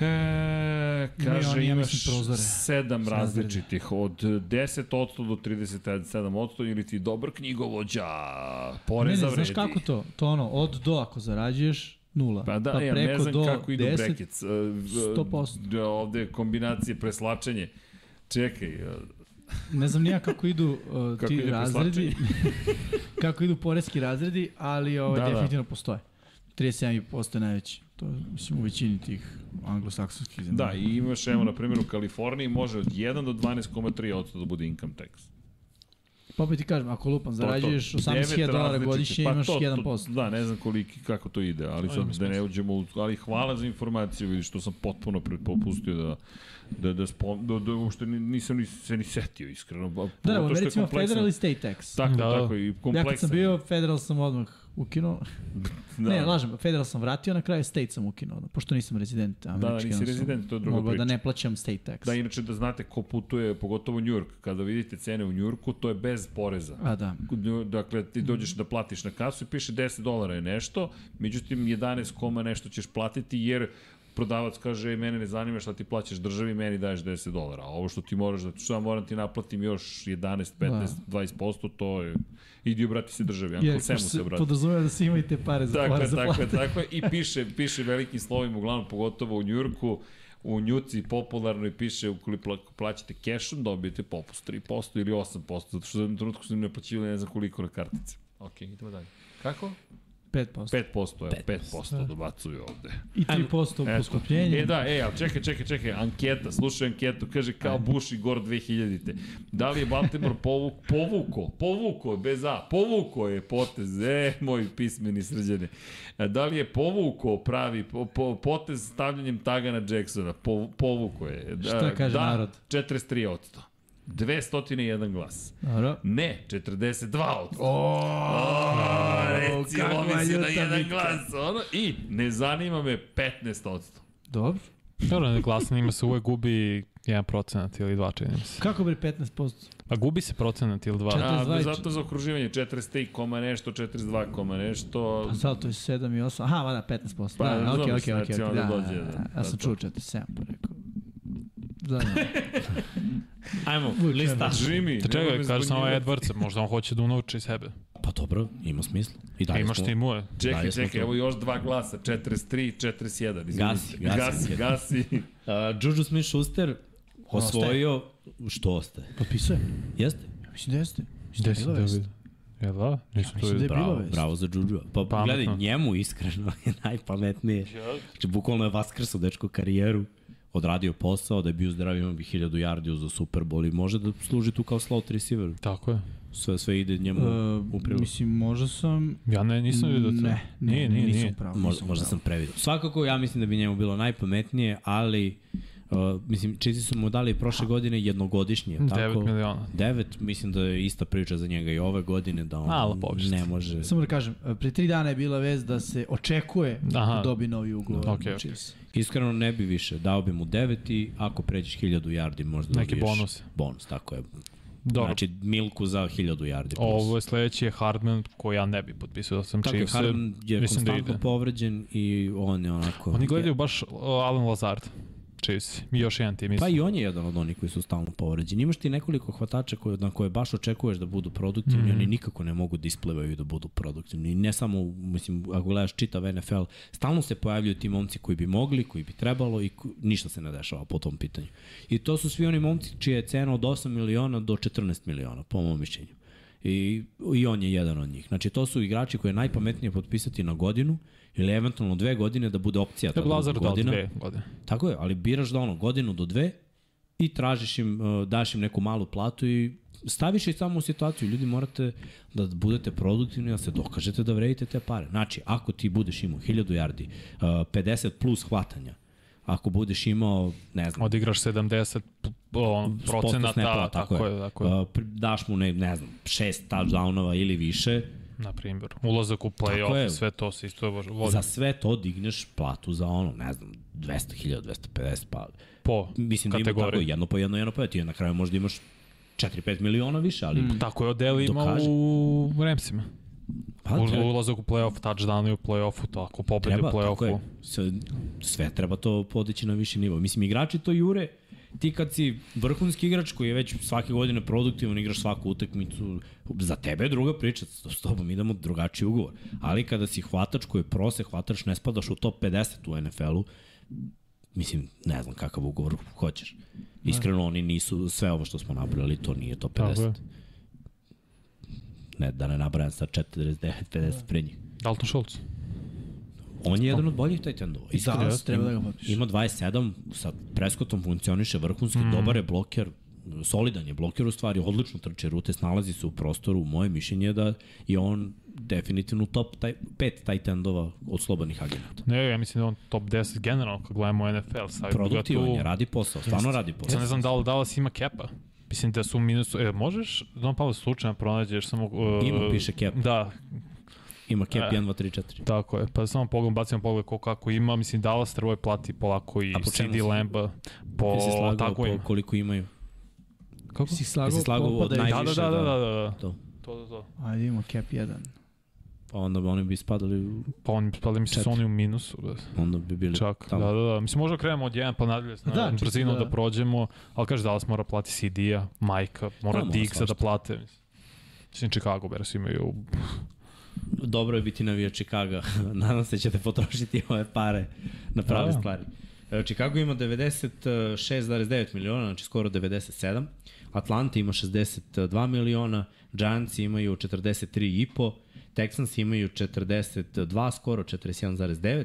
[SPEAKER 1] E,
[SPEAKER 5] Imaju
[SPEAKER 1] kaže
[SPEAKER 5] oni, ja
[SPEAKER 1] imaš
[SPEAKER 5] mislim, prozore.
[SPEAKER 1] sedam različitih, od 10% do 37% ili ti dobar knjigovođa,
[SPEAKER 5] Ne, ne,
[SPEAKER 1] poreza vredi.
[SPEAKER 5] znaš kako to? To ono, od do ako zarađuješ, nula.
[SPEAKER 1] Pa da, pa ja ne
[SPEAKER 5] preko
[SPEAKER 1] znam
[SPEAKER 5] do
[SPEAKER 1] kako idu
[SPEAKER 5] 10,
[SPEAKER 1] brackets. Uh, v-
[SPEAKER 5] 100%.
[SPEAKER 1] Da, ovde je kombinacije, preslačenje. Čekaj, uh,
[SPEAKER 5] Ne znam nija kako idu uh,
[SPEAKER 1] Kako
[SPEAKER 5] ti
[SPEAKER 1] ide
[SPEAKER 5] razredi, kako idu poreski razredi, ali ovaj,
[SPEAKER 1] Da,
[SPEAKER 5] da,
[SPEAKER 1] da.
[SPEAKER 5] definitivno postoje. 37% je najveći. To je, mislim, u većini tih anglosaksonskih zemalja.
[SPEAKER 1] da, i imaš, evo, na primjer, u Kaliforniji može od 1 do 12,3% da bude income tax.
[SPEAKER 5] Pa opet ti kažem, ako lupam,
[SPEAKER 1] To je to.
[SPEAKER 5] zarađuješ
[SPEAKER 1] Devet
[SPEAKER 5] 18.000 dolara
[SPEAKER 1] različitih.
[SPEAKER 5] godišnje,
[SPEAKER 1] Pa
[SPEAKER 5] imaš
[SPEAKER 1] to- to-
[SPEAKER 5] 1%.
[SPEAKER 1] Da, ne znam koliki, kako to ide, ali sad da ne uđemo u... Ali hvala za informaciju, vidiš, što sam potpuno pre- popustio da da da spom, da, da uopšte ni- nisam ni se ni setio iskreno. pa-
[SPEAKER 5] Da, da, u
[SPEAKER 1] pogotovo što je
[SPEAKER 5] Americi ima
[SPEAKER 1] kompleksno.
[SPEAKER 5] federal i state tax.
[SPEAKER 1] Tako,
[SPEAKER 3] Da, da.
[SPEAKER 1] tako, i
[SPEAKER 5] Ja kad
[SPEAKER 1] kompleksan.
[SPEAKER 5] sam bio federal sam odmah ukinuo.
[SPEAKER 1] da.
[SPEAKER 5] Ne, lažem, federal sam vratio, na kraju state sam ukinuo, ono, pošto nisam rezident
[SPEAKER 1] Da,
[SPEAKER 5] američki.
[SPEAKER 1] da, nisi
[SPEAKER 5] jednostavno.
[SPEAKER 1] rezident, to je druga
[SPEAKER 5] Mogao
[SPEAKER 1] priča.
[SPEAKER 5] da ne plaćam state tax.
[SPEAKER 1] Da, inače da znate ko putuje, pogotovo New York, kada vidite cene u New Yorku, to je bez poreza.
[SPEAKER 5] A da.
[SPEAKER 1] Dakle, ti dođeš da platiš na kasu i piše 10 dolara je nešto, međutim 11 koma nešto ćeš platiti jer prodavac kaže, "Ej, mene ne zanima šta ti plaćaš državi, meni daješ 10 dolara. A ovo što ti moraš, da, što ja moram ti naplatim još 11, 15,
[SPEAKER 5] Da.
[SPEAKER 1] 20%, to je... Idi obrati se državi, Uncle
[SPEAKER 5] Jer
[SPEAKER 1] Samu
[SPEAKER 5] se
[SPEAKER 1] se obrati. Dakle,
[SPEAKER 5] podrazumeva da si ima i te pare za
[SPEAKER 1] Tako
[SPEAKER 5] pare
[SPEAKER 1] je,
[SPEAKER 5] za
[SPEAKER 1] tako je,
[SPEAKER 5] plate.
[SPEAKER 1] tako je. I piše, piše velikim slovima, uglavnom pogotovo u Njurku, u Njuci popularno i piše ukoliko pla- plaćate cashom dobijete popust 3% ili 8%, zato što u jednom trenutku su mi naplaćivali ne znam koliko na kartici. Ok, idemo dalje. Kako?
[SPEAKER 5] 5%.
[SPEAKER 1] 5%, evo, 5% dobacuju ovde.
[SPEAKER 5] I 3%
[SPEAKER 1] Eto.
[SPEAKER 5] poskupljenje.
[SPEAKER 1] E da, e, ali čekaj, čekaj, čekaj, anketa, slušaj anketu, kaže kao Bush i Gore 2000-te. Da li je Baltimore povuk, povuko, povuko, bez A, povuko je potez, e, moj pismeni srđane. Da li je povuko pravi po, po, potez stavljanjem taga na Jacksona? Po, povuko je. Da,
[SPEAKER 5] Šta kaže
[SPEAKER 1] da,
[SPEAKER 5] narod?
[SPEAKER 1] 43%. 201 glas.
[SPEAKER 5] Dobro.
[SPEAKER 1] Ne, 42 od. O, reci,
[SPEAKER 5] kakva
[SPEAKER 1] lomi se na
[SPEAKER 5] ljuta
[SPEAKER 1] jedan
[SPEAKER 5] bitka.
[SPEAKER 1] glas. Ono, I ne zanima me 15 odsto.
[SPEAKER 5] Dobro.
[SPEAKER 3] Dobro, ne glasanima se uvek gubi 1% ili 2, čini mi se.
[SPEAKER 5] Kako bi 15%?
[SPEAKER 3] A gubi se procenat ili 2.
[SPEAKER 5] Četiri.
[SPEAKER 1] A,
[SPEAKER 5] 42
[SPEAKER 1] da,
[SPEAKER 5] i-
[SPEAKER 1] zato za okruživanje 43 koma nešto, 42 koma nešto.
[SPEAKER 5] Pa sad to je 7 i 8. Aha, vada 15%.
[SPEAKER 1] Pa,
[SPEAKER 5] Pa, da, okej,
[SPEAKER 1] razumeš,
[SPEAKER 5] okej, okej.
[SPEAKER 1] znači,
[SPEAKER 5] Da,
[SPEAKER 1] onda
[SPEAKER 5] da,
[SPEAKER 1] dođe, da,
[SPEAKER 5] da,
[SPEAKER 1] da,
[SPEAKER 5] ja sam
[SPEAKER 1] to.
[SPEAKER 5] čuo 47, pa rekao. da, Zadnje.
[SPEAKER 4] Ajmo, lista.
[SPEAKER 1] Jimmy,
[SPEAKER 3] Te
[SPEAKER 1] nemoj me
[SPEAKER 3] čekaj, kaže samo
[SPEAKER 1] zbunjivati.
[SPEAKER 3] Edwardsa, možda on hoće da unauči sebe.
[SPEAKER 4] Pa dobro, ima smisla. I
[SPEAKER 3] Da,
[SPEAKER 4] dalje
[SPEAKER 3] Imaš
[SPEAKER 4] smo-
[SPEAKER 3] ti muje.
[SPEAKER 1] Čekaj,
[SPEAKER 4] Dalje smo
[SPEAKER 1] čekaj,
[SPEAKER 4] tu.
[SPEAKER 1] evo još dva glasa, 43, 41. izvinite.
[SPEAKER 4] Gasi, gasi,
[SPEAKER 1] gasi.
[SPEAKER 4] gasi.
[SPEAKER 1] gasi.
[SPEAKER 4] A, Juju Smith-Schuster osvojio... Što ostaje?
[SPEAKER 5] Potpisuje?
[SPEAKER 4] Jeste?
[SPEAKER 5] Mislim da jeste. Mislim
[SPEAKER 3] Gde
[SPEAKER 5] je
[SPEAKER 3] si
[SPEAKER 5] bila
[SPEAKER 3] to
[SPEAKER 5] vest.
[SPEAKER 3] vidio? Jel da? Nisam to
[SPEAKER 5] mislim da
[SPEAKER 3] vidio.
[SPEAKER 5] je- bila
[SPEAKER 4] Bravo,
[SPEAKER 5] vest.
[SPEAKER 4] bravo za Juju. Pa
[SPEAKER 3] Pametno.
[SPEAKER 4] gledaj, njemu iskreno je najpametnije. Znači, bukvalno je vaskrso dečko karijeru. odradio posao, da je bio zdrav, imao bi 1000 yardi za Super Bowl i može da služi tu kao slot receiver.
[SPEAKER 3] Tako je.
[SPEAKER 4] Sve, sve ide njemu
[SPEAKER 3] E,
[SPEAKER 5] Uh,
[SPEAKER 4] u prilog.
[SPEAKER 5] mislim, možda sam...
[SPEAKER 3] Ja ne, da. nisam vidio to.
[SPEAKER 5] Ne, ne,
[SPEAKER 3] nije, nije,
[SPEAKER 5] nisam
[SPEAKER 3] nije.
[SPEAKER 5] pravo.
[SPEAKER 4] Možda, možda sam previdio. Svakako, ja mislim da bi njemu bilo najpametnije, ali uh, mislim, Chiefs su mu dali prošle godine jednogodišnje, tako?
[SPEAKER 3] 9 miliona.
[SPEAKER 4] 9, mislim da je ista priča za njega i ove godine, da on
[SPEAKER 3] Malo povišice.
[SPEAKER 4] ne može.
[SPEAKER 5] Samo da kažem, pre tri dana je bila vez da se očekuje Aha.
[SPEAKER 3] Aha.
[SPEAKER 5] da dobi novi ugovor. Znači,
[SPEAKER 3] Okej, okej.
[SPEAKER 5] Chiefs.
[SPEAKER 4] Iskreno ne bi više, dao bi mu 9 i ako pređeš 1000 yardi možda
[SPEAKER 3] Neki
[SPEAKER 4] dobiješ
[SPEAKER 3] bonus.
[SPEAKER 4] Bonus, tako je.
[SPEAKER 3] Dobro.
[SPEAKER 4] Znači, Milku za 1000 yardi.
[SPEAKER 3] Ovo je sledeći je Hardman koji ja ne bi potpisao da sam
[SPEAKER 4] Tako je,
[SPEAKER 3] Chiefs.
[SPEAKER 4] Harden je
[SPEAKER 3] mislim da
[SPEAKER 4] konstantno
[SPEAKER 3] ide.
[SPEAKER 4] povređen i on je onako...
[SPEAKER 3] Oni gledaju baš o, Alan Lazard. Chiefs. I još jedan tim.
[SPEAKER 4] Pa
[SPEAKER 3] mislim.
[SPEAKER 4] i on je jedan od onih koji su stalno povređeni. Imaš ti nekoliko hvatača koje, na koje baš očekuješ da budu produktivni,
[SPEAKER 3] Mhm.
[SPEAKER 4] mm. oni nikako ne mogu da isplevaju da budu produktivni. I ne samo, mislim, ako gledaš čitav NFL, stalno se pojavljuju ti momci koji bi mogli, koji bi trebalo i ko, ništa se ne dešava po tom pitanju. I to su svi oni momci čija je cena od 8 miliona do 14 miliona, po mom mišljenju. I, I on je jedan od njih. Znači, to su igrači koje je najpametnije potpisati na godinu ili eventualno dve godine da bude opcija ta
[SPEAKER 3] Da bi
[SPEAKER 4] druga
[SPEAKER 3] Lazard dao
[SPEAKER 4] godina.
[SPEAKER 3] dve godine.
[SPEAKER 4] Tako je, ali biraš da ono godinu do dve i tražiš im, e, daš im neku malu platu i staviš ih samo u situaciju. Ljudi morate da budete produktivni, da se dokažete da vredite te pare. Znači, ako ti budeš imao 1000 yardi, e, 50 plus hvatanja, ako budeš imao, ne znam,
[SPEAKER 3] Odigraš 70 p- ono,
[SPEAKER 4] procenata,
[SPEAKER 3] procenata, tako, tako je, tako je.
[SPEAKER 4] Uh, daš mu, ne, ne znam, šest touchdownova ili više,
[SPEAKER 3] na primjer. Ulazak u
[SPEAKER 4] Tako je.
[SPEAKER 3] play-off, sve to se isto vodi
[SPEAKER 4] za sve to digneš platu za ono, ne znam, 200.000, 250, pa
[SPEAKER 3] po
[SPEAKER 4] mislim da ima tako
[SPEAKER 3] kategoriji.
[SPEAKER 4] jedno po jedno, jedno po jedno, ti na kraju možda imaš 4-5 miliona više, ali mm.
[SPEAKER 3] Tako je odeli ima
[SPEAKER 4] Dokaži.
[SPEAKER 3] u Ramsima.
[SPEAKER 4] pa,
[SPEAKER 3] U-
[SPEAKER 4] treba,
[SPEAKER 3] Ulazak u play-off, touchdown i u play-offu, to ako pobedi u
[SPEAKER 4] treba tako je,
[SPEAKER 3] play-offu.
[SPEAKER 4] sve, sve treba to podići na viši nivo. Mislim, igrači to jure, ti kad si vrhunski igrač koji je već svake godine produktivan, igraš svaku utakmicu, za tebe je druga priča, s s tobom idemo drugačiji ugovor. Ali kada si hvatač koji je prose, hvatač ne spadaš u top 50 u NFL-u, mislim, ne znam kakav ugovor hoćeš. Iskreno, oni nisu, sve ovo što smo nabrali, to nije top
[SPEAKER 3] Tako je.
[SPEAKER 4] 50. Ne, da ne nabrajam sa 49,
[SPEAKER 3] Da.
[SPEAKER 4] 50 pre njih.
[SPEAKER 3] Dalton Schultz.
[SPEAKER 4] On je jedan od boljih tight endova. Iskreno,
[SPEAKER 5] Da, treba da ga popiš.
[SPEAKER 4] Ima 27, sa Prescottom funkcioniše vrhunski, mm. dobar je bloker, solidan je bloker u stvari, odlično trče rute, snalazi se u prostoru, moje mišljenje je da je on definitivno u top taj, pet tight endova od slobodnih agenata.
[SPEAKER 3] Ne, ja mislim da je on top 10 generalno kad gledamo NFL. Stavio bi ga
[SPEAKER 4] Produktivan
[SPEAKER 3] tu.
[SPEAKER 4] je, radi posao, stvarno radi
[SPEAKER 3] Sad ne
[SPEAKER 4] posao.
[SPEAKER 3] znam da li Dallas ima kepa. Mislim da su u minusu. E, možeš, Don Pavle, slučajno pronađeš samo... Uh,
[SPEAKER 4] Ima, piše cap.
[SPEAKER 3] Da,
[SPEAKER 4] Ima cap
[SPEAKER 3] E.
[SPEAKER 4] 1, 2, 3, 4.
[SPEAKER 3] tako je. Pa samo pogled, bacimo pogled ko kako ima. Mislim, Dallas trebao je plati polako i
[SPEAKER 4] A po čemu
[SPEAKER 3] CD
[SPEAKER 4] si-
[SPEAKER 3] Lamba. Po,
[SPEAKER 4] Ti si slagao
[SPEAKER 3] tako
[SPEAKER 4] po
[SPEAKER 3] ima.
[SPEAKER 4] koliko imaju.
[SPEAKER 3] Kako?
[SPEAKER 5] Si slagao,
[SPEAKER 4] Jesi slagao
[SPEAKER 5] popa
[SPEAKER 4] od
[SPEAKER 5] da je-
[SPEAKER 4] naj-
[SPEAKER 3] Da, da,
[SPEAKER 4] najviše,
[SPEAKER 3] da, da,
[SPEAKER 4] da.
[SPEAKER 3] da, da.
[SPEAKER 4] To.
[SPEAKER 3] To, to, to.
[SPEAKER 5] Ajde, imamo cap 1.
[SPEAKER 4] Pa onda bi oni bi spadali, u-
[SPEAKER 3] Pa oni, pa mislim, su
[SPEAKER 4] Četiri.
[SPEAKER 3] oni u minusu. Da.
[SPEAKER 4] onda bi bili
[SPEAKER 3] Čak,
[SPEAKER 4] tamo.
[SPEAKER 3] da, da, da. Mislim, možda krenemo od jedan, pa nadalje
[SPEAKER 5] Da,
[SPEAKER 3] na da,
[SPEAKER 5] čisto
[SPEAKER 3] brzinu
[SPEAKER 5] da-
[SPEAKER 3] da. da prođemo, ali kaže Dallas mora plati CD-a, Majka,
[SPEAKER 4] Da,
[SPEAKER 3] mora da,
[SPEAKER 4] mora
[SPEAKER 3] Diggs-a
[SPEAKER 4] svašta.
[SPEAKER 3] da plate. mislim. Mislim, Chicago Bears imaju...
[SPEAKER 4] dobro je biti navija Chicago. Nadam se da ćete potrošiti ove pare na prave
[SPEAKER 3] Da.
[SPEAKER 4] stvari. E, Chicago ima 96,9 miliona, znači skoro 97. Atlanta ima 62 miliona, Giants imaju 43,5, Texans imaju 42, skoro 41,9,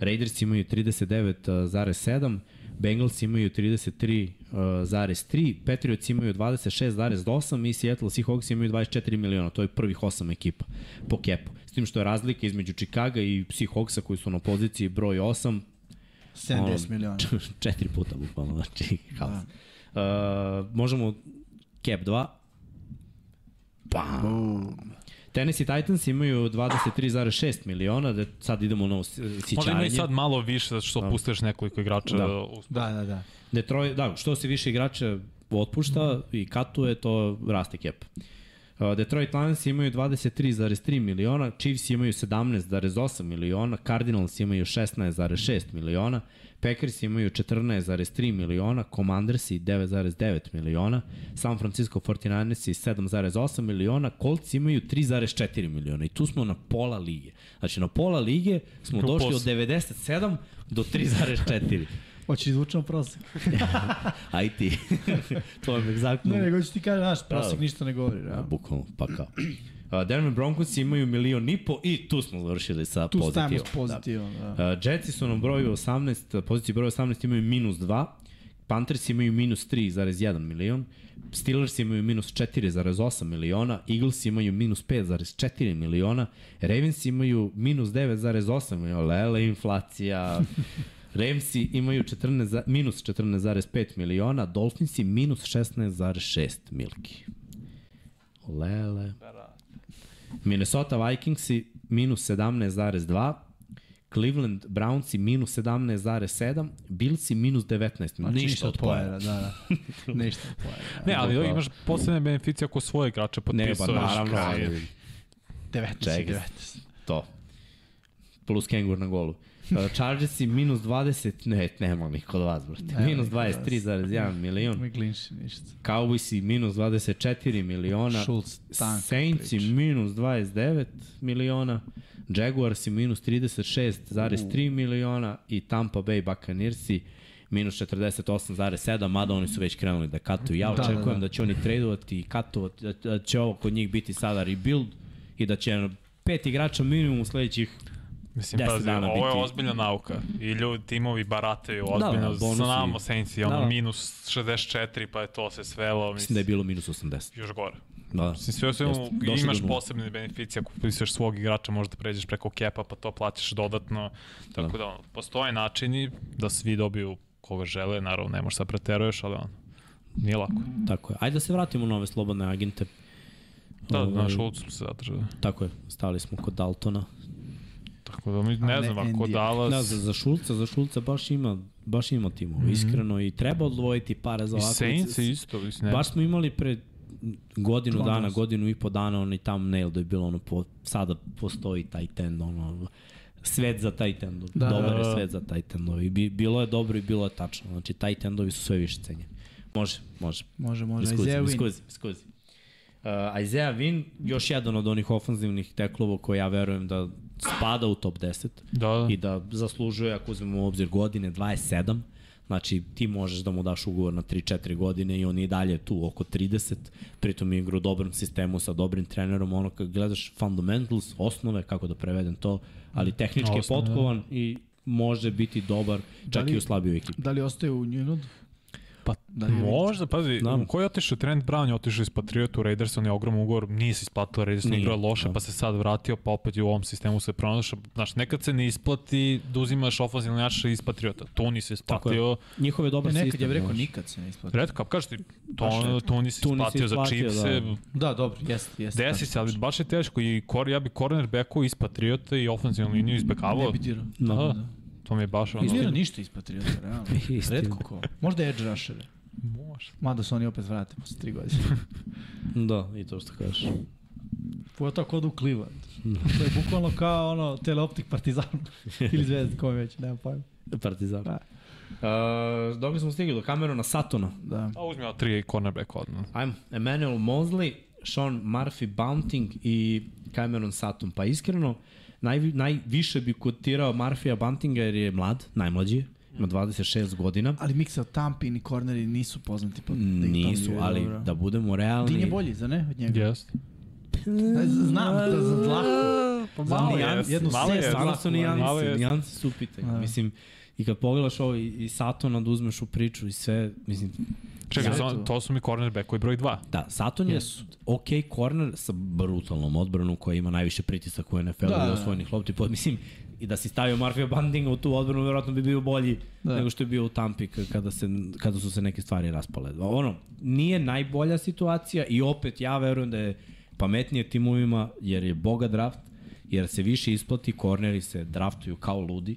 [SPEAKER 4] Raiders imaju 39,7, Bengals imaju 33,3, Patriots imaju 26,8 i Seattle Seahawks imaju 24 miliona. To je prvih 8 ekipa po kepu. S tim što je razlika između Chicaga i Seahawksa koji su na poziciji broj 8
[SPEAKER 5] 70
[SPEAKER 4] Ono,
[SPEAKER 5] miliona.
[SPEAKER 4] četiri puta bukvalno, znači haos. Uh, možemo cap 2. Bam. Tennessee Titans imaju 23,6 miliona, da sad idemo na ovo si-
[SPEAKER 3] Možda imaju
[SPEAKER 4] sićarenje.
[SPEAKER 3] sad malo više, zato što opustuješ nekoliko igrača.
[SPEAKER 4] Da.
[SPEAKER 3] Da. U...
[SPEAKER 5] Da, da, da.
[SPEAKER 4] Detroit, da, što se više igrača otpušta i katuje, to raste cap. Uh, Detroit Lions imaju 23,3 miliona, Chiefs imaju 17,8 miliona, Cardinals imaju 16,6 miliona, Packers imaju 14,3 miliona, Commandersi 9,9 miliona, San Francisco 49ersi 7,8 miliona, Colts imaju 3,4 miliona i tu smo na pola lige. Znači na pola lige smo
[SPEAKER 3] U
[SPEAKER 4] došli od
[SPEAKER 3] poslu.
[SPEAKER 4] 97 do 3,4.
[SPEAKER 5] Hoće izvučeno da prosek.
[SPEAKER 4] Aj ti. to je egzaktno.
[SPEAKER 5] Ne, nego ću ti kažem, znaš, prosek
[SPEAKER 4] Mm. Da.
[SPEAKER 5] ništa ne govori. realno.
[SPEAKER 4] Bukvalno, pa kao. Uh, Denver Broncos imaju milion i po i tu smo završili sa
[SPEAKER 5] Tu
[SPEAKER 4] pozitivom.
[SPEAKER 5] stajemo s pozitivom. Da.
[SPEAKER 4] Da. Uh, Jetsi su na broju 18, poziciji broju 18 imaju minus 2, Panthers imaju minus 3,1 milion, Steelers imaju minus 4,8 miliona, Eagles imaju minus 5,4 miliona, Ravens imaju minus 9,8 miliona, lele inflacija, Ramsi imaju 14, za- minus 14,5 miliona, Dolphinsi minus 16,6 milki. Lele. Minnesota Vikingsi minus 17,2, Cleveland Brownsi minus 17,7, Billsi minus 19,
[SPEAKER 5] Znači,
[SPEAKER 4] ništa od
[SPEAKER 5] Da,
[SPEAKER 4] pojera.
[SPEAKER 5] da. Ništa od da. pojera.
[SPEAKER 3] Ne, ali
[SPEAKER 4] Dobro.
[SPEAKER 3] imaš posebne beneficije ako svoje igrače
[SPEAKER 4] Ne, pa
[SPEAKER 3] potpisuješ.
[SPEAKER 4] Da. naravno,
[SPEAKER 3] Kaj,
[SPEAKER 4] ali
[SPEAKER 5] 19,
[SPEAKER 4] Čekaj.
[SPEAKER 5] 19.
[SPEAKER 4] to. Plus kengur na golu. Uh, Chargersi minus 20, ne, nema niko od vas, brate.
[SPEAKER 5] Nema
[SPEAKER 4] minus
[SPEAKER 5] niko od vas.
[SPEAKER 4] 23,1 milion.
[SPEAKER 5] Ne glinši ništa.
[SPEAKER 4] Cowboysi minus 24 miliona.
[SPEAKER 5] Schultz, tank.
[SPEAKER 4] Saintsi minus 29 miliona, Jaguarsi minus 36,3 miliona i Tampa Bay Buccaneersi minus 48,7, mada oni su već krenuli da katuju. Ja
[SPEAKER 5] Da,
[SPEAKER 4] očekujem da,
[SPEAKER 5] da, da.
[SPEAKER 4] će oni tradovati i katovati, da, da će ovo kod njih biti sada rebuild i da će pet igrača minimum u sledećih
[SPEAKER 3] Mislim,
[SPEAKER 4] 10
[SPEAKER 3] pazi,
[SPEAKER 4] dana
[SPEAKER 3] ovo je
[SPEAKER 4] biti-
[SPEAKER 3] ozbiljna nauka. I ljudi, timovi barataju
[SPEAKER 4] da,
[SPEAKER 3] ozbiljno. Da,
[SPEAKER 4] bonusi.
[SPEAKER 3] Znamo Saints i ono
[SPEAKER 4] Da.
[SPEAKER 3] minus 64, pa je to se svelo.
[SPEAKER 4] mislim
[SPEAKER 3] Mislim,
[SPEAKER 4] da je bilo minus 80.
[SPEAKER 3] još gore.
[SPEAKER 4] Da.
[SPEAKER 3] Mislim, sve u svemu
[SPEAKER 4] Jeste, došli do
[SPEAKER 3] imaš
[SPEAKER 4] nule.
[SPEAKER 3] posebne beneficije ako potpisuješ svog igrača, možda pređeš preko kepa, pa to plaćaš dodatno. Tako da, ono, postoje načini da svi dobiju koga žele, naravno ne možeš sad preteruješ, ali ono, nije lako.
[SPEAKER 4] Tako je. Ajde da se vratimo na ove slobodne agente.
[SPEAKER 3] Da,
[SPEAKER 4] Ovaj,
[SPEAKER 3] na Šulcu se zadržava.
[SPEAKER 4] Tako je, stali smo kod Daltona.
[SPEAKER 3] Tako da, mi ne
[SPEAKER 5] ne
[SPEAKER 3] znam, ako
[SPEAKER 5] Andy.
[SPEAKER 3] Dallas...
[SPEAKER 4] Da, za, za Šulca, za Šulca baš ima, baš ima timova, mm -hmm. iskreno, i treba odvojiti para za
[SPEAKER 3] Mhm. I
[SPEAKER 4] ovako.
[SPEAKER 3] Saints je isto, mislim, ne.
[SPEAKER 4] Baš smo imali pred godinu
[SPEAKER 5] Član
[SPEAKER 4] dana,
[SPEAKER 5] nas.
[SPEAKER 4] godinu i po dana, onaj thumbnail da je bilo ono, po, sada postoji taj tend, ono, svet za taj tend, da,
[SPEAKER 5] Da,
[SPEAKER 4] dobar
[SPEAKER 3] da,
[SPEAKER 4] je
[SPEAKER 3] da.
[SPEAKER 4] svet za taj tendovi. Bi, bilo je dobro i bilo je tačno, znači taj tendovi su sve više cenjeni. Može, može.
[SPEAKER 5] Može, može.
[SPEAKER 4] Iskuzi,
[SPEAKER 5] Iskuzi,
[SPEAKER 4] iskuzi, iskuzi. Uh, Isaiah Win, još jedan od onih ofanzivnih teklova koji ja verujem da spada u top 10
[SPEAKER 3] Da, da.
[SPEAKER 4] i da zaslužuje, ako uzmemo u obzir godine, 27. Znači, ti možeš da mu daš ugovor na 3-4 godine i on je i dalje tu oko 30. Pritom je igra u dobrom sistemu sa dobrim trenerom. Ono kad gledaš fundamentals, osnove, kako da prevedem to, ali tehnički
[SPEAKER 3] Osnove,
[SPEAKER 4] je
[SPEAKER 3] da.
[SPEAKER 4] potkovan i može biti dobar čak
[SPEAKER 5] li-
[SPEAKER 4] i u slabijoj ekipi.
[SPEAKER 5] Da li ostaje u New Englandu?
[SPEAKER 3] Pa
[SPEAKER 5] Da
[SPEAKER 3] da
[SPEAKER 5] li je
[SPEAKER 3] možda, pazi,
[SPEAKER 4] Da.
[SPEAKER 3] da. ko je otišao Trent Brown je otišao iz Patriota u Raiders, on je ogroman ugovor, nije se isplatilo, Raiders
[SPEAKER 4] Nije,
[SPEAKER 3] nije igrao loše,
[SPEAKER 4] da.
[SPEAKER 3] da. pa se sad vratio, pa opet je u ovom sistemu se pronašao. Znaš, nekad se ne isplati da uzimaš ofenzivni naš iz Patriota. Tony se isplatio,
[SPEAKER 4] Njihov je dobar
[SPEAKER 5] Ne, nekad
[SPEAKER 4] sistem.
[SPEAKER 5] ja bih rekao
[SPEAKER 4] znaš.
[SPEAKER 5] nikad se ne isplati.
[SPEAKER 3] Red Cup, kažeš ti, Tony, Tony se
[SPEAKER 4] Tony se
[SPEAKER 3] isplatio za
[SPEAKER 4] isplatio,
[SPEAKER 3] čipse,
[SPEAKER 4] da.
[SPEAKER 5] Da, dobro, jeste, jeste.
[SPEAKER 3] desi se, ali baš je teško i kor, ja bi cornerbacku iz Patriota i ofenzivnu liniju
[SPEAKER 5] Ne
[SPEAKER 3] izbekavao.
[SPEAKER 5] bi dirao.
[SPEAKER 3] Da,
[SPEAKER 4] Da.
[SPEAKER 3] da. To mi je baš ono...
[SPEAKER 5] Ne dira ništa iz Patriota, realno.
[SPEAKER 4] Istina.
[SPEAKER 5] Redko ko. Možda Edge Rushere.
[SPEAKER 3] Možda.
[SPEAKER 5] Mada se oni opet vrate posle tri godine.
[SPEAKER 4] Da, i to što kažeš.
[SPEAKER 5] Pojao tako odu u Cleveland. To je bukvalno kao ono teleoptik partizan. Ili zvezda, kome već, nema pojma.
[SPEAKER 4] Partizan.
[SPEAKER 5] Da.
[SPEAKER 4] Uh, dok smo stigli do Camerona Satona.
[SPEAKER 5] Da.
[SPEAKER 3] A uzmi ova tri cornerback odmah.
[SPEAKER 4] Ajmo, Emmanuel Mosley, Sean Murphy Bunting i Cameron Sutton. Pa iskreno, naj, najviše bi kotirao Murphya Buntinga jer je mlad, najmlađi, je, ima 26 godina.
[SPEAKER 5] Ali miksa od tampi ni korneri nisu poznati. Po, da ih
[SPEAKER 4] Nisu,
[SPEAKER 5] tampi,
[SPEAKER 4] ali
[SPEAKER 5] dobro.
[SPEAKER 4] da budemo realni...
[SPEAKER 5] Din je bolji, za ne? Od njega.
[SPEAKER 3] Jeste.
[SPEAKER 5] Da, z- znam, da za dlaku.
[SPEAKER 3] Pa
[SPEAKER 5] malo je, jednu
[SPEAKER 3] malo
[SPEAKER 5] sjestu
[SPEAKER 3] je,
[SPEAKER 4] Stvarno su
[SPEAKER 3] Malo
[SPEAKER 4] nijanse,
[SPEAKER 3] je-
[SPEAKER 4] nijanse su u pitanju.
[SPEAKER 5] Da.
[SPEAKER 4] Mislim, i kad pogledaš ovo i, i Satona da uzmeš u priču i sve, mislim,
[SPEAKER 3] Čekaj,
[SPEAKER 5] Ja.
[SPEAKER 3] to, to su mi cornerback koji broj 2.
[SPEAKER 4] Da, Saturn je yes. ok corner sa brutalnom odbranom koja ima najviše pritisak u NFL-u
[SPEAKER 5] Da.
[SPEAKER 4] da. i osvojenih lopti. Pa, mislim, i da si stavio Marfija Bandinga u tu odbranu, verovatno bi bio bolji da.
[SPEAKER 5] Da.
[SPEAKER 4] nego što je bio u Tampi k- kada, se, kada su se neke stvari raspale. Ono, nije najbolja situacija i opet ja verujem da je pametnije timovima jer je boga draft, jer se više isplati, korneri se draftuju kao ludi,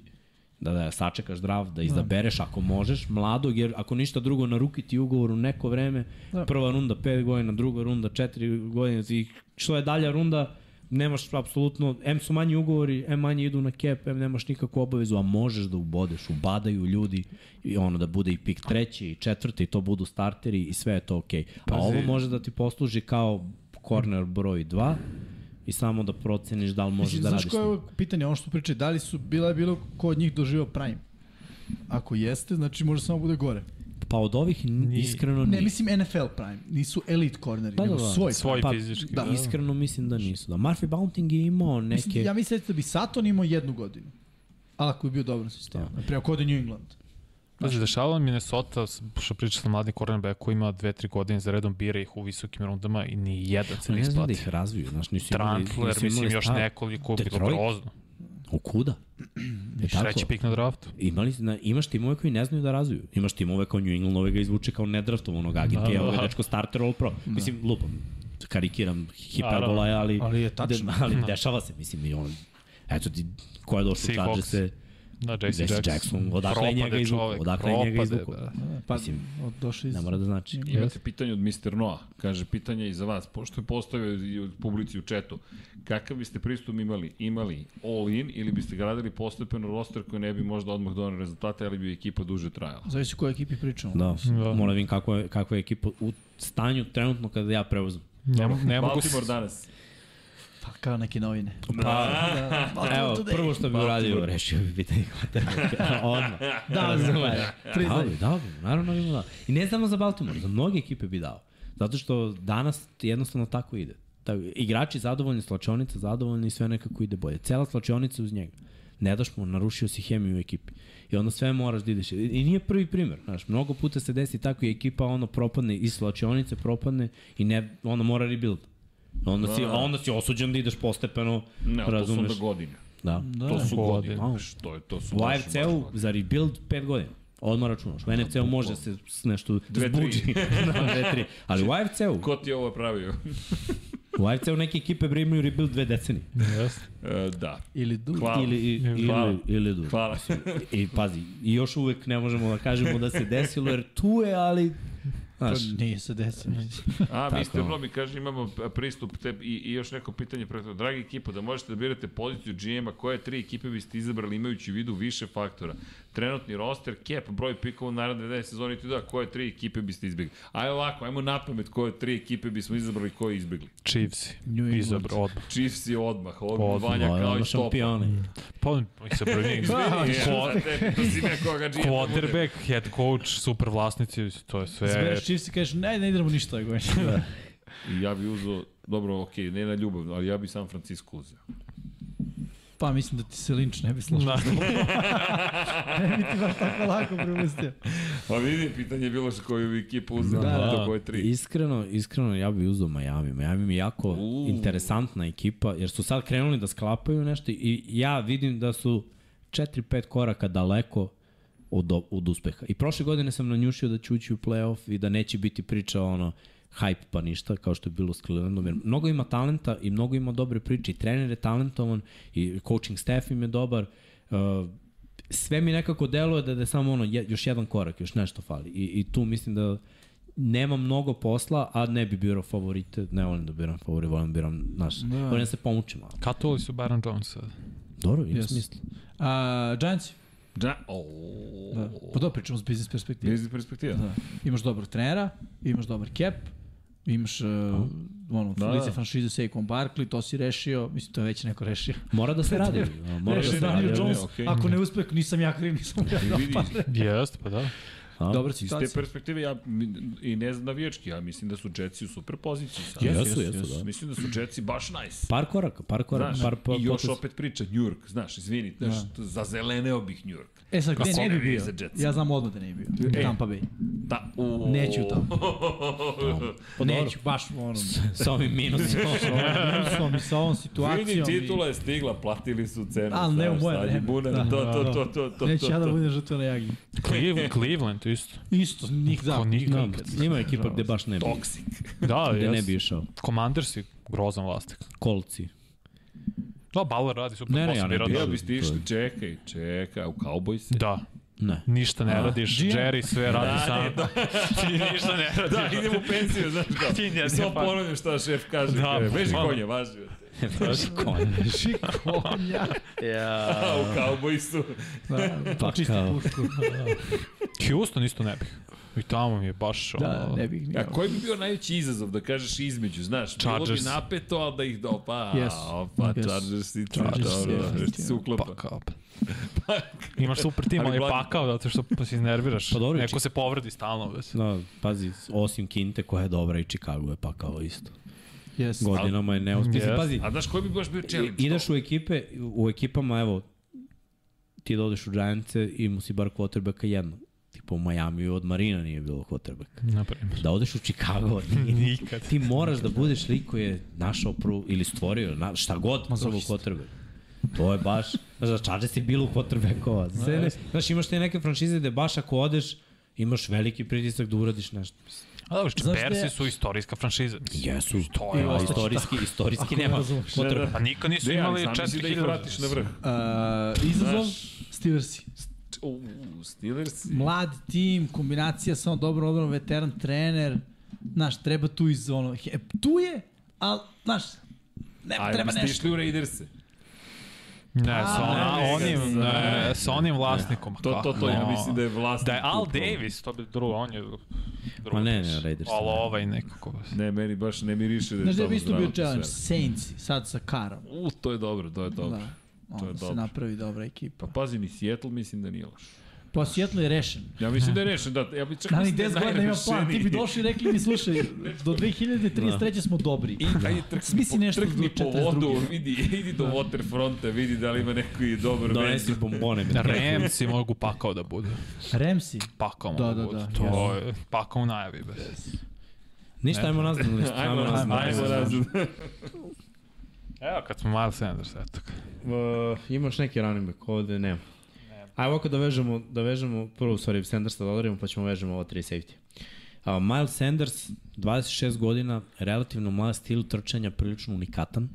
[SPEAKER 4] da, da sačekaš draft, da izabereš ako možeš, mladog, jer ako ništa drugo na ruki ti ugovor u neko vreme, da.
[SPEAKER 5] Da.
[SPEAKER 4] prva runda 5 godina, druga runda 4 godine, i što je dalja runda, nemaš apsolutno, em su manji ugovori, em manje idu na cap, em nemaš nikakvu obavezu, a možeš da ubodeš, ubadaju ljudi i ono da bude i pik treći i četvrti i to budu starteri i sve je to okej. Okay. A
[SPEAKER 3] Pazi.
[SPEAKER 4] ovo može da ti posluži kao corner broj 2 i samo da proceniš da li možeš
[SPEAKER 5] Mislim,
[SPEAKER 4] da
[SPEAKER 5] znaš
[SPEAKER 4] radiš. s
[SPEAKER 5] koje je
[SPEAKER 4] njim.
[SPEAKER 5] ovo pitanje, ono što pričaju, da li su bila je bilo ko od njih doživao prime? Ako jeste, znači može samo bude gore.
[SPEAKER 4] Pa od ovih n-
[SPEAKER 3] Nije.
[SPEAKER 4] iskreno
[SPEAKER 5] Ne,
[SPEAKER 4] nije.
[SPEAKER 5] mislim NFL Prime, nisu elite corneri, nego svoj.
[SPEAKER 3] Svoj
[SPEAKER 4] pa,
[SPEAKER 3] fizički,
[SPEAKER 4] Da.
[SPEAKER 3] da.
[SPEAKER 4] Iskreno mislim da nisu. Da. Murphy Bounting je imao neke...
[SPEAKER 5] Mislim, ja mislim da bi Saturn imao jednu godinu. Ali ako je bio dobro sistem. Da. Preo kod New England.
[SPEAKER 3] Znači, dešavalo mi Minnesota, s- što priča sa mladim cornerback koji ima 2-3 godine za redom bira ih u visokim rundama i ni jedan se
[SPEAKER 4] Ali
[SPEAKER 3] ne
[SPEAKER 4] ne znam da
[SPEAKER 3] isplati.
[SPEAKER 4] ih razviju, znaš, nisu imali...
[SPEAKER 3] Trantler,
[SPEAKER 4] nisu
[SPEAKER 3] mislim
[SPEAKER 4] imali
[SPEAKER 3] još
[SPEAKER 4] stav.
[SPEAKER 3] nekoliko, bilo
[SPEAKER 4] Detroit?
[SPEAKER 3] grozno.
[SPEAKER 4] U kuda? E
[SPEAKER 3] Treći pik na draftu.
[SPEAKER 4] Imali, na, imaš timove koji ne znaju da razviju. Imaš timove kao New England, ove ga izvuče kao nedraftovanog agenta,
[SPEAKER 3] Da,
[SPEAKER 4] da, ovo je
[SPEAKER 3] da.
[SPEAKER 4] dečko starter all pro. Mislim, lupam, karikiram hiperbola, je, ali...
[SPEAKER 5] Ali je tačno.
[SPEAKER 4] De, ali dešava se, mislim, i on... Eto ti, ko je došao u
[SPEAKER 3] Da. Seahawks.
[SPEAKER 4] Chargers se...
[SPEAKER 3] Da, Jackson,
[SPEAKER 4] Jackson, Jackson, odakle je
[SPEAKER 3] Propade
[SPEAKER 4] njega izvukao,
[SPEAKER 3] čovek,
[SPEAKER 4] odakle je njega
[SPEAKER 3] propade,
[SPEAKER 4] izvukao.
[SPEAKER 3] da.
[SPEAKER 5] Pa,
[SPEAKER 4] Mislim,
[SPEAKER 5] od- došao iz...
[SPEAKER 4] Ne mora da znači.
[SPEAKER 1] Imate pitanje od Mr. Noa. Kaže, pitanje je i za vas. Pošto je postavio i od publici u četu. Kakav biste pristup imali? Imali all in ili biste gradili postepeno roster koji ne bi možda odmah donio rezultate, ali bi ekipa duže trajala?
[SPEAKER 5] Zavisi o kojoj ekipi pričamo.
[SPEAKER 4] Da,
[SPEAKER 3] Da.
[SPEAKER 4] moram da vidim kako je, kako je ekipa u stanju trenutno kada ja preuzem.
[SPEAKER 3] Ne, mo- ne mogu...
[SPEAKER 1] Baltimore da. danas.
[SPEAKER 5] Pa kao neke novine. Pa,
[SPEAKER 1] Da.
[SPEAKER 5] da,
[SPEAKER 2] Pa
[SPEAKER 4] Evo,
[SPEAKER 2] da
[SPEAKER 4] prvo što
[SPEAKER 1] Pa,
[SPEAKER 4] bi uradio, rešio bi pitanje quarterbacka. Odmah.
[SPEAKER 5] Da, da,
[SPEAKER 4] Dao bi, dao bi, naravno bi mu dao. I ne samo za Baltimore, za mnoge ekipe bi dao. Zato što danas jednostavno tako ide. Ta, igrači zadovoljni, slačionica zadovoljni i sve nekako ide bolje. Cela slačionica uz njega. Ne daš mu, narušio si hemiju u ekipi. I onda sve moraš da ideš. I, i nije prvi primer. Znaš, mnogo puta se desi tako i ekipa ono propadne iz slačionice, propadne i ne, ono mora rebuild. Onda si, a onda si osuđen da ideš postepeno,
[SPEAKER 1] Ne, ali to su
[SPEAKER 4] razumeš.
[SPEAKER 1] onda godine.
[SPEAKER 4] Da.
[SPEAKER 1] Da, to su
[SPEAKER 3] Godine.
[SPEAKER 1] godine. Što je, to su
[SPEAKER 4] U
[SPEAKER 1] baš, baš
[SPEAKER 4] AFC-u
[SPEAKER 1] godine.
[SPEAKER 4] za rebuild 5 godina. Odmah računaš. U NFC-u može se s nešto
[SPEAKER 1] Dve, tri.
[SPEAKER 4] zbuđi. da, dve, tri. Ali u AFC-u,
[SPEAKER 1] Ko ti je ovo E, pravio?
[SPEAKER 4] u AFC-u neke ekipe bre imaju rebuild dve decenije.
[SPEAKER 3] Jeste.
[SPEAKER 1] E, da.
[SPEAKER 5] Ili du.
[SPEAKER 1] Hvala.
[SPEAKER 4] Ili, i- ili,
[SPEAKER 1] Hvala.
[SPEAKER 4] ili, ili duže.
[SPEAKER 1] Hvala.
[SPEAKER 4] I pazi, i još uvek ne možemo da kažemo da se desilo, jer tu je, ali... Znaš,
[SPEAKER 5] To nije se desilo.
[SPEAKER 1] A,
[SPEAKER 4] Tako.
[SPEAKER 1] Mr. Nobi kaže imamo pristup te, i, i još neko pitanje pre toga. Dragi ekipo, da možete da birate poziciju GM-a, koje tri ekipe biste izabrali imajući u vidu više faktora? Trenutni roster, cap, broj pikova u naredne dve sezoni, ti da, koje tri ekipe biste izbjegli? Ajde ovako, ajmo na pamet koje tri ekipe bismo izabrali, koje izbjegli.
[SPEAKER 3] Chiefs.
[SPEAKER 5] New England.
[SPEAKER 3] Izabro, odmah.
[SPEAKER 1] Chiefs je odmah, ovog
[SPEAKER 3] Odmah,
[SPEAKER 1] vanja kao i
[SPEAKER 4] ono
[SPEAKER 1] stopa.
[SPEAKER 4] da šampioni.
[SPEAKER 3] Pa on izabro njih.
[SPEAKER 4] Da.
[SPEAKER 1] Izvini, ja, za tebe, da si nekoga GM-a.
[SPEAKER 3] Quarterback, head coach, super vlasnici, to je sve...
[SPEAKER 2] Zbereš Chiefs i kažeš, ne, ne idemo ništa ove godine. Da.
[SPEAKER 1] Ja bi uzao, dobro, okej, ne na ljubav, ali ja bi San Francisco uzeo.
[SPEAKER 2] Pa mislim da ti se Lynch ne bi složio.
[SPEAKER 3] Da.
[SPEAKER 2] Ne bi ti baš
[SPEAKER 1] Da.
[SPEAKER 2] tako lako prepustio.
[SPEAKER 1] Pa vidi, pitanje je bilo što koju bi ekipu uzeo,
[SPEAKER 4] Da,
[SPEAKER 1] da,
[SPEAKER 4] da.
[SPEAKER 1] koje tri.
[SPEAKER 4] Iskreno, iskreno ja bih uzeo Miami. Miami mi je jako
[SPEAKER 1] U.
[SPEAKER 4] interesantna ekipa, jer su sad krenuli da sklapaju nešto i ja vidim da su 4-5 koraka daleko od, od uspeha. I prošle godine sam nanjušio da će ući u playoff i da neće biti priča ono hype pa ništa, kao što je bilo s Clevelandom. Jer mnogo ima talenta i mnogo ima dobre priče. I trener je talentovan i coaching staff im je dobar. Uh, sve mi nekako deluje da, da je samo ono, je, još jedan korak, još nešto fali. I, I tu mislim da nema mnogo posla, a ne bi birao favorite, ne volim da biram favorite, volim da biram naš. Da. Volim da se pomučim malo.
[SPEAKER 3] Katovali su Baron Jones sad.
[SPEAKER 4] Dobro, ima
[SPEAKER 5] Yes.
[SPEAKER 4] yes. smisla.
[SPEAKER 5] A, Giants?
[SPEAKER 1] Da, ooo.
[SPEAKER 5] Da. Pa da, pričamo s biznis perspektive.
[SPEAKER 1] Biznis perspektiva.
[SPEAKER 5] Da. Imaš dobrog trenera, imaš dobar cap, imaš uh, ono, da,
[SPEAKER 1] da.
[SPEAKER 5] lice franšize Saquon Barkley, to si rešio, mislim to je već neko rešio.
[SPEAKER 4] Mora da se radi. a, Mora da
[SPEAKER 5] Rešio
[SPEAKER 4] se
[SPEAKER 5] Daniel
[SPEAKER 4] radi. ali-
[SPEAKER 5] Jones,
[SPEAKER 1] okej.
[SPEAKER 5] ako ne uspe, nisam ja kriv, nisam ja
[SPEAKER 1] I vidi,
[SPEAKER 3] Jeste, pa da.
[SPEAKER 4] a?
[SPEAKER 5] Dobra
[SPEAKER 1] iz te
[SPEAKER 5] situacija.
[SPEAKER 1] perspektive, ja mi- i ne znam navijački, ja mislim da su Jetsi u super poziciji sad.
[SPEAKER 4] Jesu, jesu, jesu, da.
[SPEAKER 1] Mislim da su Jetsi baš nice.
[SPEAKER 4] Par koraka, par koraka,
[SPEAKER 1] Znaš,
[SPEAKER 4] par po,
[SPEAKER 1] i još
[SPEAKER 4] potez.
[SPEAKER 1] opet priča, New York, znaš, izvini, znaš, da. zazeleneo bih New York.
[SPEAKER 5] E sad, gde
[SPEAKER 1] Kako
[SPEAKER 5] ne
[SPEAKER 1] ne
[SPEAKER 5] bi
[SPEAKER 1] bi
[SPEAKER 5] bio?
[SPEAKER 1] za Jets?
[SPEAKER 5] Ja znam odmah da ne bi bio.
[SPEAKER 1] E.
[SPEAKER 5] Tampa Bay.
[SPEAKER 1] Da, u...
[SPEAKER 5] Neću tamo.
[SPEAKER 4] Pa dobro.
[SPEAKER 5] Neću, baš ono.
[SPEAKER 4] Sa ovim minusom.
[SPEAKER 2] Minusom i sa ovom situacijom.
[SPEAKER 1] Vidi,
[SPEAKER 2] i-
[SPEAKER 1] titula je stigla, platili su cenu.
[SPEAKER 2] Ali ne
[SPEAKER 1] znaš,
[SPEAKER 2] u moje
[SPEAKER 1] sad je
[SPEAKER 2] vreme.
[SPEAKER 1] bunar,
[SPEAKER 2] Da.
[SPEAKER 1] To, to, to, to, to,
[SPEAKER 2] Neću
[SPEAKER 1] to,
[SPEAKER 2] ja da
[SPEAKER 1] to.
[SPEAKER 2] budem žrtva na jagi.
[SPEAKER 3] Cleve- Cleveland isto.
[SPEAKER 2] Isto, nikad.
[SPEAKER 3] Ko nikad.
[SPEAKER 4] Da, ima ekipa gde baš ne bi.
[SPEAKER 1] Toksik.
[SPEAKER 3] Da,
[SPEAKER 4] Gde ne
[SPEAKER 3] jes.
[SPEAKER 4] bi išao.
[SPEAKER 3] Commanders je grozan vlastik.
[SPEAKER 4] Kolci.
[SPEAKER 3] Da, Bauer radi super.
[SPEAKER 4] Ne, ne,
[SPEAKER 3] posao,
[SPEAKER 4] ja ne
[SPEAKER 3] bira
[SPEAKER 4] bi.
[SPEAKER 3] dobro.
[SPEAKER 1] Ja biste išli, čekaj, čekaj, u Cowboys.
[SPEAKER 3] Da,
[SPEAKER 4] Ne.
[SPEAKER 3] ništa ne radiš,
[SPEAKER 2] GM.
[SPEAKER 3] Jerry sve radi sam. Da, Ti ništa ne radiš.
[SPEAKER 1] Da, idem u penziju, znaš kao.
[SPEAKER 3] Ti ne-
[SPEAKER 1] I samo
[SPEAKER 3] ne, pa-
[SPEAKER 1] ponovim šta šef kaže.
[SPEAKER 3] Da,
[SPEAKER 1] Da, Veži
[SPEAKER 3] bukvalno.
[SPEAKER 1] konje, važi. brate.
[SPEAKER 4] Šikonja.
[SPEAKER 2] Šikonja.
[SPEAKER 4] ja,
[SPEAKER 1] A, u kauboj su.
[SPEAKER 2] Da,
[SPEAKER 4] Pa
[SPEAKER 2] čisti
[SPEAKER 4] kao.
[SPEAKER 2] pušku.
[SPEAKER 3] Houston isto ne bih. I tamo mi je baš ono...
[SPEAKER 2] Da, ne bih.
[SPEAKER 1] A koji bi bio najveći izazov, da kažeš između, znaš, bilo bi
[SPEAKER 3] Chargers.
[SPEAKER 1] napeto, ali da ih, do- opa,
[SPEAKER 2] Yes.
[SPEAKER 1] opa,
[SPEAKER 2] Yes.
[SPEAKER 1] Chargers i ti,
[SPEAKER 2] Chargers,
[SPEAKER 1] dobro, da,
[SPEAKER 2] yes,
[SPEAKER 1] yes, se uklapa.
[SPEAKER 4] Pa,
[SPEAKER 3] Fuck up. pa Imaš super tim,
[SPEAKER 1] Ali
[SPEAKER 3] ali je
[SPEAKER 1] gladni.
[SPEAKER 3] pakao zato što se iznerviraš.
[SPEAKER 4] Pa dobro,
[SPEAKER 3] Neko
[SPEAKER 4] čik-
[SPEAKER 3] se povredi stalno. Bez.
[SPEAKER 4] da, pazi, osim Kinte koja je dobra i Chicago je pa kao isto.
[SPEAKER 2] Yes.
[SPEAKER 4] Godinama je neuspešno. Mislim,
[SPEAKER 3] Yes.
[SPEAKER 4] Pazi,
[SPEAKER 2] pa.
[SPEAKER 1] A znaš koji bi baš bio challenge?
[SPEAKER 4] ideš u ekipe, u ekipama, evo, ti dodeš u Giants i mu si bar quarterbacka jedno. Tipo u Miami od Marina nije bilo quarterbacka.
[SPEAKER 3] Na primjer.
[SPEAKER 4] Da odeš u Chicago, nije.
[SPEAKER 3] Nikad.
[SPEAKER 4] Ti moraš da budeš lik koji je našao prvu ili stvorio, na, šta god, prvo quarterback. To je baš, znaš, za Chargers je bilo quarterbackova. Zene, znaš, imaš te neke franšize gde baš ako odeš, imaš veliki pritisak da uradiš nešto.
[SPEAKER 3] A dobro,
[SPEAKER 2] Znaš šta
[SPEAKER 3] Bersi
[SPEAKER 2] je-
[SPEAKER 3] su istorijska franšiza.
[SPEAKER 4] Jesu,
[SPEAKER 3] To je
[SPEAKER 4] a
[SPEAKER 3] ostalo.
[SPEAKER 4] istorijski, istorijski nema quarterback.
[SPEAKER 3] Pa nikad nisu
[SPEAKER 1] Da, Ne, ali
[SPEAKER 3] imali
[SPEAKER 1] sam misli da ih
[SPEAKER 3] 4000.
[SPEAKER 1] vratiš na vrh.
[SPEAKER 2] Uh, izazov, Steelersi.
[SPEAKER 1] Znači, U, Steelers.
[SPEAKER 2] Mlad tim, kombinacija samo dobro obrano, veteran trener. Znaš, treba tu iz ono... he- Tu je, ali, znaš, ne,
[SPEAKER 1] A
[SPEAKER 2] treba
[SPEAKER 1] treba biste
[SPEAKER 2] nešto.
[SPEAKER 1] išli u Raiderse.
[SPEAKER 3] Ne, sa,
[SPEAKER 1] A,
[SPEAKER 3] on,
[SPEAKER 1] ne,
[SPEAKER 3] onim,
[SPEAKER 1] ne,
[SPEAKER 3] ne, sa onim vlasnikom.
[SPEAKER 1] To, to, to, ja
[SPEAKER 3] kako?
[SPEAKER 1] mislim da je vlasnik.
[SPEAKER 3] Da je Al
[SPEAKER 1] tu problem.
[SPEAKER 3] Davis, to bi drugo, on je drugo.
[SPEAKER 4] Ma ne, ne, Raiders.
[SPEAKER 3] Ali ovaj nekako.
[SPEAKER 1] Ne, meni baš ne miriše da je
[SPEAKER 2] Znaš da
[SPEAKER 1] tamo
[SPEAKER 2] bi isto bio
[SPEAKER 1] zdrava
[SPEAKER 2] challenge,
[SPEAKER 1] atmosfera.
[SPEAKER 2] Saintsi, sad sa Karom.
[SPEAKER 1] U, to je dobro, to je dobro.
[SPEAKER 2] Da.
[SPEAKER 1] To je
[SPEAKER 2] Onda se
[SPEAKER 1] dobro.
[SPEAKER 2] napravi dobra ekipa.
[SPEAKER 1] Pa pazi, ni Seattle mislim da nije loš.
[SPEAKER 2] Pa Seattle je rešen.
[SPEAKER 1] Ja mislim da je rešen, da. Ja bi čak
[SPEAKER 2] Ali
[SPEAKER 1] mislim je
[SPEAKER 2] 10 godina ima plan, ti bi
[SPEAKER 1] najrešeniji.
[SPEAKER 2] došli i rekli mi, slušaj, do 2033. smo dobri.
[SPEAKER 1] I aj, trkni,
[SPEAKER 2] Smisli
[SPEAKER 1] po-
[SPEAKER 2] nešto
[SPEAKER 1] trkni po
[SPEAKER 2] do 42..
[SPEAKER 1] vodu, vidi, idi do
[SPEAKER 2] Da.
[SPEAKER 1] waterfronta, vidi da li ima neki dobar
[SPEAKER 4] Donesi
[SPEAKER 1] vez.
[SPEAKER 4] bombone.
[SPEAKER 3] Da, Remsi mogu pakao da budu.
[SPEAKER 2] Remsi,
[SPEAKER 3] Pakao
[SPEAKER 2] Da,
[SPEAKER 3] mogu
[SPEAKER 2] da,
[SPEAKER 3] budu.
[SPEAKER 2] da,
[SPEAKER 3] To je pakao u najavi. Bez.
[SPEAKER 4] Ništa, ajmo nazad na listu.
[SPEAKER 1] Ajmo razum, ajmo E, razum.
[SPEAKER 3] Evo, kad smo Miles Sanders, eto.
[SPEAKER 4] Uh, imaš neki running back, ovde nema. Ajmo ovako da vežemo, da vežemo prvo, u stvari, Sandersa da odarimo, pa ćemo vežemo ova tri safety. Uh, Miles Sanders, 26 godina, relativno mlad stil trčanja, prilično unikatan.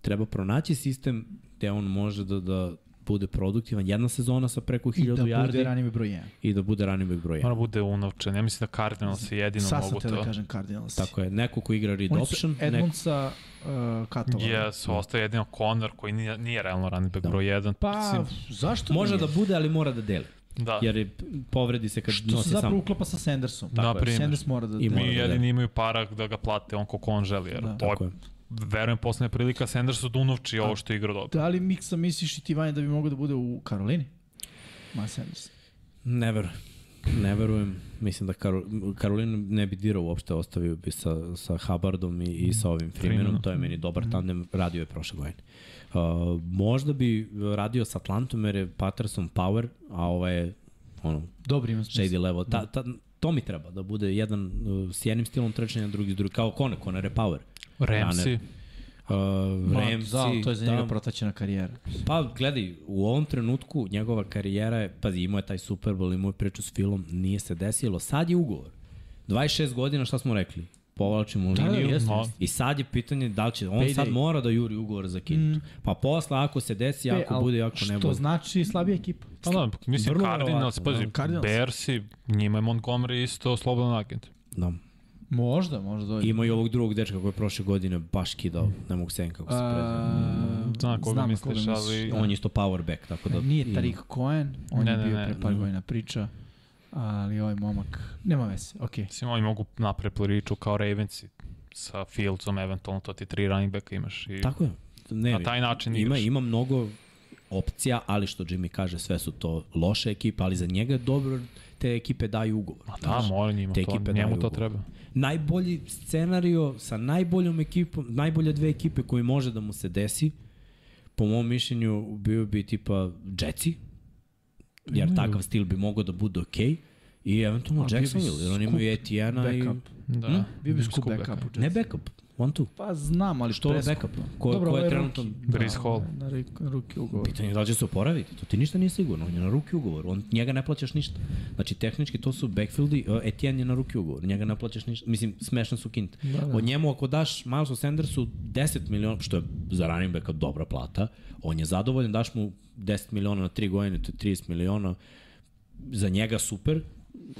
[SPEAKER 4] Treba pronaći sistem gde on može da, da bude produktivan. Jedna sezona sa preko
[SPEAKER 2] i da
[SPEAKER 4] 1000
[SPEAKER 2] bude
[SPEAKER 4] yardi
[SPEAKER 2] ranime broj 1.
[SPEAKER 4] i da bude running back broj 1.
[SPEAKER 3] Mora bude unovčen. Ja mislim da Cardinals je jedino
[SPEAKER 2] Sad sam
[SPEAKER 3] mogu
[SPEAKER 2] te da
[SPEAKER 3] to.
[SPEAKER 2] kažem Cardinals.
[SPEAKER 4] Tako je, neko ko igra read
[SPEAKER 2] Oni su e,
[SPEAKER 4] option, neko
[SPEAKER 2] Edmundsa, uh, Katova.
[SPEAKER 3] Yes,
[SPEAKER 4] Da.
[SPEAKER 3] ostaje jedino Connor koji nije, nije realno running back broj 1.
[SPEAKER 2] Pa, zašto
[SPEAKER 4] Može
[SPEAKER 2] nije?
[SPEAKER 4] da bude, ali mora da deli.
[SPEAKER 3] da.
[SPEAKER 4] Jer je, povredi se kad
[SPEAKER 2] To
[SPEAKER 4] nosi
[SPEAKER 2] se zapravo
[SPEAKER 4] sam.
[SPEAKER 2] uklapa sa Sandersom.
[SPEAKER 3] Tako je. Naprimer.
[SPEAKER 2] Sanders mora da...
[SPEAKER 4] I
[SPEAKER 2] da-
[SPEAKER 4] mora
[SPEAKER 3] Mi
[SPEAKER 4] da
[SPEAKER 3] jedini imaju para da ga plate on koliko on želi. Jer
[SPEAKER 2] Da.
[SPEAKER 3] to je,
[SPEAKER 4] Tako je.
[SPEAKER 3] verujem, poslednja prilika Sandersu da unovči ovo što je igrao dobro.
[SPEAKER 2] Da li Miksa misliš i ti Vanja da bi mogao da bude u Karolini? Ma Sanders.
[SPEAKER 4] Ne verujem. Ne verujem. Mislim da Karol, Karolin ne bi dirao uopšte, ostavio bi sa, sa Hubbardom i, i sa ovim Freemanom. To je meni dobar
[SPEAKER 2] Mhm.
[SPEAKER 4] tandem, radio je prošle godine. Uh, možda bi radio sa Atlantom jer je Patterson Power, a ova je ono,
[SPEAKER 2] Dobri ima smisla.
[SPEAKER 4] shady level.
[SPEAKER 2] da.
[SPEAKER 4] Ta, ta, to mi treba, da bude jedan uh, s jednim stilom trčanja, drugi s drugim, kao Kone, Kone je Power.
[SPEAKER 2] Da.
[SPEAKER 3] Ramsey,
[SPEAKER 4] Runner.
[SPEAKER 3] Da,
[SPEAKER 4] Uh,
[SPEAKER 2] Ma,
[SPEAKER 4] Ramsey,
[SPEAKER 2] Da, to je za njega
[SPEAKER 4] da.
[SPEAKER 2] protačena karijera.
[SPEAKER 4] Pa gledaj, u ovom trenutku njegova karijera je, pazi, imao je taj Super Bowl, imao je priču s Filom, nije se desilo. Sad je ugovor. 26 godina, šta smo rekli? Povlačimo
[SPEAKER 2] Da, da,
[SPEAKER 4] liniju.
[SPEAKER 2] jeste,
[SPEAKER 3] jeste.
[SPEAKER 4] I sad je pitanje da li će, on
[SPEAKER 2] Payday. Mm.
[SPEAKER 4] sad mora da juri ugovor za Kintu. Pa posle, ako se desi,
[SPEAKER 2] E,
[SPEAKER 4] ako
[SPEAKER 2] al
[SPEAKER 4] bude, ako ne
[SPEAKER 2] Što
[SPEAKER 4] bude.
[SPEAKER 2] znači slabija ekipa.
[SPEAKER 3] Pa da, mislim
[SPEAKER 4] Vrlo
[SPEAKER 3] Cardinals,
[SPEAKER 4] verovatno,
[SPEAKER 3] pazi,
[SPEAKER 4] da.
[SPEAKER 2] Cardinals.
[SPEAKER 3] Bersi, njima je Montgomery isto slobodan agent.
[SPEAKER 4] Da.
[SPEAKER 2] Možda, možda dođe.
[SPEAKER 4] Ima i ovog drugog dečka koji je prošle godine baš kidao, ne mogu se kako se prezove.
[SPEAKER 2] A,
[SPEAKER 3] Znam koga
[SPEAKER 2] znam
[SPEAKER 3] misliš, ali-
[SPEAKER 2] Da.
[SPEAKER 4] On je isto power back, tako da...
[SPEAKER 2] Nije
[SPEAKER 4] ima.
[SPEAKER 2] Tarik Cohen, on
[SPEAKER 3] Ne,
[SPEAKER 2] je
[SPEAKER 3] ne,
[SPEAKER 2] bio
[SPEAKER 3] ne,
[SPEAKER 2] pre par
[SPEAKER 4] ne.
[SPEAKER 2] godina priča, ali ovaj momak, nema veze, okej.
[SPEAKER 3] Mislim, oni mogu napraviti priču kao Ravensi sa Fieldsom, eventualno to ti tri running backa imaš. I
[SPEAKER 4] Tako je. Ne,
[SPEAKER 3] na taj način
[SPEAKER 4] ima,
[SPEAKER 3] igraš.
[SPEAKER 4] ima mnogo opcija, ali što Jimmy kaže, sve su to loše ekipe, ali za njega je dobro te ekipe daju ugovor.
[SPEAKER 2] Pa
[SPEAKER 3] Da,
[SPEAKER 4] Znaš,
[SPEAKER 3] mora njima
[SPEAKER 4] te
[SPEAKER 3] to,
[SPEAKER 4] ekipe
[SPEAKER 3] njemu
[SPEAKER 4] daju
[SPEAKER 3] to
[SPEAKER 4] ugovor.
[SPEAKER 3] treba.
[SPEAKER 4] Najbolji scenario sa najboljom ekipom, najbolje dve ekipe koji može da mu se desi, po mom mišljenju bio bi tipa Jetsi, jer takav stil bi mogao da bude okej, i eventualno
[SPEAKER 2] A bio bi
[SPEAKER 4] Jacksonville, jer oni imaju Etiana i...
[SPEAKER 2] Backup.
[SPEAKER 3] Da.
[SPEAKER 4] Hm?
[SPEAKER 2] Bio bi
[SPEAKER 3] Mislim,
[SPEAKER 2] skup
[SPEAKER 3] skup
[SPEAKER 2] backup u Jetsu.
[SPEAKER 4] Ne backup, one two.
[SPEAKER 2] Pa znam, ali
[SPEAKER 4] Što
[SPEAKER 2] što
[SPEAKER 4] je backup? Ko, ko
[SPEAKER 2] ovaj
[SPEAKER 4] je trenutno
[SPEAKER 3] Brees Hall.
[SPEAKER 2] Da, Na rik- ruki ugovor.
[SPEAKER 4] Pitanje je da li će se oporaviti, to ti ništa nije sigurno, on je na ruki ugovor, on, njega ne plaćaš ništa. Znači, tehnički to su backfieldi, uh, Etienne je na ruki ugovor, njega ne plaćaš ništa, mislim, smešno su kinte. Da, da. Od njemu ako daš Milesu Sandersu 10 miliona, što je za running backa dobra plata, on je zadovoljan, daš mu 10 miliona na 3 godine, to je 30 miliona, za njega super,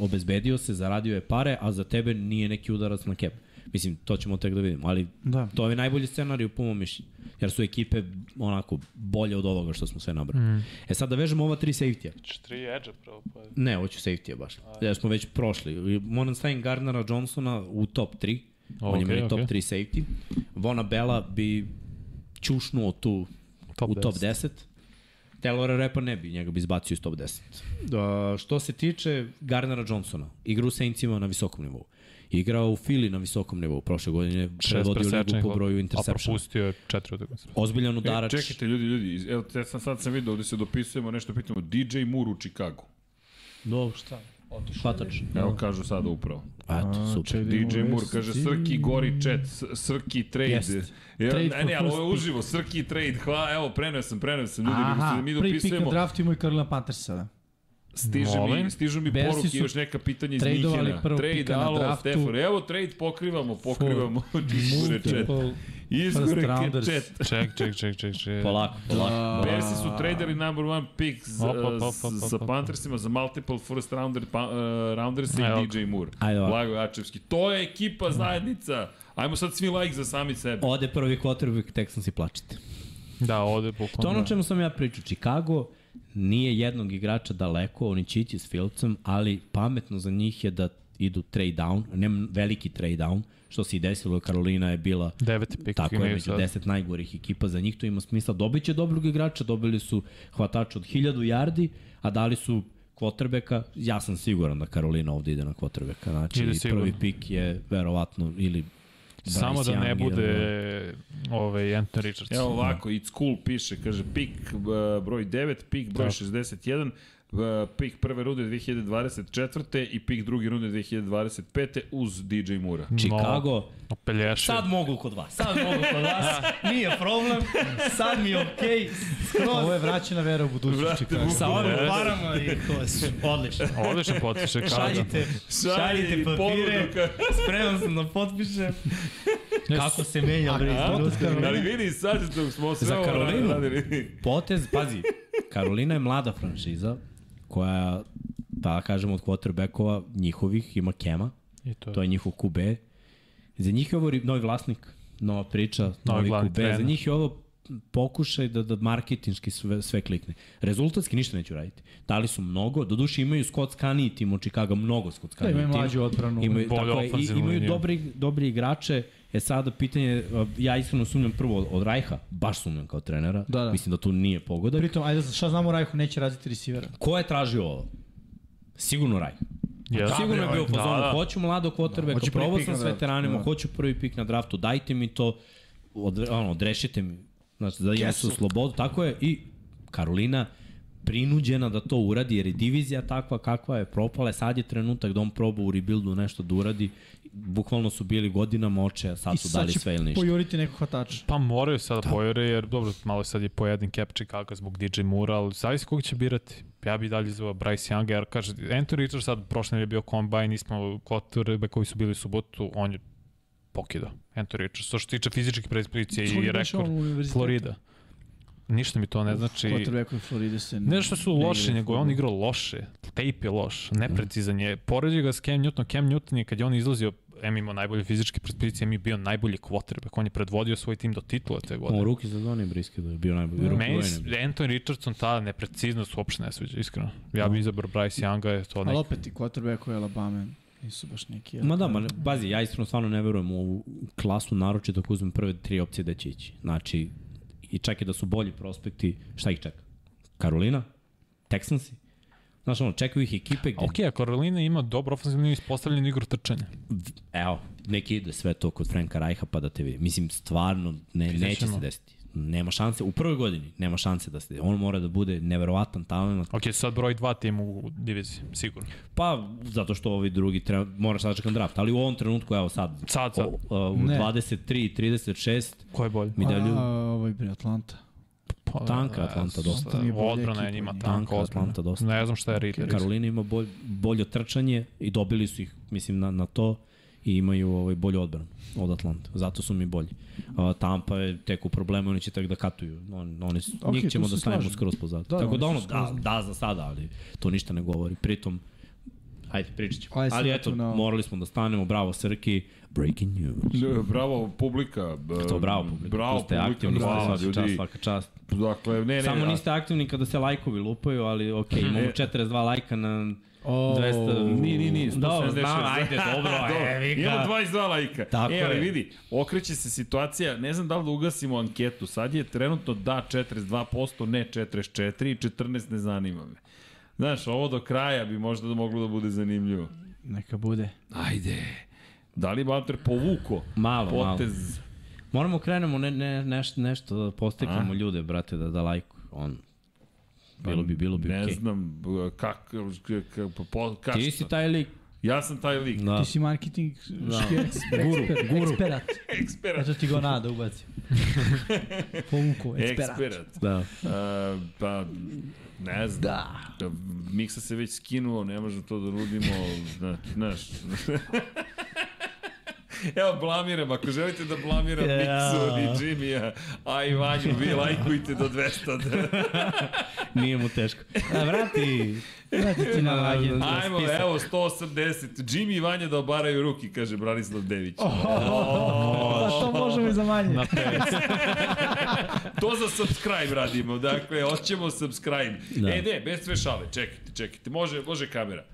[SPEAKER 4] obezbedio se, zaradio je pare, a za tebe nije neki udarac na cap. Mislim, to ćemo tek da vidimo, ali
[SPEAKER 2] Da.
[SPEAKER 4] to je najbolji scenarij po mom mišljenju. Jer su ekipe onako bolje od ovoga što smo sve nabrali. Mm. E sad da vežemo ova tri safety-a.
[SPEAKER 3] Četiri Znači, edge-a prvo. Pa...
[SPEAKER 4] Ne, hoću safety-a baš. Ja smo već prošli. Monenstein, Gardnera, Johnsona u top 3. Okay, On je
[SPEAKER 3] Okej,
[SPEAKER 4] meni top
[SPEAKER 3] okej.
[SPEAKER 4] 3 safety. Vona Bela bi čušnuo tu
[SPEAKER 3] Top
[SPEAKER 4] u top
[SPEAKER 3] 10.
[SPEAKER 4] 10. Taylora Repa ne bi, njega bi izbacio iz top 10. Uh, što se tiče Garnera Johnsona, igra u Saintsima na visokom nivou. Igrao u Fili na visokom nivou. Prošle godine predvodio ligu po broju
[SPEAKER 3] A
[SPEAKER 4] interception.
[SPEAKER 3] propustio je četiri utakmice.
[SPEAKER 4] Ozbiljan
[SPEAKER 1] E,
[SPEAKER 4] udarač.
[SPEAKER 1] čekajte ljudi, ljudi, iz- evo te sam, sad sam vidio, ovde se dopisujemo, nešto pitamo, DJ Moore u Chicagu.
[SPEAKER 4] Dobro, šta? Hvatač.
[SPEAKER 2] Da.
[SPEAKER 1] Evo kažu sada upravo.
[SPEAKER 4] Eto, super.
[SPEAKER 1] DJ Moore kaže Srki gori chat, S- Srki trade.
[SPEAKER 2] Jest.
[SPEAKER 1] Yes. Ja, trade
[SPEAKER 2] Trade for
[SPEAKER 1] ne, ne, ali
[SPEAKER 2] first
[SPEAKER 1] ovo je uživo, Srki trade. Hva, evo, preneo sam, preneo sam ljudi, nego se
[SPEAKER 5] Aha,
[SPEAKER 1] da mi
[SPEAKER 5] prvi pik na
[SPEAKER 1] dopisujemo.
[SPEAKER 5] draftimo i Carolina Panthers sada.
[SPEAKER 1] Stiže
[SPEAKER 3] Molim?
[SPEAKER 1] mi, stižu mi
[SPEAKER 5] Bersi
[SPEAKER 1] poruke
[SPEAKER 5] su
[SPEAKER 1] i još neka pitanja iz
[SPEAKER 5] tradeovali
[SPEAKER 1] Minhena.
[SPEAKER 5] prvog
[SPEAKER 1] Trade,
[SPEAKER 5] pika na
[SPEAKER 1] alo,
[SPEAKER 5] draftu.
[SPEAKER 1] Stefan. Evo, trade pokrivamo, pokrivamo. Izgore chat. Izgore
[SPEAKER 2] rounders.
[SPEAKER 1] chat.
[SPEAKER 3] Ček, ček, ček, ček, ček.
[SPEAKER 4] Polako, polako.
[SPEAKER 1] Bersi su traderi number one pick za,
[SPEAKER 3] Op, op, op, op, op,
[SPEAKER 1] sa
[SPEAKER 3] op.
[SPEAKER 1] Panthersima za multiple first rounder, pa, uh, rounders i
[SPEAKER 3] Evo ga.
[SPEAKER 1] DJ Moore.
[SPEAKER 4] Ajde ovako.
[SPEAKER 1] Blago Jačevski. To je ekipa zajednica. Ajmo sad svi like za sami sebe.
[SPEAKER 4] Ode prvi quarterback, Texans i plačete.
[SPEAKER 3] Da, ovde
[SPEAKER 4] To je
[SPEAKER 3] bukvalno.
[SPEAKER 4] ono o čemu sam ja pričao. Chicago nije jednog igrača daleko, oni će ići s Filcom, ali pametno za njih je da idu trade down, ne m- veliki trade down, što se i desilo, Karolina je bila
[SPEAKER 3] Deveti pik
[SPEAKER 4] tako je,
[SPEAKER 3] imaju
[SPEAKER 4] među
[SPEAKER 3] sad.
[SPEAKER 4] 10 najgorih ekipa, za njih to ima smisla. Dobit će dobrog igrača, dobili su hvatač od 1000 yardi, a dali su kvotrbeka, ja sam siguran da Karolina ovde ide na kvotrbeka, znači
[SPEAKER 3] Ide sigurno.
[SPEAKER 4] prvi pik je verovatno ili Bryce
[SPEAKER 3] Samo da ne
[SPEAKER 4] Young ili-
[SPEAKER 3] bude ovaj Anthony Richardson.
[SPEAKER 4] Da.
[SPEAKER 1] Evo ovako, It's Cool piše, kaže, pik uh, broj 9, pik
[SPEAKER 4] Da.
[SPEAKER 1] broj 61, uh, pik prve runde 2024. i pik druge runde 2025. uz DJ Mura.
[SPEAKER 4] Chicago,
[SPEAKER 3] Opelješe.
[SPEAKER 4] Sad mogu kod vas, sad mogu kod vas, nije problem, sad mi je okej,
[SPEAKER 5] Ovo
[SPEAKER 4] skroz.
[SPEAKER 5] je vraćena vera u budućnost Chicago.
[SPEAKER 4] Sa ovim parama i to je odlično.
[SPEAKER 3] Odličan potiše Chicago.
[SPEAKER 4] Šaljite, šaljite papire, spreman sam da potpišem. Kako se menja Breeze.
[SPEAKER 1] Ali vidi sad dok smo sve
[SPEAKER 4] Za
[SPEAKER 1] ovo
[SPEAKER 4] Karolinu?
[SPEAKER 1] radili.
[SPEAKER 4] Potez, pazi, Karolina je mlada franšiza koja, da kažemo, od quarterbackova njihovih ima Kema,
[SPEAKER 3] I to je.
[SPEAKER 4] to je njihov QB. Za njih je ovo ri- novi vlasnik, nova priča, novi,
[SPEAKER 3] glavni
[SPEAKER 4] QB.
[SPEAKER 3] trener.
[SPEAKER 4] Za njih je ovo pokušaj da, da marketinški sve, sve klikne. Rezultatski ništa neću raditi. Dali su mnogo, doduše imaju Scott Scani tim od Chicago, mnogo Scott Scani
[SPEAKER 5] Da, imaju
[SPEAKER 4] tim.
[SPEAKER 5] mlađu odbranu.
[SPEAKER 4] Imaju,
[SPEAKER 3] Bolju
[SPEAKER 4] tako je, i,
[SPEAKER 3] ofenzivnu
[SPEAKER 4] imaju
[SPEAKER 3] liniju.
[SPEAKER 4] dobri, dobri igrače. E sada pitanje, ja iskreno sumnjam prvo od Rajha, baš sumnjam kao trenera.
[SPEAKER 5] Da, da.
[SPEAKER 4] Mislim da tu nije pogodak.
[SPEAKER 5] Pritom, ajde, šta znamo o Rajhu, neće raziti receivera.
[SPEAKER 4] Ko je tražio ovo? Sigurno Rajh.
[SPEAKER 3] Jeste.
[SPEAKER 4] Sigurno je bio u
[SPEAKER 3] Da,
[SPEAKER 4] fazonu,
[SPEAKER 3] da.
[SPEAKER 4] hoću mladog quarterbacka,
[SPEAKER 5] hoću prvi
[SPEAKER 4] da, probao
[SPEAKER 5] pik
[SPEAKER 4] sam
[SPEAKER 5] na
[SPEAKER 4] s
[SPEAKER 5] draftu,
[SPEAKER 4] veteranima,
[SPEAKER 5] da.
[SPEAKER 4] hoću prvi pik na draftu, dajte mi to, od, ono, odrešite mi, znači, da imam su slobodu, tako je, i Karolina prinuđena da to uradi, jer je divizija takva kakva je propala, je, sad je trenutak da on proba u rebuildu nešto da uradi, bukvalno su bili godinama oče, a sad
[SPEAKER 5] I
[SPEAKER 4] su
[SPEAKER 5] sad
[SPEAKER 4] dali
[SPEAKER 5] će
[SPEAKER 4] sve ili ništa.
[SPEAKER 5] pojuriti nekog hvatača.
[SPEAKER 3] Pa moraju sada da. pojere, jer dobro, malo sad je po jedan cap Chicago zbog DJ Moore, ali zavisi kog će birati. Ja bi dalje zvao Bryce Younga, jer kaže, Anthony Richards sad prošle nedelje je bio kombajn, nismo kotrbe koji su bili u subotu, on je pokidao Anthony Richards. Što se tiče fizičkih predispozicija
[SPEAKER 5] Svoj
[SPEAKER 3] i
[SPEAKER 5] beše
[SPEAKER 3] rekord,
[SPEAKER 5] da on u univerzitetu.
[SPEAKER 3] Florida. Ništa mi to ne znači.
[SPEAKER 5] Quarterbacku Floride se...
[SPEAKER 3] Ne što su
[SPEAKER 5] ne
[SPEAKER 3] loši,
[SPEAKER 5] igra
[SPEAKER 3] nego je on igrao loše. Tape je loš,
[SPEAKER 4] Mhm.
[SPEAKER 3] neprecizan je. Poređu ga s Cam Newtonom. Cam Newton je kad je on izlazio, em imao najbolje fizičke predispozicije, em je bio najbolji quarterback. On je predvodio svoj tim do titula te godine.
[SPEAKER 4] On ruki za Donnie Briske da je bio najbolji. ruki
[SPEAKER 3] Meni
[SPEAKER 4] Wayne
[SPEAKER 3] s-
[SPEAKER 4] je bio.
[SPEAKER 3] Anthony Richardson ta nepreciznost uopšte ne sviđa, iskreno. Ja bih izabrao Bryce Younga, je to
[SPEAKER 5] Ali
[SPEAKER 3] neki.
[SPEAKER 5] opet i quarterbacku je Alabama. Nisu baš neki...
[SPEAKER 4] Ma da, ma, bazi, ja iskreno stvarno ne verujem u ovu klasu, naročito ako uzmem prve tri opcije da će ići. Znači, i čak i da su bolji prospekti, šta ih čeka? Karolina? Texansi? Znaš, ono, čekaju ih ekipe gde...
[SPEAKER 3] Ok, a Karolina ima dobro ofenzivnu liniju ispostavljenu igru trčanja.
[SPEAKER 4] Evo, neki ide sve to kod Franka Rajha pa da te vidi. Mislim, stvarno, ne,
[SPEAKER 3] Vidjet
[SPEAKER 4] neće
[SPEAKER 3] ćemo.
[SPEAKER 4] se desiti. Nema šanse, u prvoj godini nema šanse da se... On mora da bude neverovatan talent.
[SPEAKER 3] Ok, sad broj dva tim u diviziji, sigurno.
[SPEAKER 4] Pa, zato što ovi drugi treba, moraš da čekam draft. Ali u ovom trenutku, evo sad,
[SPEAKER 3] Sad, sad.
[SPEAKER 4] o, o, u
[SPEAKER 5] Ne.
[SPEAKER 4] 23 i 36,
[SPEAKER 3] Ko je bolji?
[SPEAKER 4] mi dalju...
[SPEAKER 5] A, ovo je bre Atlanta.
[SPEAKER 3] Pa,
[SPEAKER 4] tanka Atlanta
[SPEAKER 3] e,
[SPEAKER 4] dosta.
[SPEAKER 5] Nije bolja
[SPEAKER 3] Odbrana je
[SPEAKER 5] ekipa,
[SPEAKER 3] njima
[SPEAKER 5] nije.
[SPEAKER 3] tanka,
[SPEAKER 4] Tanka
[SPEAKER 3] odbrana.
[SPEAKER 4] Atlanta dosta.
[SPEAKER 3] Ne znam šta je Reader.
[SPEAKER 4] Karolina ima bolj, bolje trčanje i dobili su ih, mislim, na, na to i imaju ovaj, bolju odbranu od Atlanta. Zato su mi bolji. Uh, Tampa je tek u problemu, oni će tek da katuju. On, oni, okay,
[SPEAKER 5] tu
[SPEAKER 4] njih ćemo
[SPEAKER 5] se
[SPEAKER 4] da stavimo
[SPEAKER 5] slažem.
[SPEAKER 4] skroz pozad.
[SPEAKER 5] Da,
[SPEAKER 4] Da, Tako
[SPEAKER 5] oni
[SPEAKER 4] da
[SPEAKER 5] su
[SPEAKER 4] ono,
[SPEAKER 5] skroz-
[SPEAKER 4] da, da za sada, ali to ništa ne govori. Pritom, Ajde, pričat ćemo.
[SPEAKER 5] Ajde, sad
[SPEAKER 4] Ali
[SPEAKER 5] da
[SPEAKER 4] eto,
[SPEAKER 5] tu na-
[SPEAKER 4] morali smo da stanemo. Bravo, Srki. Breaking news.
[SPEAKER 1] Ne, Bravo publika. b-
[SPEAKER 4] To bravo, publika.
[SPEAKER 1] Bravo
[SPEAKER 4] tu ste
[SPEAKER 1] publika.
[SPEAKER 4] aktivni,
[SPEAKER 1] hvala
[SPEAKER 4] hvala, svaka čast,
[SPEAKER 1] ljudi.
[SPEAKER 4] svaka čast.
[SPEAKER 1] Dakle, ne, ne.
[SPEAKER 4] Ne, Samo
[SPEAKER 1] a-
[SPEAKER 4] niste aktivni kada se lajkovi lupaju, ali okej, okay, imamo
[SPEAKER 1] Ne.
[SPEAKER 4] 42 lajka na
[SPEAKER 5] O,
[SPEAKER 4] 200...
[SPEAKER 1] Ni, ni, ni,
[SPEAKER 4] Dobro,
[SPEAKER 1] 176.
[SPEAKER 4] znam, Da, ajde, dobro, e, vi
[SPEAKER 1] Imamo
[SPEAKER 4] ga.
[SPEAKER 1] 22 lajka.
[SPEAKER 4] Tako
[SPEAKER 1] e, ali
[SPEAKER 4] je.
[SPEAKER 1] vidi, okreće se situacija, ne znam da li da ugasimo anketu, sad je trenutno da 42%, ne 44% i 14 ne zanima me. Znaš, ovo do kraja bi možda da moglo da bude zanimljivo.
[SPEAKER 5] Neka bude.
[SPEAKER 1] Ajde. Da li Balter povuko
[SPEAKER 4] Malo, malo.
[SPEAKER 1] potez?
[SPEAKER 4] Moramo krenemo ne, ne, neš, nešto da posteknemo
[SPEAKER 1] A? Pa
[SPEAKER 4] ljude, brate, da, da lajkuju. On, bilo bi, bilo bi
[SPEAKER 1] Ne
[SPEAKER 4] okej.
[SPEAKER 1] znam, b- kak, k, k, po, kač,
[SPEAKER 4] Ti si taj lik.
[SPEAKER 1] Ja sam taj lik.
[SPEAKER 4] Da.
[SPEAKER 5] Ti si marketing ški ekspert.
[SPEAKER 2] Guru, guru. Eksperat.
[SPEAKER 1] Eksperat.
[SPEAKER 2] Eto ti ga nada ubaci. Povuku, eksperat.
[SPEAKER 1] Eksperat.
[SPEAKER 4] Da.
[SPEAKER 1] E, pa, ne znam. Da. Miksa se već skinuo, ne možemo to da nudimo, zna- znaš. Evo, blamiram, ako želite da blamiram
[SPEAKER 4] Ja.
[SPEAKER 1] yeah. Miksu, ni Jimmy-a, a i Vanju, vi lajkujte do 200.
[SPEAKER 4] Nije mu teško.
[SPEAKER 5] E,
[SPEAKER 4] Da, vrati.
[SPEAKER 2] Vrati ti na
[SPEAKER 4] Da,
[SPEAKER 2] vagin.
[SPEAKER 1] Ajmo,
[SPEAKER 4] spisak.
[SPEAKER 1] evo, 180. Jimmy i Vanja da obaraju ruki, kaže Branislav Dević.
[SPEAKER 5] Pa to možemo i za manje.
[SPEAKER 3] Na pet.
[SPEAKER 1] To za subscribe radimo, dakle, hoćemo subscribe. Da.
[SPEAKER 4] Da.
[SPEAKER 1] E, ne, bez sve šale, čekajte, čekajte, može, može kamera.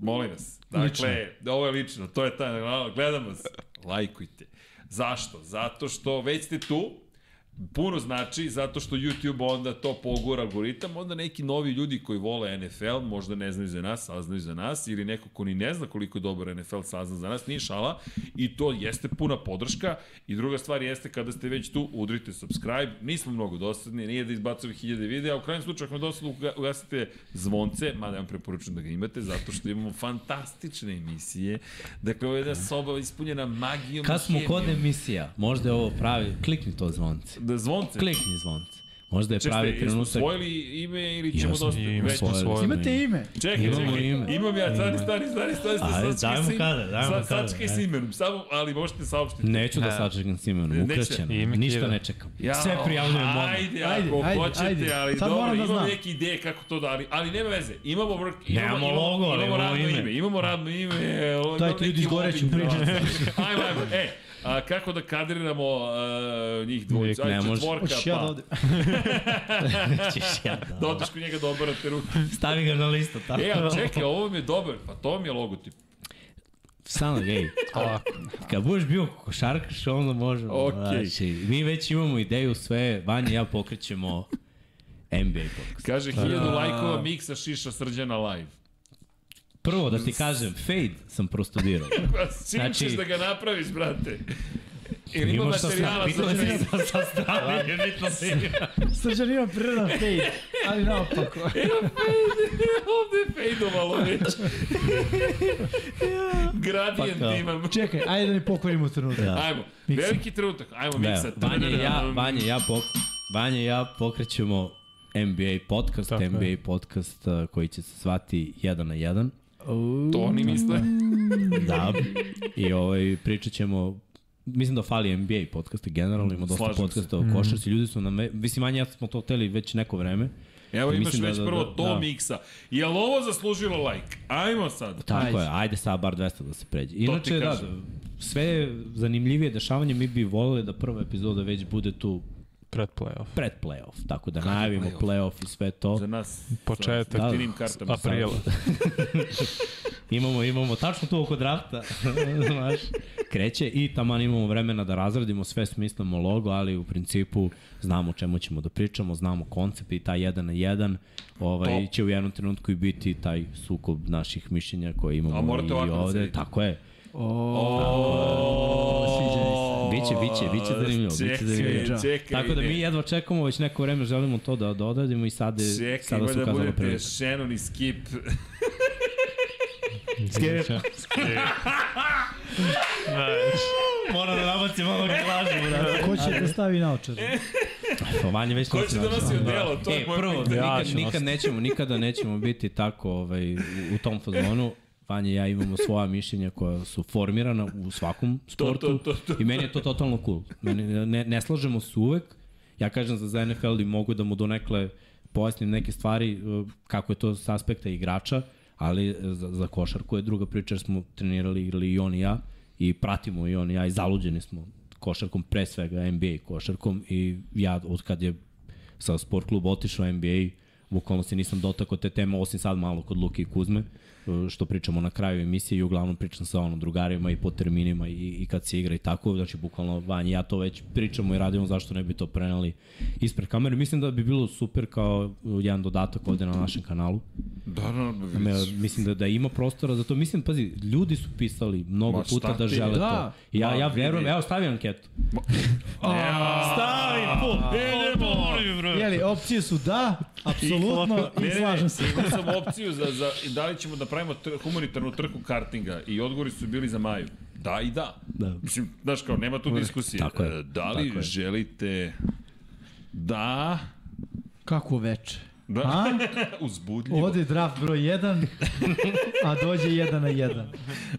[SPEAKER 1] Molim vas, dakle, lično. ovo je lično, to je ta, gledamo se, lajkujte. Zašto? Zato što već ste tu, puno znači zato što YouTube onda to pogura algoritam, onda neki novi ljudi koji vole NFL, možda ne znaju za nas, saznaju za nas, ili neko ko ni ne zna koliko je dobar NFL sazna za nas, nije šala, i to jeste puna podrška, i druga stvar jeste kada ste već tu, udrite subscribe, nismo mnogo dosadni, nije da izbacujemo hiljade videa, u krajnjem slučaju ako vam je dosadno uga- ugasite zvonce, mada ja vam preporučujem da ga imate, zato što imamo fantastične emisije, dakle ovo je jedna soba ispunjena magijom i
[SPEAKER 4] Kad smo kod
[SPEAKER 1] hemijom.
[SPEAKER 4] emisija, možda je ovo pravi, klikni to zvonce.
[SPEAKER 1] Da zvonce.
[SPEAKER 4] Klikni zvonce. Možda je pravi
[SPEAKER 1] Čekajte, jesmo
[SPEAKER 4] trenutak.
[SPEAKER 1] osvojili ime ili ćemo dosta
[SPEAKER 3] Ime
[SPEAKER 1] već?
[SPEAKER 3] smo osvojili.
[SPEAKER 5] Imate ime.
[SPEAKER 1] Čekaj,
[SPEAKER 4] Imamo
[SPEAKER 1] čekaj,
[SPEAKER 4] ime.
[SPEAKER 1] imam ja, stani, stani, stani, stani, stani,
[SPEAKER 4] Ajde,
[SPEAKER 1] sad čekaj
[SPEAKER 4] dajmo
[SPEAKER 1] sa im-
[SPEAKER 4] kada, dajmo
[SPEAKER 1] sad-
[SPEAKER 4] kada,
[SPEAKER 1] Sad čekaj s
[SPEAKER 4] ajde.
[SPEAKER 1] imenom, samo, ali možete saopštiti.
[SPEAKER 4] Neću da
[SPEAKER 3] Ne.
[SPEAKER 4] sačekam s imenom,
[SPEAKER 1] Neće.
[SPEAKER 4] ukraćeno.
[SPEAKER 3] Ime
[SPEAKER 4] Ništa
[SPEAKER 3] Kira.
[SPEAKER 4] ne čekam.
[SPEAKER 1] Ja,
[SPEAKER 4] Sve prijavljujem odmah.
[SPEAKER 1] Ajde,
[SPEAKER 5] Ajde,
[SPEAKER 1] ako
[SPEAKER 5] ajde,
[SPEAKER 1] hoćete,
[SPEAKER 5] ajde.
[SPEAKER 1] ali
[SPEAKER 5] Sad
[SPEAKER 1] dobro,
[SPEAKER 5] moram da
[SPEAKER 1] imam
[SPEAKER 5] znam.
[SPEAKER 1] neke ideje kako to da, ali, ali nema veze, imamo work, imamo,
[SPEAKER 4] Nemamo
[SPEAKER 1] imamo,
[SPEAKER 4] logo, ali
[SPEAKER 1] imamo
[SPEAKER 4] imamo
[SPEAKER 1] radno ime.
[SPEAKER 4] ime.
[SPEAKER 1] imamo radno ime. ovo,
[SPEAKER 2] Daj,
[SPEAKER 1] imam
[SPEAKER 2] ti ljudi
[SPEAKER 1] neki
[SPEAKER 2] iz Goreću
[SPEAKER 1] mobbing,
[SPEAKER 2] pričaju.
[SPEAKER 1] da. ajmo, ajmo, e, a, kako da kadriramo a, njih
[SPEAKER 3] Uvijek
[SPEAKER 1] dvojica,
[SPEAKER 4] ne
[SPEAKER 1] ajde,
[SPEAKER 4] može.
[SPEAKER 1] četvorka,
[SPEAKER 5] Hoćeš ja da
[SPEAKER 1] pa,
[SPEAKER 5] ovde.
[SPEAKER 4] Ćeš ja da-
[SPEAKER 1] da odeš kod njega da obarate ruku.
[SPEAKER 4] Stavi ga na listu, tako.
[SPEAKER 1] E, ali čekaj, ovo mi je dobar, pa to mi je logotip.
[SPEAKER 4] Samo gej.
[SPEAKER 3] Ovako.
[SPEAKER 4] Kad budeš bio košarkaš, onda možemo.
[SPEAKER 1] Okej.
[SPEAKER 4] Znači, mi već imamo ideju sve, Vanja i ja pokrećemo NBA podcast.
[SPEAKER 1] Kaže, hiljadu lajkova miksa šiša srđana live.
[SPEAKER 4] Prvo da ti kažem, fade sam prostudirao.
[SPEAKER 1] Pa, s čim znači,
[SPEAKER 4] Znači-
[SPEAKER 1] ćeš da ga napraviš, brate? Jer ima
[SPEAKER 4] Imam šta sam-
[SPEAKER 1] materijala za
[SPEAKER 4] bitno je
[SPEAKER 1] sve.
[SPEAKER 4] da sam strane, je bitno da-
[SPEAKER 5] Srđan ima prirodan fade, ali naopako.
[SPEAKER 1] Ovde je fejdovalo već.
[SPEAKER 4] Pa kao.
[SPEAKER 1] Gradijent imam.
[SPEAKER 5] Čekaj, ajde da ne pokvarimo trenutak.
[SPEAKER 4] Da.
[SPEAKER 1] Ajmo,
[SPEAKER 5] Miksa.
[SPEAKER 1] veliki trenutak. Ajmo miksa. um,
[SPEAKER 4] Da, Vanja i ja, Vanja i ja, pok, Vanja i ja pokrećemo NBA podcast,
[SPEAKER 3] Tako je.
[SPEAKER 4] NBA podcast uh, koji će se svati jedan na jedan.
[SPEAKER 1] To oni misle.
[SPEAKER 4] Da. I ovaj, pričat ćemo Mislim da fali NBA podcasta generalno, ima dosta
[SPEAKER 1] Slažem se.
[SPEAKER 4] podcasta o košarci, ljudi su nam, mislim, Vanja, i ja smo to hteli već neko vreme.
[SPEAKER 1] Evo imaš
[SPEAKER 4] Mislim da-
[SPEAKER 1] već
[SPEAKER 4] da-
[SPEAKER 1] prvo
[SPEAKER 4] da-
[SPEAKER 1] to
[SPEAKER 4] da.
[SPEAKER 1] miksa. Jel ovo zaslužilo lajk? Ajmo sad.
[SPEAKER 4] Tako
[SPEAKER 5] Ajde.
[SPEAKER 4] je, ajde sad bar 200 da se pređe. Inače, da,
[SPEAKER 1] kažem.
[SPEAKER 4] sve je zanimljivije dešavanje, mi bi volili da prva epizoda već bude tu
[SPEAKER 3] Pred playoff.
[SPEAKER 4] pred playoff, tako da najavimo playoff i sve to.
[SPEAKER 1] Za nas.
[SPEAKER 3] Početak.
[SPEAKER 1] Sa
[SPEAKER 4] Da.
[SPEAKER 1] finim kartama.
[SPEAKER 3] Aprila.
[SPEAKER 4] Imamo, imamo, tačno tu oko drafta, znaš, kreće i taman imamo vremena da razradimo sve, smislimo logo, ali u principu znamo o čemu ćemo da pričamo, znamo koncept i taj jedan na jedan, ovaj,
[SPEAKER 1] Top.
[SPEAKER 4] će u jednom trenutku i biti taj sukob naših mišljenja koje imamo
[SPEAKER 1] A morate
[SPEAKER 4] i
[SPEAKER 1] ovako da
[SPEAKER 4] ovde,
[SPEAKER 1] sedite.
[SPEAKER 4] tako je.
[SPEAKER 1] Oooo.
[SPEAKER 4] Biće, biće, biće zanimljivo, biće zanimljivo.
[SPEAKER 1] Čekaj,
[SPEAKER 4] Tako da
[SPEAKER 1] ne.
[SPEAKER 4] mi jedva čekamo, već neko vreme želimo to da dodadimo i sad je,
[SPEAKER 1] Čekaj,
[SPEAKER 4] sada
[SPEAKER 1] ima
[SPEAKER 4] su
[SPEAKER 1] da
[SPEAKER 4] kazali
[SPEAKER 1] budete
[SPEAKER 4] prilike.
[SPEAKER 1] Shannon i Skip.
[SPEAKER 4] Moram da nabacim ovog glažu, brate.
[SPEAKER 5] Ko će da stavi naočare?
[SPEAKER 4] Vanje već
[SPEAKER 1] Ko će da nosi odelo? To je
[SPEAKER 4] E,
[SPEAKER 1] moje
[SPEAKER 4] prvo,
[SPEAKER 1] pitanje.
[SPEAKER 3] Ja
[SPEAKER 4] nikad,
[SPEAKER 3] ću
[SPEAKER 4] nikad
[SPEAKER 3] nositi.
[SPEAKER 4] nećemo, nikada nećemo biti tako ovaj, u, u tom fazonu. Vanja i ja imamo svoja mišljenja koja su formirana u svakom sportu
[SPEAKER 1] to, to,
[SPEAKER 4] i meni je to totalno cool. Meni, ne, ne slažemo se uvek. Ja kažem za- za NFL i mogu da mu donekle pojasnim neke stvari eh, kako je to s aspekta igrača, ali za, za košarku je druga priča, jer smo trenirali ili i on i ja i pratimo i on i ja i zaluđeni smo košarkom, pre svega NBA košarkom i ja od kad je sa sport kluba otišao NBA, bukvalno se nisam dotakao te teme, osim sad malo kod Luke i Kuzme, e, što pričamo na kraju emisije i uglavnom pričam sa ono drugarima i po terminima i, i kad se igra i tako, znači bukvalno Vanja i ja to već pričamo i radimo, zašto ne bi to preneli ispred kamere. Mislim da bi bilo super kao jedan dodatak ovde na našem kanalu.
[SPEAKER 1] Da, da,
[SPEAKER 4] Me,
[SPEAKER 1] da,
[SPEAKER 4] mislim da da ima prostora za to. Mislim, pazi, ljudi su pisali mnogo
[SPEAKER 1] Ma,
[SPEAKER 4] Ma,
[SPEAKER 1] šta
[SPEAKER 4] puta da
[SPEAKER 1] ti?
[SPEAKER 4] žele
[SPEAKER 2] Da.
[SPEAKER 4] to. Ja,
[SPEAKER 1] Ma,
[SPEAKER 4] ja
[SPEAKER 1] vidi.
[SPEAKER 4] verujem, evo stavi anketu.
[SPEAKER 1] Stavi put, idemo!
[SPEAKER 2] Jeli, opcije su da, apsolutno
[SPEAKER 4] Pa,
[SPEAKER 2] i
[SPEAKER 1] Ne, ne,
[SPEAKER 2] slažem se.
[SPEAKER 1] ne, imao sam opciju za, za da li ćemo da pravimo tr, humanitarnu trku kartinga i odgovori su bili za Maju. Da i da.
[SPEAKER 4] Da.
[SPEAKER 1] Mislim, znaš kao, nema tu diskusije.
[SPEAKER 4] Tako je,
[SPEAKER 1] E, Da li
[SPEAKER 4] tako je.
[SPEAKER 1] želite da,
[SPEAKER 2] Kako veče?
[SPEAKER 1] da
[SPEAKER 2] A?
[SPEAKER 1] uzbudljivo?
[SPEAKER 2] Ovde je draft broj 1, a dođe 1 na 1.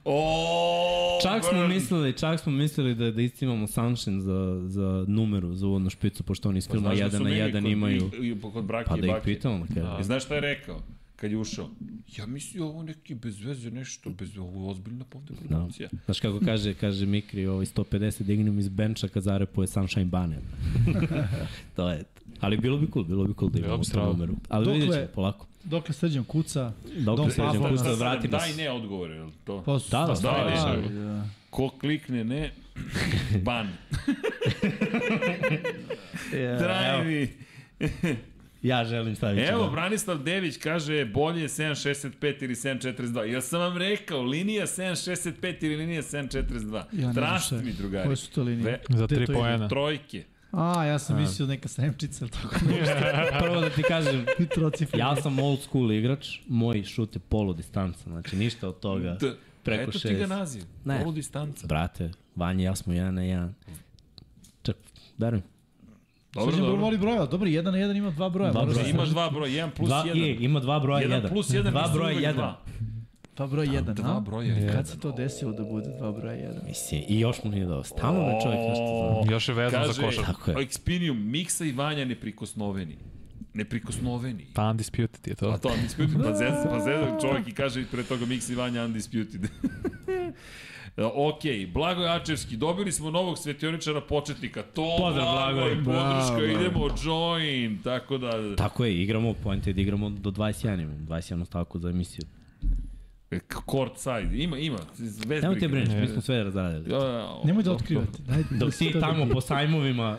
[SPEAKER 1] O,
[SPEAKER 4] Čak smo
[SPEAKER 1] brn.
[SPEAKER 4] mislili, čak smo mislili da da istimamo Sunshine za za numeru za uvodnu špicu pošto oni iz
[SPEAKER 1] Pa,
[SPEAKER 4] filma
[SPEAKER 1] znaš da su
[SPEAKER 4] 1
[SPEAKER 1] meni
[SPEAKER 4] na 1
[SPEAKER 1] kod-
[SPEAKER 4] imaju.
[SPEAKER 1] i- i- Kod brake
[SPEAKER 4] Pa
[SPEAKER 1] i
[SPEAKER 4] da ih
[SPEAKER 1] bake.
[SPEAKER 4] pitamo na kraju.
[SPEAKER 1] I znaš šta je rekao? kad je ušao, ja mislio ovo neki bez veze nešto, bez ovo je ozbiljna povde
[SPEAKER 4] Da.
[SPEAKER 1] produkcija.
[SPEAKER 4] Znaš kako kaže, kaže Mikri, ovaj 150 dignem iz benča kad zarepuje Sunshine Bane. to je. Ali bilo bi cool, bilo bi cool da
[SPEAKER 3] Bilo
[SPEAKER 4] imamo
[SPEAKER 3] bi strava.
[SPEAKER 4] tu numeru. Ali
[SPEAKER 2] Dokle-
[SPEAKER 4] vidjet ćemo polako.
[SPEAKER 2] Dokle srđan kuca,
[SPEAKER 4] Dokle
[SPEAKER 2] Dom
[SPEAKER 4] sređem
[SPEAKER 2] Papa.
[SPEAKER 4] kusta,
[SPEAKER 1] Da,
[SPEAKER 4] vrati nas.
[SPEAKER 1] Da i ne odgovore, je li to?
[SPEAKER 2] pa su
[SPEAKER 4] Da, da,
[SPEAKER 1] Da,
[SPEAKER 4] da,
[SPEAKER 1] da,
[SPEAKER 2] stvari.
[SPEAKER 1] da. Ko klikne ne, ban. Trajni.
[SPEAKER 4] Ja želim staviti.
[SPEAKER 1] Evo,
[SPEAKER 4] da.
[SPEAKER 1] Branislav Dević kaže bolje je 7.65 ili 7.42. Ja sam vam rekao, linija 7.65 ili linija 7.42.
[SPEAKER 2] ne
[SPEAKER 1] Ja
[SPEAKER 2] znam
[SPEAKER 1] Trust
[SPEAKER 2] šta je.
[SPEAKER 1] mi, drugari.
[SPEAKER 2] Koje su to linije?
[SPEAKER 1] Ve-
[SPEAKER 3] Za
[SPEAKER 2] Gde
[SPEAKER 3] tri
[SPEAKER 2] to ide?
[SPEAKER 3] poena.
[SPEAKER 1] Trojke.
[SPEAKER 2] A, ja sam mislio neka sremčica, tako
[SPEAKER 4] Prvo da ti kažem,
[SPEAKER 2] i trocifra.
[SPEAKER 4] ja sam old school igrač, moji šut je polu distanca, znači ništa od toga.
[SPEAKER 1] D-
[SPEAKER 4] Preko
[SPEAKER 1] Eto ti
[SPEAKER 4] šest.
[SPEAKER 1] ga naziv.
[SPEAKER 4] Ne.
[SPEAKER 1] Polu distanca.
[SPEAKER 4] Brate, Vanja i ja smo jedan na jedan. Čak, darujem.
[SPEAKER 1] Dobro,
[SPEAKER 2] Srđan
[SPEAKER 1] dobro.
[SPEAKER 2] voli brojeva, dobro, 1 na 1 ima dva broja.
[SPEAKER 4] Dva
[SPEAKER 2] mora
[SPEAKER 4] broja.
[SPEAKER 2] se-
[SPEAKER 1] Imaš dva broja, 1 plus
[SPEAKER 4] Dva, je,
[SPEAKER 1] 1.
[SPEAKER 4] ima dva broja
[SPEAKER 1] 1
[SPEAKER 4] jedan.
[SPEAKER 1] plus 1
[SPEAKER 4] dva broja jedan.
[SPEAKER 2] Dva broja 1,
[SPEAKER 1] Dva broja jedan.
[SPEAKER 2] Kad se to desilo da bude dva broja 1?
[SPEAKER 4] Mislim, i još mu nije dao. Stalno me ovaj čovjek nešto zna.
[SPEAKER 3] Još je vezan za
[SPEAKER 1] Kaže,
[SPEAKER 3] košarku.
[SPEAKER 4] Tako je.
[SPEAKER 1] Expinium, Miksa i Vanja neprikosnoveni. Neprikosnoveni.
[SPEAKER 3] Pa undisputed je
[SPEAKER 1] Pa
[SPEAKER 3] to.
[SPEAKER 1] to, undisputed, pa zezan, pa zezan čovjek i kaže i pre toga Mix i Vanja undisputed. ok, Blago Jačevski, dobili smo novog svetioničara početnika. To
[SPEAKER 4] Pozdrav,
[SPEAKER 1] Blago i
[SPEAKER 4] Blagoj.
[SPEAKER 1] podrška, idemo, join, tako da...
[SPEAKER 4] Tako je, igramo, point je da igramo do 21, imam 21 stavku za emisiju.
[SPEAKER 1] K- Court side, ima, ima, bez brige.
[SPEAKER 4] Nemo te brineš, mi smo sve razradili.
[SPEAKER 1] Ja, ja, o-
[SPEAKER 2] Nemoj da
[SPEAKER 1] dobro.
[SPEAKER 2] otkrivate. Daj,
[SPEAKER 4] Dok ti tamo po sajmovima,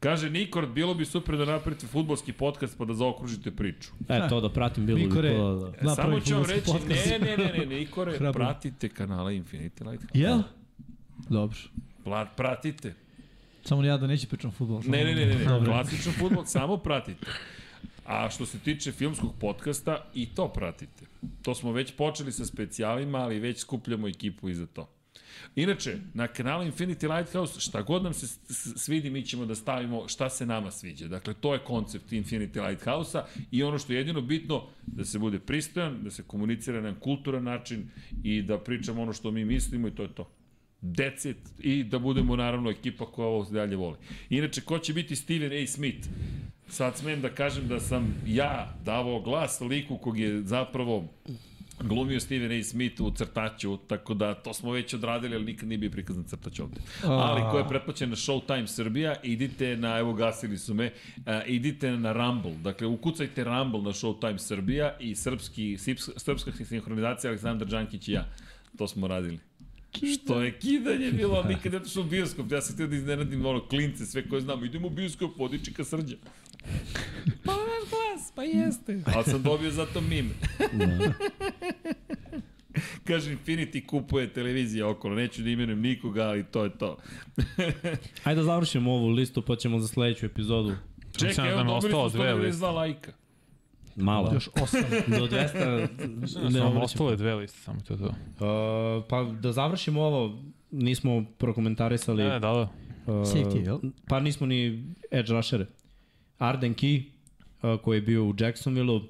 [SPEAKER 1] Kaže Nikord, bilo bi super da napravite futbolski podcast pa da zaokružite priču.
[SPEAKER 4] e, to da pratim bilo bi
[SPEAKER 2] Nikore,
[SPEAKER 4] to da...
[SPEAKER 1] E, Samo
[SPEAKER 2] napravi
[SPEAKER 1] ću vam
[SPEAKER 2] futbolski
[SPEAKER 1] reći,
[SPEAKER 2] podcast.
[SPEAKER 1] ne, ne, ne, ne, Nikore,
[SPEAKER 2] Hrabro.
[SPEAKER 1] pratite kanale Infinity Light. Da,
[SPEAKER 2] Jel? Dobro.
[SPEAKER 1] Pla- Pratite.
[SPEAKER 2] Samo ja da neće pričam o futbolu.
[SPEAKER 1] Ne, ne, ne, ne, ne.
[SPEAKER 2] Dobro.
[SPEAKER 1] klasičan futbol, samo pratite. A što se tiče filmskog podcasta, i to pratite. To smo već počeli sa specijalima, ali već skupljamo ekipu i za to. Inače, na kanalu Infinity Lighthouse, šta god nam se s- s- svidi, mi ćemo da stavimo šta se nama sviđa. Dakle, to je koncept Infinity Lighthouse-a i ono što je jedino bitno, da se bude pristojan, da se komunicira na jedan kulturan način i da pričamo ono što mi mislimo i to je to decet i da budemo naravno ekipa koja ovo dalje voli. Inače, ko će biti Steven A. Smith? Sad smem da kažem da sam ja davao glas liku kog je zapravo glumio Steven A. Smith u crtaću, tako da to smo već odradili, ali nikad nije bio prikazan crtač ovde. Ali ko je pretplaćen na Showtime Srbija, idite na, evo gasili su me, a, idite na Rumble, dakle ukucajte Rumble na Showtime Srbija i srpski, sips- srpska sinhronizacija Aleksandar Đankić i ja. To smo radili. Što je kidanje bilo, ali nikad ne što u bioskop. Ja sam htio da iznenadim ono klince, sve koje znam. Idemo u bioskop, vodiči ka srđa. Pa naš glas, pa jeste. Ali sam dobio zato mime. Da. Kaže, Infinity kupuje televizije okolo. Neću da imenujem nikoga, ali to je to.
[SPEAKER 4] Ajde da završimo ovu listu, pa ćemo za sledeću epizodu.
[SPEAKER 3] Mislim
[SPEAKER 1] Čekaj,
[SPEAKER 3] da
[SPEAKER 1] evo,
[SPEAKER 3] nam je
[SPEAKER 1] dobili smo
[SPEAKER 3] ostalo dve
[SPEAKER 1] 192 lajka.
[SPEAKER 4] Malo.
[SPEAKER 2] Još osam.
[SPEAKER 4] Do 200...
[SPEAKER 3] Ne,
[SPEAKER 4] obraćam.
[SPEAKER 2] pa.
[SPEAKER 3] ostale dve liste, samo to je to.
[SPEAKER 4] Uh, pa da završimo ovo, nismo prokomentarisali...
[SPEAKER 3] Ne, da, da.
[SPEAKER 4] Uh,
[SPEAKER 2] Safety, jel?
[SPEAKER 4] Pa nismo ni edge rushere. Arden Key, uh, koji je bio u Jacksonville-u, uh,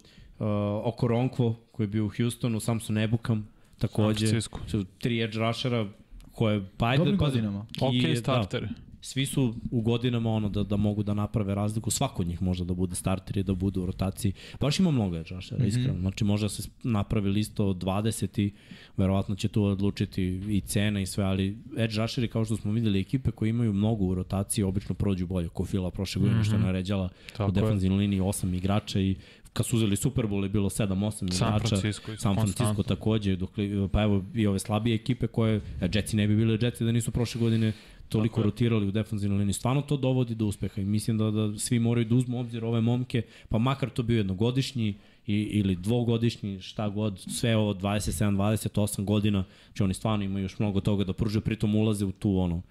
[SPEAKER 4] Okoronkwo, koji je bio u Houstonu, Samson Ebukam, takođe.
[SPEAKER 3] San Francisco.
[SPEAKER 4] Su tri edge rushera koje, pa ajde,
[SPEAKER 2] Dobrim
[SPEAKER 4] pazi,
[SPEAKER 2] godinama.
[SPEAKER 4] Key
[SPEAKER 3] Ok,
[SPEAKER 4] je,
[SPEAKER 3] starter.
[SPEAKER 4] Da, svi su u godinama ono da, da mogu da naprave razliku, svako od njih može da bude starter i da bude u rotaciji. Baš ima mnogo
[SPEAKER 3] Mhm.
[SPEAKER 4] edžašera, mm -hmm. iskreno. Znači može da se napravi lista od 20 i verovatno će tu odlučiti i cena i sve, ali edžašeri kao što smo videli ekipe koje imaju mnogo u rotaciji obično prođu bolje. Kofila prošle godine mm -hmm. što je naređala
[SPEAKER 3] Mhm. Tako
[SPEAKER 4] u
[SPEAKER 3] je.
[SPEAKER 4] defanzivnoj liniji osam igrača i kad su uzeli Super Bowl je bilo 7-8 igrača.
[SPEAKER 3] San Francisco isto,
[SPEAKER 4] San Francisco
[SPEAKER 3] konstantno.
[SPEAKER 4] takođe, dok, pa evo i ove slabije ekipe koje, a Jetsi ne bi bili Jetsi da nisu prošle godine toliko
[SPEAKER 3] Tako je.
[SPEAKER 4] rotirali u defanzivnoj liniji. Stvarno to dovodi do uspeha i mislim da, da svi moraju da uzmu u obzir ove momke, pa makar to bio jednogodišnji i, ili dvogodišnji, šta god, sve ovo 27, 28 godina, znači oni stvarno imaju još mnogo toga da pruže, pritom ulaze u tu ono,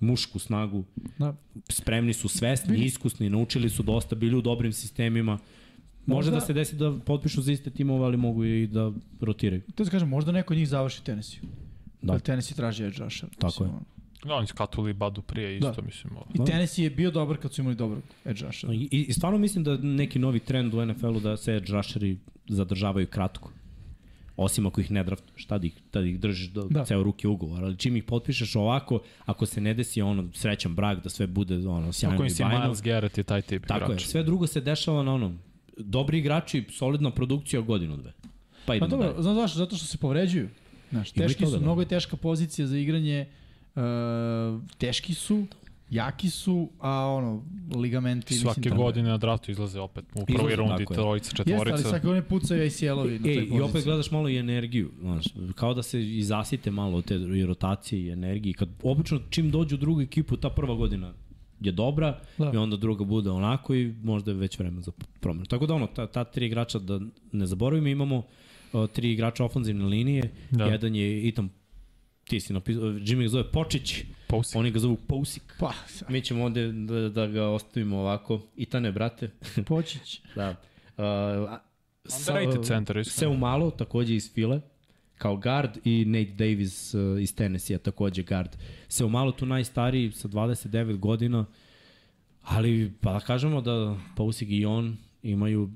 [SPEAKER 4] mušku snagu,
[SPEAKER 2] Da.
[SPEAKER 4] spremni su, svesni, iskusni, naučili su dosta, bili u dobrim sistemima, Može
[SPEAKER 2] Možda-
[SPEAKER 4] da se desi da potpišu za iste timove, ali mogu i da rotiraju.
[SPEAKER 2] To ti kažem, možda neko od njih završi Tennessee.
[SPEAKER 4] Da.
[SPEAKER 2] Da. Tennessee traži edge rushera.
[SPEAKER 4] Tako
[SPEAKER 2] mislim,
[SPEAKER 4] je.
[SPEAKER 2] ono.
[SPEAKER 3] Da, oni skatuli Badu prije isto,
[SPEAKER 2] Da.
[SPEAKER 3] mislim. Ovo.
[SPEAKER 2] I Tennessee je bio dobar kad su imali dobrog edge rushera.
[SPEAKER 4] I, I stvarno mislim da neki novi trend u NFL-u da se edge rusheri zadržavaju kratko. Osim ako ih ne draftuješ, tad ih, tad ih držiš do da.
[SPEAKER 2] Da.
[SPEAKER 4] ceo ruke ugovor. Ali čim ih potpišeš ovako, ako se ne desi ono srećan brak, da sve bude ono sjajno
[SPEAKER 3] Tako
[SPEAKER 4] i
[SPEAKER 3] im si
[SPEAKER 4] bajno.
[SPEAKER 3] Miles Garrett je taj tip
[SPEAKER 4] Tako je,
[SPEAKER 3] igrača.
[SPEAKER 4] sve drugo se dešava na onom. Dobri igrači, solidna produkcija godinu dve. Pa
[SPEAKER 2] Pa
[SPEAKER 4] idemo
[SPEAKER 2] dobro,
[SPEAKER 4] dalje.
[SPEAKER 2] znaš zašto? Zato što se povređuju. Znaš,
[SPEAKER 4] Ima i
[SPEAKER 2] teški
[SPEAKER 4] toga,
[SPEAKER 2] su,
[SPEAKER 4] da.
[SPEAKER 2] mnogo je teška pozicija za igranje. E, teški su, jaki su, a ono, ligamenti...
[SPEAKER 3] Svake
[SPEAKER 2] da-
[SPEAKER 3] godine na draftu izlaze opet u prvoj
[SPEAKER 4] Izlaze,
[SPEAKER 3] rundi
[SPEAKER 4] tako je.
[SPEAKER 3] trojica,
[SPEAKER 2] Jeste, ali
[SPEAKER 3] četvorica.
[SPEAKER 2] svake godine pucaju ACL-ovi na toj
[SPEAKER 4] Ej,
[SPEAKER 2] poziciji.
[SPEAKER 4] E, i opet gledaš malo i energiju, znaš, kao da se izasite malo od te i rotacije i energije. Kad obično čim dođu u drugu ekipu, ta prva godina je dobra da.
[SPEAKER 2] Da.
[SPEAKER 4] i onda druga bude onako i možda je već vreme za promenu. Tako da ono, ta, ta tri igrača da ne zaboravimo, imamo o, tri igrača ofenzivne linije, da.
[SPEAKER 3] Da.
[SPEAKER 4] jedan je Itam, ti si napisao, Jimmy ga zove Počić,
[SPEAKER 3] Posik.
[SPEAKER 4] oni ga zovu Pousik.
[SPEAKER 2] Pa,
[SPEAKER 4] Mi ćemo ovde da, da ga ostavimo ovako, Itane, brate.
[SPEAKER 2] počić.
[SPEAKER 4] da. Uh,
[SPEAKER 3] Underrated centar, iskreno.
[SPEAKER 4] Seu Malo, takođe iz File, kao guard i Nate Davis uh, iz Tennessee, takođe guard. Seu Malo tu najstariji sa 29 godina, ali pa da kažemo da Pausig i on imaju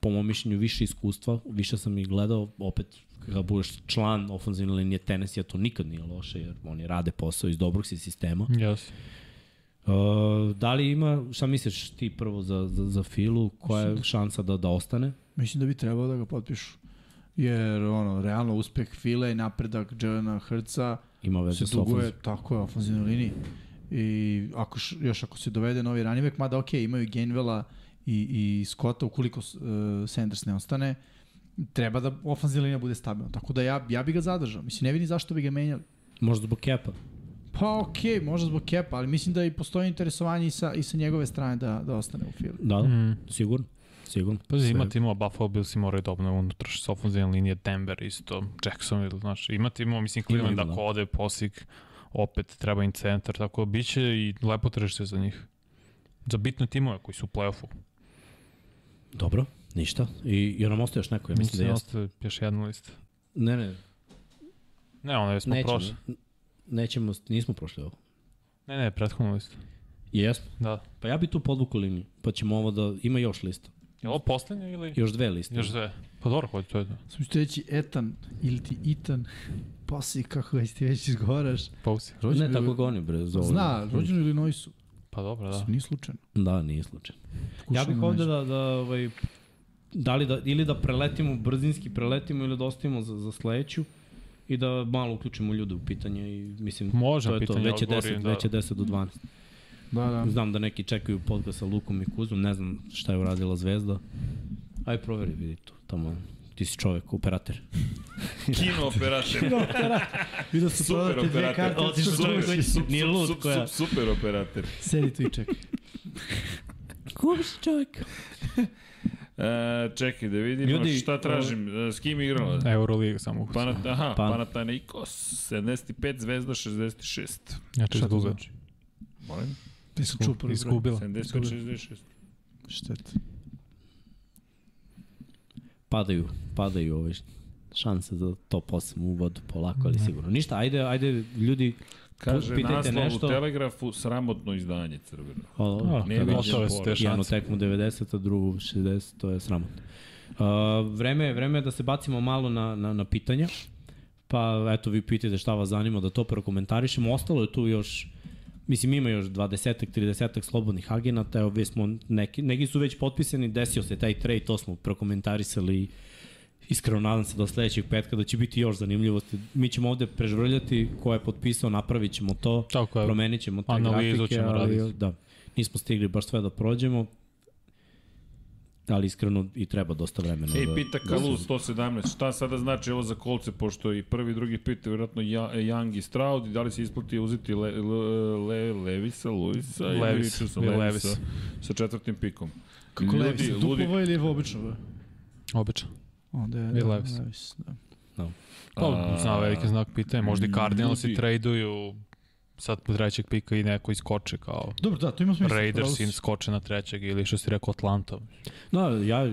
[SPEAKER 4] po mom mišljenju više iskustva, više sam ih gledao, opet kada budeš član ofenzivne linije Tennessee, to nikad nije loše, jer oni rade posao iz dobrog si sistema.
[SPEAKER 3] Yes.
[SPEAKER 4] Uh, da li ima, šta misliš ti prvo za, za, za Filu, koja je šansa da, da ostane?
[SPEAKER 2] Mislim da bi trebalo da ga potpišu. Jer, ono, realno uspeh Fila i napredak Jelena Hrca
[SPEAKER 4] Ima veze
[SPEAKER 2] se
[SPEAKER 4] s ofenzivnom.
[SPEAKER 2] duguje, tako je, ofenzivnoj liniji. I ako, š- još ako se dovede novi ranivek, mada ok, imaju Genvela i, i Scotta, ukoliko uh, Sanders ne ostane, treba da ofenzivna linija bude stabilna. Tako da ja, ja bi ga zadržao. Mislim, ne vidim zašto bi ga menjali.
[SPEAKER 4] Možda zbog kepa.
[SPEAKER 2] Pa okej, okay, možda zbog kepa, ali mislim da i postoji interesovanje i sa, i sa njegove strane da, da ostane u Fili.
[SPEAKER 4] Da, mm.
[SPEAKER 3] Mm.
[SPEAKER 4] sigurno. Sigurno.
[SPEAKER 3] Pazi, ima
[SPEAKER 4] Sve-
[SPEAKER 3] timova Buffalo Bills i moraju da obnove unutraš s ofenzivne linije, Denver isto, Jacksonville, znaš, ima timova, mislim, Cleveland
[SPEAKER 4] ima, da.
[SPEAKER 3] ako ode posik, opet treba im centar, tako da bit će i lepo tržište za njih. Za bitne timove koji su u play-offu.
[SPEAKER 4] Dobro, ništa. I, jer nam ostaje još neko, ja mislim da jeste.
[SPEAKER 3] jeste. Još jednu listu.
[SPEAKER 4] Ne, ne,
[SPEAKER 3] Ne, ona je smo
[SPEAKER 4] nećemo.
[SPEAKER 3] prošli.
[SPEAKER 4] Nećemo, nismo prošli ovo.
[SPEAKER 3] Ne, ne, prethodnu listu.
[SPEAKER 4] Jesmo.
[SPEAKER 3] Da.
[SPEAKER 4] Pa ja bi tu podvuku liniju, pa ćemo ovo da... Ima još lista.
[SPEAKER 3] Je ovo poslednje ili?
[SPEAKER 4] Još dve liste.
[SPEAKER 3] Još dve. Pa dobro, hoće to je da.
[SPEAKER 2] Sam ću ti reći Etan ili ti Itan, poslije kako ga ti već izgovaraš.
[SPEAKER 3] Pausi.
[SPEAKER 4] Ne, tako ga oni bre zovu.
[SPEAKER 2] Zna, rođen u Illinoisu,
[SPEAKER 3] Pa dobro, da.
[SPEAKER 2] da. nije slučajno.
[SPEAKER 4] Da, nije slučaj. Ja
[SPEAKER 2] Pokušaj
[SPEAKER 4] bih
[SPEAKER 2] da
[SPEAKER 4] ovde
[SPEAKER 2] nađe.
[SPEAKER 4] da, da, ovaj, da li da, ili da preletimo, brzinski preletimo ili da ostavimo za, za sledeću i da malo uključimo ljude u pitanje i mislim,
[SPEAKER 3] Može
[SPEAKER 4] to je to,
[SPEAKER 3] Mm. pitanje,
[SPEAKER 4] već je
[SPEAKER 3] odgovori,
[SPEAKER 4] 10,
[SPEAKER 3] da.
[SPEAKER 4] već je 10 do 12.
[SPEAKER 2] Da, da.
[SPEAKER 4] Znam da neki čekaju podcast sa Lukom i Kuzom, ne znam šta je uradila Zvezda. Aj proveri, vidi tu, tamo, ti si čovek, operator.
[SPEAKER 1] Kino operator.
[SPEAKER 2] Vidio su
[SPEAKER 1] Super
[SPEAKER 2] prodate dve
[SPEAKER 1] operator.
[SPEAKER 2] karte.
[SPEAKER 4] Otišao
[SPEAKER 1] Super-
[SPEAKER 4] čovjek koji
[SPEAKER 1] sup-
[SPEAKER 4] nije
[SPEAKER 1] sup-
[SPEAKER 4] lud,
[SPEAKER 1] sup-
[SPEAKER 4] koja-
[SPEAKER 1] sup- Super operator.
[SPEAKER 2] Sedi tu i čekaj.
[SPEAKER 4] Kup si čovek.
[SPEAKER 1] E, čekaj da vidim
[SPEAKER 4] Ljudi,
[SPEAKER 1] Ljudi, šta tražim, e, s kim je igrala?
[SPEAKER 3] Euroliga samo
[SPEAKER 2] Pa
[SPEAKER 3] ukus.
[SPEAKER 1] Panat, aha,
[SPEAKER 4] Pan-
[SPEAKER 1] Panathinaikos, 75, Zvezda 66.
[SPEAKER 3] Znači,
[SPEAKER 2] Šta to
[SPEAKER 3] izgubila.
[SPEAKER 2] znači?
[SPEAKER 1] Molim?
[SPEAKER 2] Ti sam čuo prvi broj.
[SPEAKER 3] Izgubila.
[SPEAKER 1] 75, 66.
[SPEAKER 2] Šteta.
[SPEAKER 4] Padaju, padaju ove šanse za top 8 u vodu polako, ali sigurno. Ništa, ajde, ajde ljudi,
[SPEAKER 1] Kaže
[SPEAKER 4] pitajte
[SPEAKER 1] naslov
[SPEAKER 4] nešto.
[SPEAKER 1] u Telegrafu, sramotno izdanje crveno.
[SPEAKER 4] o,
[SPEAKER 3] A,
[SPEAKER 1] Ne
[SPEAKER 3] kad
[SPEAKER 1] vidim
[SPEAKER 3] ostale su te
[SPEAKER 1] poruke.
[SPEAKER 4] jednu
[SPEAKER 3] šanse.
[SPEAKER 4] tekmu 90, a drugu 60, to je sramotno. Uh, vreme, je- vreme je da se bacimo malo na, na, na pitanja, pa eto vi pitajte šta vas zanima da to prokomentarišemo. Ostalo je tu još Mislim, ima još 20-ak, 30-ak slobodnih agenata, evo već smo, neki, neki su već potpisani, desio se taj trade, to smo prokomentarisali iskreno nadam se do sledećeg petka da će biti još zanimljivosti. Mi ćemo ovde prežvrljati ko je potpisao, napravit ćemo to,
[SPEAKER 3] Tako je.
[SPEAKER 4] promenit ćemo te
[SPEAKER 3] Analizu
[SPEAKER 4] grafike,
[SPEAKER 3] ćemo
[SPEAKER 4] ali
[SPEAKER 3] raditi.
[SPEAKER 4] da, nismo stigli baš sve da prođemo, ali iskreno i treba dosta vremena.
[SPEAKER 1] Ej,
[SPEAKER 4] da,
[SPEAKER 1] pita Kalus 117, šta sada znači ovo za kolce, pošto i prvi i drugi pita, vjerojatno ja, Young i Stroud, i da li se isplati uzeti le, le, le, Levisa, Luisa,
[SPEAKER 3] Levis,
[SPEAKER 1] ili
[SPEAKER 4] Da,
[SPEAKER 1] sam
[SPEAKER 3] Will
[SPEAKER 1] Levisa,
[SPEAKER 3] Levis.
[SPEAKER 1] sa četvrtim pikom.
[SPEAKER 5] Kako
[SPEAKER 1] Ljudi,
[SPEAKER 5] Levis,
[SPEAKER 1] ludi.
[SPEAKER 5] dupovo ili obično? Be?
[SPEAKER 3] Obično.
[SPEAKER 5] Onda je
[SPEAKER 3] Ili Levis.
[SPEAKER 5] Levis da.
[SPEAKER 3] Pa, zna veliki znak pitanja. Možda i Cardinals
[SPEAKER 1] ljudi.
[SPEAKER 3] i traduju sad po trećeg pika i neko iskoče kao
[SPEAKER 5] Dobro, da, to ima smisla.
[SPEAKER 3] Raiders im
[SPEAKER 5] pravo si.
[SPEAKER 3] skoče na trećeg ili što si rekao Atlanta.
[SPEAKER 4] Da, ja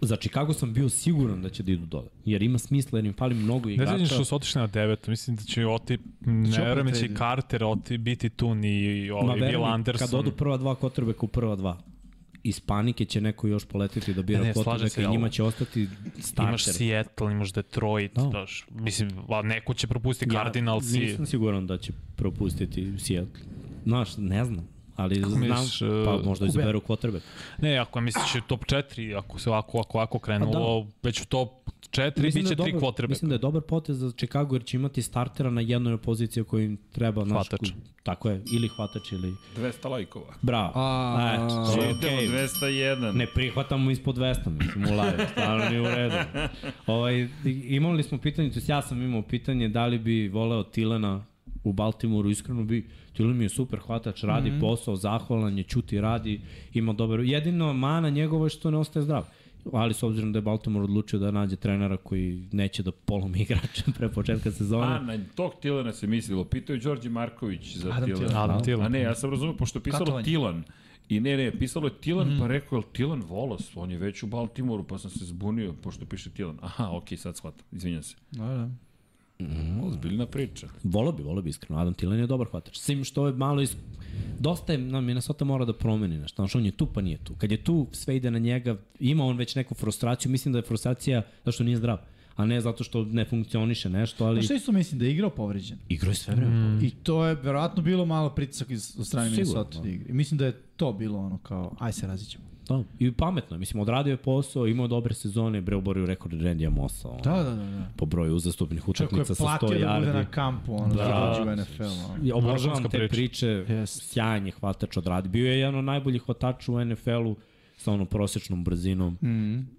[SPEAKER 4] za Chicago sam bio siguran da će da idu dole. Jer ima smisla, jer im fali mnogo
[SPEAKER 3] Ne
[SPEAKER 4] igrača.
[SPEAKER 3] znam što su otišli na devet, mislim da će oti,
[SPEAKER 5] opet
[SPEAKER 3] ne verujem da će
[SPEAKER 5] trade.
[SPEAKER 3] Carter oti, biti tu ni
[SPEAKER 4] Znači, Ma
[SPEAKER 3] ovaj
[SPEAKER 4] veruj
[SPEAKER 3] Bill
[SPEAKER 4] mi,
[SPEAKER 3] Anderson.
[SPEAKER 4] Kad odu prva dva kotrbeka u prva dva, iz panike će neko još poletiti da bira
[SPEAKER 3] Ne, ne, slažem
[SPEAKER 4] kotrbeka
[SPEAKER 3] se,
[SPEAKER 4] i
[SPEAKER 3] ali-
[SPEAKER 4] njima će ostati
[SPEAKER 3] Imaš
[SPEAKER 4] starter.
[SPEAKER 3] Seattle, imaš Detroit,
[SPEAKER 4] Da.
[SPEAKER 3] no. daš, mislim, a neko će propustiti ja, Cardinals
[SPEAKER 4] Ja
[SPEAKER 3] i...
[SPEAKER 4] nisam siguran da će propustiti Seattle. Znaš, ne znam. Ali Kako znam,
[SPEAKER 3] misliš, e,
[SPEAKER 4] pa možda izaberu kotrbek.
[SPEAKER 3] Ne, ako misliš u top 4, ako se ovako, ako, ako krenulo, da. već u top 4
[SPEAKER 4] Pa Mislim
[SPEAKER 3] biće
[SPEAKER 4] da je
[SPEAKER 3] tri
[SPEAKER 4] dobar-
[SPEAKER 3] quarterbacka.
[SPEAKER 4] Mislim da je dobar potez za Chicago jer će imati startera na jednoj poziciji koju im treba. znaš,
[SPEAKER 3] Hvatač.
[SPEAKER 4] ko- Tako je, ili hvatač ili...
[SPEAKER 1] 200 lajkova.
[SPEAKER 4] Bravo.
[SPEAKER 5] A,
[SPEAKER 4] Eto, to je
[SPEAKER 1] Čitamo
[SPEAKER 4] okej.
[SPEAKER 1] 201.
[SPEAKER 4] Ne prihvatamo ispod 200, mislim, u live, stvarno nije u redu. Ovaj, i- imali smo pitanje, to jest ja sam imao pitanje da li bi voleo Tilena u Baltimoru, iskreno bi, Tilen mi je super hvatač, radi mm -hmm. posao, zahvalan je, čuti, radi, ima dobar, jedino mana njegova je što ne ostaje zdrav. Ali s obzirom da je Baltimore odlučio da nađe trenera koji neće da polomi igrača pre početka sezone.
[SPEAKER 1] A, na tog Tilana se mislilo. Pitao je Đorđe Marković za
[SPEAKER 5] Adam
[SPEAKER 1] Tilana.
[SPEAKER 5] Tilan.
[SPEAKER 3] Adam Thielen.
[SPEAKER 1] A ne, ja sam razumio, pošto je pisalo
[SPEAKER 5] Katovanje.
[SPEAKER 1] Tilan. I ne, ne, pisalo je Tilan, pa rekao je Tilan Volos, on je već u Baltimoru, pa sam se zbunio, pošto piše Tilan. Aha, okej, sad shvatam, izvinjam se.
[SPEAKER 5] Da, da.
[SPEAKER 1] Ozbiljna priča.
[SPEAKER 4] Volao bi, volao bi iskreno. Adam Tilen je dobar hvatač. S tim što je malo is... Dosta je, na Minnesota mora da promeni nešto. Znaš, on je tu pa nije tu. Kad je tu, sve ide na njega. Ima on već neku frustraciju. Mislim da je frustracija zato što nije zdrav. A ne zato što ne funkcioniše nešto, ali...
[SPEAKER 5] Pa šta isto mislim da je igrao povređen?
[SPEAKER 4] Igro je sve vreme. Mm.
[SPEAKER 5] I to je verovatno bilo malo pritisak iz od strane
[SPEAKER 4] Sigurno.
[SPEAKER 5] Minnesota da igre. I Mislim da je to bilo ono kao aj se razićemo.
[SPEAKER 4] Da. I pametno je. Mislim, odradio je posao, imao je dobre sezone, bre oborio rekord Randy'a Mossa. ono,
[SPEAKER 5] Da, da, da, da.
[SPEAKER 4] Po broju uzastopnih
[SPEAKER 5] Čak ko
[SPEAKER 4] utakmica
[SPEAKER 5] je
[SPEAKER 4] sa 100 yardi.
[SPEAKER 5] platio da bude na kampu, ono, da, da dođe u NFL. Ono.
[SPEAKER 4] Ja obožavam te
[SPEAKER 3] Vrhunska
[SPEAKER 4] priče,
[SPEAKER 3] priča.
[SPEAKER 5] Jest.
[SPEAKER 4] sjajan je hvatač odradi. Bio je jedan od najboljih hvatača u NFL-u sa onom prosečnom brzinom.
[SPEAKER 5] Mm.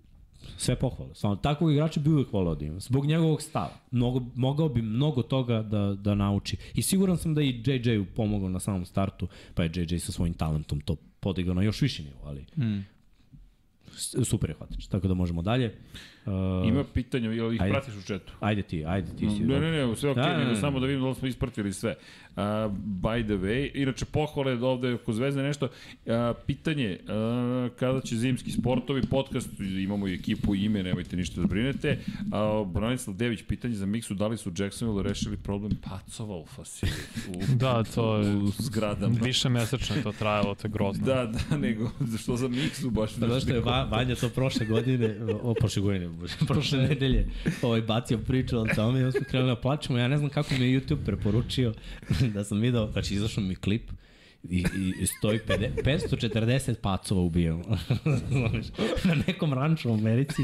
[SPEAKER 4] Sve pohvale. Samo takvog igrača bi uvek volao da ima. Zbog njegovog stava. Mnogo, mogao bi mnogo toga da, da nauči. I siguran sam da je i JJ-u pomogao na samom startu, pa je JJ sa svojim talentom to podigao na još više nivo, ali
[SPEAKER 5] Mm.
[SPEAKER 4] s- super je hvatač. Tako da možemo dalje. Uh,
[SPEAKER 1] Ima pitanje, jel ih
[SPEAKER 4] Ajde.
[SPEAKER 1] pratiš u četu?
[SPEAKER 4] Ajde ti, ajde ti si.
[SPEAKER 1] Ne, ne, ne, sve okej,
[SPEAKER 4] Da,
[SPEAKER 1] okay,
[SPEAKER 4] da,
[SPEAKER 1] nego
[SPEAKER 4] da.
[SPEAKER 1] samo da vidim da li smo ispratili sve. Uh, by the way, inače pohvale da ovde oko Zvezde nešto. Uh, pitanje, uh, kada će zimski sportovi, podcast, imamo i ekipu i ime, nemojte ništa da brinete. Uh, Branislav Dević, pitanje za Miksu, da li su Jacksonville rešili problem pacova u fasili? U,
[SPEAKER 3] Da, to je-
[SPEAKER 1] U zgradama.
[SPEAKER 3] Više mesečno je to trajalo, to je grozno.
[SPEAKER 1] Da, da, nego, što za Miksu baš...
[SPEAKER 4] Pa Zato što je Va- Vanja to prošle godine, o, prošle godine, bože, prošle nedelje, ovaj, bacio priču o tome i onda smo krenuli da plačemo. Ja ne znam kako mi je YouTube preporučio da sam video, znači izašao mi klip i, i stoji 50, 540 pacova ubijeno. Znaš, na nekom ranču u Americi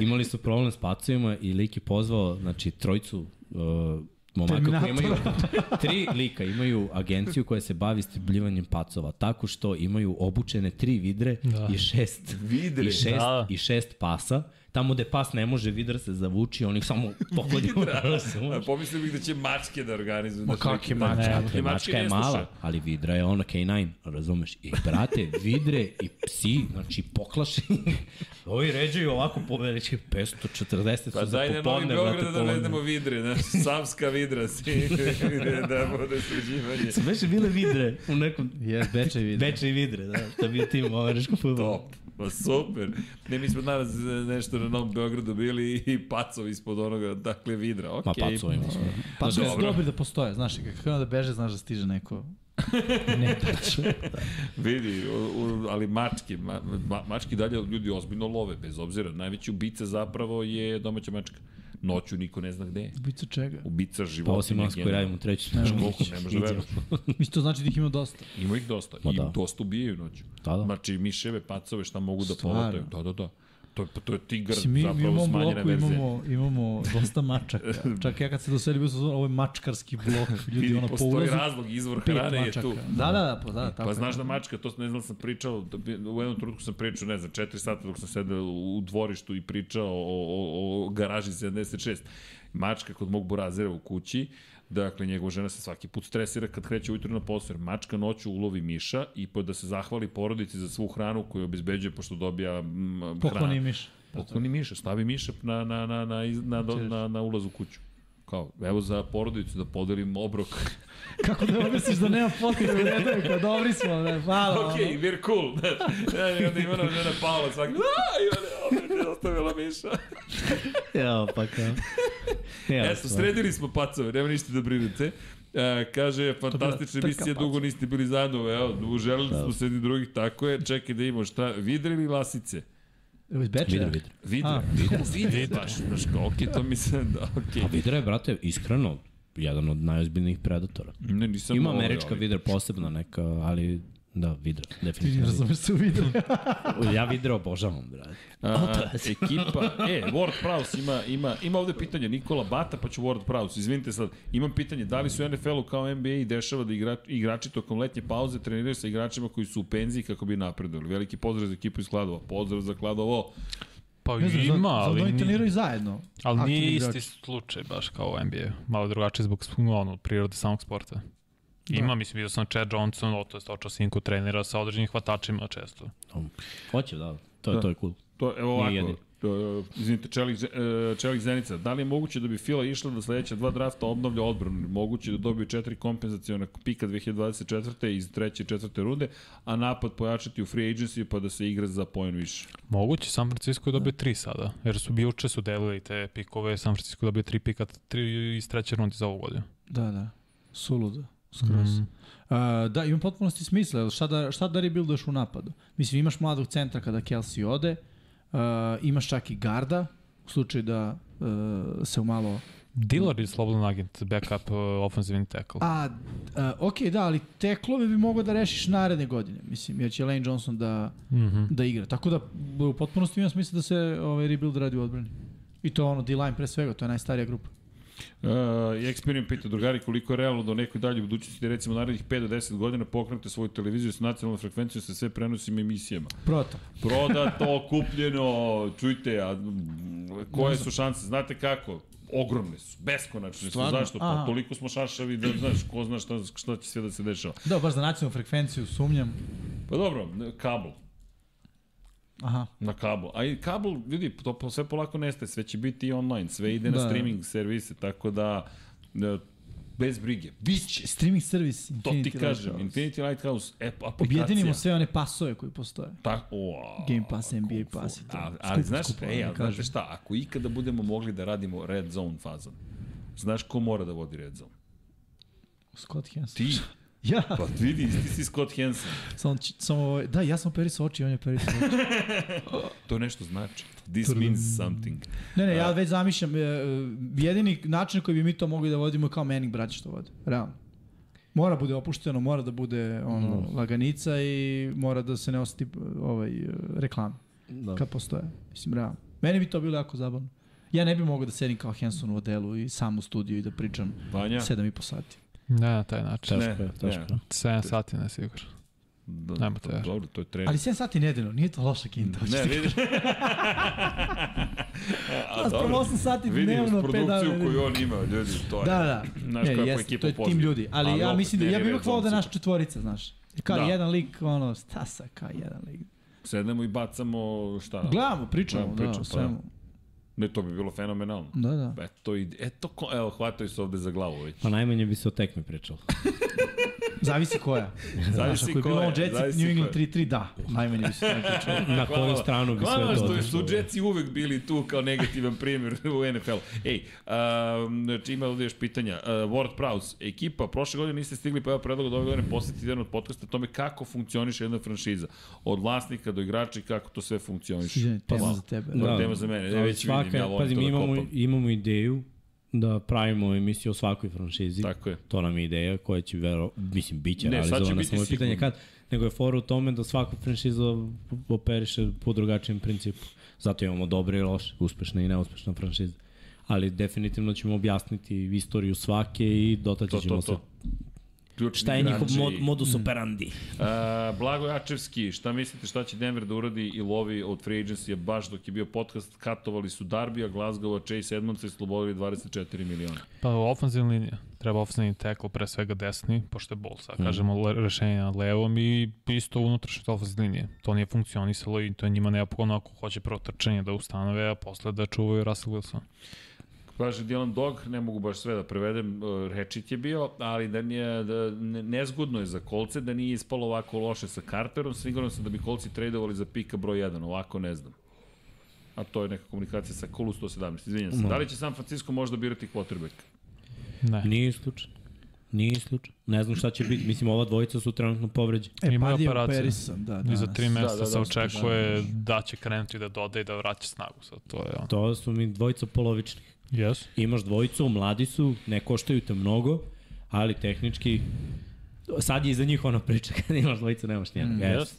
[SPEAKER 4] imali su problem s pacovima i lik je pozvao, znači, trojcu uh, momaka koji imaju tri lika imaju agenciju koja se bavi stribljivanjem pacova tako što imaju obučene tri vidre da. i šest
[SPEAKER 1] Vidre,
[SPEAKER 4] i šest,
[SPEAKER 3] da.
[SPEAKER 4] i šest pasa tamo gde pas ne može vidra se zavuči oni samo pokolju razumeš
[SPEAKER 1] Pomislio bih da će mačke da organizuju. Ma
[SPEAKER 5] kak je mačka?
[SPEAKER 4] Dakle, mačka je mala, ali vidra je ona K9, razumeš? I brate, vidre i psi, znači poklaši. Ovi ređaju ovako po veliči 540
[SPEAKER 1] Pa
[SPEAKER 4] su za
[SPEAKER 1] daj na Novi
[SPEAKER 4] popodne, brate,
[SPEAKER 1] Beograd da
[SPEAKER 4] polovne.
[SPEAKER 1] navedemo vidre, znaš, savska vidra si, da bude sređivanje.
[SPEAKER 4] Su već bile vidre u nekom
[SPEAKER 5] Yes, beče vidi.
[SPEAKER 4] Beče i vidre, da, to je bio tim u američkom futbolu.
[SPEAKER 1] Top, pa super. Ne, mi smo danas e, nešto na Novom Beogradu bili i pacov ispod onoga, dakle vidra, okej.
[SPEAKER 4] Ma paco ima svoje.
[SPEAKER 5] Pa to je
[SPEAKER 1] dobro.
[SPEAKER 5] dobro da postoje, znaš, kako da beže, znaš da stiže neko.
[SPEAKER 1] Vidi, u, u, ali mačke, ma, ma, mački dalje ljudi ozbiljno love, bez obzira. Najveći ubica zapravo je domaća mačka. Noću niko ne zna gde je.
[SPEAKER 5] Ubica čega?
[SPEAKER 1] Ubica
[SPEAKER 4] Pa
[SPEAKER 1] životinja.
[SPEAKER 4] osim nas koji radimo treći. Ne,
[SPEAKER 1] Koliko, ne može da veruješ.
[SPEAKER 5] Mislim, to znači da ih ima dosta.
[SPEAKER 1] Ima ih dosta.
[SPEAKER 4] Ma
[SPEAKER 1] I
[SPEAKER 4] da.
[SPEAKER 1] dosta ubijaju noću.
[SPEAKER 4] Da, da.
[SPEAKER 1] Znači, miševe, pacove, šta mogu da
[SPEAKER 2] Stvarno?
[SPEAKER 1] povataju. Da, da, da. To je, to je tigar,
[SPEAKER 2] Mislim, mi, mi u
[SPEAKER 1] zapravo
[SPEAKER 2] mom
[SPEAKER 1] smanjena
[SPEAKER 2] bloku
[SPEAKER 1] verzija.
[SPEAKER 2] imamo, imamo dosta mačaka. Čak ja kad se doselio, bio sam zvon, ovo je mačkarski blok. Ljudi,
[SPEAKER 1] Vidi,
[SPEAKER 2] ono, po
[SPEAKER 1] postoji
[SPEAKER 2] ulazu
[SPEAKER 1] razlog, izvor
[SPEAKER 2] pet
[SPEAKER 1] hrane je
[SPEAKER 2] mačaka.
[SPEAKER 1] tu.
[SPEAKER 2] Da, da, da, pa, da, tako
[SPEAKER 1] Pa
[SPEAKER 2] je.
[SPEAKER 1] znaš da mačka, to sam, ne znam, sam pričao, da bi- u jednom trenutku sam pričao, ne znam, 4 sata dok sam sedeo u dvorištu i pričao o, o, o garaži 76. Mačka kod mog burazera u kući, dakle, njegova žena se svaki put stresira kad kreće ujutru na posao, jer mačka noću ulovi miša i po, da se zahvali porodici za svu hranu koju obezbeđuje, pošto dobija mm, hranu.
[SPEAKER 2] Pokloni miš.
[SPEAKER 1] Pokloni miša, stavi miša na, na, na, na, iz- na, do- na, na ulaz u kuću. Kao, evo za porodicu da podelim obrok.
[SPEAKER 2] Kako da objasniš da nema potrebe, ne daj, pa dobri smo, ne, hvala.
[SPEAKER 1] ok,
[SPEAKER 2] ono.
[SPEAKER 1] we're cool. Znaš, I onda Ivana žena Paola svaki, aaa, Ivana, opet je ostavila Miša.
[SPEAKER 4] Ja, pa kao. Ne,
[SPEAKER 1] Eto, sredili smo pacove, nema ništa da brinete. E, kaže, fantastične emisije, dugo niste bili zajedno, evo, želeli smo se jedni drugih, tako je, čekaj da imamo šta, vidre ili lasice?
[SPEAKER 2] Evo iz Bečeja.
[SPEAKER 4] Vidre, vidre.
[SPEAKER 1] Vidre,
[SPEAKER 2] A.
[SPEAKER 1] vidre, vidre, baš, znaš, kao, okej, to mislim da, okej.
[SPEAKER 4] A vidra je, Pa brate, iskreno, jedan od najozbiljnijih predatora.
[SPEAKER 1] Ne, nisam
[SPEAKER 4] Ima
[SPEAKER 1] ovaj,
[SPEAKER 4] američka
[SPEAKER 1] ali-
[SPEAKER 4] vidra posebna neka, ali da, vidra,
[SPEAKER 2] Ti ne
[SPEAKER 4] definitivno.
[SPEAKER 2] razumeš se u videu.
[SPEAKER 1] Pa
[SPEAKER 4] Ja vidra obožavam, brate.
[SPEAKER 1] A, ekipa, e, Ward Prowse ima, ima, ima ovde pitanje Nikola Bata, pa ću Ward Prowse, izvinite sad, imam pitanje, da li su NFL-u kao NBA i dešava da igra, igrači tokom letnje pauze treniraju sa igračima koji su u penziji kako bi napredovali? Veliki pozdrav za ekipu iz Kladova, pozdrav za Kladovo,
[SPEAKER 3] Pa
[SPEAKER 2] Ne znam,
[SPEAKER 3] ima,
[SPEAKER 2] za, za
[SPEAKER 3] ali,
[SPEAKER 2] oni
[SPEAKER 3] nije,
[SPEAKER 2] treniraju zajedno.
[SPEAKER 3] ali nije
[SPEAKER 2] aktivni
[SPEAKER 3] isti
[SPEAKER 2] igrači.
[SPEAKER 3] slučaj baš kao u NBA. Malo drugačije zbog ono, prirode samog sporta.
[SPEAKER 2] Da.
[SPEAKER 3] Ima, mislim, vidio sam Chad Johnson, o, to je stočao sinku, trenira sa određenim hvatačima često.
[SPEAKER 4] Hoće, da, to, da. to je cool.
[SPEAKER 1] to evo
[SPEAKER 4] Nije
[SPEAKER 1] ovako,
[SPEAKER 4] jedini.
[SPEAKER 1] to, izvinite, Čelik, Z- e, Čelik Zenica, da li je moguće da bi Fila išla da sledeća dva drafta obnavlja odbranu, moguće da dobije četiri kompenzaciona pika 2024. iz treće i četvrte runde, a napad pojačati u free agency pa da se igra za poen više?
[SPEAKER 3] Moguće, San Francisco je
[SPEAKER 2] Da.
[SPEAKER 3] dobio tri sada, jer su bi uče su delili te pikove, San Francisco je dobio tri pika, tri iz treće runde za ovu godinu.
[SPEAKER 2] Da, da.
[SPEAKER 5] Suludo. Skroz.
[SPEAKER 3] Mhm.
[SPEAKER 5] Mm. Uh, da, ima potpunosti smisla. jer Šta da, šta da rebuilduješ u napadu? Mislim, imaš mladog centra kada Kelsey ode, uh, imaš čak i garda, u slučaju da uh, se umalo...
[SPEAKER 3] Dillard je slobodan agent, backup uh, offensive tackle.
[SPEAKER 5] A, uh, ok, da, ali teklove bi mogao da rešiš naredne godine, mislim, jer će Lane Johnson da,
[SPEAKER 3] Mhm.
[SPEAKER 5] da igra. Tako da, u potpunosti ima smisla da se ovaj rebuild radi u odbrani. I to ono, D-line pre svega, to je najstarija grupa.
[SPEAKER 1] Uh, Experian pita drugari koliko je realno da u nekoj dalje budućnosti, recimo narednih 5 do 10 godina, pokrenete svoju televiziju sa nacionalnom frekvencijom sa sve prenosim emisijama.
[SPEAKER 5] Proto.
[SPEAKER 1] Prodato, kupljeno, čujte, a, mm, koje su šanse, znate kako? Ogromne su, beskonačne su,
[SPEAKER 2] Stvarno?
[SPEAKER 1] zašto? Pa
[SPEAKER 2] Aha.
[SPEAKER 1] toliko smo šašavi da znaš, ko zna šta, šta će sve da se dešava.
[SPEAKER 2] Da, baš za nacionalnu frekvenciju sumnjam.
[SPEAKER 1] Pa dobro, kabel,
[SPEAKER 2] Aha.
[SPEAKER 1] Na kablu. A i kabel, vidi, to po- sve polako nestaje, sve će biti i online, sve ide da. na
[SPEAKER 2] Da.
[SPEAKER 1] streaming servise, tako da e, bez brige. Biće,
[SPEAKER 2] Streaming servis.
[SPEAKER 1] to
[SPEAKER 2] Infinity
[SPEAKER 1] ti kažem,
[SPEAKER 2] Lighthouse.
[SPEAKER 1] Infinity Lighthouse app, aplikacija.
[SPEAKER 2] Objedinimo sve one pasove koji postoje.
[SPEAKER 1] Tak, o,
[SPEAKER 2] Game Pass, NBA
[SPEAKER 1] kung fu.
[SPEAKER 2] Pass i to.
[SPEAKER 1] A, ali
[SPEAKER 2] Skupo,
[SPEAKER 1] znaš,
[SPEAKER 2] skupo,
[SPEAKER 1] ej,
[SPEAKER 2] ne
[SPEAKER 1] ali
[SPEAKER 2] kažem.
[SPEAKER 1] znate šta, ako ikada budemo mogli da radimo red zone fazan, znaš ko mora da vodi red zone?
[SPEAKER 2] Scott Hansen.
[SPEAKER 1] Ti,
[SPEAKER 2] Ja,
[SPEAKER 1] pa vidi, ti si Scott Hansen.
[SPEAKER 2] samo, č- samo, ovaj- da, ja sam perisao oči, on je perisao oči.
[SPEAKER 1] To nešto znači. This means something.
[SPEAKER 5] Ne, ne,
[SPEAKER 1] Da.
[SPEAKER 5] ja već zamišljam, e, e, jedini način koji bi mi to mogli da vodimo je kao Manning braća što vode, realno. Mora bude opušteno, mora da bude ono, laganica i mora da se ne osjeti e, ovaj, e, reklame
[SPEAKER 4] Da.
[SPEAKER 5] kad postoje, mislim, realno. Meni bi to bilo jako zabavno. Ja ne bih mogao da sedim kao Henson u odelu i sam u studiju i da pričam
[SPEAKER 1] Vanja?
[SPEAKER 5] sedam i po sati.
[SPEAKER 3] Ne na taj način.
[SPEAKER 1] Ne,
[SPEAKER 4] Teško je, teško
[SPEAKER 1] e.
[SPEAKER 4] je.
[SPEAKER 3] 7 sati nas igra.
[SPEAKER 1] Da,
[SPEAKER 3] Nema te.
[SPEAKER 1] Dobro, to je trening.
[SPEAKER 2] Ali 7 sati nedeljno, nije to loša kinta.
[SPEAKER 1] E. Ne, vidiš. a,
[SPEAKER 2] Nas prvo 8 sati
[SPEAKER 1] Vidim uz
[SPEAKER 2] dnevno, 5 dana.
[SPEAKER 1] produkciju koju on ima, ljudi, to je.
[SPEAKER 2] Da, da.
[SPEAKER 1] Znaš
[SPEAKER 5] Ne,
[SPEAKER 1] kako
[SPEAKER 5] jeste,
[SPEAKER 1] ekipa
[SPEAKER 5] to je tim
[SPEAKER 1] pozna.
[SPEAKER 5] ljudi, ali,
[SPEAKER 1] Ali
[SPEAKER 5] ja
[SPEAKER 1] opet,
[SPEAKER 5] mislim da
[SPEAKER 1] ne,
[SPEAKER 5] ja bih
[SPEAKER 1] ne,
[SPEAKER 5] ipak volao da
[SPEAKER 1] ne,
[SPEAKER 5] naš četvorica, znaš. Kao
[SPEAKER 1] Da.
[SPEAKER 5] jedan lik, ono, stasa, kao jedan lik.
[SPEAKER 1] Sednemo i bacamo šta.
[SPEAKER 5] Gledamo, pričamo, da,
[SPEAKER 1] Gledamo, pričamo,
[SPEAKER 5] pričamo,
[SPEAKER 1] pa
[SPEAKER 5] svemu.
[SPEAKER 1] Ne, to bi bilo fenomenalno.
[SPEAKER 5] Da, da.
[SPEAKER 1] Eto, i, eto, ko, evo, hvataju se ovde za glavu već.
[SPEAKER 4] Pa najmanje bi se o tekmi pričalo.
[SPEAKER 2] Zavisi koja. Znaš, ako je bilo on Jets i New England 3-3, da. Najmanje bi se to pričao.
[SPEAKER 4] Na koju stranu bi sve
[SPEAKER 1] E, Hvala
[SPEAKER 4] to Da.
[SPEAKER 1] što
[SPEAKER 4] otišlo.
[SPEAKER 2] da.
[SPEAKER 1] su Jetsi uvek bili tu kao negativan primjer u NFL-u. Ej, um, znači ima ovde još pitanja. Uh, Ward Prowse, ekipa, prošle godine niste stigli pa evo predlog od ove godine posjetiti jedan od podcasta o tome kako funkcioniše jedna franšiza. Od vlasnika do igrača i kako to sve funkcioniše.
[SPEAKER 2] Sviđanje, tema za tebe.
[SPEAKER 1] Da. tema za mene, ja
[SPEAKER 4] ali
[SPEAKER 1] već vidim, ja volim
[SPEAKER 4] pazi,
[SPEAKER 1] to
[SPEAKER 4] mi
[SPEAKER 1] da
[SPEAKER 4] imamo,
[SPEAKER 1] kopam.
[SPEAKER 4] imamo ideju da pravimo emisiju o svakoj franšizi.
[SPEAKER 1] Tako je.
[SPEAKER 4] To nam je ideja koja će, vero, mislim, bit će
[SPEAKER 1] Ne, sad će
[SPEAKER 4] realizovana,
[SPEAKER 1] biti
[SPEAKER 4] samo je pitanje
[SPEAKER 1] sigurno.
[SPEAKER 4] kad. Nego je fora u tome da svaku franšizu operiše po drugačijem principu. Zato imamo dobre i loše, uspešne i neuspešne franšize. Ali definitivno ćemo objasniti istoriju svake i dotaći
[SPEAKER 1] To,
[SPEAKER 4] ćemo
[SPEAKER 1] to, to.
[SPEAKER 4] se
[SPEAKER 1] Ključni
[SPEAKER 4] šta je njihov
[SPEAKER 1] igrači.
[SPEAKER 4] mod, modus operandi.
[SPEAKER 1] A, E, Blago Jačevski, šta mislite šta će Denver da uradi i lovi od free agency baš dok je bio podcast, katovali su Darbija, Glasgowa, Chase Edmondsa i slobodili 24 miliona.
[SPEAKER 3] Pa ofenzivna linija. Treba ofenzivni tackle, pre svega desni, pošto je bol, sad kažemo, le, rešenje na levom i isto unutrašnje ofenzivne linije. To nije funkcionisalo i to je njima neophodno ako hoće prvo trčanje da ustanove, a posle da čuvaju Russell Wilson.
[SPEAKER 1] Kaže Dylan Dog, ne mogu baš sve da prevedem, e, rečit je bio, ali da nije, da, ne- nezgodno je za kolce, da nije ispalo ovako loše sa Carterom, siguran sam da bi kolci tradovali za pika broj 1, ovako ne znam. A to je neka komunikacija sa Kolu 117, izvinjam se. Da li će San Francisco možda birati quarterback?
[SPEAKER 3] Ne.
[SPEAKER 4] Nije isključeno. Nije isključeno. Ne znam šta će biti. Mislim, ova dvojica su trenutno povređena.
[SPEAKER 2] E,
[SPEAKER 3] Ima
[SPEAKER 2] Pardi je
[SPEAKER 3] operaciju.
[SPEAKER 2] operisan, da,
[SPEAKER 3] I
[SPEAKER 2] danas.
[SPEAKER 3] za tri meseca
[SPEAKER 1] da,
[SPEAKER 3] da, da, se
[SPEAKER 1] da,
[SPEAKER 3] očekuje da, će krenuti da doda i da vraća snagu. Sad to je ono.
[SPEAKER 4] To su mi dvojica polovičnih.
[SPEAKER 3] Yes.
[SPEAKER 4] Imaš dvojicu, mladi su, ne koštaju te mnogo, ali tehnički... Sad je iza njih ona priča, kad imaš dvojicu, nemaš nijednog. Mm, yes.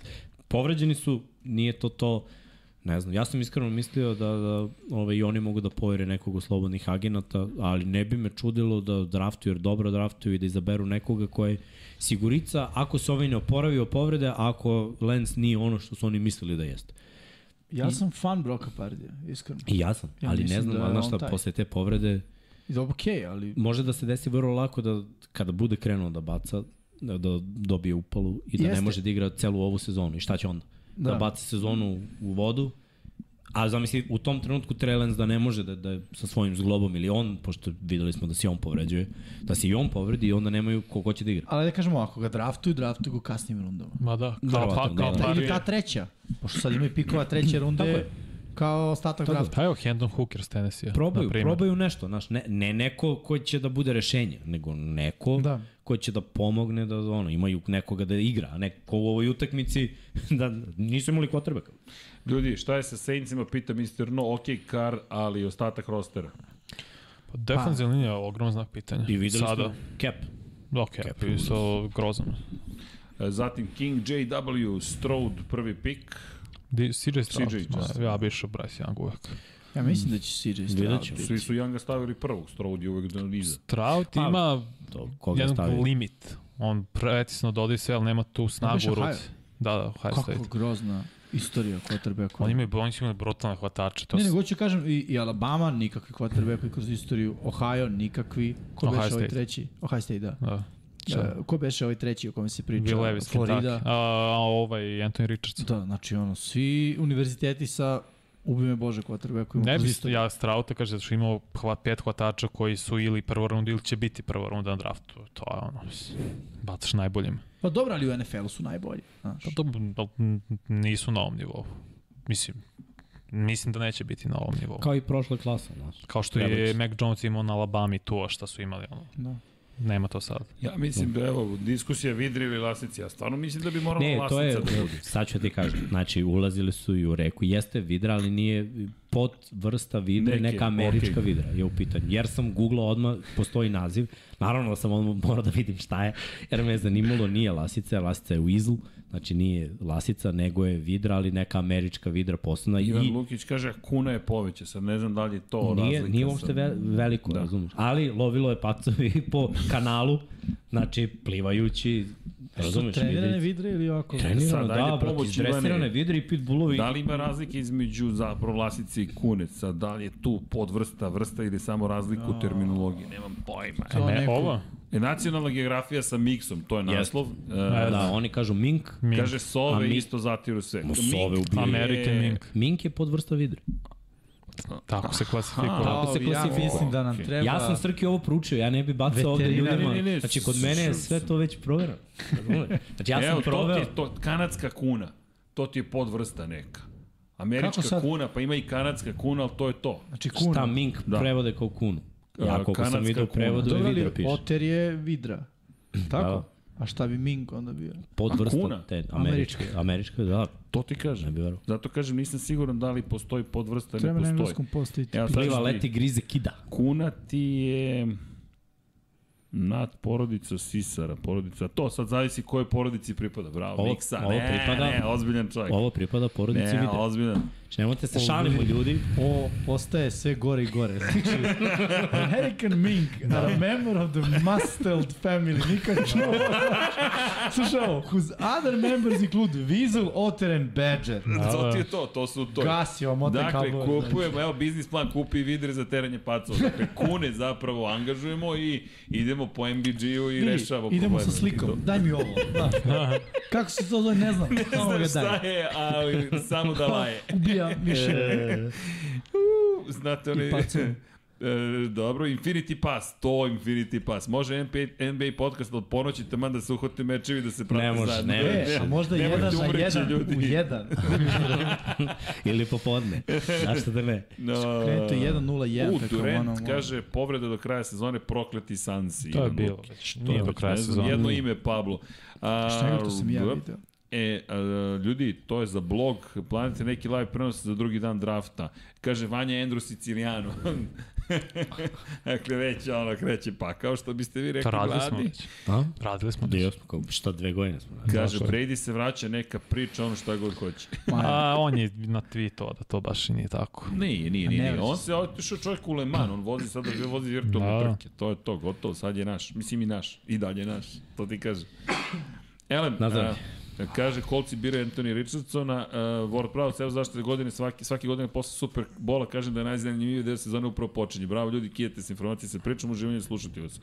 [SPEAKER 4] Povređeni su, nije to to... Ne znam, ja sam iskreno mislio da, da ove, i oni mogu da povere nekog od slobodnih agenata, ali ne bi me čudilo da draftuju, jer dobro draftuju i da izaberu nekoga koji je sigurica, ako se ovaj ne oporavi od povrede, ako Lenz nije ono što su oni mislili da jeste.
[SPEAKER 2] Ja sam fan Broka Pardija, iskreno.
[SPEAKER 4] I ja sam,
[SPEAKER 2] Ja
[SPEAKER 4] ali ne
[SPEAKER 2] mislim
[SPEAKER 4] znam,
[SPEAKER 2] da je
[SPEAKER 4] ali znaš
[SPEAKER 2] on
[SPEAKER 4] šta,
[SPEAKER 2] taj.
[SPEAKER 4] posle te povrede,
[SPEAKER 2] I da, okej, okay, ali
[SPEAKER 4] može da se desi vrlo lako da kada bude krenuo da baca, da da dobije upalu i da Jeste. ne
[SPEAKER 2] Jeste.
[SPEAKER 4] može da igra celu ovu sezonu. I šta će onda? Da, da
[SPEAKER 2] Da.
[SPEAKER 4] baci sezonu u vodu, a zamisli u tom trenutku Trelens da ne može da, da je sa svojim zglobom ili on, pošto videli smo da se i on povređuje, da se i on povredi i onda nemaju ko, ko će da igra.
[SPEAKER 2] Ali da kažemo, ako ga draftuju, draftuju ga u kasnim rundama.
[SPEAKER 3] Ma da, kao,
[SPEAKER 4] Verovatno,
[SPEAKER 3] pa,
[SPEAKER 4] da,
[SPEAKER 3] kao
[SPEAKER 4] da.
[SPEAKER 3] da,
[SPEAKER 2] Ta, ili ta
[SPEAKER 3] da,
[SPEAKER 2] treća, pošto sad imaju pikova treće
[SPEAKER 4] Tako
[SPEAKER 2] runde
[SPEAKER 4] je.
[SPEAKER 2] kao ostatak
[SPEAKER 4] Tako je.
[SPEAKER 2] drafta.
[SPEAKER 3] Pa evo Hendon Hooker s Tennessee.
[SPEAKER 4] Probaju, probaju nešto, znaš, ne, ne neko ko će da bude rešenje, nego neko da.
[SPEAKER 2] Da.
[SPEAKER 4] ko će da pomogne da ono, imaju nekoga da igra, a neko u ovoj utakmici da nisu imali kvotrbeka.
[SPEAKER 1] Ljudi, šta je sa Saintsima, pita Mr. No, ok, Car, ali ostatak rostera.
[SPEAKER 3] Pa, defensivna linija je ogroman znak pitanja.
[SPEAKER 4] I videli
[SPEAKER 3] Sada.
[SPEAKER 4] smo cap.
[SPEAKER 3] Da, ok, pisao grozan.
[SPEAKER 1] E, Zatim King JW, Strode, prvi pik.
[SPEAKER 3] Di, CJ Stroud.
[SPEAKER 1] CJ Stroud.
[SPEAKER 3] Ma, Ja bi išao Bryce Young uvek.
[SPEAKER 2] Ja mislim da će CJ
[SPEAKER 4] Vidjet
[SPEAKER 2] Stroud
[SPEAKER 4] ćemo.
[SPEAKER 1] Svi su Younga stavili prvog, Strode je uvek do niza.
[SPEAKER 3] Stroud
[SPEAKER 4] Pa,
[SPEAKER 3] ima
[SPEAKER 4] To, koga
[SPEAKER 3] jedan
[SPEAKER 4] stavio?
[SPEAKER 3] limit. On pretisno dodaje sve, ali nema tu snagu
[SPEAKER 2] biš
[SPEAKER 3] u ruci.
[SPEAKER 2] Ohio?
[SPEAKER 3] Da, da, Ohio State.
[SPEAKER 2] Pa, Kako grozna istorija quarterbacka.
[SPEAKER 3] Oni imaju, oni su imali brutalne hvatače. To
[SPEAKER 2] Ne,
[SPEAKER 3] ne,
[SPEAKER 2] nego ću kažem i, i Alabama nikakvi quarterbackovi kroz istoriju, Ohio nikakvi, ko
[SPEAKER 3] Ohio
[SPEAKER 2] beše ovaj
[SPEAKER 3] State.
[SPEAKER 2] treći? Ohio State, da.
[SPEAKER 3] da. Šta?
[SPEAKER 2] E, ko beše ovaj treći o kome se priča?
[SPEAKER 3] Bill Levis, Kentucky.
[SPEAKER 2] Florida.
[SPEAKER 3] A, a, ovaj, Anthony Richardson.
[SPEAKER 2] Da, znači ono, svi univerziteti sa ubi me Bože quarterbackovima
[SPEAKER 3] Ne
[SPEAKER 2] kroz
[SPEAKER 3] bi
[SPEAKER 2] istoriju.
[SPEAKER 3] ja Strauta kaže da su imao hva, pet hvatača koji su ili prvo runda ili će biti prvo runda na draftu. To je ono, mislim, bacaš najboljim.
[SPEAKER 2] Pa dobro, ali u NFL-u su najbolji. Znaš.
[SPEAKER 3] Pa to to nisu na ovom nivou. Mislim, mislim da neće biti na ovom nivou. Kao,
[SPEAKER 4] Kao i prošla klasa, znaš.
[SPEAKER 3] Kao što
[SPEAKER 4] Treba
[SPEAKER 3] je
[SPEAKER 4] će.
[SPEAKER 3] Mac Jones imao na Alabama i to šta su imali. Ono.
[SPEAKER 2] Da.
[SPEAKER 3] Nema to sad.
[SPEAKER 1] Ja mislim da evo, diskusija Vidri ili Lasnici, ja stvarno mislim da bi morala
[SPEAKER 4] Ne,
[SPEAKER 1] Lasnica
[SPEAKER 4] to je,
[SPEAKER 1] da bude.
[SPEAKER 4] sad ću ti kažem, znači ulazili su i u reku, jeste vidra, ali nije pod vrsta vidre,
[SPEAKER 1] Neke,
[SPEAKER 4] neka američka okay. vidra je u pitanju, jer sam googlao odmah, postoji naziv, naravno da sam odmah morao da vidim šta je, jer me je zanimalo, nije lasica, jer lasica je u izlu, znači nije lasica, nego je vidra, ali neka američka vidra posebna i
[SPEAKER 1] Ivan Lukić kaže, kuna je poveća, sad ne znam da li je to
[SPEAKER 4] Nije,
[SPEAKER 1] razlika.
[SPEAKER 4] nije
[SPEAKER 1] sa-
[SPEAKER 4] uopšte ve, veliko, da. razumiješ. Ali lovilo je pacovi po kanalu, znači plivajući, razumiješ?
[SPEAKER 2] Trenirane
[SPEAKER 4] vidi-
[SPEAKER 2] vidre ili ovako?
[SPEAKER 4] Trenirano,
[SPEAKER 1] Sad, ajde,
[SPEAKER 4] da, brate,
[SPEAKER 1] pomoći
[SPEAKER 4] izdresirane
[SPEAKER 1] Ivane.
[SPEAKER 4] vidre i pitbullovi.
[SPEAKER 1] Da li ima razlike između zapravo lasice i kune? Sad, da li je tu podvrsta, vrsta ili samo razlika u terminologiji? Nemam pojma.
[SPEAKER 2] To
[SPEAKER 3] Ne,
[SPEAKER 2] neko-
[SPEAKER 3] ovo?
[SPEAKER 1] E, nacionalna geografija sa miksom, to je naslov. E,
[SPEAKER 4] Da, oni kažu mink.
[SPEAKER 3] Mink.
[SPEAKER 1] Kaže,
[SPEAKER 3] Kaže,
[SPEAKER 1] sove
[SPEAKER 4] A mi-
[SPEAKER 1] isto zatiru sve.
[SPEAKER 4] Ma, sove
[SPEAKER 1] Mink e,
[SPEAKER 4] ubijaju.
[SPEAKER 1] je-
[SPEAKER 3] American Mink.
[SPEAKER 4] Mink je podvrsta vidre.
[SPEAKER 3] Tako se klasifikuje.
[SPEAKER 4] Aha. Kako se
[SPEAKER 2] Ja
[SPEAKER 4] klasifikuje?
[SPEAKER 2] mislim da nam
[SPEAKER 1] Okej.
[SPEAKER 2] treba...
[SPEAKER 4] Ja sam Srki ovo proučio, ja ne bi bacao ovde
[SPEAKER 2] Veterinar.
[SPEAKER 4] ljudima.
[SPEAKER 1] Ne, ne, ne, ne,
[SPEAKER 4] znači, kod mene je sve to već proverano. razumete? Znači, ja
[SPEAKER 1] Evo,
[SPEAKER 4] sam
[SPEAKER 1] to ti
[SPEAKER 4] proveo.
[SPEAKER 1] je to, kanadska kuna. To ti je podvrsta neka. Američka
[SPEAKER 2] Kako sad?
[SPEAKER 1] kuna, pa ima i kanadska kuna, ali to je to.
[SPEAKER 2] Znači kuna.
[SPEAKER 4] Šta Mink
[SPEAKER 1] Da.
[SPEAKER 4] prevode kao kunu?
[SPEAKER 1] A,
[SPEAKER 4] Ja koliko sam
[SPEAKER 1] kanadska
[SPEAKER 4] vidio
[SPEAKER 1] kuna.
[SPEAKER 4] prevodu je
[SPEAKER 5] Dobro,
[SPEAKER 4] vidra
[SPEAKER 5] ali
[SPEAKER 4] piše.
[SPEAKER 5] Oter je vidra. Tako?
[SPEAKER 4] Da.
[SPEAKER 5] A šta bi Ming onda bio?
[SPEAKER 1] A
[SPEAKER 4] Podvrsta
[SPEAKER 1] kuna?
[SPEAKER 4] te američke. Američke, da.
[SPEAKER 1] To ti kažem.
[SPEAKER 4] Ne bi verovao.
[SPEAKER 1] Zato kažem, nisam siguran da li postoji podvrsta,
[SPEAKER 5] Treba
[SPEAKER 1] ne
[SPEAKER 5] na
[SPEAKER 1] postoji.
[SPEAKER 5] engleskom postoji.
[SPEAKER 1] Evo, sad
[SPEAKER 4] Pliva,
[SPEAKER 1] ću ti-
[SPEAKER 4] leti, grize, kida.
[SPEAKER 1] Kuna ti je nad porodica Sisara, porodica, to sad zavisi kojoj porodici pripada, bravo,
[SPEAKER 4] Ovo-
[SPEAKER 1] Miksa,
[SPEAKER 4] ovo
[SPEAKER 1] ne,
[SPEAKER 4] pripada-
[SPEAKER 1] ne, ozbiljan čovjek,
[SPEAKER 4] Ovo pripada porodici
[SPEAKER 1] ne,
[SPEAKER 4] vidra.
[SPEAKER 1] ozbiljan,
[SPEAKER 4] Znači, nemojte se šalimo ljudi.
[SPEAKER 2] O, postaje sve gore i gore. Znači,
[SPEAKER 5] American Mink, a
[SPEAKER 1] Da.
[SPEAKER 5] member of the Musteld family. Nikad čuo.
[SPEAKER 2] slušaj ovo,
[SPEAKER 5] Whose other members include Weasel, Otter and Badger.
[SPEAKER 1] to ti je to, to su to.
[SPEAKER 5] Gasi vam ote
[SPEAKER 1] Dakle,
[SPEAKER 5] kablove.
[SPEAKER 1] kupujemo, evo, biznis plan, kupi vidre za teranje pacova. Dakle, kune zapravo angažujemo i idemo po MBG-u i
[SPEAKER 5] Vidi,
[SPEAKER 1] rešavamo probleme.
[SPEAKER 5] Idemo sa
[SPEAKER 1] I to.
[SPEAKER 5] slikom, daj mi ovo. Da. Kako se to zove, ne znam. Samo
[SPEAKER 1] Ne
[SPEAKER 5] ga
[SPEAKER 1] znam
[SPEAKER 5] daj.
[SPEAKER 1] šta je, ali samo da laje.
[SPEAKER 5] Ubija više.
[SPEAKER 1] E, Znate, one...
[SPEAKER 5] pacove.
[SPEAKER 1] E, dobro, Infinity Pass, to Infinity Pass. Može NBA, NBA podcast od ponoći taman da se uhvate mečevi da se prate
[SPEAKER 4] Ne može,
[SPEAKER 1] zajedno.
[SPEAKER 4] ne
[SPEAKER 5] E, a možda
[SPEAKER 1] Nemojte
[SPEAKER 5] jedan na
[SPEAKER 1] umreći,
[SPEAKER 5] jedan,
[SPEAKER 1] ljudi.
[SPEAKER 5] u jedan.
[SPEAKER 4] Ili popodne. Zašto da ne?
[SPEAKER 1] No.
[SPEAKER 5] Krenuto je 1-0-1.
[SPEAKER 1] Da. U,
[SPEAKER 5] tako ono,
[SPEAKER 1] Durant
[SPEAKER 5] ono.
[SPEAKER 1] kaže povreda do kraja sezone, prokleti Sansi.
[SPEAKER 3] To je bilo već. Nije do kraja sezona.
[SPEAKER 1] Jedno ime, Pablo. A,
[SPEAKER 5] Šta je to sam ja video?
[SPEAKER 1] E, a, ljudi, to je za blog, planite neki live prenos za drugi dan drafta. Kaže Vanja Andrew Siciliano. dakle, već ono kreće pa, kao što biste vi
[SPEAKER 3] To
[SPEAKER 1] rekli,
[SPEAKER 3] radili smo
[SPEAKER 1] gladi.
[SPEAKER 3] već.
[SPEAKER 4] A?
[SPEAKER 3] Radili smo
[SPEAKER 4] Dio
[SPEAKER 3] već.
[SPEAKER 4] smo Da kao, šta, dve godine smo.
[SPEAKER 1] Kaže,
[SPEAKER 3] Zašto?
[SPEAKER 1] Brady se vraća neka priča, ono šta god hoće.
[SPEAKER 3] A on je na tweetu da to baš i nije tako.
[SPEAKER 1] Nije, nije,
[SPEAKER 5] A ne
[SPEAKER 1] nije. nije.
[SPEAKER 5] vraća
[SPEAKER 1] On se otišao čovjek u Leman, on vozi sada vozi virtualne
[SPEAKER 3] Da.
[SPEAKER 1] trke. To je to, gotovo, sad je naš. Mislim i naš, i dalje naš, to ti kažem. Elem,
[SPEAKER 4] Nazdrav.
[SPEAKER 1] a, kaže Kolci biraju Anthony Richardsona, uh, Ward Prowse, evo zašto je godine, svaki, svaki godine posle Super Bola kažem da je najzanimljiviji deo sezone upravo počinje. Bravo ljudi, kijete se informacije sa pričom, uživanje slušati vas.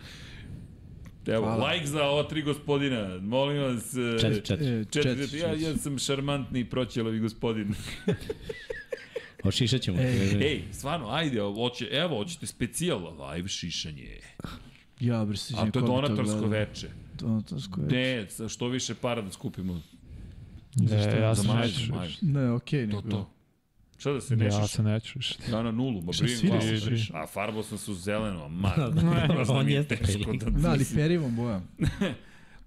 [SPEAKER 1] Evo, Hvala. like za ova tri gospodina, molim vas. e,
[SPEAKER 4] Četiri, četiri.
[SPEAKER 5] E,
[SPEAKER 1] Četiri,
[SPEAKER 5] četiri,
[SPEAKER 1] ja, ja sam šarmantni proćelovi gospodin.
[SPEAKER 4] Ošišat
[SPEAKER 1] E,
[SPEAKER 4] ćemo. Ej,
[SPEAKER 1] Ej, stvarno, ajde, oće, evo, hoćete specijal live šišanje.
[SPEAKER 5] Ja, bre, sviđa
[SPEAKER 1] A
[SPEAKER 5] mi
[SPEAKER 1] to je
[SPEAKER 5] ko bi
[SPEAKER 2] da,
[SPEAKER 1] donatorsko
[SPEAKER 5] gledao.
[SPEAKER 1] veče.
[SPEAKER 5] Donatorsko veče.
[SPEAKER 1] Ne, sa što više para da skupimo.
[SPEAKER 3] E, ja se
[SPEAKER 1] Za
[SPEAKER 3] neću
[SPEAKER 1] majicu,
[SPEAKER 3] više.
[SPEAKER 1] majicu.
[SPEAKER 5] Ne, okej.
[SPEAKER 1] To,
[SPEAKER 5] nego-
[SPEAKER 1] to. Šta da se
[SPEAKER 3] Ja
[SPEAKER 1] nešaš?
[SPEAKER 3] se neću više.
[SPEAKER 1] Ja na nulu, ma
[SPEAKER 5] svi
[SPEAKER 1] brim glavu.
[SPEAKER 3] rešiš?
[SPEAKER 1] A farbo sam se u zeleno, a ma.
[SPEAKER 4] on
[SPEAKER 1] mi
[SPEAKER 4] jeste
[SPEAKER 1] teško
[SPEAKER 4] prilika.
[SPEAKER 1] da-
[SPEAKER 5] Da, ali perivom bojom.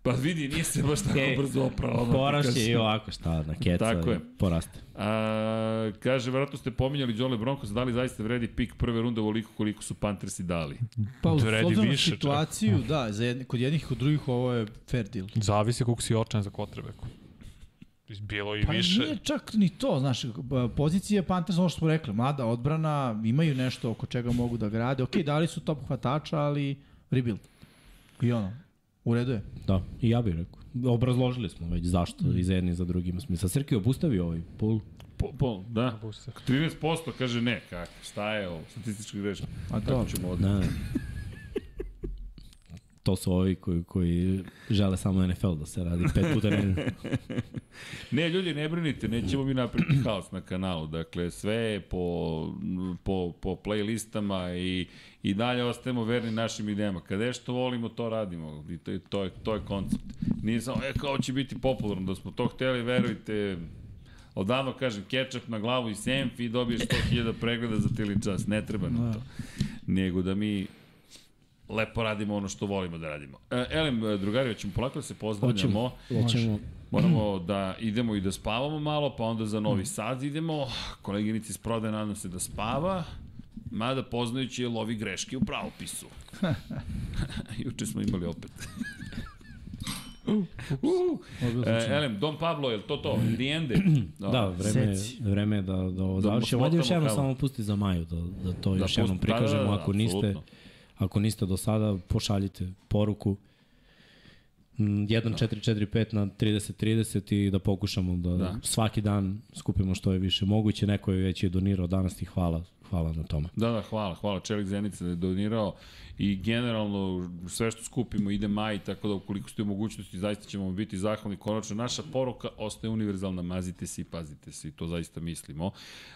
[SPEAKER 1] Pa vidi, nije se baš tako
[SPEAKER 4] E,
[SPEAKER 1] brzo opravo.
[SPEAKER 4] Poraš je i ovako šta, na keca.
[SPEAKER 1] Tako je.
[SPEAKER 4] Poraste.
[SPEAKER 1] A, kaže, vjerojatno ste pominjali Jole Broncos, da li zaista vredi pik prve runde ovoliko koliko su Panthersi dali?
[SPEAKER 5] Pa, u
[SPEAKER 3] To radi
[SPEAKER 5] obzirom na
[SPEAKER 3] više čak.
[SPEAKER 5] situaciju, da, za jedni, kod jednih i kod drugih ovo je fair deal.
[SPEAKER 3] Zavisi koliko si očan za kotrebeku. Bilo i
[SPEAKER 5] Pa
[SPEAKER 3] više.
[SPEAKER 5] nije čak ni to, znaš, b- pozicija Panthers, ono što smo rekli, mlada odbrana, imaju nešto oko čega mogu da grade. Okej, dali su top hvatača, ali rebuild. I ono, u redu je.
[SPEAKER 4] Da, i ja bih rekao. Obrazložili smo već zašto
[SPEAKER 1] Mm.
[SPEAKER 4] i za jedni i za drugima. Sa Srki obustavi ovaj pol.
[SPEAKER 1] Po, po, da. 13% kaže ne, kako, šta je ovo, statistička greška.
[SPEAKER 5] A
[SPEAKER 1] Tako
[SPEAKER 5] to,
[SPEAKER 1] ćemo ovde.
[SPEAKER 4] Ne. To su ovi koji, koji žele samo NFL da se radi pet puta ne.
[SPEAKER 1] Ne, ljudi, ne brinite, nećemo mi napraviti haos na kanalu. Dakle, sve je po, po, po playlistama i, i dalje ostajemo verni našim idejama. Kada je što volimo, to radimo. I to, je- to, je, to je koncept. Nije samo, e, kao će biti popularno. Da smo to hteli, verujte, odavno kažem, ketchup na glavu i senf i dobiješ 100.000 pregleda za tili čas. Ne treba nam
[SPEAKER 4] Da.
[SPEAKER 1] to. Nego da mi lepo radimo ono što volimo da radimo. E, Elem, drugari, ćemo polako da se pozdravljamo.
[SPEAKER 4] Hoćemo. Hoćemo.
[SPEAKER 1] Moramo da idemo i da spavamo malo, pa onda za Novi Sad idemo. Koleginici iz prodaje nadam se da spava, mada poznajući je lovi greške u pravopisu. Juče smo imali opet. Uh, e, Elem, Don Pablo, je li to to? The end?
[SPEAKER 4] Da, vreme,
[SPEAKER 5] Seci.
[SPEAKER 4] je, vreme je da, da ovo
[SPEAKER 1] Da
[SPEAKER 4] završimo. Ajde
[SPEAKER 1] smotamo
[SPEAKER 4] još jednom
[SPEAKER 1] kavu.
[SPEAKER 4] samo pusti za Maju, da, da to još
[SPEAKER 1] pusti-
[SPEAKER 4] jednom
[SPEAKER 1] da, da, da,
[SPEAKER 4] prikažemo. Ako niste,
[SPEAKER 1] apsolutno.
[SPEAKER 4] ako niste do sada, pošaljite poruku Da. 1-4-4-5 na 30-30 i da pokušamo da, da, svaki dan skupimo što je više moguće. Neko je već i donirao danas i hvala, hvala na tome.
[SPEAKER 1] Da, da, hvala, hvala. Čelik Zenica je donirao i generalno sve što skupimo ide maj, tako da ukoliko ste u mogućnosti, zaista ćemo biti zahvalni. Konačno, naša poruka ostaje univerzalna, mazite se i pazite se i to zaista mislimo.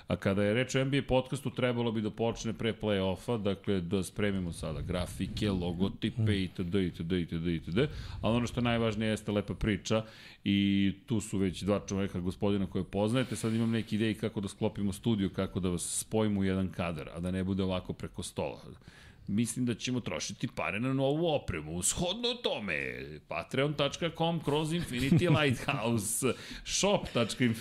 [SPEAKER 1] A kada je reč o NBA podcastu, trebalo bi da počne pre play-offa, dakle da spremimo sada grafike, logotipe itd. itd. itd. itd. Ali ono što je najvažnije jeste lepa priča i tu su već dva čoveka gospodina koje poznajete. Sad imam neke ideje kako da sklopimo studiju, kako da vas spojimo u jedan kadar, a da ne bude ovako preko stola mislim da ćemo trošiti pare na novu opremu. Shodno tome, patreon.com kroz Infinity Lighthouse,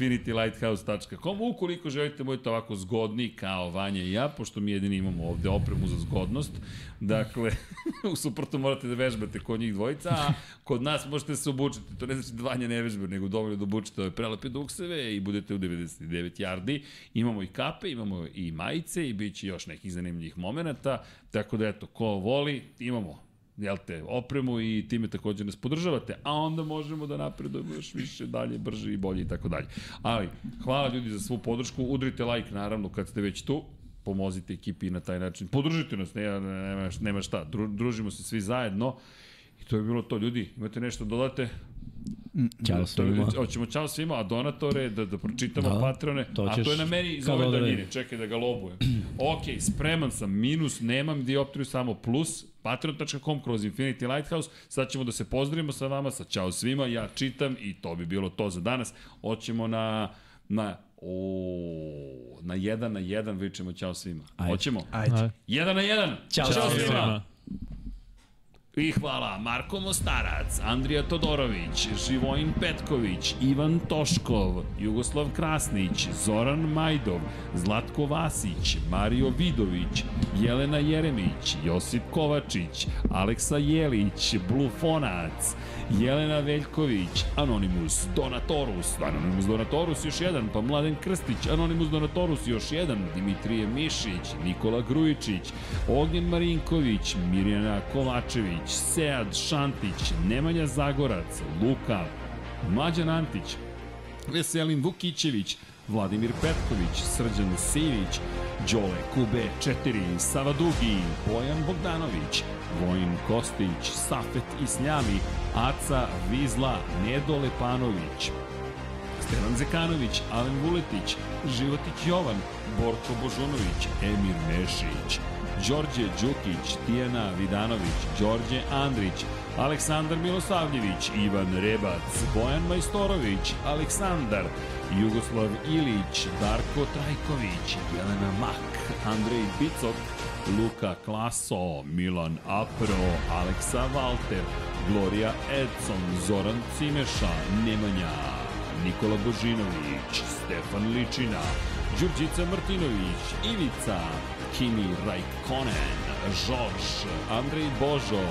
[SPEAKER 1] shop.infinitylighthouse.com, ukoliko želite da budete ovako zgodni kao Vanja i ja, pošto mi jedini imamo ovde opremu za zgodnost, dakle, u suprotu morate da vežbate kod njih dvojica, a kod nas možete se obučiti, to ne znači da Vanja ne vežba, nego dovoljno da obučite ove prelepe dukseve i budete u 99 yardi, imamo i kape, imamo i majice i bit će još nekih zanimljivih momenta, tako Tako da eto, ko voli, imamo jel te, opremu i time takođe nas podržavate, a onda možemo da napredujemo još više, dalje, brže i bolje i tako dalje. Ali, hvala ljudi za svu podršku, udrite like naravno kad ste već tu, pomozite ekipi na taj način, podržite nas, nema, nema, nema šta, Dru, družimo se svi zajedno i to je bilo to. Ljudi, imate nešto dodate?
[SPEAKER 4] Ćao Pa svima.
[SPEAKER 1] Hoćemo čao svima, a donatore, da, da pročitamo da, patrone,
[SPEAKER 4] to
[SPEAKER 1] a
[SPEAKER 4] ćeš
[SPEAKER 1] to je na meni iz
[SPEAKER 4] kao
[SPEAKER 1] ove
[SPEAKER 4] da odredi.
[SPEAKER 1] daljine, čekaj da ga lobujem. ok, spreman sam, minus, nemam dioptriju, samo plus, patreon.com kroz Infinity Lighthouse, sad ćemo da se pozdravimo sa vama, sa čao svima, ja čitam i to bi bilo to za danas. Hoćemo na, na, o, na jedan na jedan vičemo čao svima.
[SPEAKER 4] Ajde.
[SPEAKER 1] Hoćemo?
[SPEAKER 3] Ajde.
[SPEAKER 1] Jedan na jedan.
[SPEAKER 4] Ćao svima.
[SPEAKER 1] I hvala Marko Mostarac, Andrija Todorović, Živojin Petković, Ivan Toškov, Jugoslav Krasnić, Zoran Majdov, Zlatko Vasić, Mario Vidović, Jelena Jeremić, Josip Kovačić, Aleksa Jelić, Blufonac, Jelena Veljković, Anonimus Donatorus, Anonimus Donatorus još jedan, pa Mladen Krstić, Anonimus Donatorus još jedan, Dimitrije Mišić, Nikola Grujičić, Ognjen Marinković, Mirjana Kovačević, Sead Šantić, Nemanja Zagorac, Luka, Mlađan Antić, Veselin Vukićević, Vladimir Petković, Srđan Sivić, Đole Kube 4, Sava Dugi, Bojan Bogdanović, Vojin Kostić, Safet Isljami, Aca Vizla, Nedo Lepanović, Stevan Zekanović, Alen Vuletić, Životić Jovan, Borko Božunović, Emir Mešić, Đorđe Đukić, Tijana Vidanović, Đorđe Andrić, Aleksandar Milosavljević, Ivan Rebac, Bojan Majstorović, Aleksandar, Jugoslav Ilić, Darko Trajković, Jelena Mak, Andrej Bicok, Luka Klaso, Milan Apro, Aleksa Valter, Gloria Edson, Zoran Cimeša, Nemanja, Nikola Božinović, Stefan Ličina, Đurđica Martinović, Ivica, Kimi Rajkonen, Žorž, Andrej Božo,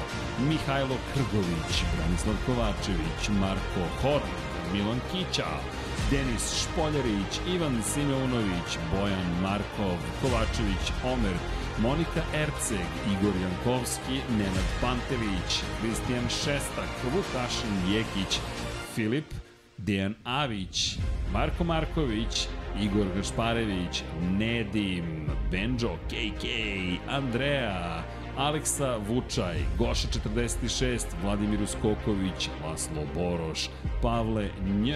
[SPEAKER 1] Mihajlo Krgović, Branislav Kovačević, Marko Horn, Milan Kića, Denis Špoljarić, Ivan Simeunović, Bojan Markov, Kovačević, Omer, Monika Erceg, Igor Jankovski, Nenad Pantević, Kristijan Šestak, Vukašin Jekić, Filip, Dejan Avić, Marko Marković, Igor Gašparević, Nedim, Benjo, KK, Andrea, Aleksa Vučaj, Goša 46, Vladimir Uskoković, Laslo Boroš, Pavle Nj,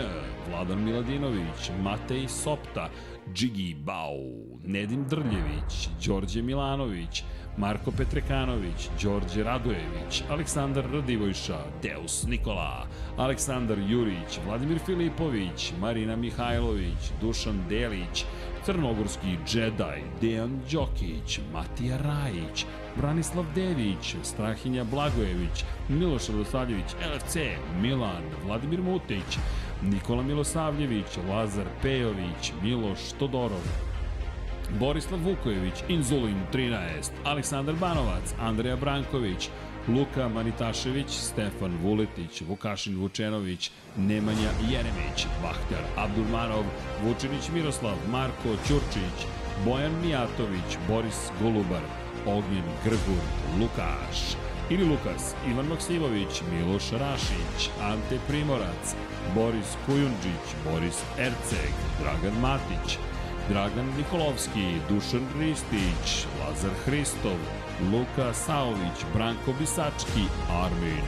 [SPEAKER 1] Vladan Miladinović, Matej Sopta, Džigi Bau, Nedim Drljević, Đorđe Milanović, Marko Petrekanović, Đorđe Radojević, Aleksandar Radivojša, Deus Nikola, Aleksandar Jurić, Vladimir Filipović, Marina Mihajlović, Dušan Delić, Crnogorski Jedi, Dejan Đokić, Matija Rajić, Branislav Dević, Strahinja Blagojević, Miloš Radosavljević, LFC, Milan, Vladimir Mutić, Nikola Milosavljević, Lazar Pejović, Miloš Todorov, Borislav Vukojević, Inzulin 13, Aleksandar Banovac, Andreja Branković, Luka Manitašević, Stefan Vuletić, Vukašin Vučenović, Nemanja Jeremić, Bahtar Abdurmanov, Vučinić Miroslav, Marko Ćurčić, Bojan Mijatović, Boris Golubar, Ognjen Grgur, Lukaš, ili Lukas, Ivan Maksimović, Miloš Rašić, Ante Primorac, Boris Kujundžić, Boris Erceg, Dragan Matić, Dragan Nikolovski, Dušan Ristić, Lazar Hristov, Luka Saović, Branko Bisački, Armin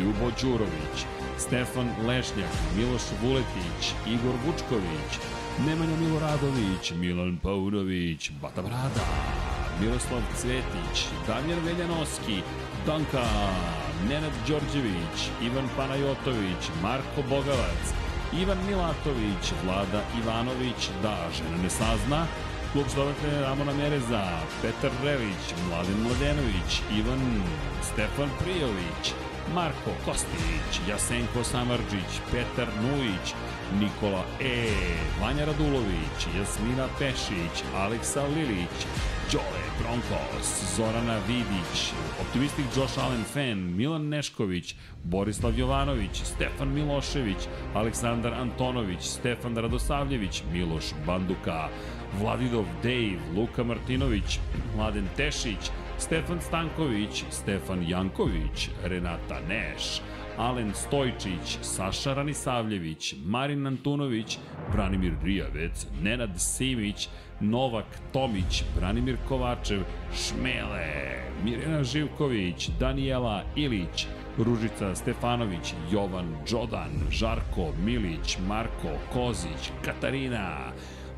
[SPEAKER 1] Ljubo Đurović, Stefan Lešnjak, Miloš Vuletić, Igor Vučković, Nemanja Miloradović, Milan Paunović, Bata Brada, Miroslav Cvetić, Damjan Veljanoski, Danka, Nenad Đorđević, Ivan Panajotović, Marko Bogavac, Ivan Milatović, Vlada Ivanović, da, žena ne sazna, Klub Slovenke Ramona Mereza, Petar Rević, Mladen Mladenović, Ivan Stefan Prijović, Marko Kostić, Jasenko Samarđić, Petar Nujić, Nikola E, Vanja Radulović, Jasmina Pešić, Aleksa Lilić, Đole Bronkos, Zorana Vidić, optimistik Josh Allen Fan, Milan Nešković, Borislav Jovanović, Stefan Milošević, Aleksandar Antonović, Stefan Radosavljević, Miloš Banduka, Vladidov Dejv, Luka Martinović, Mladen Tešić, Stefan Stanković, Stefan Janković, Renata Neš, Alen Stojčić, Saša Ranisavljević, Marin Antunović, Branimir Rijavec, Nenad Simić, Novak Tomić, Branimir Kovačev, Šmele, Mirjana Živković, Danijela Ilić, Ružica Stefanović, Jovan Đodan, Žarko Milić, Marko Kozić, Katarina,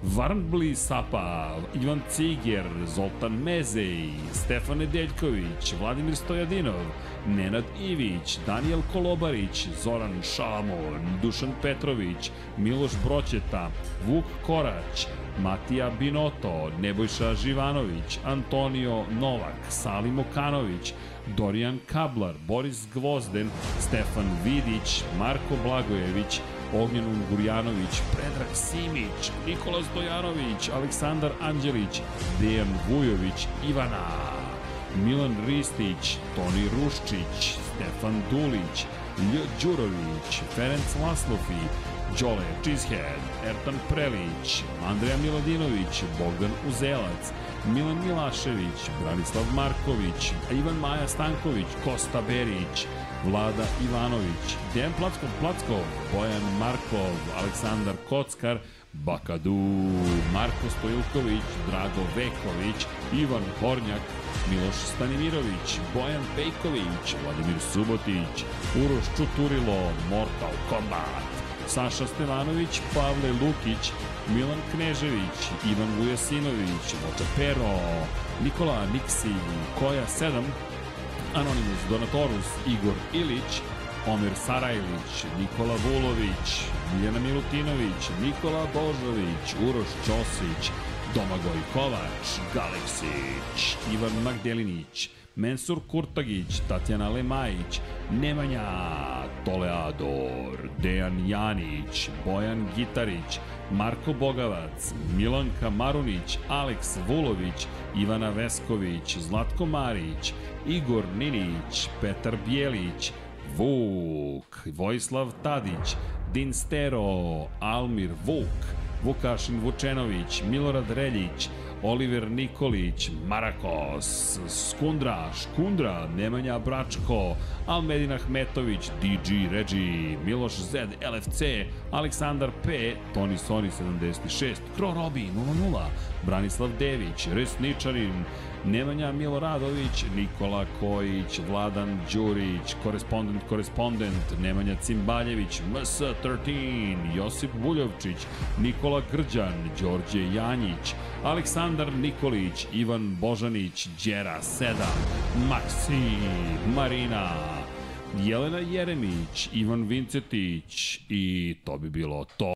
[SPEAKER 1] Varnbli Sapa, Ivan Ciger, Zoltan Mezej, Stefan Nedeljković, Vladimir Stojadinov, Nenad Ivić, Daniel Kolobarić, Zoran Šamo, Dušan Petrović, Miloš Broćeta, Vuk Korać, Matija Binoto, Nebojša Živanović, Antonio Novak, Salim Okanović, Dorijan Kablar, Boris Gvozden, Stefan Vidić, Marko Blagojević, Ognjen Ungurjanović, Predrag Simić, Nikola Stojanović, Aleksandar Anđelić, Dejan Vujović, Ivana, Milan Ristić, Toni Ruščić, Stefan Dulić, Lj. Đurović, Ferenc Laslofi, Đole Čizhead, Ertan Prelić, Andreja Miladinović, Bogdan Uzelac, Milan Milašević, Branislav Marković, Ivan Maja Stanković, Kosta Berić, Vlada Ivanović, Dejan Plackov, Plackov, Bojan Markov, Aleksandar Kockar, Bakadu, Marko Stojulković, Drago Veković, Ivan Hornjak, Miloš Stanimirović, Bojan Pejković, Vladimir Subotić, Uroš Čuturilo, Mortal Kombat, Saša Stevanović, Pavle Lukić, Milan Knežević, Ivan Vujasinović, Moča Pero, Nikola Niksi, Koja 7, Anonymous Donatorus, Igor Ilić, Omer Sarajlić, Nikola Vulović, Miljana Milutinović, Nikola Božović, Uroš Ćosić, Domagoj Kovač, Galeksić, Ivan Magdelinić, Mensur Kurtagić, Tatjana Lemajić, Nemanja Toleador, Dejan Janić, Bojan Gitarić, Marko Bogavac, Milanka Marunić, Aleks Vulović, Ivana Vesković, Zlatko Marić, Igor Ninić, Petar Bjelić, Vuk, Vojislav Tadić, Din Stero, Almir Vuk, Vukašin Vučenović, Milorad Reljić, Oliver Nikolić, Marakos, Skundra, Škundra, Nemanja Bračko, Almedin Ahmetović, DG Regi, Miloš Z, LFC, Aleksandar P, Toni Soni 76, Kro Robi 00, Branislav Dević, Resničanin, Nemanja Miloradović, Nikola Kojić, Vladan Đurić, korespondent, korespondent, Nemanja Cimbaljević, MS13, Josip Buljovčić, Nikola Grđan, Đorđe Janjić, Aleksandar Nikolić, Ivan Božanić, Đera 7, Maksim, Marina, Jelena Jeremić, Ivan Vincetić i to bi bilo to.